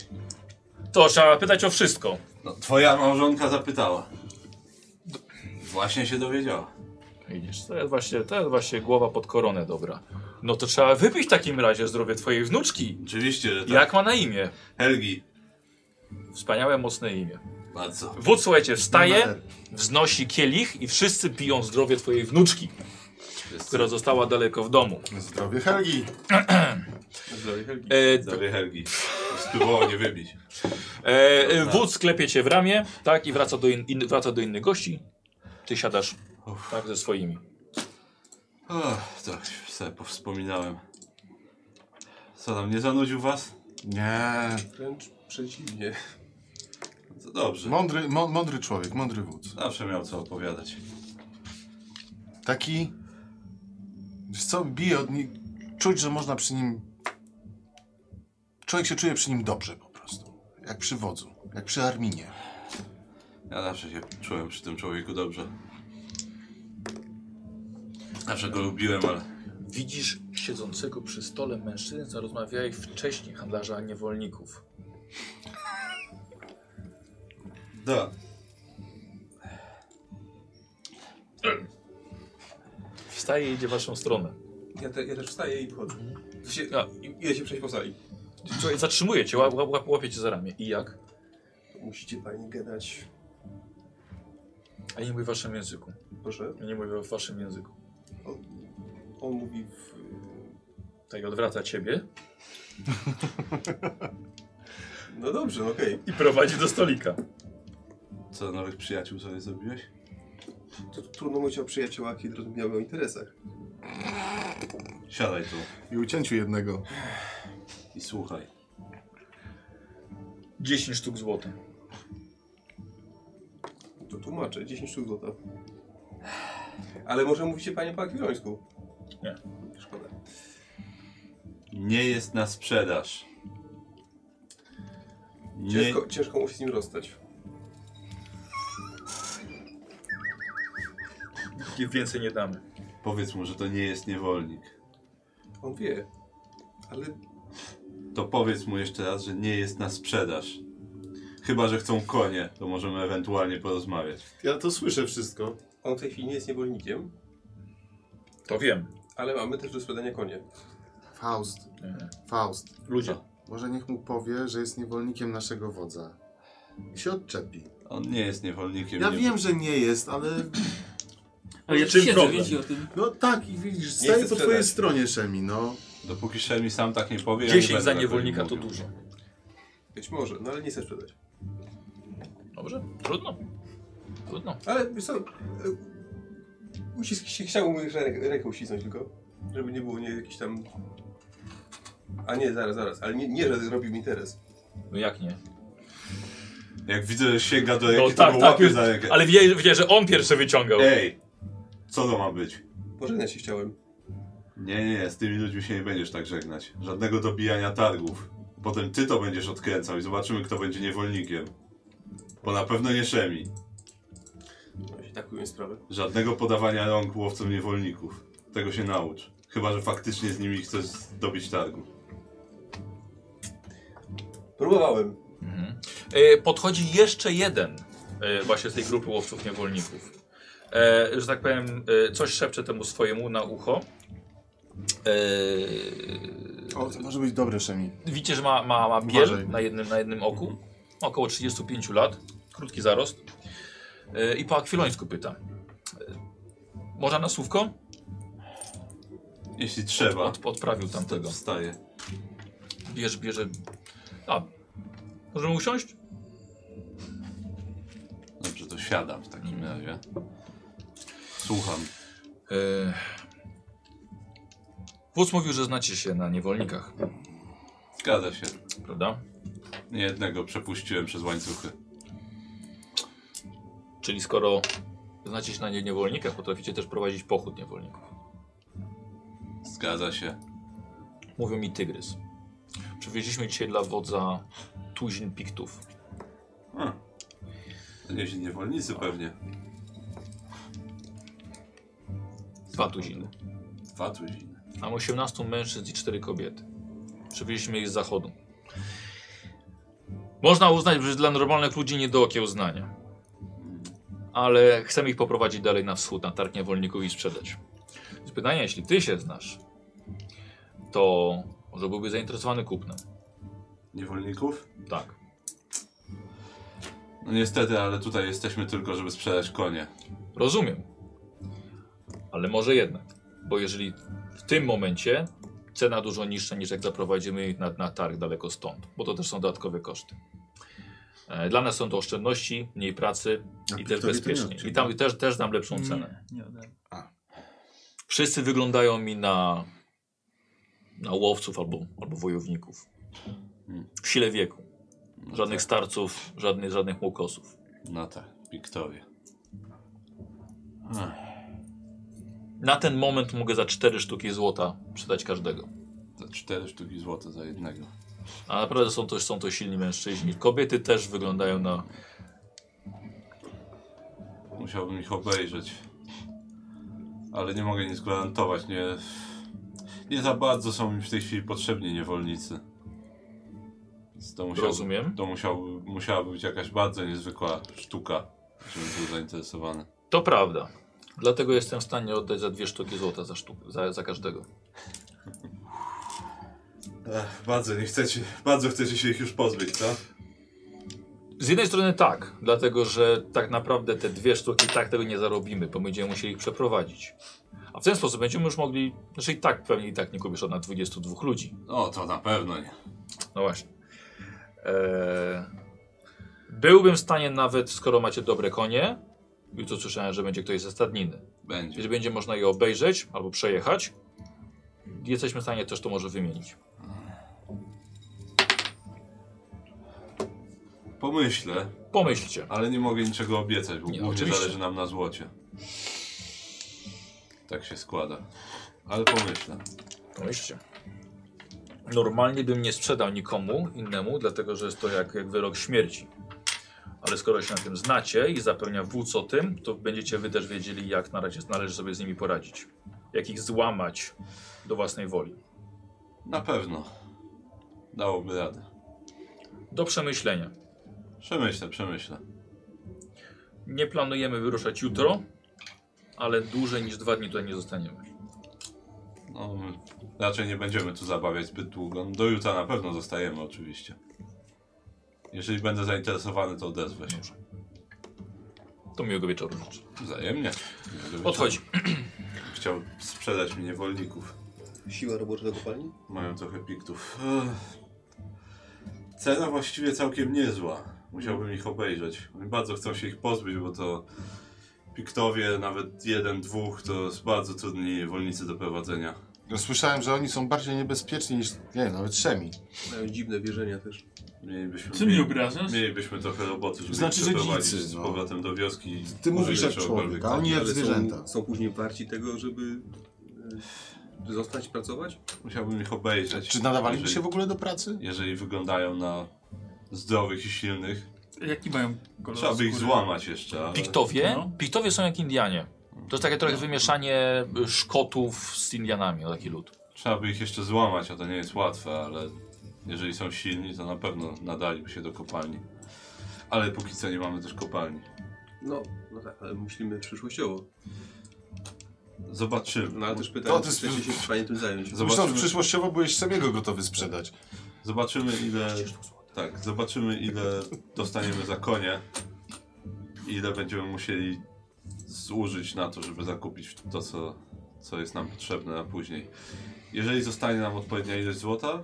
To trzeba pytać o wszystko. No, twoja małżonka zapytała. Właśnie się dowiedziała. Widzisz, to jest właśnie, to jest właśnie głowa pod koronę dobra. No to trzeba wypić w takim razie zdrowie twojej wnuczki. Oczywiście, że tak. Jak ma na imię? Helgi. Wspaniałe, mocne imię. Bardzo. Wódz, słuchajcie, wstaje, wznosi kielich i wszyscy piją zdrowie twojej wnuczki, która została daleko w domu. Zdrowie Helgi. Zdrowie Helgi. E, Zdrowie Helgi. Spróbowało nie wybić. E, e, wódz klepie cię w ramię, tak, i wraca do, in, in, wraca do innych gości. Ty siadasz, tak, ze swoimi. Och, tak, sobie powspominałem. Co tam, nie zanudził was? Nie. Wręcz przeciwnie. To dobrze. Mądry, mą- mądry człowiek, mądry wódz. Zawsze miał co opowiadać. Taki... Wiesz co, bije od nich... Czuć, że można przy nim... Człowiek się czuje przy nim dobrze po prostu. Jak przy wodzu. Jak przy Arminie. Ja zawsze się czułem przy tym człowieku dobrze. Zawsze go lubiłem, ale Widzisz siedzącego przy stole mężczyznę, zarozmawiałeś wcześniej handlarza niewolników. Da. Wstaje i idzie w waszą stronę. Ja, te, ja też wstaję i wchodzę. W sensie, A. i- Idę się przejść po sali. Słuchaj, zatrzymuje cię, łap, łap, łapie cię za ramię. I jak? Musicie pani gadać. A ja nie mówię w waszym języku. Proszę. Ja nie mówię w waszym języku. On, on mówi w... Tak, odwraca ciebie No dobrze, okej. i prowadzi do stolika. Co, nowych przyjaciół sobie zrobiłeś? To Trudno mówić o przyjaciołach i zrozumiałych interesach. Siadaj tu I ucięciu jednego. i słuchaj. 10 sztuk złota. To tłumaczę, 10 sztuk złota. Ale może mówicie panie po akwilońsku? Nie. Szkoda. Nie jest na sprzedaż. Nie, Ciężko, ciężko mu się z nim rozstać. I więcej nie damy. powiedz mu, że to nie jest niewolnik. On wie. Ale To powiedz mu jeszcze raz, że nie jest na sprzedaż. Chyba, że chcą konie, to możemy ewentualnie porozmawiać. Ja to słyszę wszystko. on w tej chwili nie jest niewolnikiem, To wiem. ale mamy też do sprzedania konie. Faust. Mhm. Faust. Ludzie. Może niech mu powie, że jest niewolnikiem naszego wodza. I się odczepi. On nie jest niewolnikiem. Ja nie... wiem, że nie jest, ale... Ale ja Czym siedzę, problem? wiecie o tym. No tak, i widzisz, Nie staję chcę po sprzedać. twojej stronie, Szemi, no. Dopóki Szemi sam tak nie powie, ja nie 10 będę za na niewolnika to koniu mówił. dużo. Być może, no ale nie chce sprzedać. Dobrze? Trudno. Trudno. Ale wiesz co, e, ucisk się chciał mu jeszcze rękę, rękę uścisnąć tylko, żeby nie było nie jakiś tam... A nie, zaraz, zaraz, ale nie, nie że zrobił mi interes. No jak nie? Jak widzę, że sięga do No ręki, to tak, go tak. łapie za E. rękę. Ale wie, wie, że on pierwszy wyciągał. Ej, co to ma być? Pożegnać się chciałem. Nie, nie, z tymi ludźmi się nie będziesz tak żegnać. Żadnego dobijania targów. Potem ty to będziesz odkręcał i zobaczymy, kto będzie niewolnikiem. Bo na pewno nie Szemi. No się tak ująć sprawę. Żadnego podawania rąk łowcom niewolników. Tego się naucz. Chyba, że faktycznie z nimi chcesz zdobyć targu. Próbowałem. Mhm. E, podchodzi jeszcze jeden e, właśnie z tej grupy łowców niewolników. E, że tak powiem, e, coś szepcze temu swojemu na ucho. E, O, to może być dobre, Szemi. widzicie, że ma, ma, ma biel Uważaj. na jednym, na jednym oku. Około 35 lat. Krótki zarost. E, I po akwilońsku pyta. E, można na słówko? Jeśli trzeba. Od, odprawił tamtego. Wstaje. Bierze, bierze... A, możemy usiąść? Dobrze, to siadam w takim Mhm. razie. Słucham. E, Wódz mówił, że znacie się na niewolnikach, Zgadza się. prawda? Nie jednego przepuściłem przez łańcuchy. Czyli skoro znacie się na nie- niewolnikach, potraficie też prowadzić pochód niewolników. Zgadza się. Mówią mi tygrys. Przywieźliśmy dzisiaj dla wodza tuzin piktów. Hmm. Nieźli niewolnicy pewnie. Dwa tuziny. Dwa tuziny. Mam 18 mężczyzn i 4 kobiety. Przywieźliśmy ich z zachodu. Można uznać, że dla normalnych ludzi nie do okiełznania. Ale chcemy ich poprowadzić dalej na wschód, na targ niewolników i sprzedać. Więc pytanie, jeśli ty się znasz, to może byłby zainteresowany kupnem. Niewolników? Tak. No niestety, ale tutaj jesteśmy tylko, żeby sprzedać konie. Rozumiem. Ale może jednak. Bo jeżeli w tym momencie cena dużo niższa niż jak zaprowadzimy ich na, na targ daleko stąd, bo to też są dodatkowe koszty. E, Dla nas są to oszczędności, mniej pracy A i Wiktorii też to nie Mm. bezpiecznie. odczuwa. I tam też, też dam lepszą cenę. Nie, nie ode mnie. Wszyscy wyglądają mi na, na łowców albo, albo wojowników. Mm. Hmm. W sile wieku. No Żadnych tak. starców, żadnych, żadnych łokosów. No tak, Piktowie. Ech, Na ten moment mogę za cztery sztuki złota sprzedać każdego. Za cztery sztuki złota za jednego. A naprawdę są to, są to silni mężczyźni. Kobiety też wyglądają na. Musiałbym ich obejrzeć. Ale nie mogę nic gwarantować, nie... Nie za bardzo są mi w tej chwili potrzebni niewolnicy. Więc to musiał, Rozumiem. to musiał, musiała być jakaś bardzo niezwykła sztuka, żebym był zainteresowany. To prawda. Dlatego jestem w stanie oddać za dwie sztuki złota za, sztuk, za, za każdego. Ech, bardzo nie chcecie, bardzo chcecie się ich już pozbyć, co? Z jednej strony tak, dlatego że tak naprawdę te dwie sztuki tak tego nie zarobimy, bo będziemy musieli ich przeprowadzić. A w ten sposób będziemy już mogli, znaczy i tak pewnie i tak nie kupisz od na 22 ludzi. No to na pewno nie. No właśnie. Eee, byłbym w stanie nawet, skoro macie dobre konie, i tu słyszałem, że będzie ktoś ze stadniny, Będzie. jeżeli będzie można je obejrzeć albo przejechać, jesteśmy w stanie też to może wymienić. Pomyślę, Pomyślcie. ale nie mogę niczego obiecać, bo Nie, głównie oczywiście. zależy nam na złocie. Tak się składa. Ale pomyślę. Pomyślcie. Normalnie bym nie sprzedał nikomu innemu, dlatego że jest to jak, jak wyrok śmierci. Ale skoro się na tym znacie i zapewnia wódz o tym, to będziecie wy też wiedzieli, jak na razie należy sobie z nimi poradzić. Jak ich złamać do własnej woli. Na pewno. Dałoby radę. Do przemyślenia. Przemyślę, przemyślę. Nie planujemy wyruszać jutro, ale dłużej niż dwa dni tutaj nie zostaniemy. No, raczej nie będziemy tu zabawiać zbyt długo. No, Do jutra na pewno zostajemy oczywiście. Jeżeli będę zainteresowany, to odezwę się. To miłego wieczoru życzę. Wzajemnie. Odchodzi. Chciał sprzedać mi niewolników. Siła robocza do kopalni? Mają trochę piktów. Ech. Cena właściwie całkiem niezła. Musiałbym ich obejrzeć. Oni Bardzo chcą się ich pozbyć, bo to piktowie, nawet jeden, dwóch, to jest bardzo trudni niewolnicy do prowadzenia. No, słyszałem, że oni są bardziej niebezpieczni niż, nie wiem, nawet szemi. Mają dziwne wierzenia też. Mielibyśmy, Czy mnie obrażasz? mielibyśmy trochę roboty, żeby Znaczy, ich że przeprowadzić dzicy, z no. powrotem do wioski. i tak. Ty mówisz użyć jak czegokolwiek. człowiek, a oni jak Ale zwierzęta. Są, są później warci tego, żeby e, zostać pracować? Musiałbym ich obejrzeć. Czy nadawaliby Jeżeli- się w ogóle do pracy? Jeżeli wyglądają na zdrowych i silnych, Jaki mają kolor trzeba by ich No, skóry? złamać jeszcze. Ale... Piktowie? No. Piktowie są jak Indianie. To jest takie trochę wymieszanie y, Szkotów z Indianami, o taki lud. Trzeba by ich jeszcze złamać, a to nie jest łatwe, ale jeżeli są silni, to na pewno nadaliby się do kopalni. Ale póki co nie mamy też kopalni. No, no tak, ale myślimy przyszłościowo. Zobaczymy. No ale też To pytanie, ty czy chcecie sp- się w stanie tym zająć. Myślałem, że Zobaczymy, przyszłościowo byłeś szemiego gotowy sprzedać. zobaczymy ile. Tak, zobaczymy ile dostaniemy za konie. I ile będziemy musieli zużyć na to, żeby zakupić to, co, co jest nam potrzebne na później. Jeżeli zostanie nam odpowiednia ilość złota,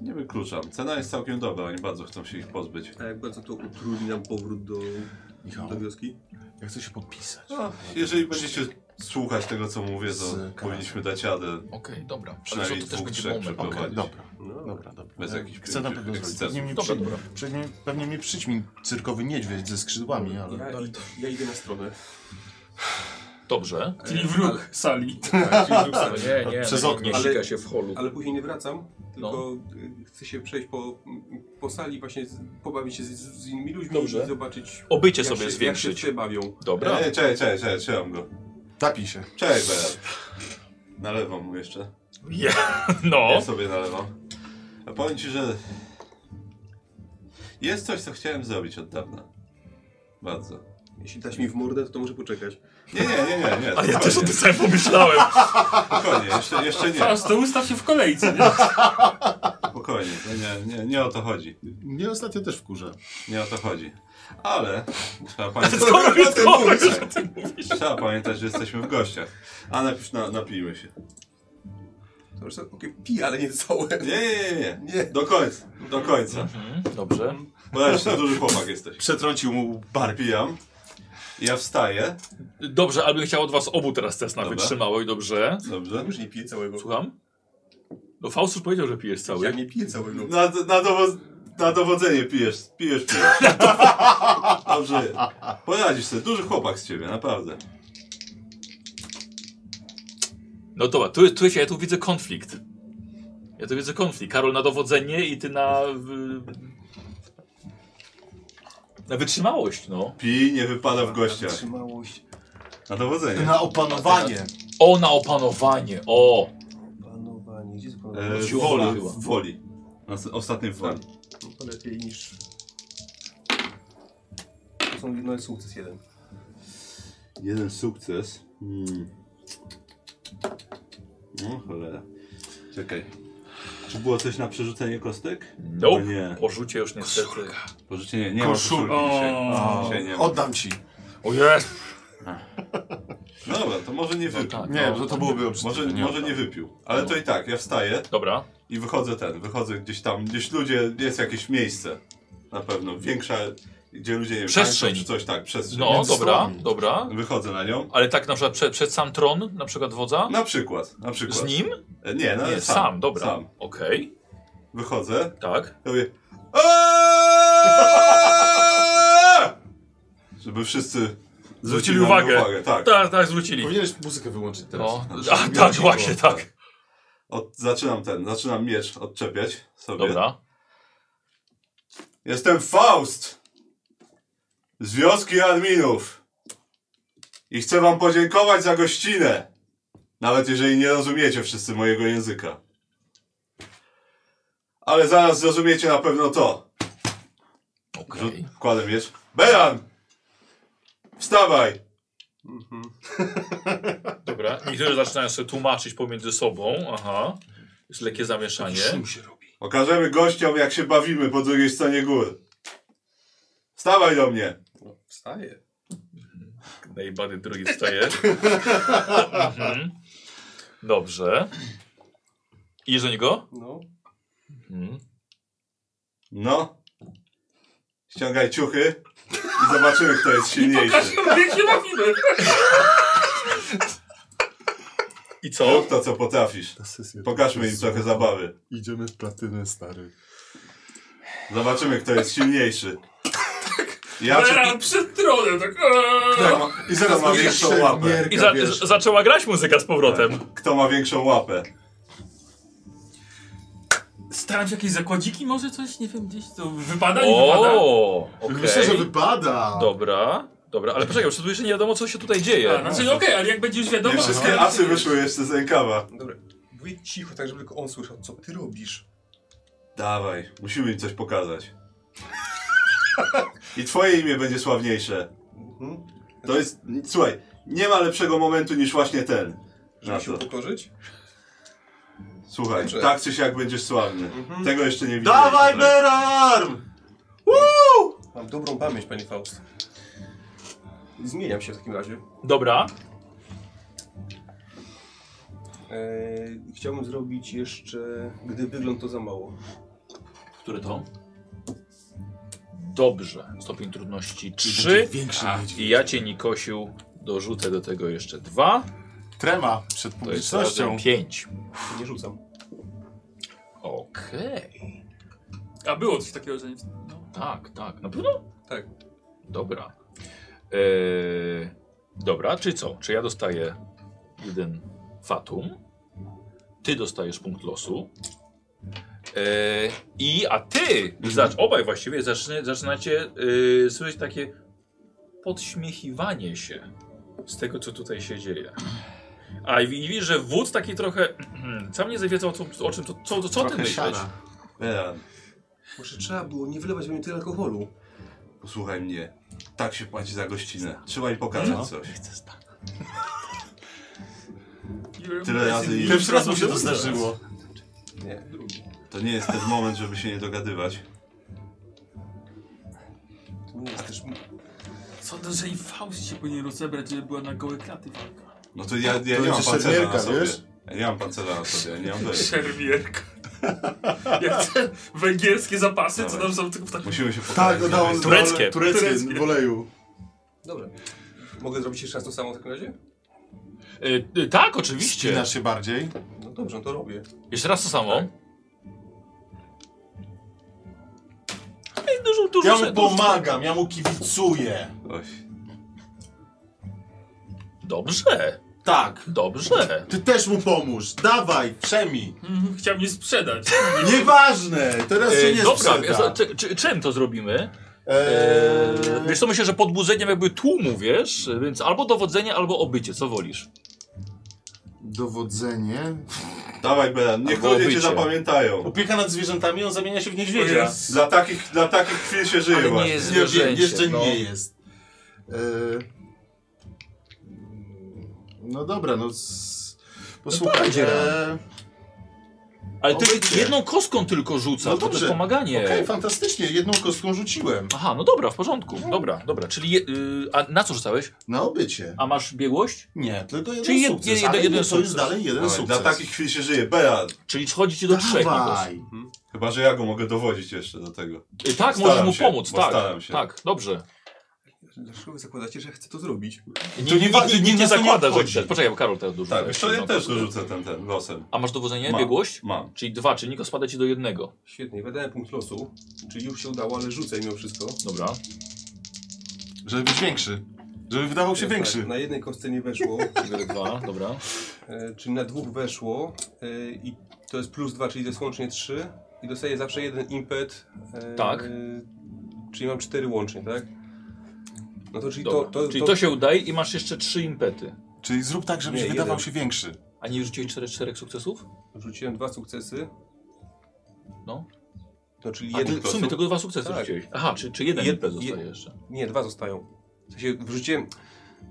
nie wykluczam. Cena jest całkiem dobra, oni bardzo chcą się ich pozbyć. A jak bardzo to utrudni nam powrót do, No. do wioski? Ja chcę się podpisać. Tak. No, jeżeli będziecie słuchać tego, co mówię, to Z powinniśmy dać radę Okej, dobra. Ale przynajmniej to też dwóch, będzie trzech moment. Okej, przeprowadzić. dobra, No, dobra, dobra. Bez jakichś Chcę na pewno zrobić. ekscesów. Pewnie mi, Dobra, przy... dobra. Pewnie, pewnie mi przyćmi cyrkowy niedźwiedź ze skrzydłami, ale... Ja, ja idę na stronę. Dobrze. Czyli wróg sali. Ale, czyli wróg Ale stary. nie, nie, Przez nie, okno. Nie Ale- sika się w holu. No. ale później nie wracam, tylko y, chcę się przejść po, po sali, właśnie z, pobawić się z, z innymi ludźmi Dobrze. i zobaczyć, Obycie jak sobie się, jak się zwiększyć. się bawią. Dobra. Ej, cześć, cześć, cześć, trzymam go. Tapi się. Cześć, Berat. Nalewam mu jeszcze. Je- Ja No. sobie nalewam. A powiem ci, że... Jest coś, co chciałem zrobić od dawna. Bardzo. Jeśli daś mi w mordę, to, to może poczekać. Nie, nie, nie, nie, nie. A ja też o spokojnie, tym samym pomyślałem. Spokojnie, jeszcze, jeszcze nie. Teraz to ustaw się w kolejce. Nie? spokojnie, to nie, nie, nie o to chodzi. Mnie ostatnio też wkurza. Nie o to chodzi. Ale trzeba pamiętać, Skoro już to mówisz? trzeba pamiętać że jesteśmy w gościach. A napisz, na, napijmy się. To już tak, okej, pij, ale nie całe. Nie, nie, nie, nie. Nie. Do końca, do końca. Dobrze. Bo ja jeszcze duży chłopak jesteś. Przetrącił mu Bar pijam. Ja wstaję. Dobrze, ale bym chciał od was obu teraz test na Dobra. wytrzymałość, dobrze? Dobrze. Już nie piję całego. Słucham? No Faust już powiedział, że pijesz Ja cały. nie piję całego. No. Na, na, dowo- na dowodzenie pijesz, pijesz, pijesz. Dobrze. Poradzisz sobie, duży chłopak z ciebie, naprawdę. No dobra, tu, tu, ja tu widzę konflikt. Ja tu widzę konflikt. Karol na dowodzenie i ty na... y, Na wytrzymałość, no. Pij, nie wypada w gościach. Trzymałość. Na dowodzenie. Na opanowanie. O, na opanowanie, o! Panowanie, gdzie jest panowanie? E, Siła wola, była. woli. Na s- ostatnim woli. No to lepiej niż... To są no, jest sukces jeden. Jeden sukces. Hmm. No cholera. Czekaj. Czy było coś na przerzucenie kostek? Nope. No Nie. O rzucie już niestety. Pożycie nie ma Koszul- koszulki dzisiaj. No, O. Dzisiaj nie ma. Oddam ci. O jest! Dobra, to może nie No wypił. tak, Nie, no. to, to byłoby obrzydliwe. No. Może, może nie wypił. Ale to i tak, ja wstaję Dobra. i wychodzę ten, wychodzę gdzieś tam, gdzieś ludzie, jest jakieś miejsce. Na pewno, większa, gdzie ludzie nie wiem, Przestrzeń. tańczą czy coś tak, przestrzeń. No, dobra, stołami. dobra. Wychodzę na nią. Ale tak na przykład przed, przed sam tron, na przykład wodza? Na przykład, na przykład. Z nim? E, Nie, no, Nie, sam, dobra. Sam. Okej, Wychodzę, tak. ja mówię "Aaaa!" Żeby wszyscy Zwrócili na mnie uwagę. tak. Tak, tak, zwrócili. Powinieneś muzykę wyłączyć teraz. No. A, tak, właśnie, tak. Od, zaczynam ten, zaczynam miecz odczepiać sobie. Dobra. Jestem Faust z wioski Adminów i chcę wam podziękować za gościnę, nawet jeżeli nie rozumiecie wszyscy mojego języka. Ale zaraz zrozumiecie na pewno to. Okej. Rzut, wkładam miecz. Beran! Wstawaj! Dobra. Niektórzy zaczynają sobie tłumaczyć pomiędzy sobą. Aha. Jest lekkie zamieszanie. Pokażemy gościom, jak się bawimy po drugiej stronie gór. Wstawaj do mnie! No, wstaje. Najbany drugi wstaje. mhm. Dobrze. Idziesz do niego? No. Mhm. No. Ściągaj ciuchy i zobaczymy, kto jest silniejszy. Jak się bawimy? I co? Rób to, co potrafisz. Ta sesja- Pokażmy im trochę zabawy. Idziemy w platynę, stary. Zobaczymy, kto jest silniejszy. Ja czy... przed tronem, Znaczy- tak. kto, ma... I zaraz kto ma większą łapę? I za, z- zaczęła grać muzyka z powrotem. Kto ma większą łapę? Staram się jakieś zakładziki może coś, nie wiem, gdzieś to wypada, nie wypada? O, okej. Myślę, że wypada. Dobra, dobra, ale poczekaj, przed jeszcze nie wiadomo, co się tutaj dzieje. A, znaczy, no okej, ale jak będzie już wiadomo... no, Nie to- wszystkie asy wyszły jeszcze z rękawa. Dobra. Bój cicho, tak żeby tylko on słyszał, co ty robisz. Dawaj, musimy im coś pokazać. I twoje imię będzie sławniejsze. Mhm. To jest... Słuchaj, nie ma lepszego momentu niż właśnie ten. Żeby Na się to. upokorzyć? Słuchaj, Dobrze. tak czy siak będziesz sławny. Mhm. Tego jeszcze nie widziałem. Dawaj, Beran! Mam dobrą pamięć, panie Faust. Zmieniam się w takim razie. Dobra, Eee, chciałbym zrobić jeszcze, gdy wygląd to za mało. który to? Dobrze, stopień trudności 3. Większy I ja cię, Nikosiu, dorzucę do tego jeszcze 2. Trema przed To jest publicznością. razem 5. Nie rzucam. Okej, A było coś takiego, że nie... No. tak, tak, na pewno? Tak. Dobra. Eee, dobra, czy co? Czy ja dostaję jeden fatum? Ty dostajesz punkt losu. Eee, I, a ty, zacz, obaj właściwie zaczyna, zaczynacie yy, słyszeć takie podśmiechiwanie się z tego, co tutaj się dzieje. A i widzisz, że wódz taki trochę sam nie zawiedział o, o czym, to, co, co, co ty Trochę myślisz? siana. Beran, Może trzeba było nie wylewać we mnie tyle alkoholu. posłuchaj mnie. Tak się płaci za gościnę. Trzeba im pokazać No. coś. Chcę stać. Tyle razy i... Pierwszy raz mu się to zdarzyło. Nie, drugi. To nie jest ten moment, żeby się nie dogadywać. To nie jest też... Co to, że i Faust się powinien rozebrać, żeby była na gołe klaty walka? No to ja, ja Tak, To nie mam będzie pancerza na szermierka, sobie. wiesz? Ja nie mam pancerza na sobie, ja nie mam wejścia. Szermierka. Jak te węgierskie zapasy, co tam są tylko w takim... Musimy się Tak, pokazać. dodałem dodałem- Tureckie. Tureckie, Tureckie. w oleju. Dobra. Mogę zrobić jeszcze raz to samo w takim razie? E, e, tak, oczywiście. Spinasz się bardziej. No dobrze, no to robię. Jeszcze raz to samo. Tak. Tak. Ej, no, Dużo, dużo, Ja dużo- mu pomagam, ja mu kibicuję. Oj, Dobrze, Tak. dobrze. Ty też mu pomóż. Dawaj, przemij. Mhm, Chciał mnie sprzedać. Hmm. Nieważne, teraz się E, nie dobra, sprzeda. tak. więc, czy, czy, czym to zrobimy? E, Eee, wiesz co, myślę, że podbudzeniem jakby tłumu, wiesz? Więc albo dowodzenie, albo obycie, co wolisz? Dowodzenie. dawaj Belan, niech Albo ludzie cię obycie. zapamiętają. opieka nad zwierzętami, on zamienia się w niedźwiedzia. Jest. Dla takich, dla takich chwil się żyje Ale nie właśnie. jest Nie, wie- zwierzęcie, jeszcze no. nie jest. E, Eee, no dobra, no. S... Posłuchaj. będzie eee, E, Ale ty Obycie. jedną kostką tylko rzucasz, No bo to dobrze. jest pomaganie. Okej, fantastycznie, jedną kostką rzuciłem. Aha, no dobra, w porządku. Dobra, dobra. Czyli je, y, a na co rzucałeś? Na obycie. A masz biegłość? Nie, tylko jeden Czyli jed- sukces. jeden- ale jeden to sukces. jest dalej jeden Dawaj, sukces. Dla takich chwil się żyje, Belan. Czyli chodzi ci do trzech. Nikos. Dawaj. Chyba, że ja go mogę dowodzić jeszcze do tego. Y, tak, Staram możesz mu się, pomóc, bo tak. staram się. Tak, dobrze. Dlaczego wy zakładacie, że chcę to zrobić? Nie, nie, wa- nie, nie- nie, nas to nie zakłada, że obchodzi. chcesz. Poczekaj, bo Karol teraz dorzuca. Tak, jeszcze ja No, też to- dorzucę ten, ten losem. A masz dowodzenie, Mam. biegłość? Mam. Czyli dwa, czyli Niko spada ci do jednego. Świetnie, wydałem punkt losu, czyli już się udało, ale rzucę mimo wszystko. Dobra. Żeby być większy. Żeby wydawał się E, większy. Tak, na jednej kostce nie weszło, Dwa, dobra. e, czyli na dwóch weszło e, i to jest plus dwa, czyli to jest łącznie trzy i dostaję zawsze jeden impet. e, Tak. Czyli mam cztery łącznie, tak? No to czyli to, dobra. to, czyli to się udaje i masz jeszcze trzy impety. Czyli zrób tak, żebyś Nie, wydawał jeden. się większy. A nie rzuciłeś czterech, czterech sukcesów? Rzuciłem dwa sukcesy, No. no czyli A jeden ty w sumie tylko dwa sukcesy Tak. rzuciłeś. Aha, czy, czy jeden Jed- impet jed- zostaje jeszcze? Nie, dwa zostają. W sensie wrzuciłem,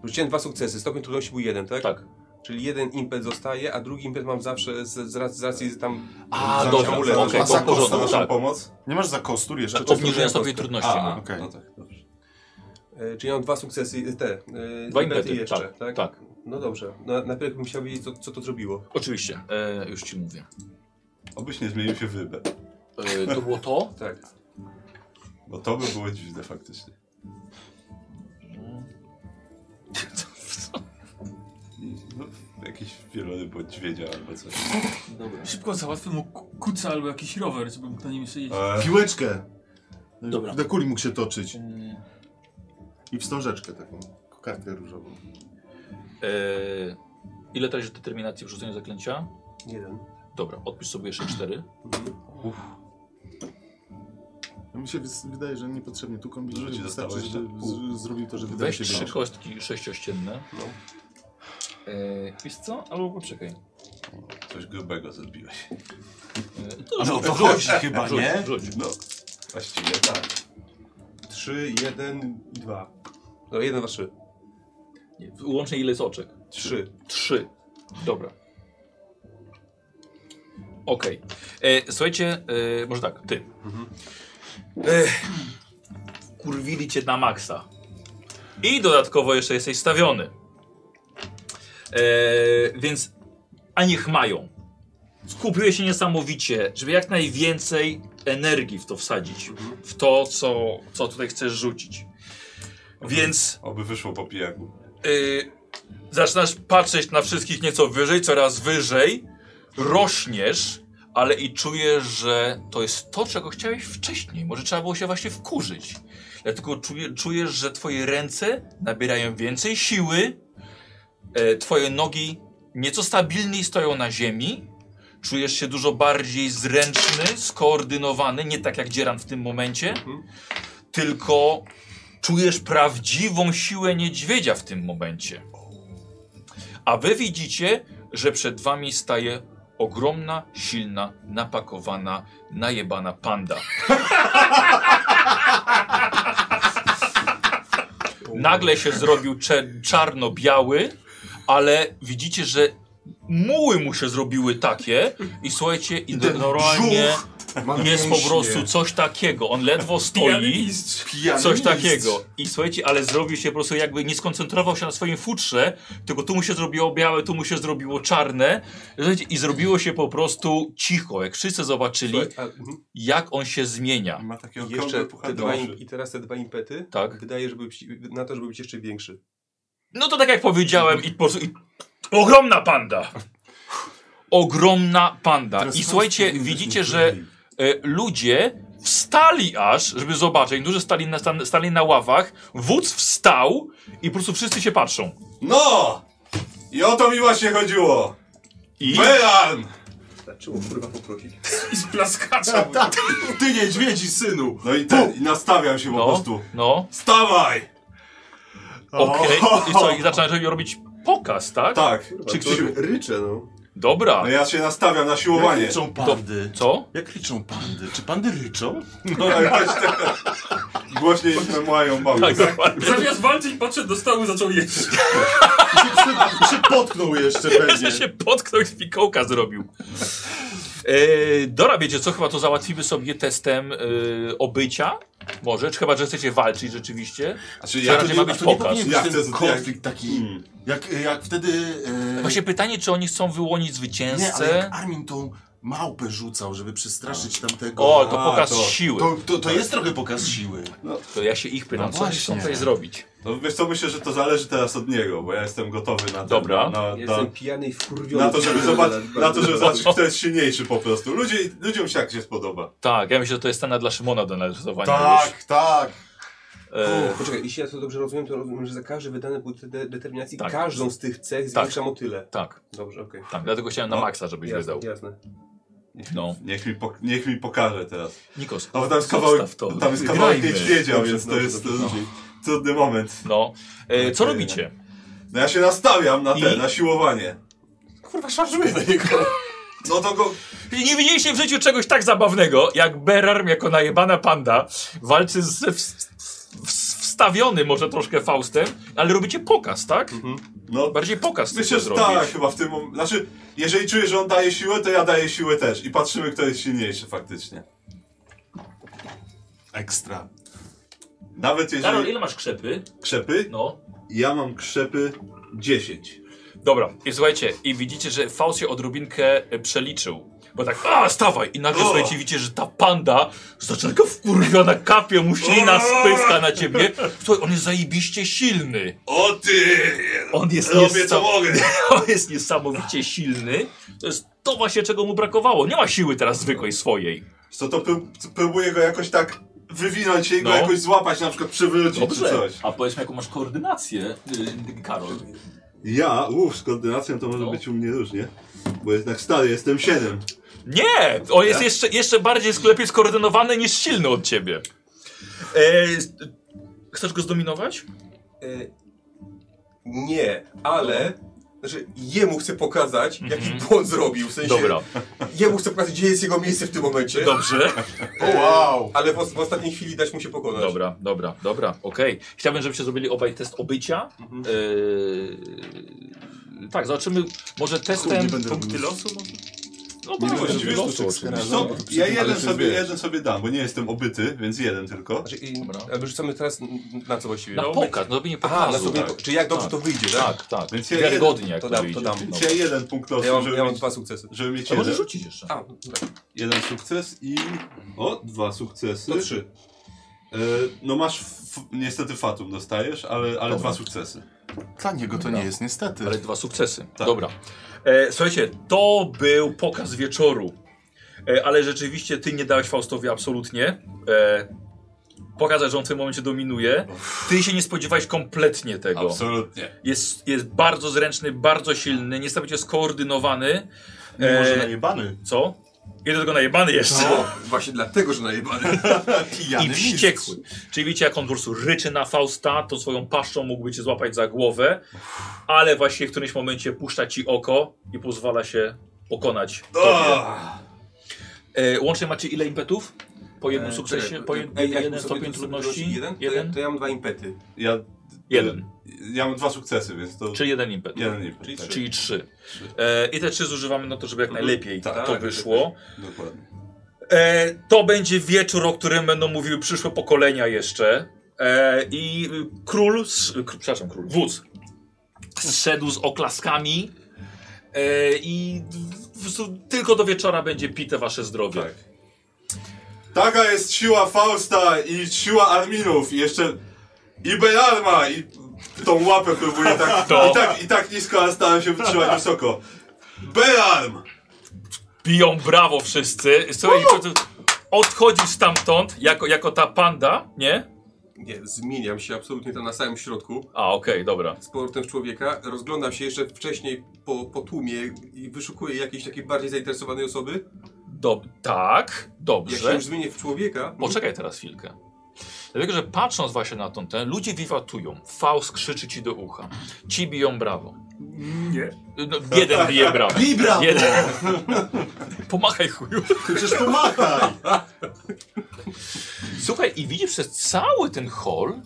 wrzuciłem dwa sukcesy, stopień trudności był jeden, tak? Tak. Czyli jeden impet zostaje, a drugi impet mam zawsze z, z, racji, z racji tam... A, Zawsze dobra, amulet. okej, okay, to Masakra, w Za porządku, naszą tak. pomoc? Nie masz za kostur jeszcze? czy- Obniżenia sobie trudności. A, no. a, Okej. no tak, dobrze. E, czyli mam dwa sukcesy, te, e, Dwa impety impety, jeszcze, tak, tak? tak. No dobrze, no, najpierw bym chciał wiedzieć, co, co to zrobiło. Oczywiście, e, już ci mówię. Obyś nie zmienił się w rybę. E, to było to? Tak. Bo to by było dziwne faktycznie. No, jakiś wielony niedźwiedzia albo coś. Dobra. Szybko załatwmy mu ku- kuca albo jakiś rower, żeby mógł na nim jeszcze jeździć. E, Piłeczkę. Dobra. Na kuli mógł się toczyć. Mm, I wstążeczkę taką. Kartę różową. E, ile tracisz determinacji w rzuceniu zaklęcia? Jeden. Dobra, odpisz sobie jeszcze cztery. No mi się wys- wydaje, że niepotrzebnie tu kombinuje. Dużo ci Wystarczy, dostałeś, żeby tak? z- zrobił to, że wydaje Weź się trzy większy. kostki sześciościenne. No. E, wiesz co? Albo poczekaj. coś grubego zrobiłeś. E, to No rzuć, to rzuć, chodzi chyba, rzuć, nie? Rzuć. No, właściwie tak. Trzy, jeden i dwa. No jeden, dwa, trzy. Nie, Łącznie ile jest oczek? Trzy. Trzy. Dobra. Okej. E, Słuchajcie, e, może tak, ty. E, kurwili cię na maksa. I dodatkowo jeszcze jesteś stawiony. E, więc a niech mają. Skupiłeś się niesamowicie, żeby jak najwięcej energii w to wsadzić. W to, co, co tutaj chcesz rzucić. Więc Oby wyszło po pijaku. y, zaczynasz patrzeć na wszystkich nieco wyżej, coraz wyżej, rośniesz, ale i czujesz, że to jest to, czego chciałeś wcześniej. Może trzeba było się właśnie wkurzyć. Dlatego czuje, czujesz, że twoje ręce nabierają więcej siły, e, twoje nogi nieco stabilniej stoją na ziemi, czujesz się dużo bardziej zręczny, skoordynowany, nie tak jak Dzieran w tym momencie, tylko czujesz prawdziwą siłę niedźwiedzia w tym momencie. A wy widzicie, że przed wami staje ogromna, silna, napakowana, najebana panda. Nagle się zrobił cze- czarno-biały, ale widzicie, że muły mu się zrobiły takie i słuchajcie, i normalnie jest po prostu coś takiego. On ledwo stoi, coś takiego. I słuchajcie, ale zrobił się po prostu jakby nie skoncentrował się na swoim futrze, tylko tu mu się zrobiło białe, tu mu się zrobiło czarne Słuchajcie, i zrobiło się po prostu cicho, jak wszyscy zobaczyli, Słuchaj, a, mhm. jak on się zmienia. Ma takie I okrągłe, jeszcze te puchate dwa im, oczy. I teraz te dwa impety Tak. wydaje, żeby być, na to, żeby być jeszcze większy. No to tak jak powiedziałem, i po prostu. I... Ogromna panda! Ogromna panda. I słuchajcie, widzicie, że e, ludzie wstali aż, żeby zobaczyć. Niektórzy stali na, stan- stali na ławach, wódz wstał i po prostu wszyscy się patrzą. No! I o to mi właśnie chodziło! I Melan! Starczyło kurwa poprosić. I z plaskacza. Ty niedźwiedzi, synu! No i, ten, i nastawiam się no, no, Stawaj! okej. I co, i zaczynają robić pokaz, tak? Tak. Czy Czy ktoś ktoś- ryczę, no. Dobra, No ja się nastawiam na Jak No siłowanie. ryczą pandy? co? Jak ryczą pandy? Czy pandy ryczą? No, ja właśnie... tak. Głośniej me mają mały. Tak, dokładnie. Zamiast walczyć, patrzę do stołu, zaczął jeść. Się- się potknął jeszcze pewnie. Ja się potknął i z fikołka zrobił. E, Dora, wiecie co? Chyba to załatwimy sobie testem e, obycia. Może? Czy chyba, że chcecie walczyć rzeczywiście? Znaczy, Hmm. Ja ja, to nie ma być A to nie pokaz. powinien Ja być chcę ten z- konflikt taki, jak, jak wtedy... E, Właśnie pytanie, czy oni chcą wyłonić nie, ale zwycięzcę? jak Armin tą małpę rzucał, żeby przestraszyć tamtego... O, to A, pokaz to- siły. To... to, to, to jest trochę pokaz siły. ja się ich pytam, No co oni właśnie. chcą tutaj zrobić? to wiesz co, myślę, że to zależy teraz od niego, bo ja jestem gotowy na, ten, Dobra. na, na, Jestem pijany i wkurwiony. na to, żeby zobaczyć, na to, żeby zobaczyć, O. kto jest silniejszy po prostu. Ludzie, ludziom się jak się spodoba. Tak, ja myślę, że to jest scena dla Szymona do narysowania. już. Tak, tak. E, Poczekaj, jeśli ja to dobrze rozumiem, to rozumiem, że za każdy wydany punkt de- determinacji Tak. każdą z tych cech Tak. zwiększam o tyle. tak, Dobrze, okej. tak, dlatego chciałem na No. maksa, żebyś Jasne, wydał. jasne. No. Niech mi, pok- niech mi pokaże teraz. Nikos, No bo tam jest zostaw kawałek, to. tam jest kawałek Grajmy. niedźwiedzia, Dobrze, więc to dobrze, jest dobrze. e, trudny moment. No. E, co robicie? No ja się nastawiam na te, I? na siłowanie. Kurwa, szarżuję na niego. No to go... Nie widzieliście w życiu czegoś tak zabawnego, jak Berarm jako najebana panda walczy z w- w- wstawionym może troszkę Faustem, ale robicie pokaz, tak? No, Bardziej pokaz myślę, chcecie że zrobić. tak chyba w tym momencie. Znaczy, jeżeli czuję, że on daje siłę, to ja daję siłę też. I patrzymy, kto jest silniejszy faktycznie. Ekstra. Nawet Karol, jeżeli ile masz krzepy? krzepy, No. ja mam krzepy 10. Dobra, i słuchajcie, i widzicie, że Faust się odrobinkę e, przeliczył. Bo tak, a stawaj! I nagle O! słuchajcie, widzicie, że ta panda zaczyna taka wkurwiona kapie, muślina spyska na ciebie. Słuchaj, on jest zajebiście silny. O ty! On jest Robię co niesam- mogę! On jest niesamowicie silny. To jest to właśnie, czego mu brakowało. Nie ma siły teraz zwykłej swojej. Co to pró- próbuję go jakoś tak wywinąć i go No. jakoś złapać, na przykład przywrócić czy coś. A powiedzmy, jaką masz koordynację, y, Karol. Ja, uff, z koordynacją to może No. być u mnie różnie. Bo jednak stary, jestem 7. Nie! On jest jeszcze, jeszcze bardziej sklepie skoordynowany niż silny od ciebie. E, s- chcesz go zdominować? Y, nie, ale... Znaczy, jemu chcę pokazać, Mhm. jaki błąd zrobił. W sensie, Dobra, jemu chcę pokazać, gdzie jest jego miejsce w tym momencie. E, dobrze. O, wow. Ale w, os- w ostatniej chwili dać mu się pokonać. Dobra, dobra, dobra, okej. Chciałbym, żebyście zrobili obaj test obycia. Mhm. E, tak, zobaczymy, może Kurde, testem... nie będę robił. losu? może? No Nie tak, będę punkty robił losu sztuczek z oczywiście. No, No, ja ale jeden się sobie, wiesz. jeden sobie dam, bo nie jestem obyty, więc jeden tylko. Znaczy, i, Dobra. ale rzucamy teraz n- na co właściwie? Na pokaz, no robienie pokazu. Aha, na sobie, tak. Czy jak dobrze Tak. to wyjdzie, tak? Tak, tak. Więc ja Wiarygodnie jak to dam, to wyjdzie. dam. No. Więc ja jeden punkt losu, Ja mam, żeby, ja mam mieć, dwa sukcesy. żeby mieć To możesz jeden, rzucić jeszcze. A, dobra. jeden sukces i... O, dwa sukcesy. to trzy. E, no masz, f, niestety fatum dostajesz, ale, ale dwa sukcesy. Dla niego to nie jest niestety. No. Ale dwa sukcesy. Tak. Dobra. E, słuchajcie, to był pokaz wieczoru. E, ale rzeczywiście ty nie dałeś Faustowi absolutnie. E, pokazać, że on w tym momencie dominuje. Ty się nie spodziewałeś kompletnie tego. Absolutnie. Jest, jest bardzo zręczny, bardzo silny, niesamowicie skoordynowany. Nie może E, najebany. Co? I do tego najebany jeszcze. No, właśnie dlatego, że najebany. Pijany I mistrz. wściekły. Czyli wiecie, jak on po prostu ryczy na Fausta, to swoją paszczą mógłby cię złapać za głowę, ale właśnie w którymś momencie puszcza ci oko i No. pozwala się pokonać. tobie. O! E, łącznie macie ile impetów? Po jednym E, sukcesie, czekaj, po e, jed, e, jak jeden sobie stopień to sobie trudności, wrócić jeden, Jeden? To, ja, to ja mam dwa impety. Ja, jeden, ja mam dwa sukcesy, więc to... czy jeden impet. Jeden impet, Czyli tak. trzy. Czyli trzy. E, I te trzy zużywamy na to, żeby jak Mhm. najlepiej Tak, to tak, wyszło. Dokładnie. E, to będzie wieczór, o którym będą mówiły przyszłe pokolenia jeszcze. E, I y, król, s- kr, przepraszam, król, wódz zszedł z oklaskami e, i w- w- tylko do wieczora będzie pite wasze zdrowie. Tak. Taka jest siła Fausta i siła Arminów i jeszcze i Belarma i tą łapę próbuję tak, To. i tak, i tak nisko, ale starałem się wytrzymać wysoko. Belarm! Biją brawo wszyscy. Słuchaj, odchodził stamtąd jako, jako ta panda, nie? Nie, zmieniam się absolutnie tam na samym środku. A, okej, dobra. Z powrotem w człowieka. Rozglądam się jeszcze wcześniej po, po tłumie i wyszukuję jakiejś takiej bardziej zainteresowanej osoby. Dob tak, Jak dobrze. się już zmienię w człowieka... Poczekaj teraz chwilkę. Dlatego, że patrząc właśnie na tą tę, ludzie wiwatują. Faust krzyczy ci do ucha. Ci biją brawo. Nie. No, jeden bije brawo. Bij brawo! Jeden. Pomachaj chuju. Przecież pomachaj! Słuchaj, i widzisz przez cały ten hol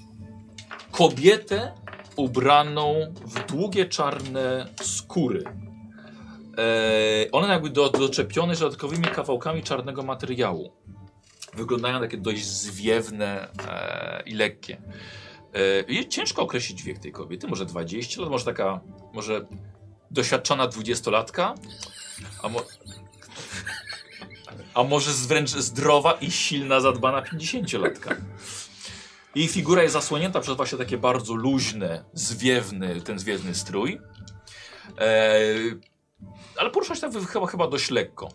kobietę ubraną w długie czarne skóry. Eee, one jakby do, doczepione dodatkowymi kawałkami czarnego materiału. Wyglądają takie dość zwiewne eee, i lekkie. Eee, i ciężko określić wiek tej kobiety, może 20 lat, może taka, może doświadczona dwudziestolatka, a, mo a może z- wręcz zdrowa i silna, zadbana 50-latka. Jej figura jest zasłonięta przez właśnie takie bardzo luźne, zwiewny, ten zwiewny strój. Eee, ale porusza się tam wy- chyba, chyba dość lekko.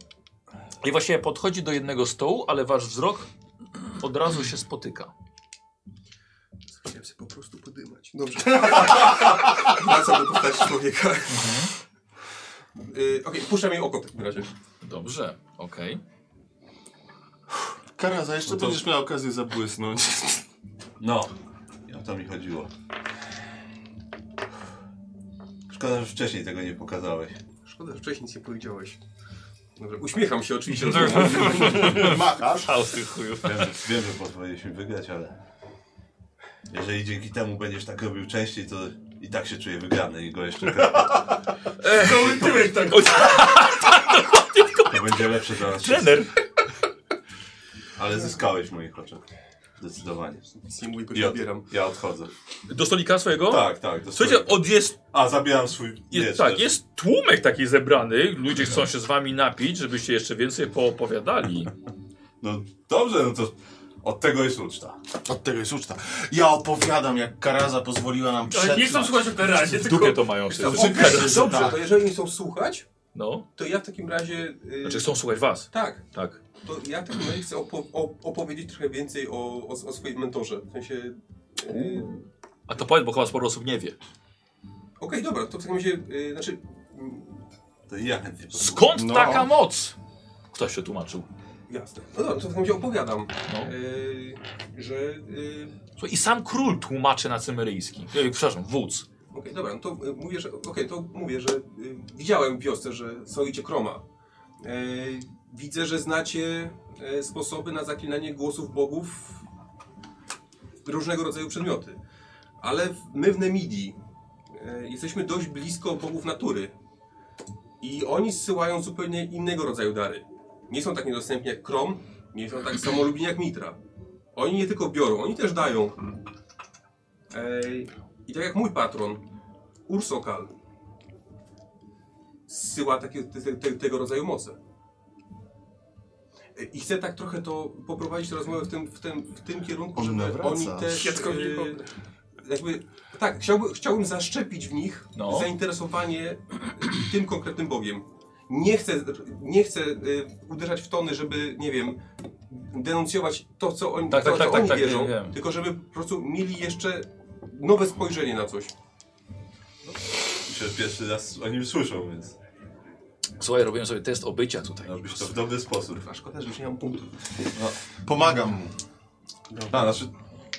I właściwie podchodzi do jednego stołu, ale wasz wzrok od razu się spotyka. Chciałem sobie po prostu podymać. Dobrze. Wracam do postaci człowieka. Mhm. Y, Okej, puszczam jej oko w takim razie. Dobrze, okej. Karaza, jeszcze to- będziesz miał okazję zabłysnąć. No, i o to mi chodziło. Szkoda, że wcześniej tego nie pokazałeś. Szkoda, że wcześniej nic nie powiedziałeś. Dobrze, uśmiecham się oczywiście. Machasz? Chaos tych chujów. Wiem, że, wiem, że pozwoliliśmy wygrać, ale jeżeli dzięki temu będziesz tak robił częściej, to i tak się czuję wygrany i go jeszcze kradnę. tak. To będzie lepsze dla nas. wszystkich. Trener! Ale zyskałeś w moich oczach. Zdecydowanie. Nic nie mówię, go I nie od, odbieram. ja odchodzę. Do stolika swojego? Tak, tak. do Słuchajcie, stolika. od jest A, zabieram swój miecz Jest, tak, też. jest tłumek taki zebrany. Ludzie chcą się z wami napić, żebyście jeszcze więcej poopowiadali. No dobrze, no to od tego jest uczta. Od tego jest uczta. Ja opowiadam, jak Karaza pozwoliła nam Ale przetrwać. nie chcą słuchać o terazie, W tylko... dupie to mają się. Dobrze, dobrze, to jeżeli nie chcą słuchać, No, to ja w takim razie... y, znaczy chcą słuchać was. Tak, Tak. to ja w takim razie chcę opo o- opowiedzieć trochę więcej o, o, o swoim mentorze. W sensie... y, A to powiedz, bo chyba sporo osób nie wie. Okej, dobra, to w takim razie... y, znaczy... mm, To ja chętnie posłucham. Skąd No. taka moc? Ktoś się tłumaczył. Jasne. No dobra, to w takim razie opowiadam, No. y, że... y, Słuchaj, I sam król tłumaczy na cymeryjski. E, Przepraszam, wódz. Okej, dobra, no to y, mówię, że. Okej, to mówię, że y, widziałem w wiosce, że soicie kroma. Y, widzę, że znacie y, sposoby na zaklinanie głosów bogów różnego rodzaju przedmioty. Ale w- my w Nemidii y, jesteśmy dość blisko bogów natury. I oni zsyłają zupełnie innego rodzaju dary. Nie są tak niedostępni jak Krom, nie są tak samolubni jak Mitra. Oni nie tylko biorą, oni też dają. Ej, I tak jak mój patron, Ursokal, zsyła takie, te, te, tego rodzaju moce. Ej, I chcę tak trochę to poprowadzić tę rozmowę w tym, w tym, w tym kierunku, On żeby nawraca. oni też... Świadkowie e, Jehowy. jakby, tak, chciałby, chciałbym zaszczepić w nich No. zainteresowanie tym konkretnym Bogiem. Nie chcę, nie chcę y, uderzać w tony, żeby, nie wiem, denuncjować to, co oni, Tak, to, tak, co tak, tak, oni tak, wierzą, wiem, wiem. tylko żeby po prostu mieli jeszcze nowe spojrzenie na coś. Myślę, że No, pierwszy raz o nim słyszą, więc Słuchaj, robiłem sobie test obycia tutaj. No, robisz to w dobry sposób. A szkoda, że już nie mam punktów. Pomagam mu. A, znaczy,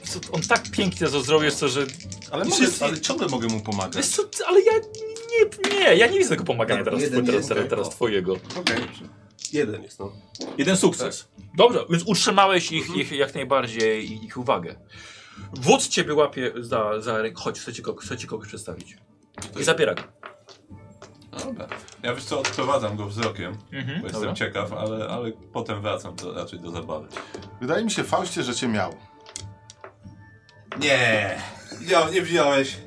Co, on tak pięknie to zrobił, jest to, że... Ale, I mogę, wszyscy- ale ciągle mogę mu pomagać. Wiesz co, ale ja nie, nie, ja nie widzę tego pomagania teraz, Tak, Jeden teraz, jest, teraz, okej. teraz twojego. Okej. Jeden jest, no. Jeden sukces. Dobrze, więc utrzymałeś ich, ich jak najbardziej i ich uwagę. Wódz ciebie łapie za, za rękę. Chodź, chcę ci, kogoś, chcę ci kogoś przedstawić. I zabiera go. No dobra. Ja wiesz co, odprowadzam go wzrokiem, bo Mhm. jestem ciekaw, ale, ale potem wracam do, raczej do zabawy. Wydaje mi się, Faustie, że cię miał. Nie! Ja, nie widziałeś.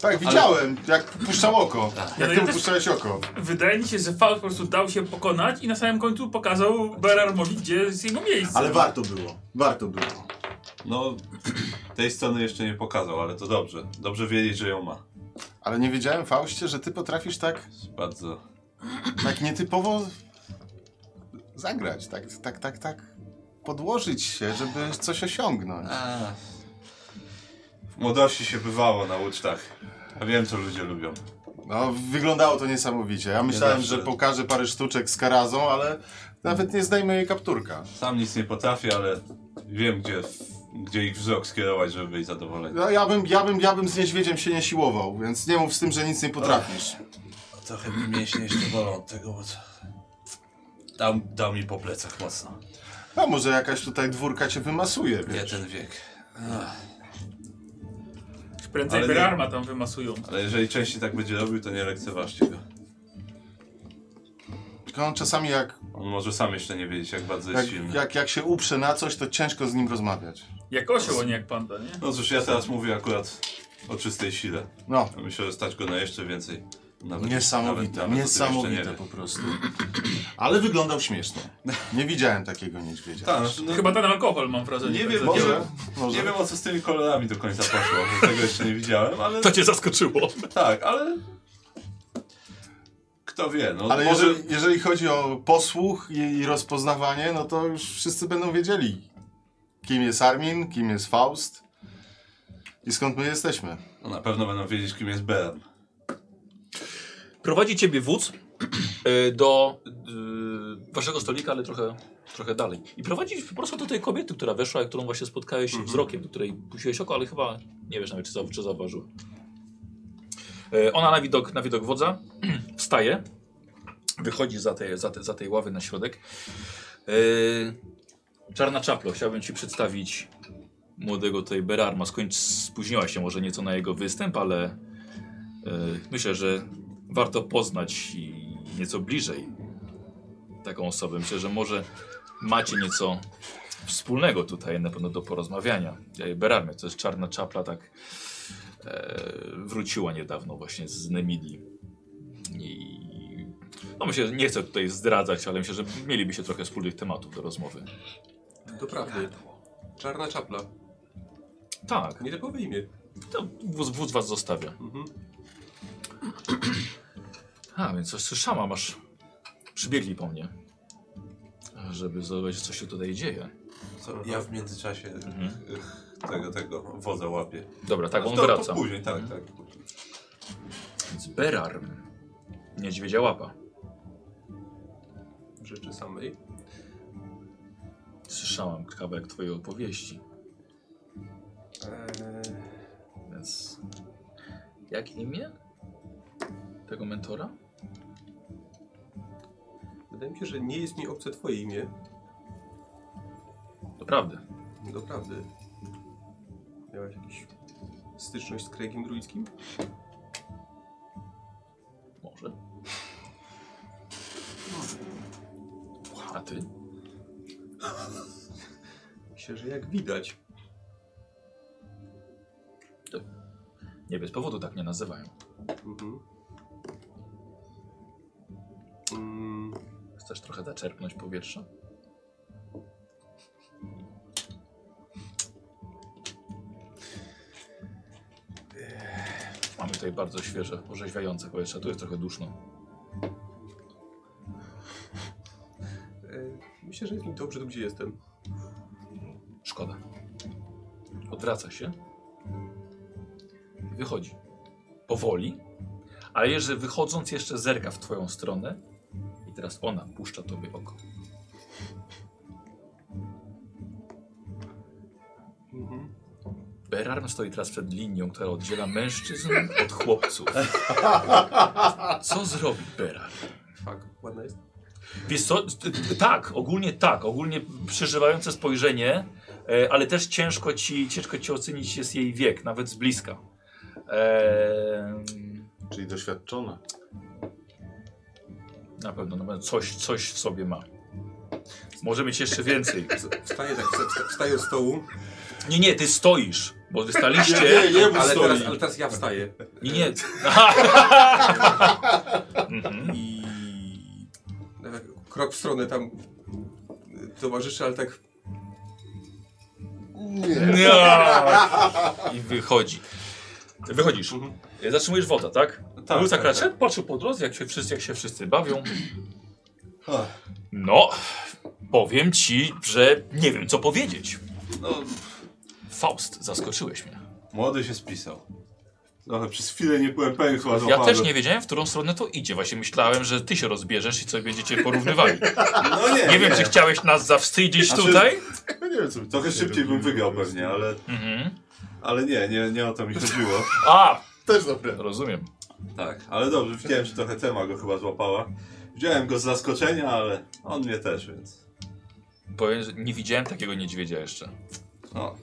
Tak, widziałem, jak puszczał oko. Tak. Jak ja ty mu też- puszczałeś oko. Wydaje mi się, że Faust po prostu dał się pokonać i na samym końcu pokazał Berarmowi, gdzie jest jego miejsce. Ale warto było. Warto było. No, tej strony jeszcze nie pokazał, ale to dobrze. Dobrze wiedzieć, że ją ma. Ale nie wiedziałem, Faustie, że ty potrafisz tak, Bardzo. tak nietypowo zagrać, tak, tak, tak, tak podłożyć się, żeby coś osiągnąć. W młodości się bywało na ucztach. A wiem, co ludzie lubią. No, wyglądało to niesamowicie. Ja myślałem, zawsze. że pokażę parę sztuczek z karazą, ale nawet nie zdejmę jej kapturka. Sam nic nie potrafię, ale wiem, gdzie, gdzie ich wzrok skierować, żeby byli zadowoleni. No, ja, bym, ja, bym, ja bym z niedźwiedziem się nie siłował, więc nie mów z tym, że nic nie potrafisz. Trochę mi mięśnie jeszcze bolą od tego, bo co... Dał, dał mi po plecach mocno. A No, może jakaś tutaj dwórka cię wymasuje, wiesz? Nie ten wiek. Prędzej Ale nie- Berarma tam wymasują. Ale jeżeli częściej tak będzie robił, to nie lekceważcie go. Tylko on czasami jak, On może sam jeszcze nie wiedzieć, jak bardzo jest Tak, jak, silny. jak, jak się uprze na coś, to ciężko z nim rozmawiać. Jak osioł, a nie jak panda, nie? No cóż, ja teraz mówię akurat o czystej sile. No, Myślę, że stać go na jeszcze więcej. Nawet, niesamowite, nawet- nawet o tym jeszcze niesamowite nie po wie. prostu. Ale wyglądał śmiesznie. Nie widziałem takiego niedźwiedzia. Tak, znaczy, no, Chyba ten alkohol mam wrażenie. Nie tak wiem, za- może- Może, może. nie wiem o co z tymi kolorami do końca poszło, bo tego jeszcze nie widziałem, ale To cię zaskoczyło. tak, ale kto wie, no Ale może jeżeli, jeżeli chodzi o posłuch i, i rozpoznawanie, no to już wszyscy będą wiedzieli, kim jest Armin, kim jest Faust i skąd my jesteśmy. no, na pewno będą wiedzieć kim jest Bern. Prowadzi ciebie wódz e, do e, waszego stolika, ale trochę, trochę dalej. I prowadzi po prostu do tej kobiety, która weszła i którą właśnie spotkałeś wzrokiem, do której puściłeś oko, ale chyba nie wiesz nawet, czy, zau- czy zauważyła. E, Ona na widok, na widok wodza wstaje, wychodzi za tej, za, te, za tej ławy na środek. E, Czarna czaplo, chciałbym ci przedstawić młodego tutaj Berarma. Skończ, spóźniła się może nieco na jego występ, ale e, myślę, że warto poznać i nieco bliżej taką osobę. Myślę, że może macie nieco wspólnego tutaj na pewno do porozmawiania. Ja Berarmia, to jest czarna czapla, tak e, wróciła niedawno właśnie z Nemidii. I no myślę, że nie chcę tutaj zdradzać, ale myślę, że mieliby się trochę wspólnych tematów do rozmowy. To prawda. Czarna czapla. Tak, Nietypowe imię. to wóz, wóz was zostawia. Mhm. A, więc coś słyszałam, aż przybiegli po mnie, żeby zobaczyć, co się tutaj dzieje. Co, ja w międzyczasie Mhm. ch- tego, tego wodza łapię. Dobra, tak, on to, wraca. To później, tak, tak. Więc Berarm, niedźwiedzia łapa. Rzeczy samej. Słyszałam kawałek twojej opowieści, Eee, więc... Jak imię? Tego mentora? wydaje mi się, że nie jest mi obce twoje imię. Doprawdy. Doprawdy. Miałeś jakąś styczność z Craigiem Druidzkim? Może. A ty? Myślę, że jak widać. Nie bez powodu tak mnie nazywają. Mhm. Mm, Chcesz trochę zaczerpnąć powietrza? Mamy tutaj bardzo świeże, orzeźwiające powietrze. Tu jest trochę duszno. e, myślę, że jest mi dobrze tu, gdzie jestem. Szkoda. Odwraca się. i Wychodzi. Powoli, ale jeżeli wychodząc jeszcze zerka w twoją stronę i teraz ona puszcza tobie oko. Mhm. Berarm stoi teraz przed linią, która oddziela mężczyzn od chłopców. Co zrobi Berarm? Fak, ładna jest. Wiesz co, t- t- tak, ogólnie tak, ogólnie przeżywające spojrzenie, e, ale też ciężko ci, ciężko ci ocenić jest jej wiek, nawet z bliska. E, Czyli doświadczona. na pewno, na pewno coś, coś w sobie ma. Może mieć jeszcze więcej. Wstaje tak, wsta- wstaje od stołu, Nie, nie, ty stoisz, bo wy Nie, staliście. nie, nie, ale stoi. teraz, ale teraz ja wstaję. Nie, nie. Mhm. I tak krok w stronę tam towarzyszy, ale tak Nie. I wychodzi. Wychodzisz. Zatrzymujesz wodę, tak? tak, Był tak, zakraczek, patrzył po drodze, jak się wszyscy, jak się wszyscy bawią. No, powiem ci, że nie wiem co powiedzieć. No, Faust, zaskoczyłeś mnie. młody się spisał. Trochę przez chwilę nie byłem pewien chyba Ja też nie wiedziałem, w którą stronę to idzie. Właśnie myślałem, że ty się rozbierzesz i co będziecie porównywali. No nie, Nie wiem, czy chciałeś nas zawstydzić Znaczy- tutaj. Ja nie wiem, co by Trochę szybciej bym wygrał pewnie, ale, Mhm. ale nie, nie, nie o to mi chodziło. A, Też dobre. rozumiem. Tak, ale dobrze, widziałem, że trochę tema go chyba złapała. Wziąłem go z zaskoczenia, ale on mnie też, więc... Powiem, że nie widziałem takiego niedźwiedzia jeszcze. No,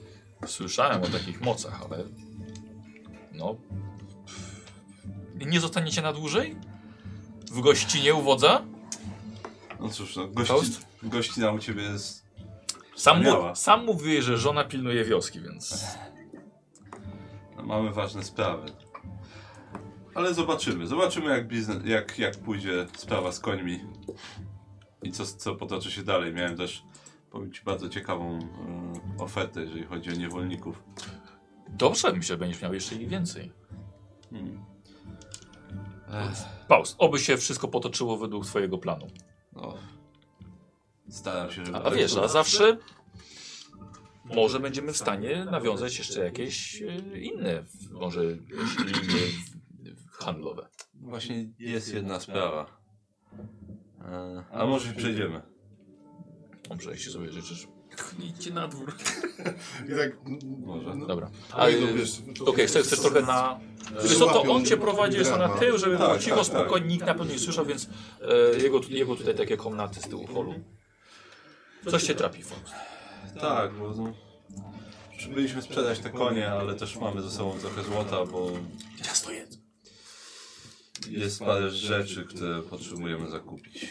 Słyszałem o takich mocach, ale. No. Nie zostaniecie na dłużej? W gościnie u wodza? no cóż, no, gości, Faust? gościna u ciebie jest... Sam, Wspaniała. mu, sam mówi, że żona pilnuje wioski, więc. No, mamy ważne sprawy. Ale zobaczymy, zobaczymy jak, biznes, jak, jak pójdzie sprawa z końmi i co, co potoczy się dalej. Miałem też, powiem ci, bardzo ciekawą e, ofertę, jeżeli chodzi o niewolników. Dobrze, myślę, że będziesz miał jeszcze i więcej. Hmm. Paus, oby się wszystko potoczyło według twojego planu. No, staram się, żeby... tak A wiesz, a zawsze. Może będziemy w stanie nawiązać jeszcze jakieś e, inne, może linie handlowe. Właśnie jest jedna sprawa. E, A może przejdziemy. Dobrze, jeśli sobie życzysz. Idźcie na dwór. I tak... Może. Dobra. A, A e, no, wiesz, Okej, chcesz, chcesz trochę na. Wiesz co, to on cię prowadzi jeszcze na tył, żeby Tak, było cicho, tak, spokojnie, tak. nikt na pewno nie słyszał, więc e, jego, tu- jego tutaj takie komnaty z tyłu holu. Coś cię trapi, Faust. Tak, bo no, byliśmy sprzedać te konie, ale też mamy ze sobą trochę złota, bo Ja stoję. jest parę rzeczy, które potrzebujemy zakupić.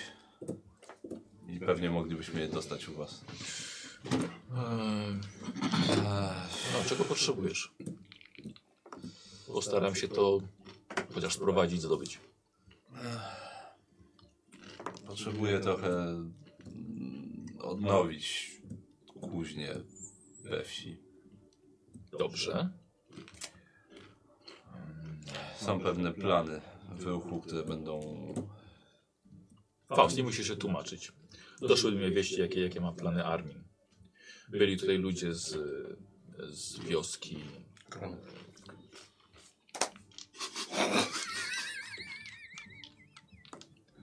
I pewnie moglibyśmy je dostać u was. No, czego potrzebujesz? Postaram się to chociaż sprowadzić, zdobyć. Potrzebuję trochę mm, odnowić kuźnię we wsi. Dobrze. Są pewne plany w ruchu, które będą... Faust, nie musisz się tłumaczyć. Doszły do mnie wieści, jakie, jakie ma plany armii. Byli tutaj ludzie z, z wioski.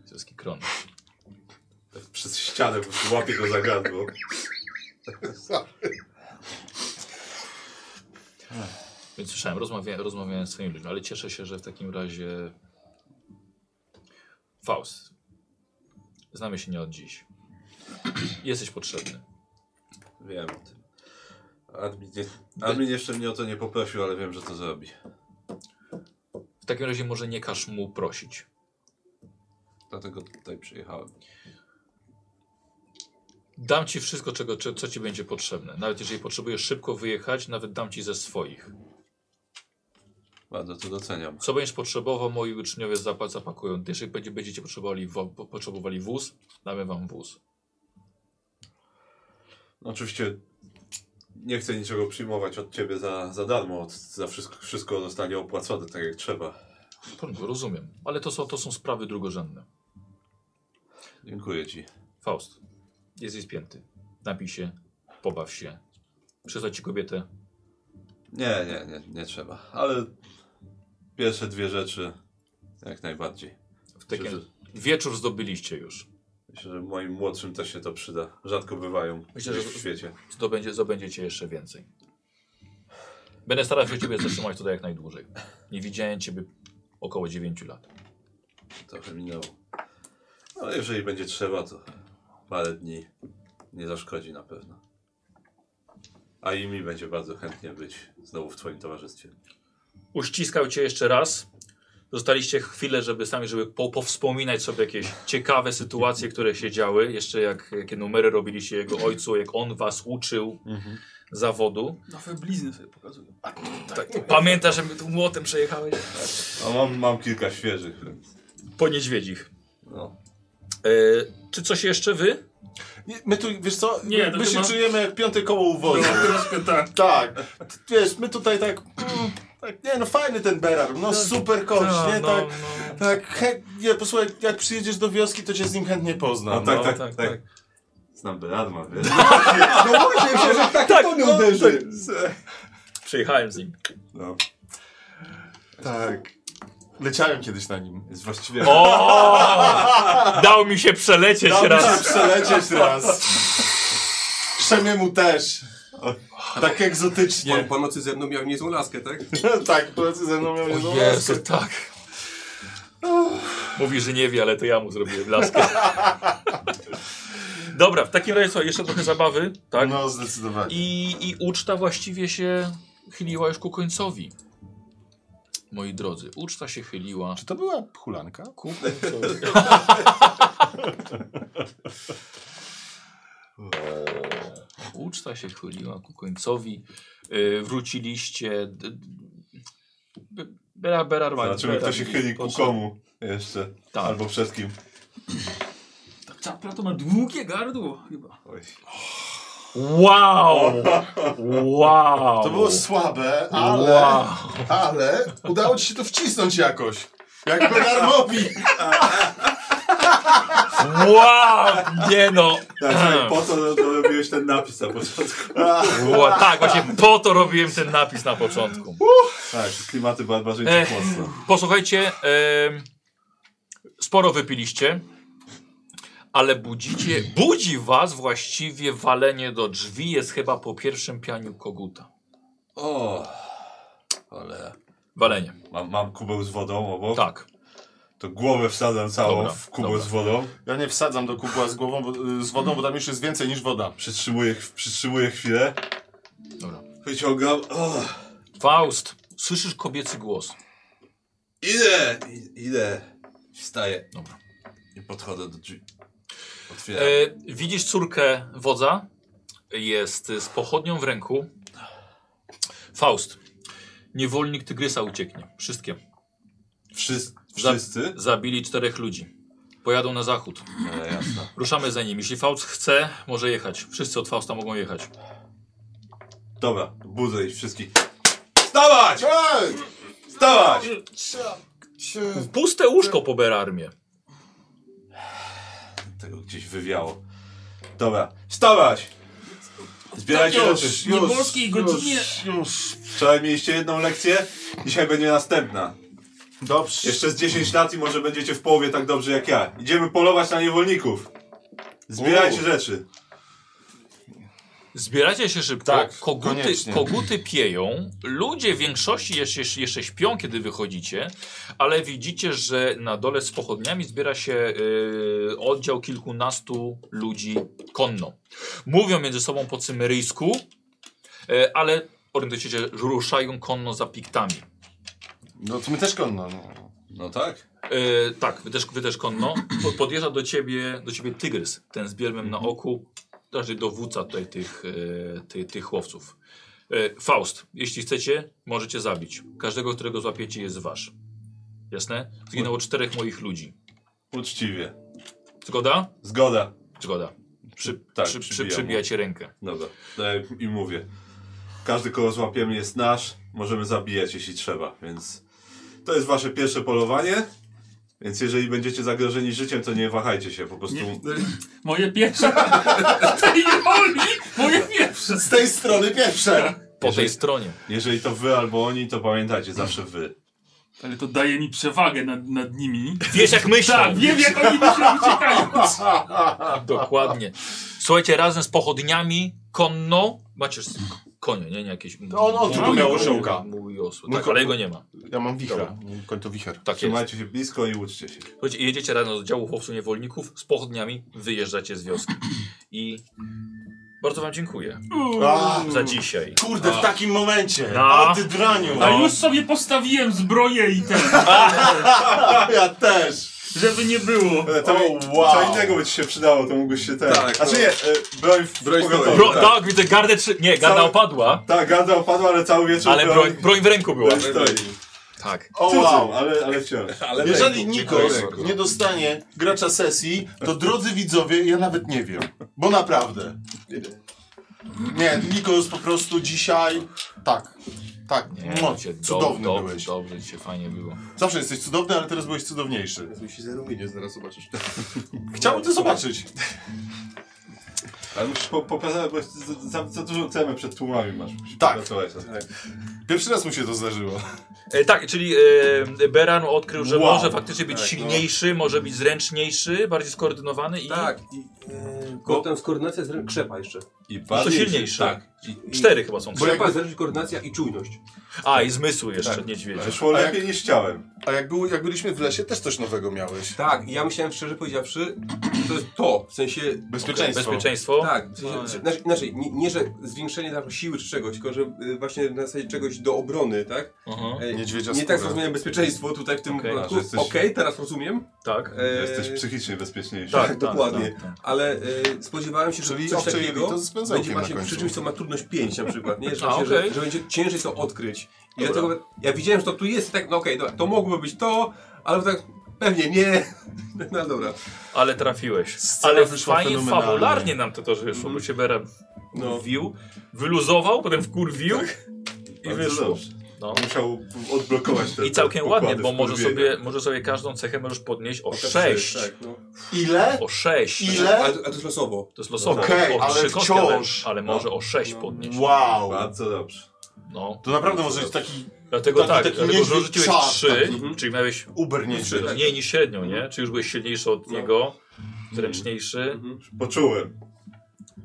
Z wioski Kron. Przez ścianę po prostu łapie go za gardło. Więc słyszałem, rozmawiałem, rozmawiałem z swoimi ludźmi, ale cieszę się, że w takim razie. Faust. Znamy się nie od dziś. Jesteś potrzebny. Wiem o tym. Admin, nie, admin jeszcze mnie o to nie poprosił, ale wiem, że to zrobi. W takim razie może nie każ mu prosić. Dlatego tutaj przyjechałem. Dam ci wszystko, czego, cze- co ci będzie potrzebne. Nawet jeżeli potrzebujesz szybko wyjechać, nawet dam ci ze swoich. Bardzo to doceniam. Co będziesz potrzebował, moi uczniowie zapa- zapakują. Jeżeli będzie- będziecie potrzebowali, wo, po- potrzebowali wóz, damy wam wóz. Oczywiście nie chcę niczego przyjmować od ciebie za, za darmo. Od, za wszystko, wszystko zostanie opłacone tak jak trzeba. Porządku, Rozumiem, ale to są, to są sprawy drugorzędne. Dziękuję ci. Faust, jesteś spięty. Napij się, pobaw się. Przysłać ci kobietę. Nie, nie, nie, nie trzeba. Ale pierwsze dwie rzeczy jak najbardziej. W Myślę, takim... że, Wieczór zdobyliście już. myślę, że moim młodszym też się to przyda. Rzadko bywają Myślę, że- gdzieś w świecie. Zdobędzie, zdobędziecie jeszcze więcej. Będę starał się ciebie zatrzymać tutaj jak najdłużej. Nie widziałem ciebie około 9 lat. Trochę minęło. Ale jeżeli będzie trzeba, to parę dni nie zaszkodzi na pewno. A i mi będzie bardzo chętnie być znowu w Twoim towarzystwie. Uściskał cię jeszcze raz. Dostaliście chwilę, żeby sami, żeby po, powspominać sobie jakieś ciekawe sytuacje, które się działy. Jeszcze jak, jakie numery robiliście jego ojcu, jak on was uczył zawodu. Nowe blizny sobie pokazują. Tak, pamiętasz, że my tu młotem przejechałeś? A mam, mam kilka świeżych, więc Po niedźwiedzich. no. E, czy coś jeszcze wy? Nie, my tu, wiesz co, Nie, my, to my się chyba- czujemy jak piąte koło u wozu. Troszkę tak. Tak, T- wiesz, my tutaj tak, mm, tak, nie no fajny ten Berar, no Tak. super kość, A, nie, no, tak, no. tak, chę- nie, posłuchaj, jak przyjedziesz do wioski, to cię z nim chętnie poznam. tak, no, tak, tak, tak, tak. Znam Beradma, wiesz? No właśnie, myślę, że tak, tak to uderzy. Przejechałem z nim. No. Tak. Leciałem kiedyś na nim. Jest właściwie... O! Dał mi się przelecieć Dałem raz. się przelecieć raz. Szemiemu też. Tak Pan egzotycznie. po nocy ze mną miał niezłą laskę, tak? tak, pracy ze mną miał no, niezłą Jezu, łaskę. tak. Mówi, że nie wie, ale to ja mu zrobiłem laskę. Dobra, w takim razie co, jeszcze trochę zabawy, tak? No, zdecydowanie. I, I uczta właściwie się chyliła już ku końcowi. Moi drodzy, uczta się chyliła Czy to była hulanka? ku końcowi. Uczta się chyliła ku końcowi. Yy, wróciliście. d- d- Bera, bera, Rwan- Zobaczymy, kto Bera- się chyli ku komu jeszcze. Tak. Albo przed kim. Ta czapla to ma długie gardło chyba. Oj. Wow! Wow! To było słabe, ale, Wow! ale udało ci się to wcisnąć jakoś. Jak Bedarmowi. wow! Nie no! Tak, po to robiłeś ten napis na początku. Ła, tak, właśnie po to robiłem ten napis na początku. Tak, klimaty barbarzyńców Ech. mocno. Posłuchajcie, em, sporo wypiliście, ale budzicie, budzi was właściwie walenie do drzwi, jest chyba po pierwszym pianiu koguta. O, ale... Walenie, Mam, mam kubeł z wodą obok. tak. To głowę wsadzam całą Dobra, w kubeł dobra. z wodą. Ja nie wsadzam do kubła z głową, bo, z wodą, bo tam już jest więcej niż woda. Przytrzymuję, przytrzymuję chwilę. Dobra. Wyciągam. O, Faust, słyszysz kobiecy głos. idę! I- Idę. Wstaję. Dobra. I podchodzę do drzwi. Otwieram. E, widzisz córkę wodza, jest z pochodnią w ręku. Faust, niewolnik tygrysa ucieknie, wszystkie. Wszyscy? za- Wszyscy? Zabili czterech ludzi. Pojadą na zachód. No, jasne. Ruszamy za nim. Jeśli Faust chce, może jechać. Wszyscy od Fausta mogą jechać. Dobra, budzę ich wszystkich. Wstawać! Wstawać! Puste łóżko po Berarmie. Tego gdzieś wywiało. Dobra, wstawać! Zbierajcie Już, rzeczy. Nie już, polskiej godzinie. już, już. Wczoraj mieliście jedną lekcję, dzisiaj będzie następna. Dobrze. Jeszcze z 10 lat i może będziecie w połowie tak dobrze jak ja. Idziemy polować na niewolników. Zbierajcie Uuu. rzeczy. Zbieracie się szybko. Tak, koguty, koniecznie. koguty pieją. Ludzie w większości jeszcze, jeszcze śpią, kiedy wychodzicie, ale widzicie, że na dole z pochodniami zbiera się yy, oddział kilkunastu ludzi konno. Mówią między sobą po cymeryjsku, yy, ale orientujecie się, że ruszają konno za piktami. No to my też konno. No. No tak. E, tak, wy też, wy też konno. Po- Podjeżdża do ciebie, do ciebie tygrys, ten z bielmem Mhm. na oku, raczej dowódca tutaj tych, e, ty, tych chłopców. E, Faust, jeśli chcecie, możecie zabić. Każdego, którego złapiecie, jest wasz. Jasne? Zginęło czterech moich ludzi. Uczciwie. Zgoda? Zgoda. Zgoda. Przy, Tak, przy, przy, przybijam mu. przybijacie rękę. Dobra, daję i mówię. Każdy, kogo złapiemy, jest nasz. Możemy zabijać, jeśli trzeba, więc to jest wasze pierwsze polowanie. Więc jeżeli będziecie zagrożeni życiem, to nie wahajcie się, po prostu. Nie, moje pierwsze. Tej niewoli! Moje pierwsze! Z tej strony pierwsze. Po tej Jeżeli- stronie. Jeżeli to wy albo oni, to pamiętajcie, zawsze wy. Ale to daje mi przewagę nad, nad nimi. Wiesz jak myślą. Tak, wiem jak oni myślą uciekając. Tak, Dokładnie. Słuchajcie, razem z pochodniami konno, macie konie, nie? nie jakieś... To on- on Mój- tylko miał osiołka. Mój osły, Mój tak, ko- ale jego nie ma. Ja mam wichra. Dobra. No Koń to wicher. Tak jest. Trzymajcie się blisko i łudźcie się. Słuchajcie, jedziecie rano z działu chłopców niewolników, z pochodniami, wyjeżdżacie z wioski. I bardzo wam dziękuję A, za dzisiaj. kurde, w takim momencie! No. Ale ty draniu! A No już sobie postawiłem zbroję i ten, Ja też! żeby nie było. To O, wow. E, Co innego by ci się przydało, to mógłbyś się ten... Tak, znaczy no. nie, e, broń w Broń pogotowiu, stoi. Bro, tak. tak. widzę, gardę trzy... Nie, garda Cały- opadła, Tak, gada opadła, ale cały wieczór ale broń, broń w ręku była. broń stoi. Tak. O wow! Cudzą, ale, ale wciąż. Ale Jeżeli Nikos Dziękuję. nie dostanie gracza sesji, to drodzy widzowie, ja nawet nie wiem. Bo naprawdę. Nie, Nikos po prostu dzisiaj... Tak. Tak. Mua, cię dob- Cudowny dob- byłeś. Dobrze, cię fajnie było. Zawsze jesteś cudowny, ale teraz byłeś cudowniejszy. mi się zarumienie, zaraz zobaczysz. Chciałbym to zobaczyć. Ale musisz po, popracować, bo za, za, za dużą cenę przed tłumami masz. Musisz Tak. popracować. Pierwszy raz mu się to zdarzyło. E, tak, czyli e, Beran odkrył, że Wow. może faktycznie być Tak, no. silniejszy, może być zręczniejszy, bardziej skoordynowany i Tak, i e, potem z koordynacja jest ręk- krzepa jeszcze. I no to bardziej- silniejszy. tak. I- Cztery chyba są. Krzepa jest zależy koordynacja i czujność. A, i zmysły jeszcze, tak. Ale niedźwiedzie. Szło A lepiej niż chciałem. A jak, był, jak byliśmy w lesie, też coś nowego miałeś. Tak, i ja myślałem szczerze powiedziawszy, to jest to, w sensie Bezpieczeństwo. Bezpieczeństwo. Tak, w sensie, że- znaczy, inaczej, nie, nie że zwiększenie na siły czy czegoś, tylko że y, właśnie na zasadzie czegoś do obrony, tak? Mhm. E, Niedźwiedzia nie skóra. tak zrozumiałem bezpieczeństwo tutaj w tym Okej. wypadku. A, że jesteś- Okej, teraz rozumiem, Tak. E, Jesteś psychicznie bezpieczniejszy. Tak, tak, dokładnie. tak, tak. ale y, spodziewałem się, że Czyli coś owcze takiego jelito z węzełkiem będzie na właśnie końcu. przy czymś, co ma trudność 5 na przykład, nie? Że, A, właśnie, okej. że, że będzie ciężej to odkryć. I Dobra. dlatego ja widziałem, że to tu jest i tak, no okej, dobra, to mogłoby być to, ale tak pewnie nie. No dobra. Ale trafiłeś. Scena Ale wyszła fajnie, fenomenalnie. fabularnie nam to też wyszło, bo się Bera No. wkurwił, wyluzował, potem wkurwił i Bardzo wyszło. dobrze. No. Musiał odblokować te I całkiem te ładnie, pokłady bo może wkurwienia. sobie, może sobie każdą cechę możesz podnieść o sześć. Tak, no. Ile? O sześć. Ile? Ale, ale to jest losowo. To jest losowo. Okej, o ale trzy kostki, ale, wciąż. ale może o sześć No. podnieść. Wow. Bardzo dobrze. No. To naprawdę może być taki Dlatego Taki- tak, taki dlatego że niedźwiedź rzuciłeś czar, trzy, taki. czyli miałeś uber niedźwiedź. Tak. mniej niż średnią, nie? Czy już byłeś silniejszy od No. niego, zręczniejszy. Mhm. Poczułem.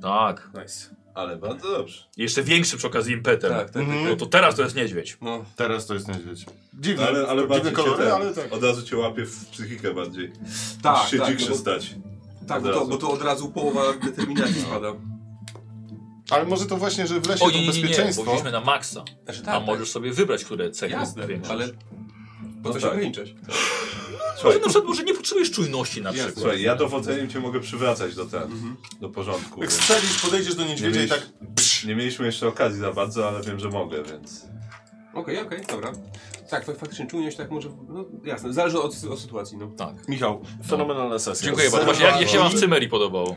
Tak. Nice. Ale bardzo dobrze. I Jeszcze większy przy okazji impetem. Tak, tak, Mhm. No to teraz to jest niedźwiedź. No. Teraz to jest niedźwiedź. Dziwne, Ale, ale dziwne bardziej kolory, cię ten, ale tak. Od razu cię łapie w psychikę bardziej. Tak, Musisz się tak, dzikszy no bo- stać. Tak, Od bo to, razu. bo to od razu połowa determinacji spada. Ale może to właśnie, że w lesie O to nie, nie, nie, nie, bo bezpieczeństwo. wzięliśmy na maksa. Znaczy, A możesz sobie wybrać, które cechy Jasne, zwiększysz. ale po co się tak. ograniczać? Może Słuchaj, na przykład może nie potrzebujesz czujności na przykład. słuchaj ja dowodzeniem cię mogę przywracać do ten, do porządku. Jak więc strzelisz, podejdziesz do Nie, niedźwiedzia i mieliś, tak... nie mieliśmy jeszcze okazji za bardzo, ale wiem, że mogę, więc... Okej, okej, dobra. Tak, fak- faktycznie czujność tak może, no jasne, zależy od, od sytuacji, no. Tak. Michał, fenomenalna sesja. Dziękuję bardzo. Właśnie jak, jak się wam w Cymerii podobało?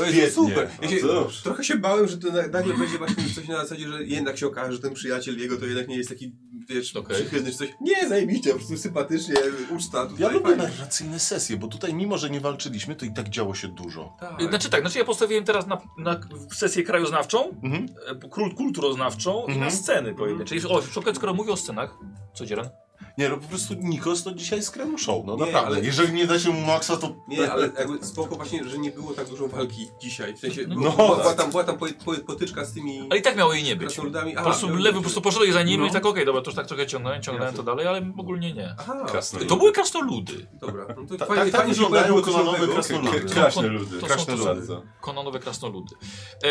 O Jezu, super! Ja się, No dobrze. trochę się bałem, że to na- nagle będzie właśnie coś na zasadzie, że jednak się okaże, że ten przyjaciel jego to jednak nie jest taki, wiesz, Okej. przychylny czy coś. Nie, zajebiście, po prostu sympatycznie, uczta tutaj. Ja lubię fajnie. narracyjne sesje, bo tutaj mimo, że nie walczyliśmy, to i tak działo się dużo. Tak. Znaczy tak, znaczy ja postawiłem teraz na, na sesję krajoznawczą, Mhm. e, kul- kulturoznawczą i na Mhm. sceny pojedyncze. I, o, przy okazji, skoro mówię o scenach, co dzieran? Nie, no po prostu Nikos to dzisiaj skremu show, no Nie, naprawdę. ale- Jeżeli nie da się mu maksa, to... Nie, ale jakby spoko właśnie, że nie było tak dużo walki dzisiaj. W sensie, No, no, była, była tam, była tam po, po, potyczka z tymi Ale i tak miało jej nie być. krasnoludami. Po prostu lewy po prostu poszedłeś za nim i No. tak okej, dobra, to już tak trochę ciągnąłem, ciągnąłem to dalej, ale ogólnie nie. Aha, Krasnoludy. To były krasnoludy. dobra. No to Tak- fajnie, tak- tak fajnie, że wyglądają pojawiło kolanowe coś nowego. krasnoludy. K- To Kraśne są- ludy. to są- Kraśne to są- ludy. Kononowe krasnoludy.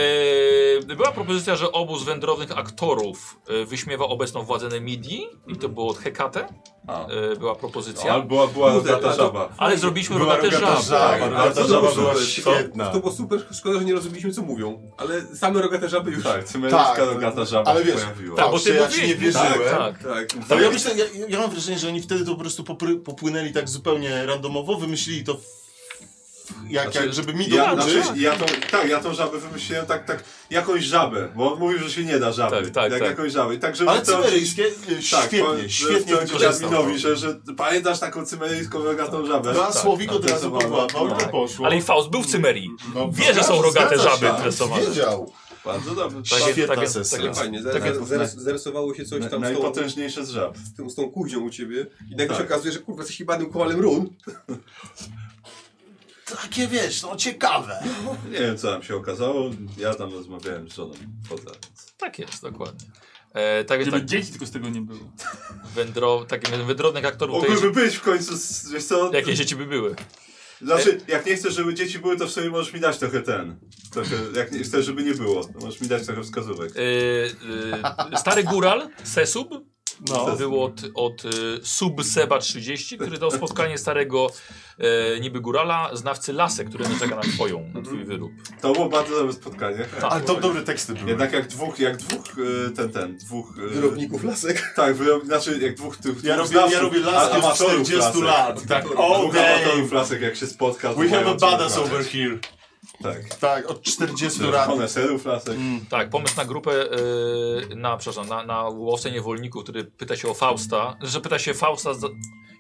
Eee, była propozycja, że obóz wędrownych aktorów e, wyśmiewa obecną władzę Nemidii i to było od Hekate. A. E, była A, propozycja. No, była, była Kurde, rogata ale to- żaba. Ale zrobiliśmy Była rogatę rogata tak, żabę. żaba. Ale Rogata to żaba dobrze, była to- świetna. To było super, szkoda, że nie rozumieliśmy co mówią, ale same rogate żaby już. Tak, cymeryjska Tak, rogata żaba ale się wiesz, pojawiła. Tak, bo Patrzcie, ty ja ci mówiłeś. nie wierzyłem. Tak, tak. tak. Ale ja, myślę, ja, ja mam wrażenie, że oni wtedy to po prostu popry, popłynęli tak zupełnie randomowo, wymyślili to w, w- jak, Znaczy, jak, żeby mi Ja, dołączyć. znaczy, ja tą, tak, ja tą żabę wymyśliłem tak, tak, jakąś żabę, bo on mówił, że się nie da żaby. Tak, tak, jak tak. jakąś żabę. I Tak, żeby Ale to- cymeryjskie, y, tak, świetnie, powiem, świetnie że wykorzystał. Jasminowi, że, że pamiętasz taką cymeryjską rogatą żabę? Dwa słowik od razu tak, podłapał, tak. to poszło. Ale i Faust był w Cymerii. No, wie, że są rogate zgadza żaby się. tresowane. Wiedział. Bardzo dobrze. Tak, Świetna tak, sesja. tak, Ale fajnie, Tak jak zaraz, zaraz, zarysowało się coś Na, tam z tą, najpotężniejsze z żab. z tą, z tą kuźnią u ciebie i nagle Tak. Mhm. się okazuje, że kurwa jesteś chybanym kowalem run. takie wiesz, no ciekawe. Nie wiem, co tam się okazało. Ja tam rozmawiałem z żoną poza. Tak jest, dokładnie. E, tak więc Żeby tak, dzieci tylko z tego nie było. wędro, taki wędrowny aktorów to jest, Mogłyby być w końcu, z- wiesz co? jakie dzieci by były. Znaczy, jak nie chcesz, żeby dzieci były, to w sumie możesz mi dać trochę ten. Trochę, jak nie chcesz, żeby nie było, to możesz mi dać trochę wskazówek. E, e, stary góral, Sesub, No. był od, od e, Sub Seba 30, który dał spotkanie starego e, niby górala, znawcy lasek, który naczeka na twoją, na twój wyrób. Tak, To było bardzo dobre spotkanie. Mhm. Ale to dobre teksty były. Jednak jak dwóch, jak dwóch, e, ten, ten, dwóch... e, Wyrobników lasek. Tak, wyrob, znaczy jak dwóch tych... Ja dwóch robię, ja znawców, robię laski od amatorów 40 lasek. lat. Tak, all Dwóch day. amatorów lasek, jak się spotka... to We have mają a co badass wygrać. over here. Tak. Tak, od 40 lat. Koneserów lasek. Mm. Tak, pomysł na grupę, e, na, przepraszam, na, na łowcę niewolników, który pyta się o Fausta, że pyta się Fausta za,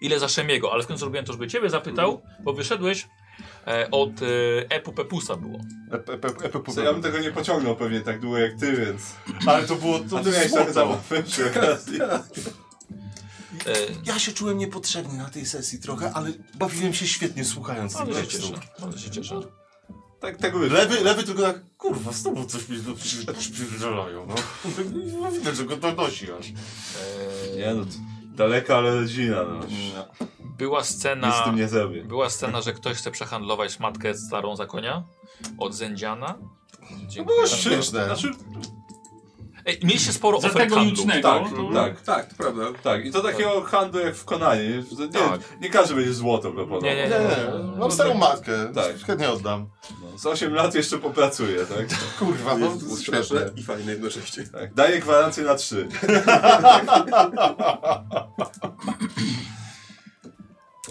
ile za Szemiego, ale w końcu zrobiłem to, żeby ciebie zapytał, bo wyszedłeś e, od e, Epu Pepusa było. Epe- epe- epe- Co, Ja bym tego nie pociągnął pewnie tak długo jak ty, więc... Ale to było A to ty jest miałeś trochę złoto. zabawy przy okazji. E, Ja się czułem niepotrzebny na tej sesji trochę, ale bawiłem się świetnie słuchając tych bardzo się tekstów. cieszę, bardzo się cieszę. Tak, tak byś. Lewy, lewy tylko tak, kurwa, znowu coś mi tu przy- przypierdalają, no. No Widać, że go to nosi aż. E, Nie no, to daleka, ale rodzina, no. Mm. była scena... Nic z tym nie zrobię. Była scena, że ktoś chce przehandlować matkę starą za konia od Zędziana. No, Dziękuję. Śmieszne. Znaczy, Ej, mieliście sporo Za ofert tego handlu. jucznego. tak, to- tak, Tak, to prawda. tak. I to takiego handlu jak w Konanie. nie? Że Nie, Tak. nie każdy będzie złoto proponował. Nie, No, nie, Nie, nie. nie, mam No, starą matkę. Tak. Chętnie oddam. No, z 8 lat jeszcze popracuję, tak? Kurwa, no Jest śmieszne. straszne i fajne jednocześnie. tak. Daję gwarancję na 3.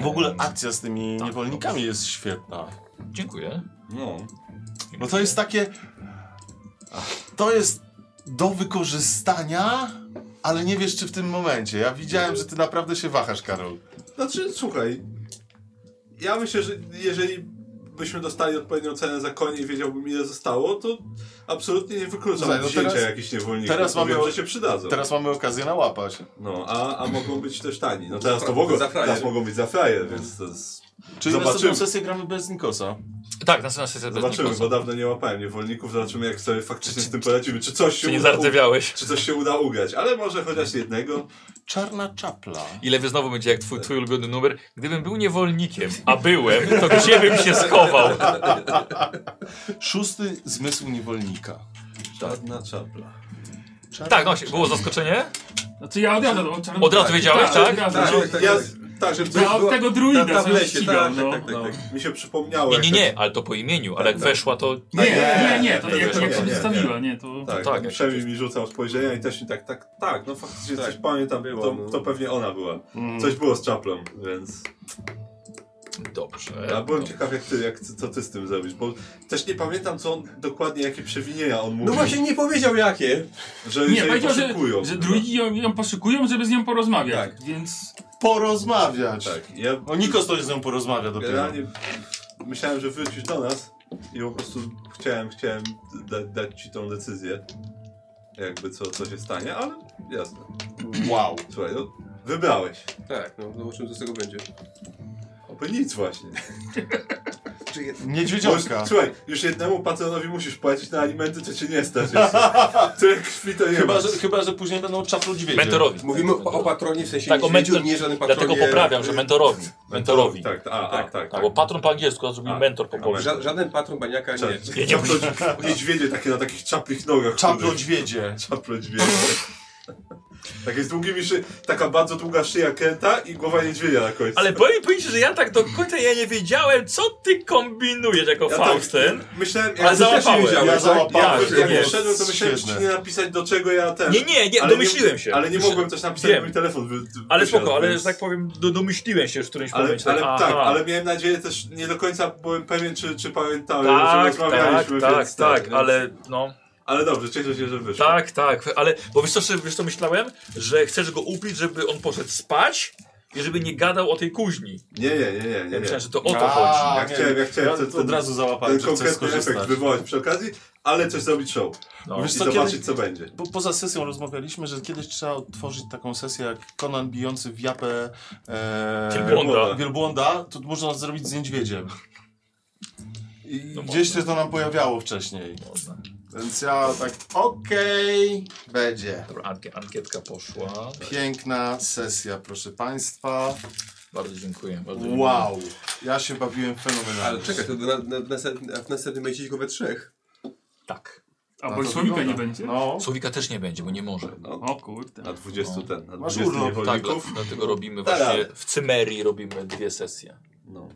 W ogóle akcja z tymi niewolnikami jest świetna. Dziękuję. No. Bo to jest takie... To jest do wykorzystania, ale nie wiesz czy w tym momencie. Ja widziałem, że ty naprawdę się wahasz, Karol. Znaczy, słuchaj. Ja myślę, że jeżeli byśmy dostali odpowiednią cenę za konie i wiedziałbym ile zostało, to absolutnie nie wykluczam Słuchaj, no wzięcia teraz- jakichś niewolników. teraz bo wiem, mamy- że się przydadzą. Teraz mamy okazję nałapać. No, a, a mogą być też tani. No teraz to fra- mogą, za frajer. teraz mogą być za frajer, więc to jest... Czyli Zobaczymy. następną sesję gramy bez Nikosa. Tak, następna sesja bez Zobaczymy, Nikosa. bo dawno nie łapałem niewolników, zobaczymy jak sobie faktycznie z tym polecimy, czy coś się Czy nie uda, zardzewiałeś? czy coś się uda ugrać, ale może chociaż jednego. Czarna czapla. Ile wy znowu będzie jak twój, twój ulubiony numer? Gdybym był niewolnikiem, a byłem, to gdzie bym się schował? Szósty zmysł niewolnika. Czarna czapla. Tak, no, się- było zaskoczenie? Znaczy ja od razu, no, czarno- Od razu wiedziałeś, tak? tak? tak. Tak, tak, ja, tak. tak, żeby coś Ja od było- tego druida Ta- ta w sobie lesie, ścigam, tak, no, tak, tak, no. tak, mi się przypomniało. Nie, jak nie, to- nie, ale to po imieniu, ale jak weszła to... Nie, nie, nie, to Nie, jak nie, jak nie, się nie. przedstawiła, nie, to... Tak, tak, tak Przemi mi rzucał spojrzenia i też mi tak, tak, tak, no faktycznie coś pamiętam, było, to, no. Mm. to pewnie ona była. Coś było z czaplą, więc... Dobrze. Ja byłem dobrze. ciekaw, jak ty, jak, co ty z tym zrobisz, bo też nie pamiętam, co on, dokładnie jakie przewinienia on mówił. No właśnie nie powiedział jakie. że, Nie, że jej powiedział, że, poszukują. że druidzi ją, ją poszukują, żeby z nią porozmawiać, Tak. więc... Porozmawiać. Tak, ja O No, Nikos to z nią porozmawia dopiero. generalnie myślałem, że wrócisz do nas i po prostu chciałem, chciałem da, dać ci tą decyzję, jakby co, co się stanie, ale jasne. Wow. Słuchaj, no, wybrałeś. Tak, no zobaczymy co z tego będzie. Oby nic właśnie. Czy jed- Bo, Niedźwiedziątka. słuchaj, już jednemu patronowi musisz płacić na alimenty, to cię nie stać. jeszcze. Tyle krwi to nie Chyba masz. że, chyba, że później będą czapludźwiedzie. Mentorowi. Mówimy o, o patronie w sensie Tak, o niedźwiedziu, mentor- nie żadnym patronie. Dlatego poprawiam, że mentorowi. Mentorowi. Tak, a, a, tak, tak. A, bo patron po angielsku, a zrobił A, mentor po a, polsku. Ża żaden patron baniaka nie. Cza- Ja nie umiem. Czaplo- Niedźwiedzie takie na takich czaplich nogach. kurde. Czapludźwiedzie. Czaplodźwiedzie. Takie z długimi szy... Taka bardzo długa szyja Kenta i głowa niedźwiedzia na końcu. Ale powiem powiedzieć, że ja tak do końca ja nie wiedziałem, co ty kombinujesz jako Ja tak- Fausten. Myślałem, jak Ale ty też nie załapałem. wiedziałeś, Ja tak? załapałem. Ja, jak Nie, wszedłem, to myślałem, czy świetne. nie napisać, do czego ja ten... Nie, nie, nie, Ale domyśliłem się. Ale nie Że- mogłem też napisać, Wiem. bo mi telefon wy, Ale wysiadł, spoko, ale więc- że tak powiem, do, domyśliłem się w którymś Ale, momencie. ale aha. tak, ale miałem nadzieję też, nie do końca byłem pewien, czy, czy pamiętałem, Tak, że tak, rozmawialiśmy, tak, więc ten, tak, więc- ale no, Ale dobrze, cieszę się, że wyszło. tak, tak, ale, bo wiesz co, że- wiesz co myślałem? Że chcesz go upić, żeby on poszedł spać i żeby nie gadał o tej kuźni. Nie, nie, nie, nie, Ja nie. nie. myślałem, że to o to A, chodzi. Ja nie, chciałem, ja chciałem ja ten, ten, od razu załapałem, ten że chcę konkretny efekt skorzystać. wywołać przy okazji, ale też zrobić show No. i Wiesz co, zobaczyć, kiedyś- co będzie. Po, poza sesją rozmawialiśmy, że kiedyś trzeba otworzyć taką sesję jak Conan bijący w japę e, Wielbłąda. wielbłąda, to można zrobić z niedźwiedziem. I No gdzieś można. się to nam pojawiało wcześniej. Można. Więc ja tak, okej, będzie. Dobra, anki- ankietka poszła. Piękna sesja, proszę Państwa. Bardzo dziękuję. Bardzo dziękuję. Wow, ja się bawiłem Ale fenomenalnie. czekaj, to na, na, w następnym- a w następnym będziecie go we trzech. Tak. A Na bo to słowika nie wygląda. będzie? No, Słowika też nie będzie, bo nie może. O kurde. Na 20 ten, na Masz 20 urlop, Tak, dla, niewolników. dlatego robimy Tak. Da właśnie w Cymerii robimy dwie sesje. No.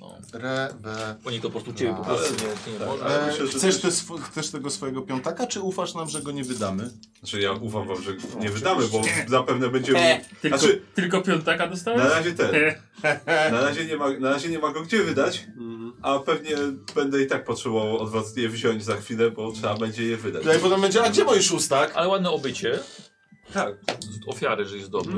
No. rebe. Oni to po prostu ciebie po prostu nie, nie może. E, myślę, że chcesz, też- te sw- chcesz tego swojego piątaka, czy ufasz nam, że go nie wydamy? Znaczy ja ufam wam, że nie wydamy, bo zapewne będziemy... E, tylko, Znaczy- No, tylko piątaka dostałeś? Na razie ten. E, Na razie, nie ma, na razie nie ma go gdzie wydać, a pewnie będę i tak potrzebował od was je wziąć za chwilę, bo trzeba będzie je wydać. Tutaj potem będzie, a gdzie mój szóstak? Ale ładne obycie. Tak, Z Ofiary, że jest dobry.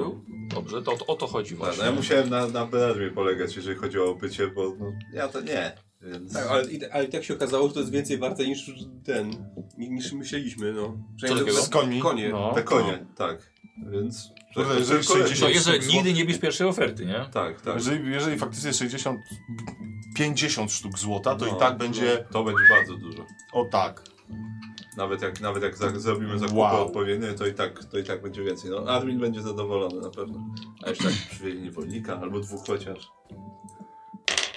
Dobrze, to o to chodzi no, właśnie. no ja musiałem na, na Belarmie polegać, jeżeli chodzi o bycie, bo no, ja to nie. Więc... Tak, ale, i- ale i tak się okazało, że to jest więcej warte niż ten, ni- niż myśleliśmy, no. Co takiego? Z końmi. Konie. No. Te konie, tak. Więc... Kurde, tak, jeżeli tylko lepiej. 60 No jest, że nigdy nie bierz pierwszej oferty, nie? Tak, tak. Jeżeli, jeżeli faktycznie 60, 50 sztuk złota, to No, i tak będzie, no, To będzie bardzo dużo. no. o tak. Nawet jak, nawet jak za, zrobimy zakupy Wow. odpowiednie, to i, tak, to i tak będzie więcej. No, admin będzie zadowolony na pewno. A jeszcze tak przywieźli niewolnika, albo dwóch chociaż.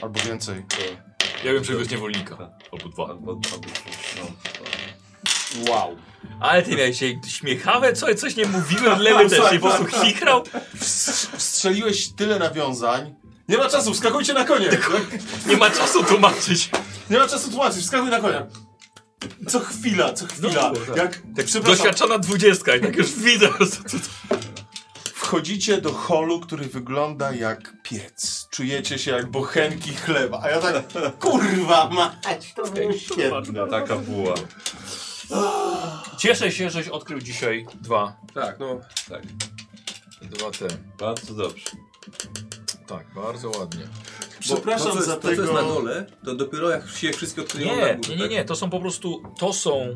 Albo więcej. To, Ja bym czegoś niewolnika. Tak. Albo dwa. albo, albo dwóch, no. To. Wow. Ale ty miałeś się śmiechawe, co, coś nie mówiłem, lewy też nie po Tak, prostu chichrał. Strzeliłeś tyle nawiązań. Nie ma czasu, wskakujcie na konie. Nie ma czasu tłumaczyć. Nie ma czasu tłumaczyć, wskakuj na konia. Co chwila, co chwila. No, tak. Jak przepraszam, Doświadczona dwudziestka, jak już widzę. wchodzicie do holu, który wygląda jak piec. Czujecie się jak bochenki chleba. A ja tak, kurwa mać, to było świetne. Taka buła. Cieszę się, żeś odkrył dzisiaj dwa. Tak, no. Tak. Dwa te. Bardzo dobrze. Tak, bardzo ładnie. Przepraszam to, co jest, za to, co tego... jest na dole, to dopiero jak się wszystkie odkryją na Nie, górze, nie, nie, tak? nie, to są po prostu, to są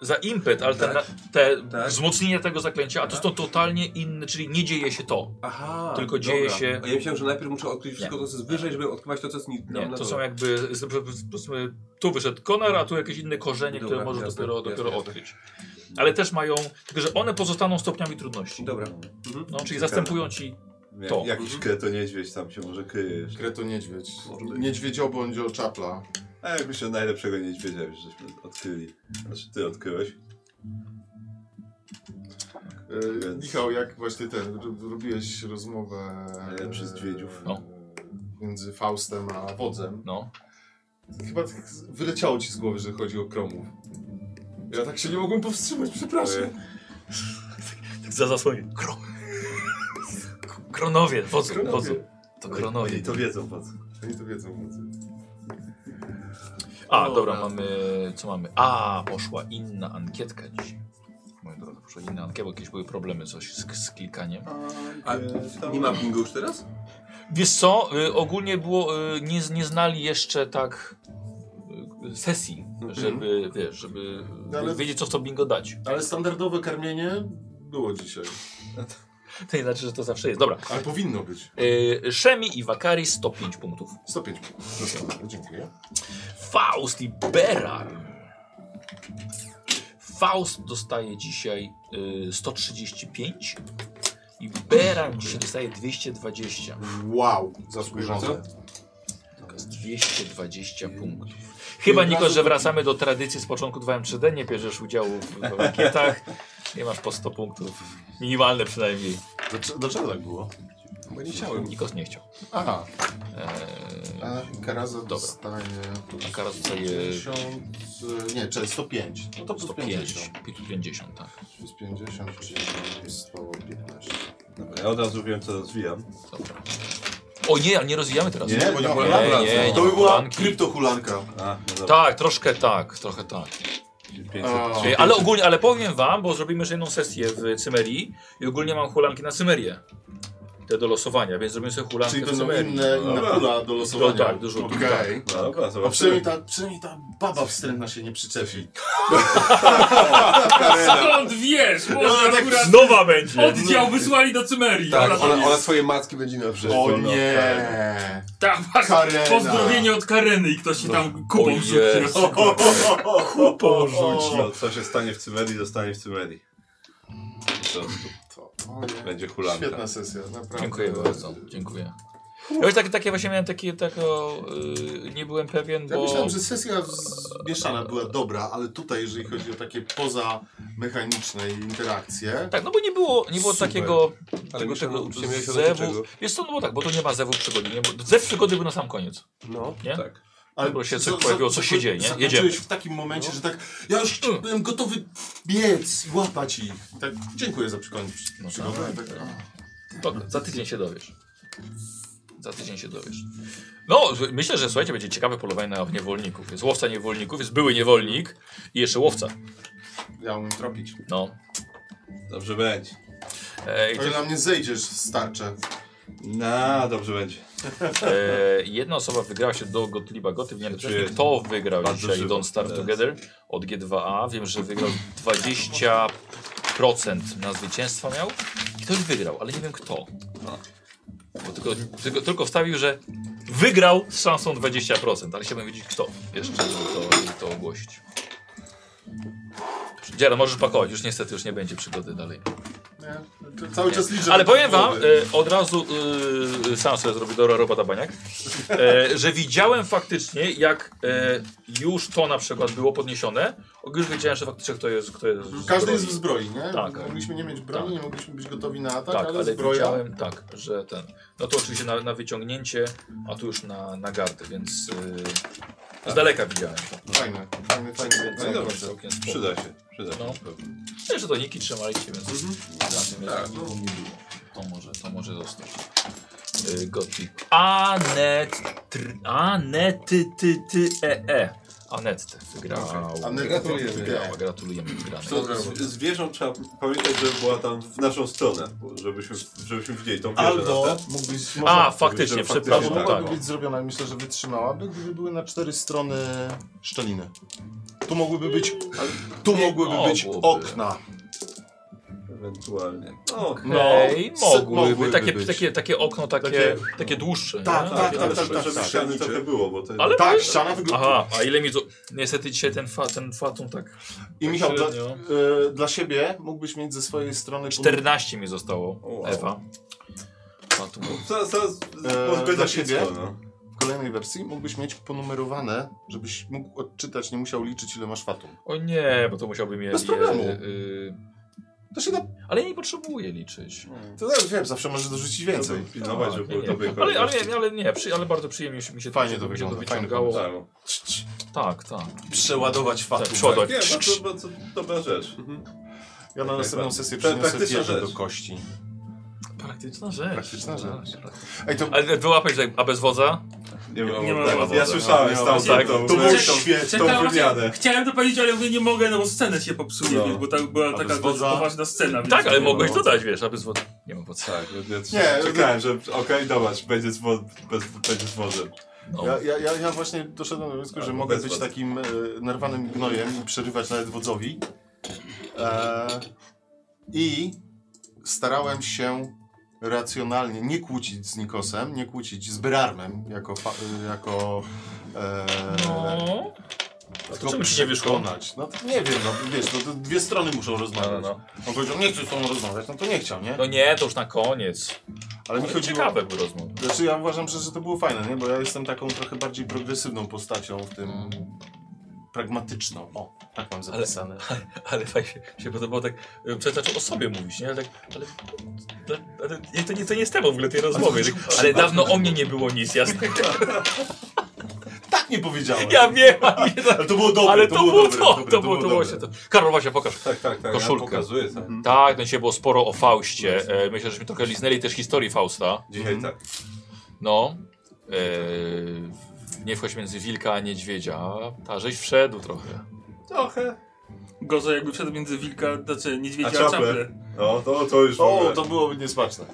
za impet, ale te, te Tak. wzmocnienie tego zaklęcia, a to są totalnie inne, czyli nie dzieje się to. Aha, Tylko dzieje się- A ja myślałem, że najpierw muszę odkryć wszystko to, co jest wyżej, żeby odkrywać to, co jest ni- Nie, na to dole. są jakby, z- z- powiedzmy, tu wyszedł konar, a tu jakieś inne korzenie, Dobra, które możesz jasne, dopiero, jasne, dopiero jasne. odkryć. Ale też mają, tylko że one pozostaną stopniami trudności. Dobra. No, czyli zastępują ci Jak, To. Jakiś kreto niedźwiedź tam się może kryje jeszcze. Kreto niedźwiedź. Niedźwiedzio bądź czapla. A jak myślę, najlepszego niedźwiedzia już żeśmy odkryli. Znaczy ty odkryłeś. E, Więc- Michał, jak właśnie ten, r- robiłeś rozmowę... e, Najlepszy z dźwiedziów. No. Między Faustem a Wodzem. No. Chyba tak z- wyleciało ci z głowy, że chodzi o kromów. Ja tak się nie mogłem powstrzymać, przepraszam. E, Tak za zasłonie. Kro... Kronowie, wodzu, Kronowie. wodzu. To Oni kronowie. to wiedzą po co. Oni to wiedzą, Wodzy. A, dobra, mamy. Co mamy? A, poszła inna ankietka dzisiaj. Moja droga, poszła inna ankietka, bo kiedyś były problemy coś z, z klikaniem. A nie ma bingo już teraz? Wiesz co, y, ogólnie było, y, nie, z- nie znali jeszcze tak y, sesji, żeby, wiesz, żeby Mhm. No ale- wiedzieć co w to bingo dać. Ale standardowe karmienie było dzisiaj. To nie znaczy, że to zawsze jest. Dobra. Ale powinno być. Y, Szemi i Wakari 105 punktów. 105. No Proszę bardzo, dziękuję. Faust i Berar. Faust dostaje dzisiaj y, 135 i Berar dzisiaj dostaje 220. Wow, zasłużone. 220 punktów. Chyba Niko, że wracamy do tradycji z początku 2M3D, nie bierzesz udziału w w ankietach. Nie masz po 100 punktów. Minimalne przynajmniej. Dlaczego, dlaczego tak było? Bo nie chciałem. Nikos nie chciał. Aha, Eee, a Karaza Dobra. dostaje... A Karas dostaje- 50, e, Nie, czy 105. No to plus 105, 50. 50, tak. plus 50, czyli 115. Dobra, ja od razu wiem co rozwijam. Dobra. O nie, ale nie rozwijamy teraz. Nie, bo nie była nie, dobra. nie, nie. To by była Hulanki. kryptohulanka. A, no dobra. Tak, troszkę tak, trochę tak. 500. E, Ale ogólnie, ale powiem wam, bo zrobimy jeszcze jedną sesję w Cymerii i ogólnie mam hulanki na Cymerię. te do losowania, więc zrobimy sobie hulankę Czyli w będą Syberii. inne, inna Dobra. pula do losowania. No tak, dużo- Okej. No dobra, A przynajmniej zobaczymy. ta, przynajmniej ta baba wstrętna się nie przyczepi. Skąd wiesz? Może no, tak akurat Nowa będzie! oddział wysłali do Cymerii. Tak, Ona ona, ona swoje macki będzie na O brzegu. nie! Tak, właśnie. Karena. Pozdrowienie od Kareny i ktoś się tam No. O kupą Jezu. rzucił. Porzuci. No, co się stanie w Cymerii, zostanie w Cymerii. To będzie hulanka. Świetna sesja, naprawdę. Dziękuję bardzo, dziękuję. Ja już tak, takie właśnie miałem takie, tako, y, nie byłem pewien, Ja bo... myślałem, że sesja mieszana była dobra, ale tutaj, jeżeli chodzi o takie pozamechaniczne interakcje, Tak, no bo nie było, nie było Super. takiego, tego, mieszano- tego czy miałeś zewu. czego? Jest to, no bo tak, bo to nie ma zewu przygody. Nie? Bo zew przygody był na sam koniec. No. Nie? Tak. ale Bo się za- coś za- pojawiło, co się dzieje, nie? zakończyłeś Jedziemy. Mm. w takim momencie, że tak, ja już byłem gotowy biec i łapać ich. Tak, dziękuję za przygodę. No przygodę. Tak, To za tydzień się dowiesz. Za tydzień się dowiesz. No, że- myślę, że słuchajcie, będzie ciekawe polowanie na niewolników. Jest łowca niewolników, jest były niewolnik i jeszcze łowca. ja umiem tropić. No. Dobrze będzie. E, i O ile na mnie zejdziesz z tarczy. No, dobrze będzie. E, jedna osoba wygrała się do Gottlieba Gotyb. Nie wiem, Czyli kto wygrał bardzo dzisiaj żywo. Don't Starve Yes. Together od G2A. Wiem, że wygrał 20% na zwycięstwo miał. Ktoś wygrał, ale nie wiem kto. No. Bo tylko, tylko, tylko wstawił, że wygrał z szansą 20%, ale chciałbym wiedzieć kto jeszcze, żeby to, żeby to ogłosić. Dziera, możesz pakować, już niestety już nie będzie przygody dalej. Nie? To Cały czas liczę. Ale na powiem wam, głowy. e, od razu e, sam sobie zrobię dobra robota Baniak, e, że widziałem faktycznie, jak e, już to na przykład było podniesione, już wiedziałem, że faktycznie kto jest, kto jest w Każdy zbroi. jest w zbroi, nie? Tak. Mogliśmy nie mieć broni, Tak. nie mogliśmy być gotowi na atak, Tak, ale, ale zbroja. widziałem, tak, że ten. No to oczywiście na, na wyciągnięcie, a tu już na, na gardę, więc e, z daleka widziałem to. Fajne, fajny, fajny, Więc fajny to koncept. całkiem spoko. Przyda się. Przyda się. No. Mhm. na pewno. Myślę, że to Niki trzymaliście, więc na tym Tak, jest- no. nie było. To może, to może zostać. Yy, Gotlik. Anet. tr- Anety ty ty e e. Anette wygrała. Aneta Gratulujemy. Topitkę. Wygrała, gratulujemy wygranej. To z, z wieżą trzeba pamiętać, żeby była tam w naszą stronę, bo żebyśmy, żebyśmy widzieli tą wieżę. na Albo te- mógłbyś... A, Można, faktycznie, faktycznie, albo przepraszam. tak. Tak. mogłaby być zrobiona, myślę, że wytrzymałaby, gdyby były na cztery strony szczeliny. Tu mogłyby być, tu mogłyby mogłoby. być okna. Ewentualnie. No, Ej, s- mogłyby. mogłyby Takie, być. takie, takie okno, takie, takie dłuższe. Tak, nie? tak, tak, Takie ale dłuższe. żeby żeby tak, ściany tak. trochę było, bo to Ale Tak, ściana wygląda. Aha, a ile mi. zo- Niestety dzisiaj ten, fa, ten fatum tak. I Michał, dla, średnio. y, dla siebie mógłbyś mieć ze swojej strony... pom- 14 mi zostało, Wow. Ewa. Fatum. Zaraz, zaraz Eee, pozbędę dla się siebie? co, no. W kolejnej wersji mógłbyś mieć ponumerowane, żebyś mógł odczytać, nie musiał liczyć ile masz fatum. O nie, bo to musiałbym je. Bez je, problemu. y, To się da... Ale ja nie potrzebuję liczyć. To też wiem, zawsze możesz dorzucić więcej. Pilnować, żeby Nie, były nie. dobre Ale, kolejności. ale, ale nie, przy, ale bardzo przyjemnie się- mi się Fajnie to mi się wygląda, fajny wyciągało. Tak, no. Tak, tak. Przeładować tak fatum. przodu. Nie, bardzo, bardzo dobra rzecz. Ja na następną sesję Tak, przyniosę praktyczna pierze do rzecz. kości. Praktyczna rzecz. Praktyczna rzecz. Tak, tak. Ej, to Ale wyłapać, tak, a bez wodza? Nie, ma nie ma tak, mowy. Ja słyszałem Nie ma stamtąd mowy. tą, To tą, było Czekam- świetne. Czekałem, tą wymianę. Chciałem to powiedzieć, ale mówię, nie mogę, no bo scenę się popsuje, No. więc, bo tak była taka dość wodza- poważna scena. Więc Tak, ale nie mogłeś no. ma- dodać, wiesz, a bez wodza. Nie ma wodza. No Tak, ja Nie, nie, czekałem, że okej, dobra, będzie z, wo- bez, będzie z wodzem. No. Ja, ja, ja, ja właśnie doszedłem do wniosku, że A, mogę bez być wody. takim e, nerwanym gnojem i przerywać nawet wodzowi. E, I starałem się racjonalnie nie kłócić z Nikosem, nie kłócić z Berarmem jako, fa, e, jako e, No. to czemu ci nie wyszło? przekonać. No to nie wiem, no wiesz, no, to dwie strony muszą rozmawiać. No, no. On powiedział, nie chcę z tobą rozmawiać, no to nie chciał, nie? no nie, to już na koniec. Ale mi Ale chodziło... ciekawe były rozmowy. Znaczy ja uważam, że, że to było fajne, nie? Bo ja jestem taką trochę bardziej progresywną postacią w tym Mhm. pragmatyczną. O, tak mam zapisane. Ale fajnie się- się podobało tak, y, przecież zaczął o sobie mówić, nie? Ale, tak, ale, dla- ale nie, to, nie, to nie jest temat w ogóle tej rozmowy. Tak, ale dawno o mnie nie było nic, jasne. Tak nie powiedziałem. Ja wiem, a mnie Ale to było dobre, ale to, było dobre, to, dobre, to było, to było się dobre. to. Karol, właśnie pokaż. Tak, tak, tak. Koszulkę. Ja pokazuję, tak. Tak, no dzisiaj było sporo o Faustie. E, myślę, żeśmy trochę liznęli też historii Fausta. Dzisiaj tak. No. E, nie wchodź między wilka a niedźwiedzia. Ta żeś wszedł trochę. Trochę. Gorzej jakby wszedł między wilka, znaczy niedźwiedzia A czaple? a czaple. No, to, to już w O, ogóle. to byłoby niesmaczne.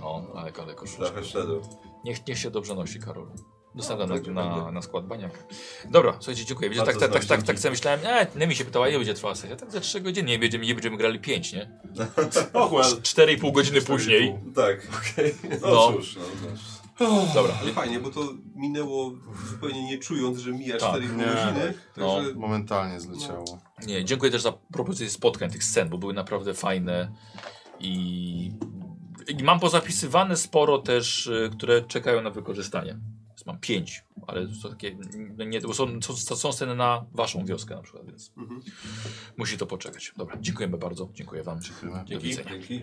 No, ale, ale koszulka. Tak. Trochę śledu. Niech, niech się dobrze nosi, Karol. No, Dostawiam tak, Będzie, na, na, będzie. na skład baniak. Dobra, słuchajcie, dziękuję. Wiecie, tak, Bardzo tak, tak, znośnie, tak, tak dzięki. sobie myślałem, e, Nemi się pytała, ile będzie trwała sesja. Tak za 3 godziny, nie będziemy, nie będziemy grali 5, nie? Och, No, well. 4,5 godziny później. Tak. No, No. cóż, no, no. Dobra, Ale fajnie, bo to minęło zupełnie nie czując, że mija Tak. 4,5 Nie. godziny. No. Także Momentalnie zleciało. nie, dziękuję też za propozycję spotkań, tych scen, bo były naprawdę fajne i, i mam pozapisywane sporo też, y, które czekają na wykorzystanie. Więc Mam 5, ale to takie, no nie, bo są, są, są sceny na waszą wioskę na przykład, więc Mhm. musi to poczekać. Dobra, dziękujemy bardzo, dziękuję wam. Do Dzięki. widzenia. Dzięki.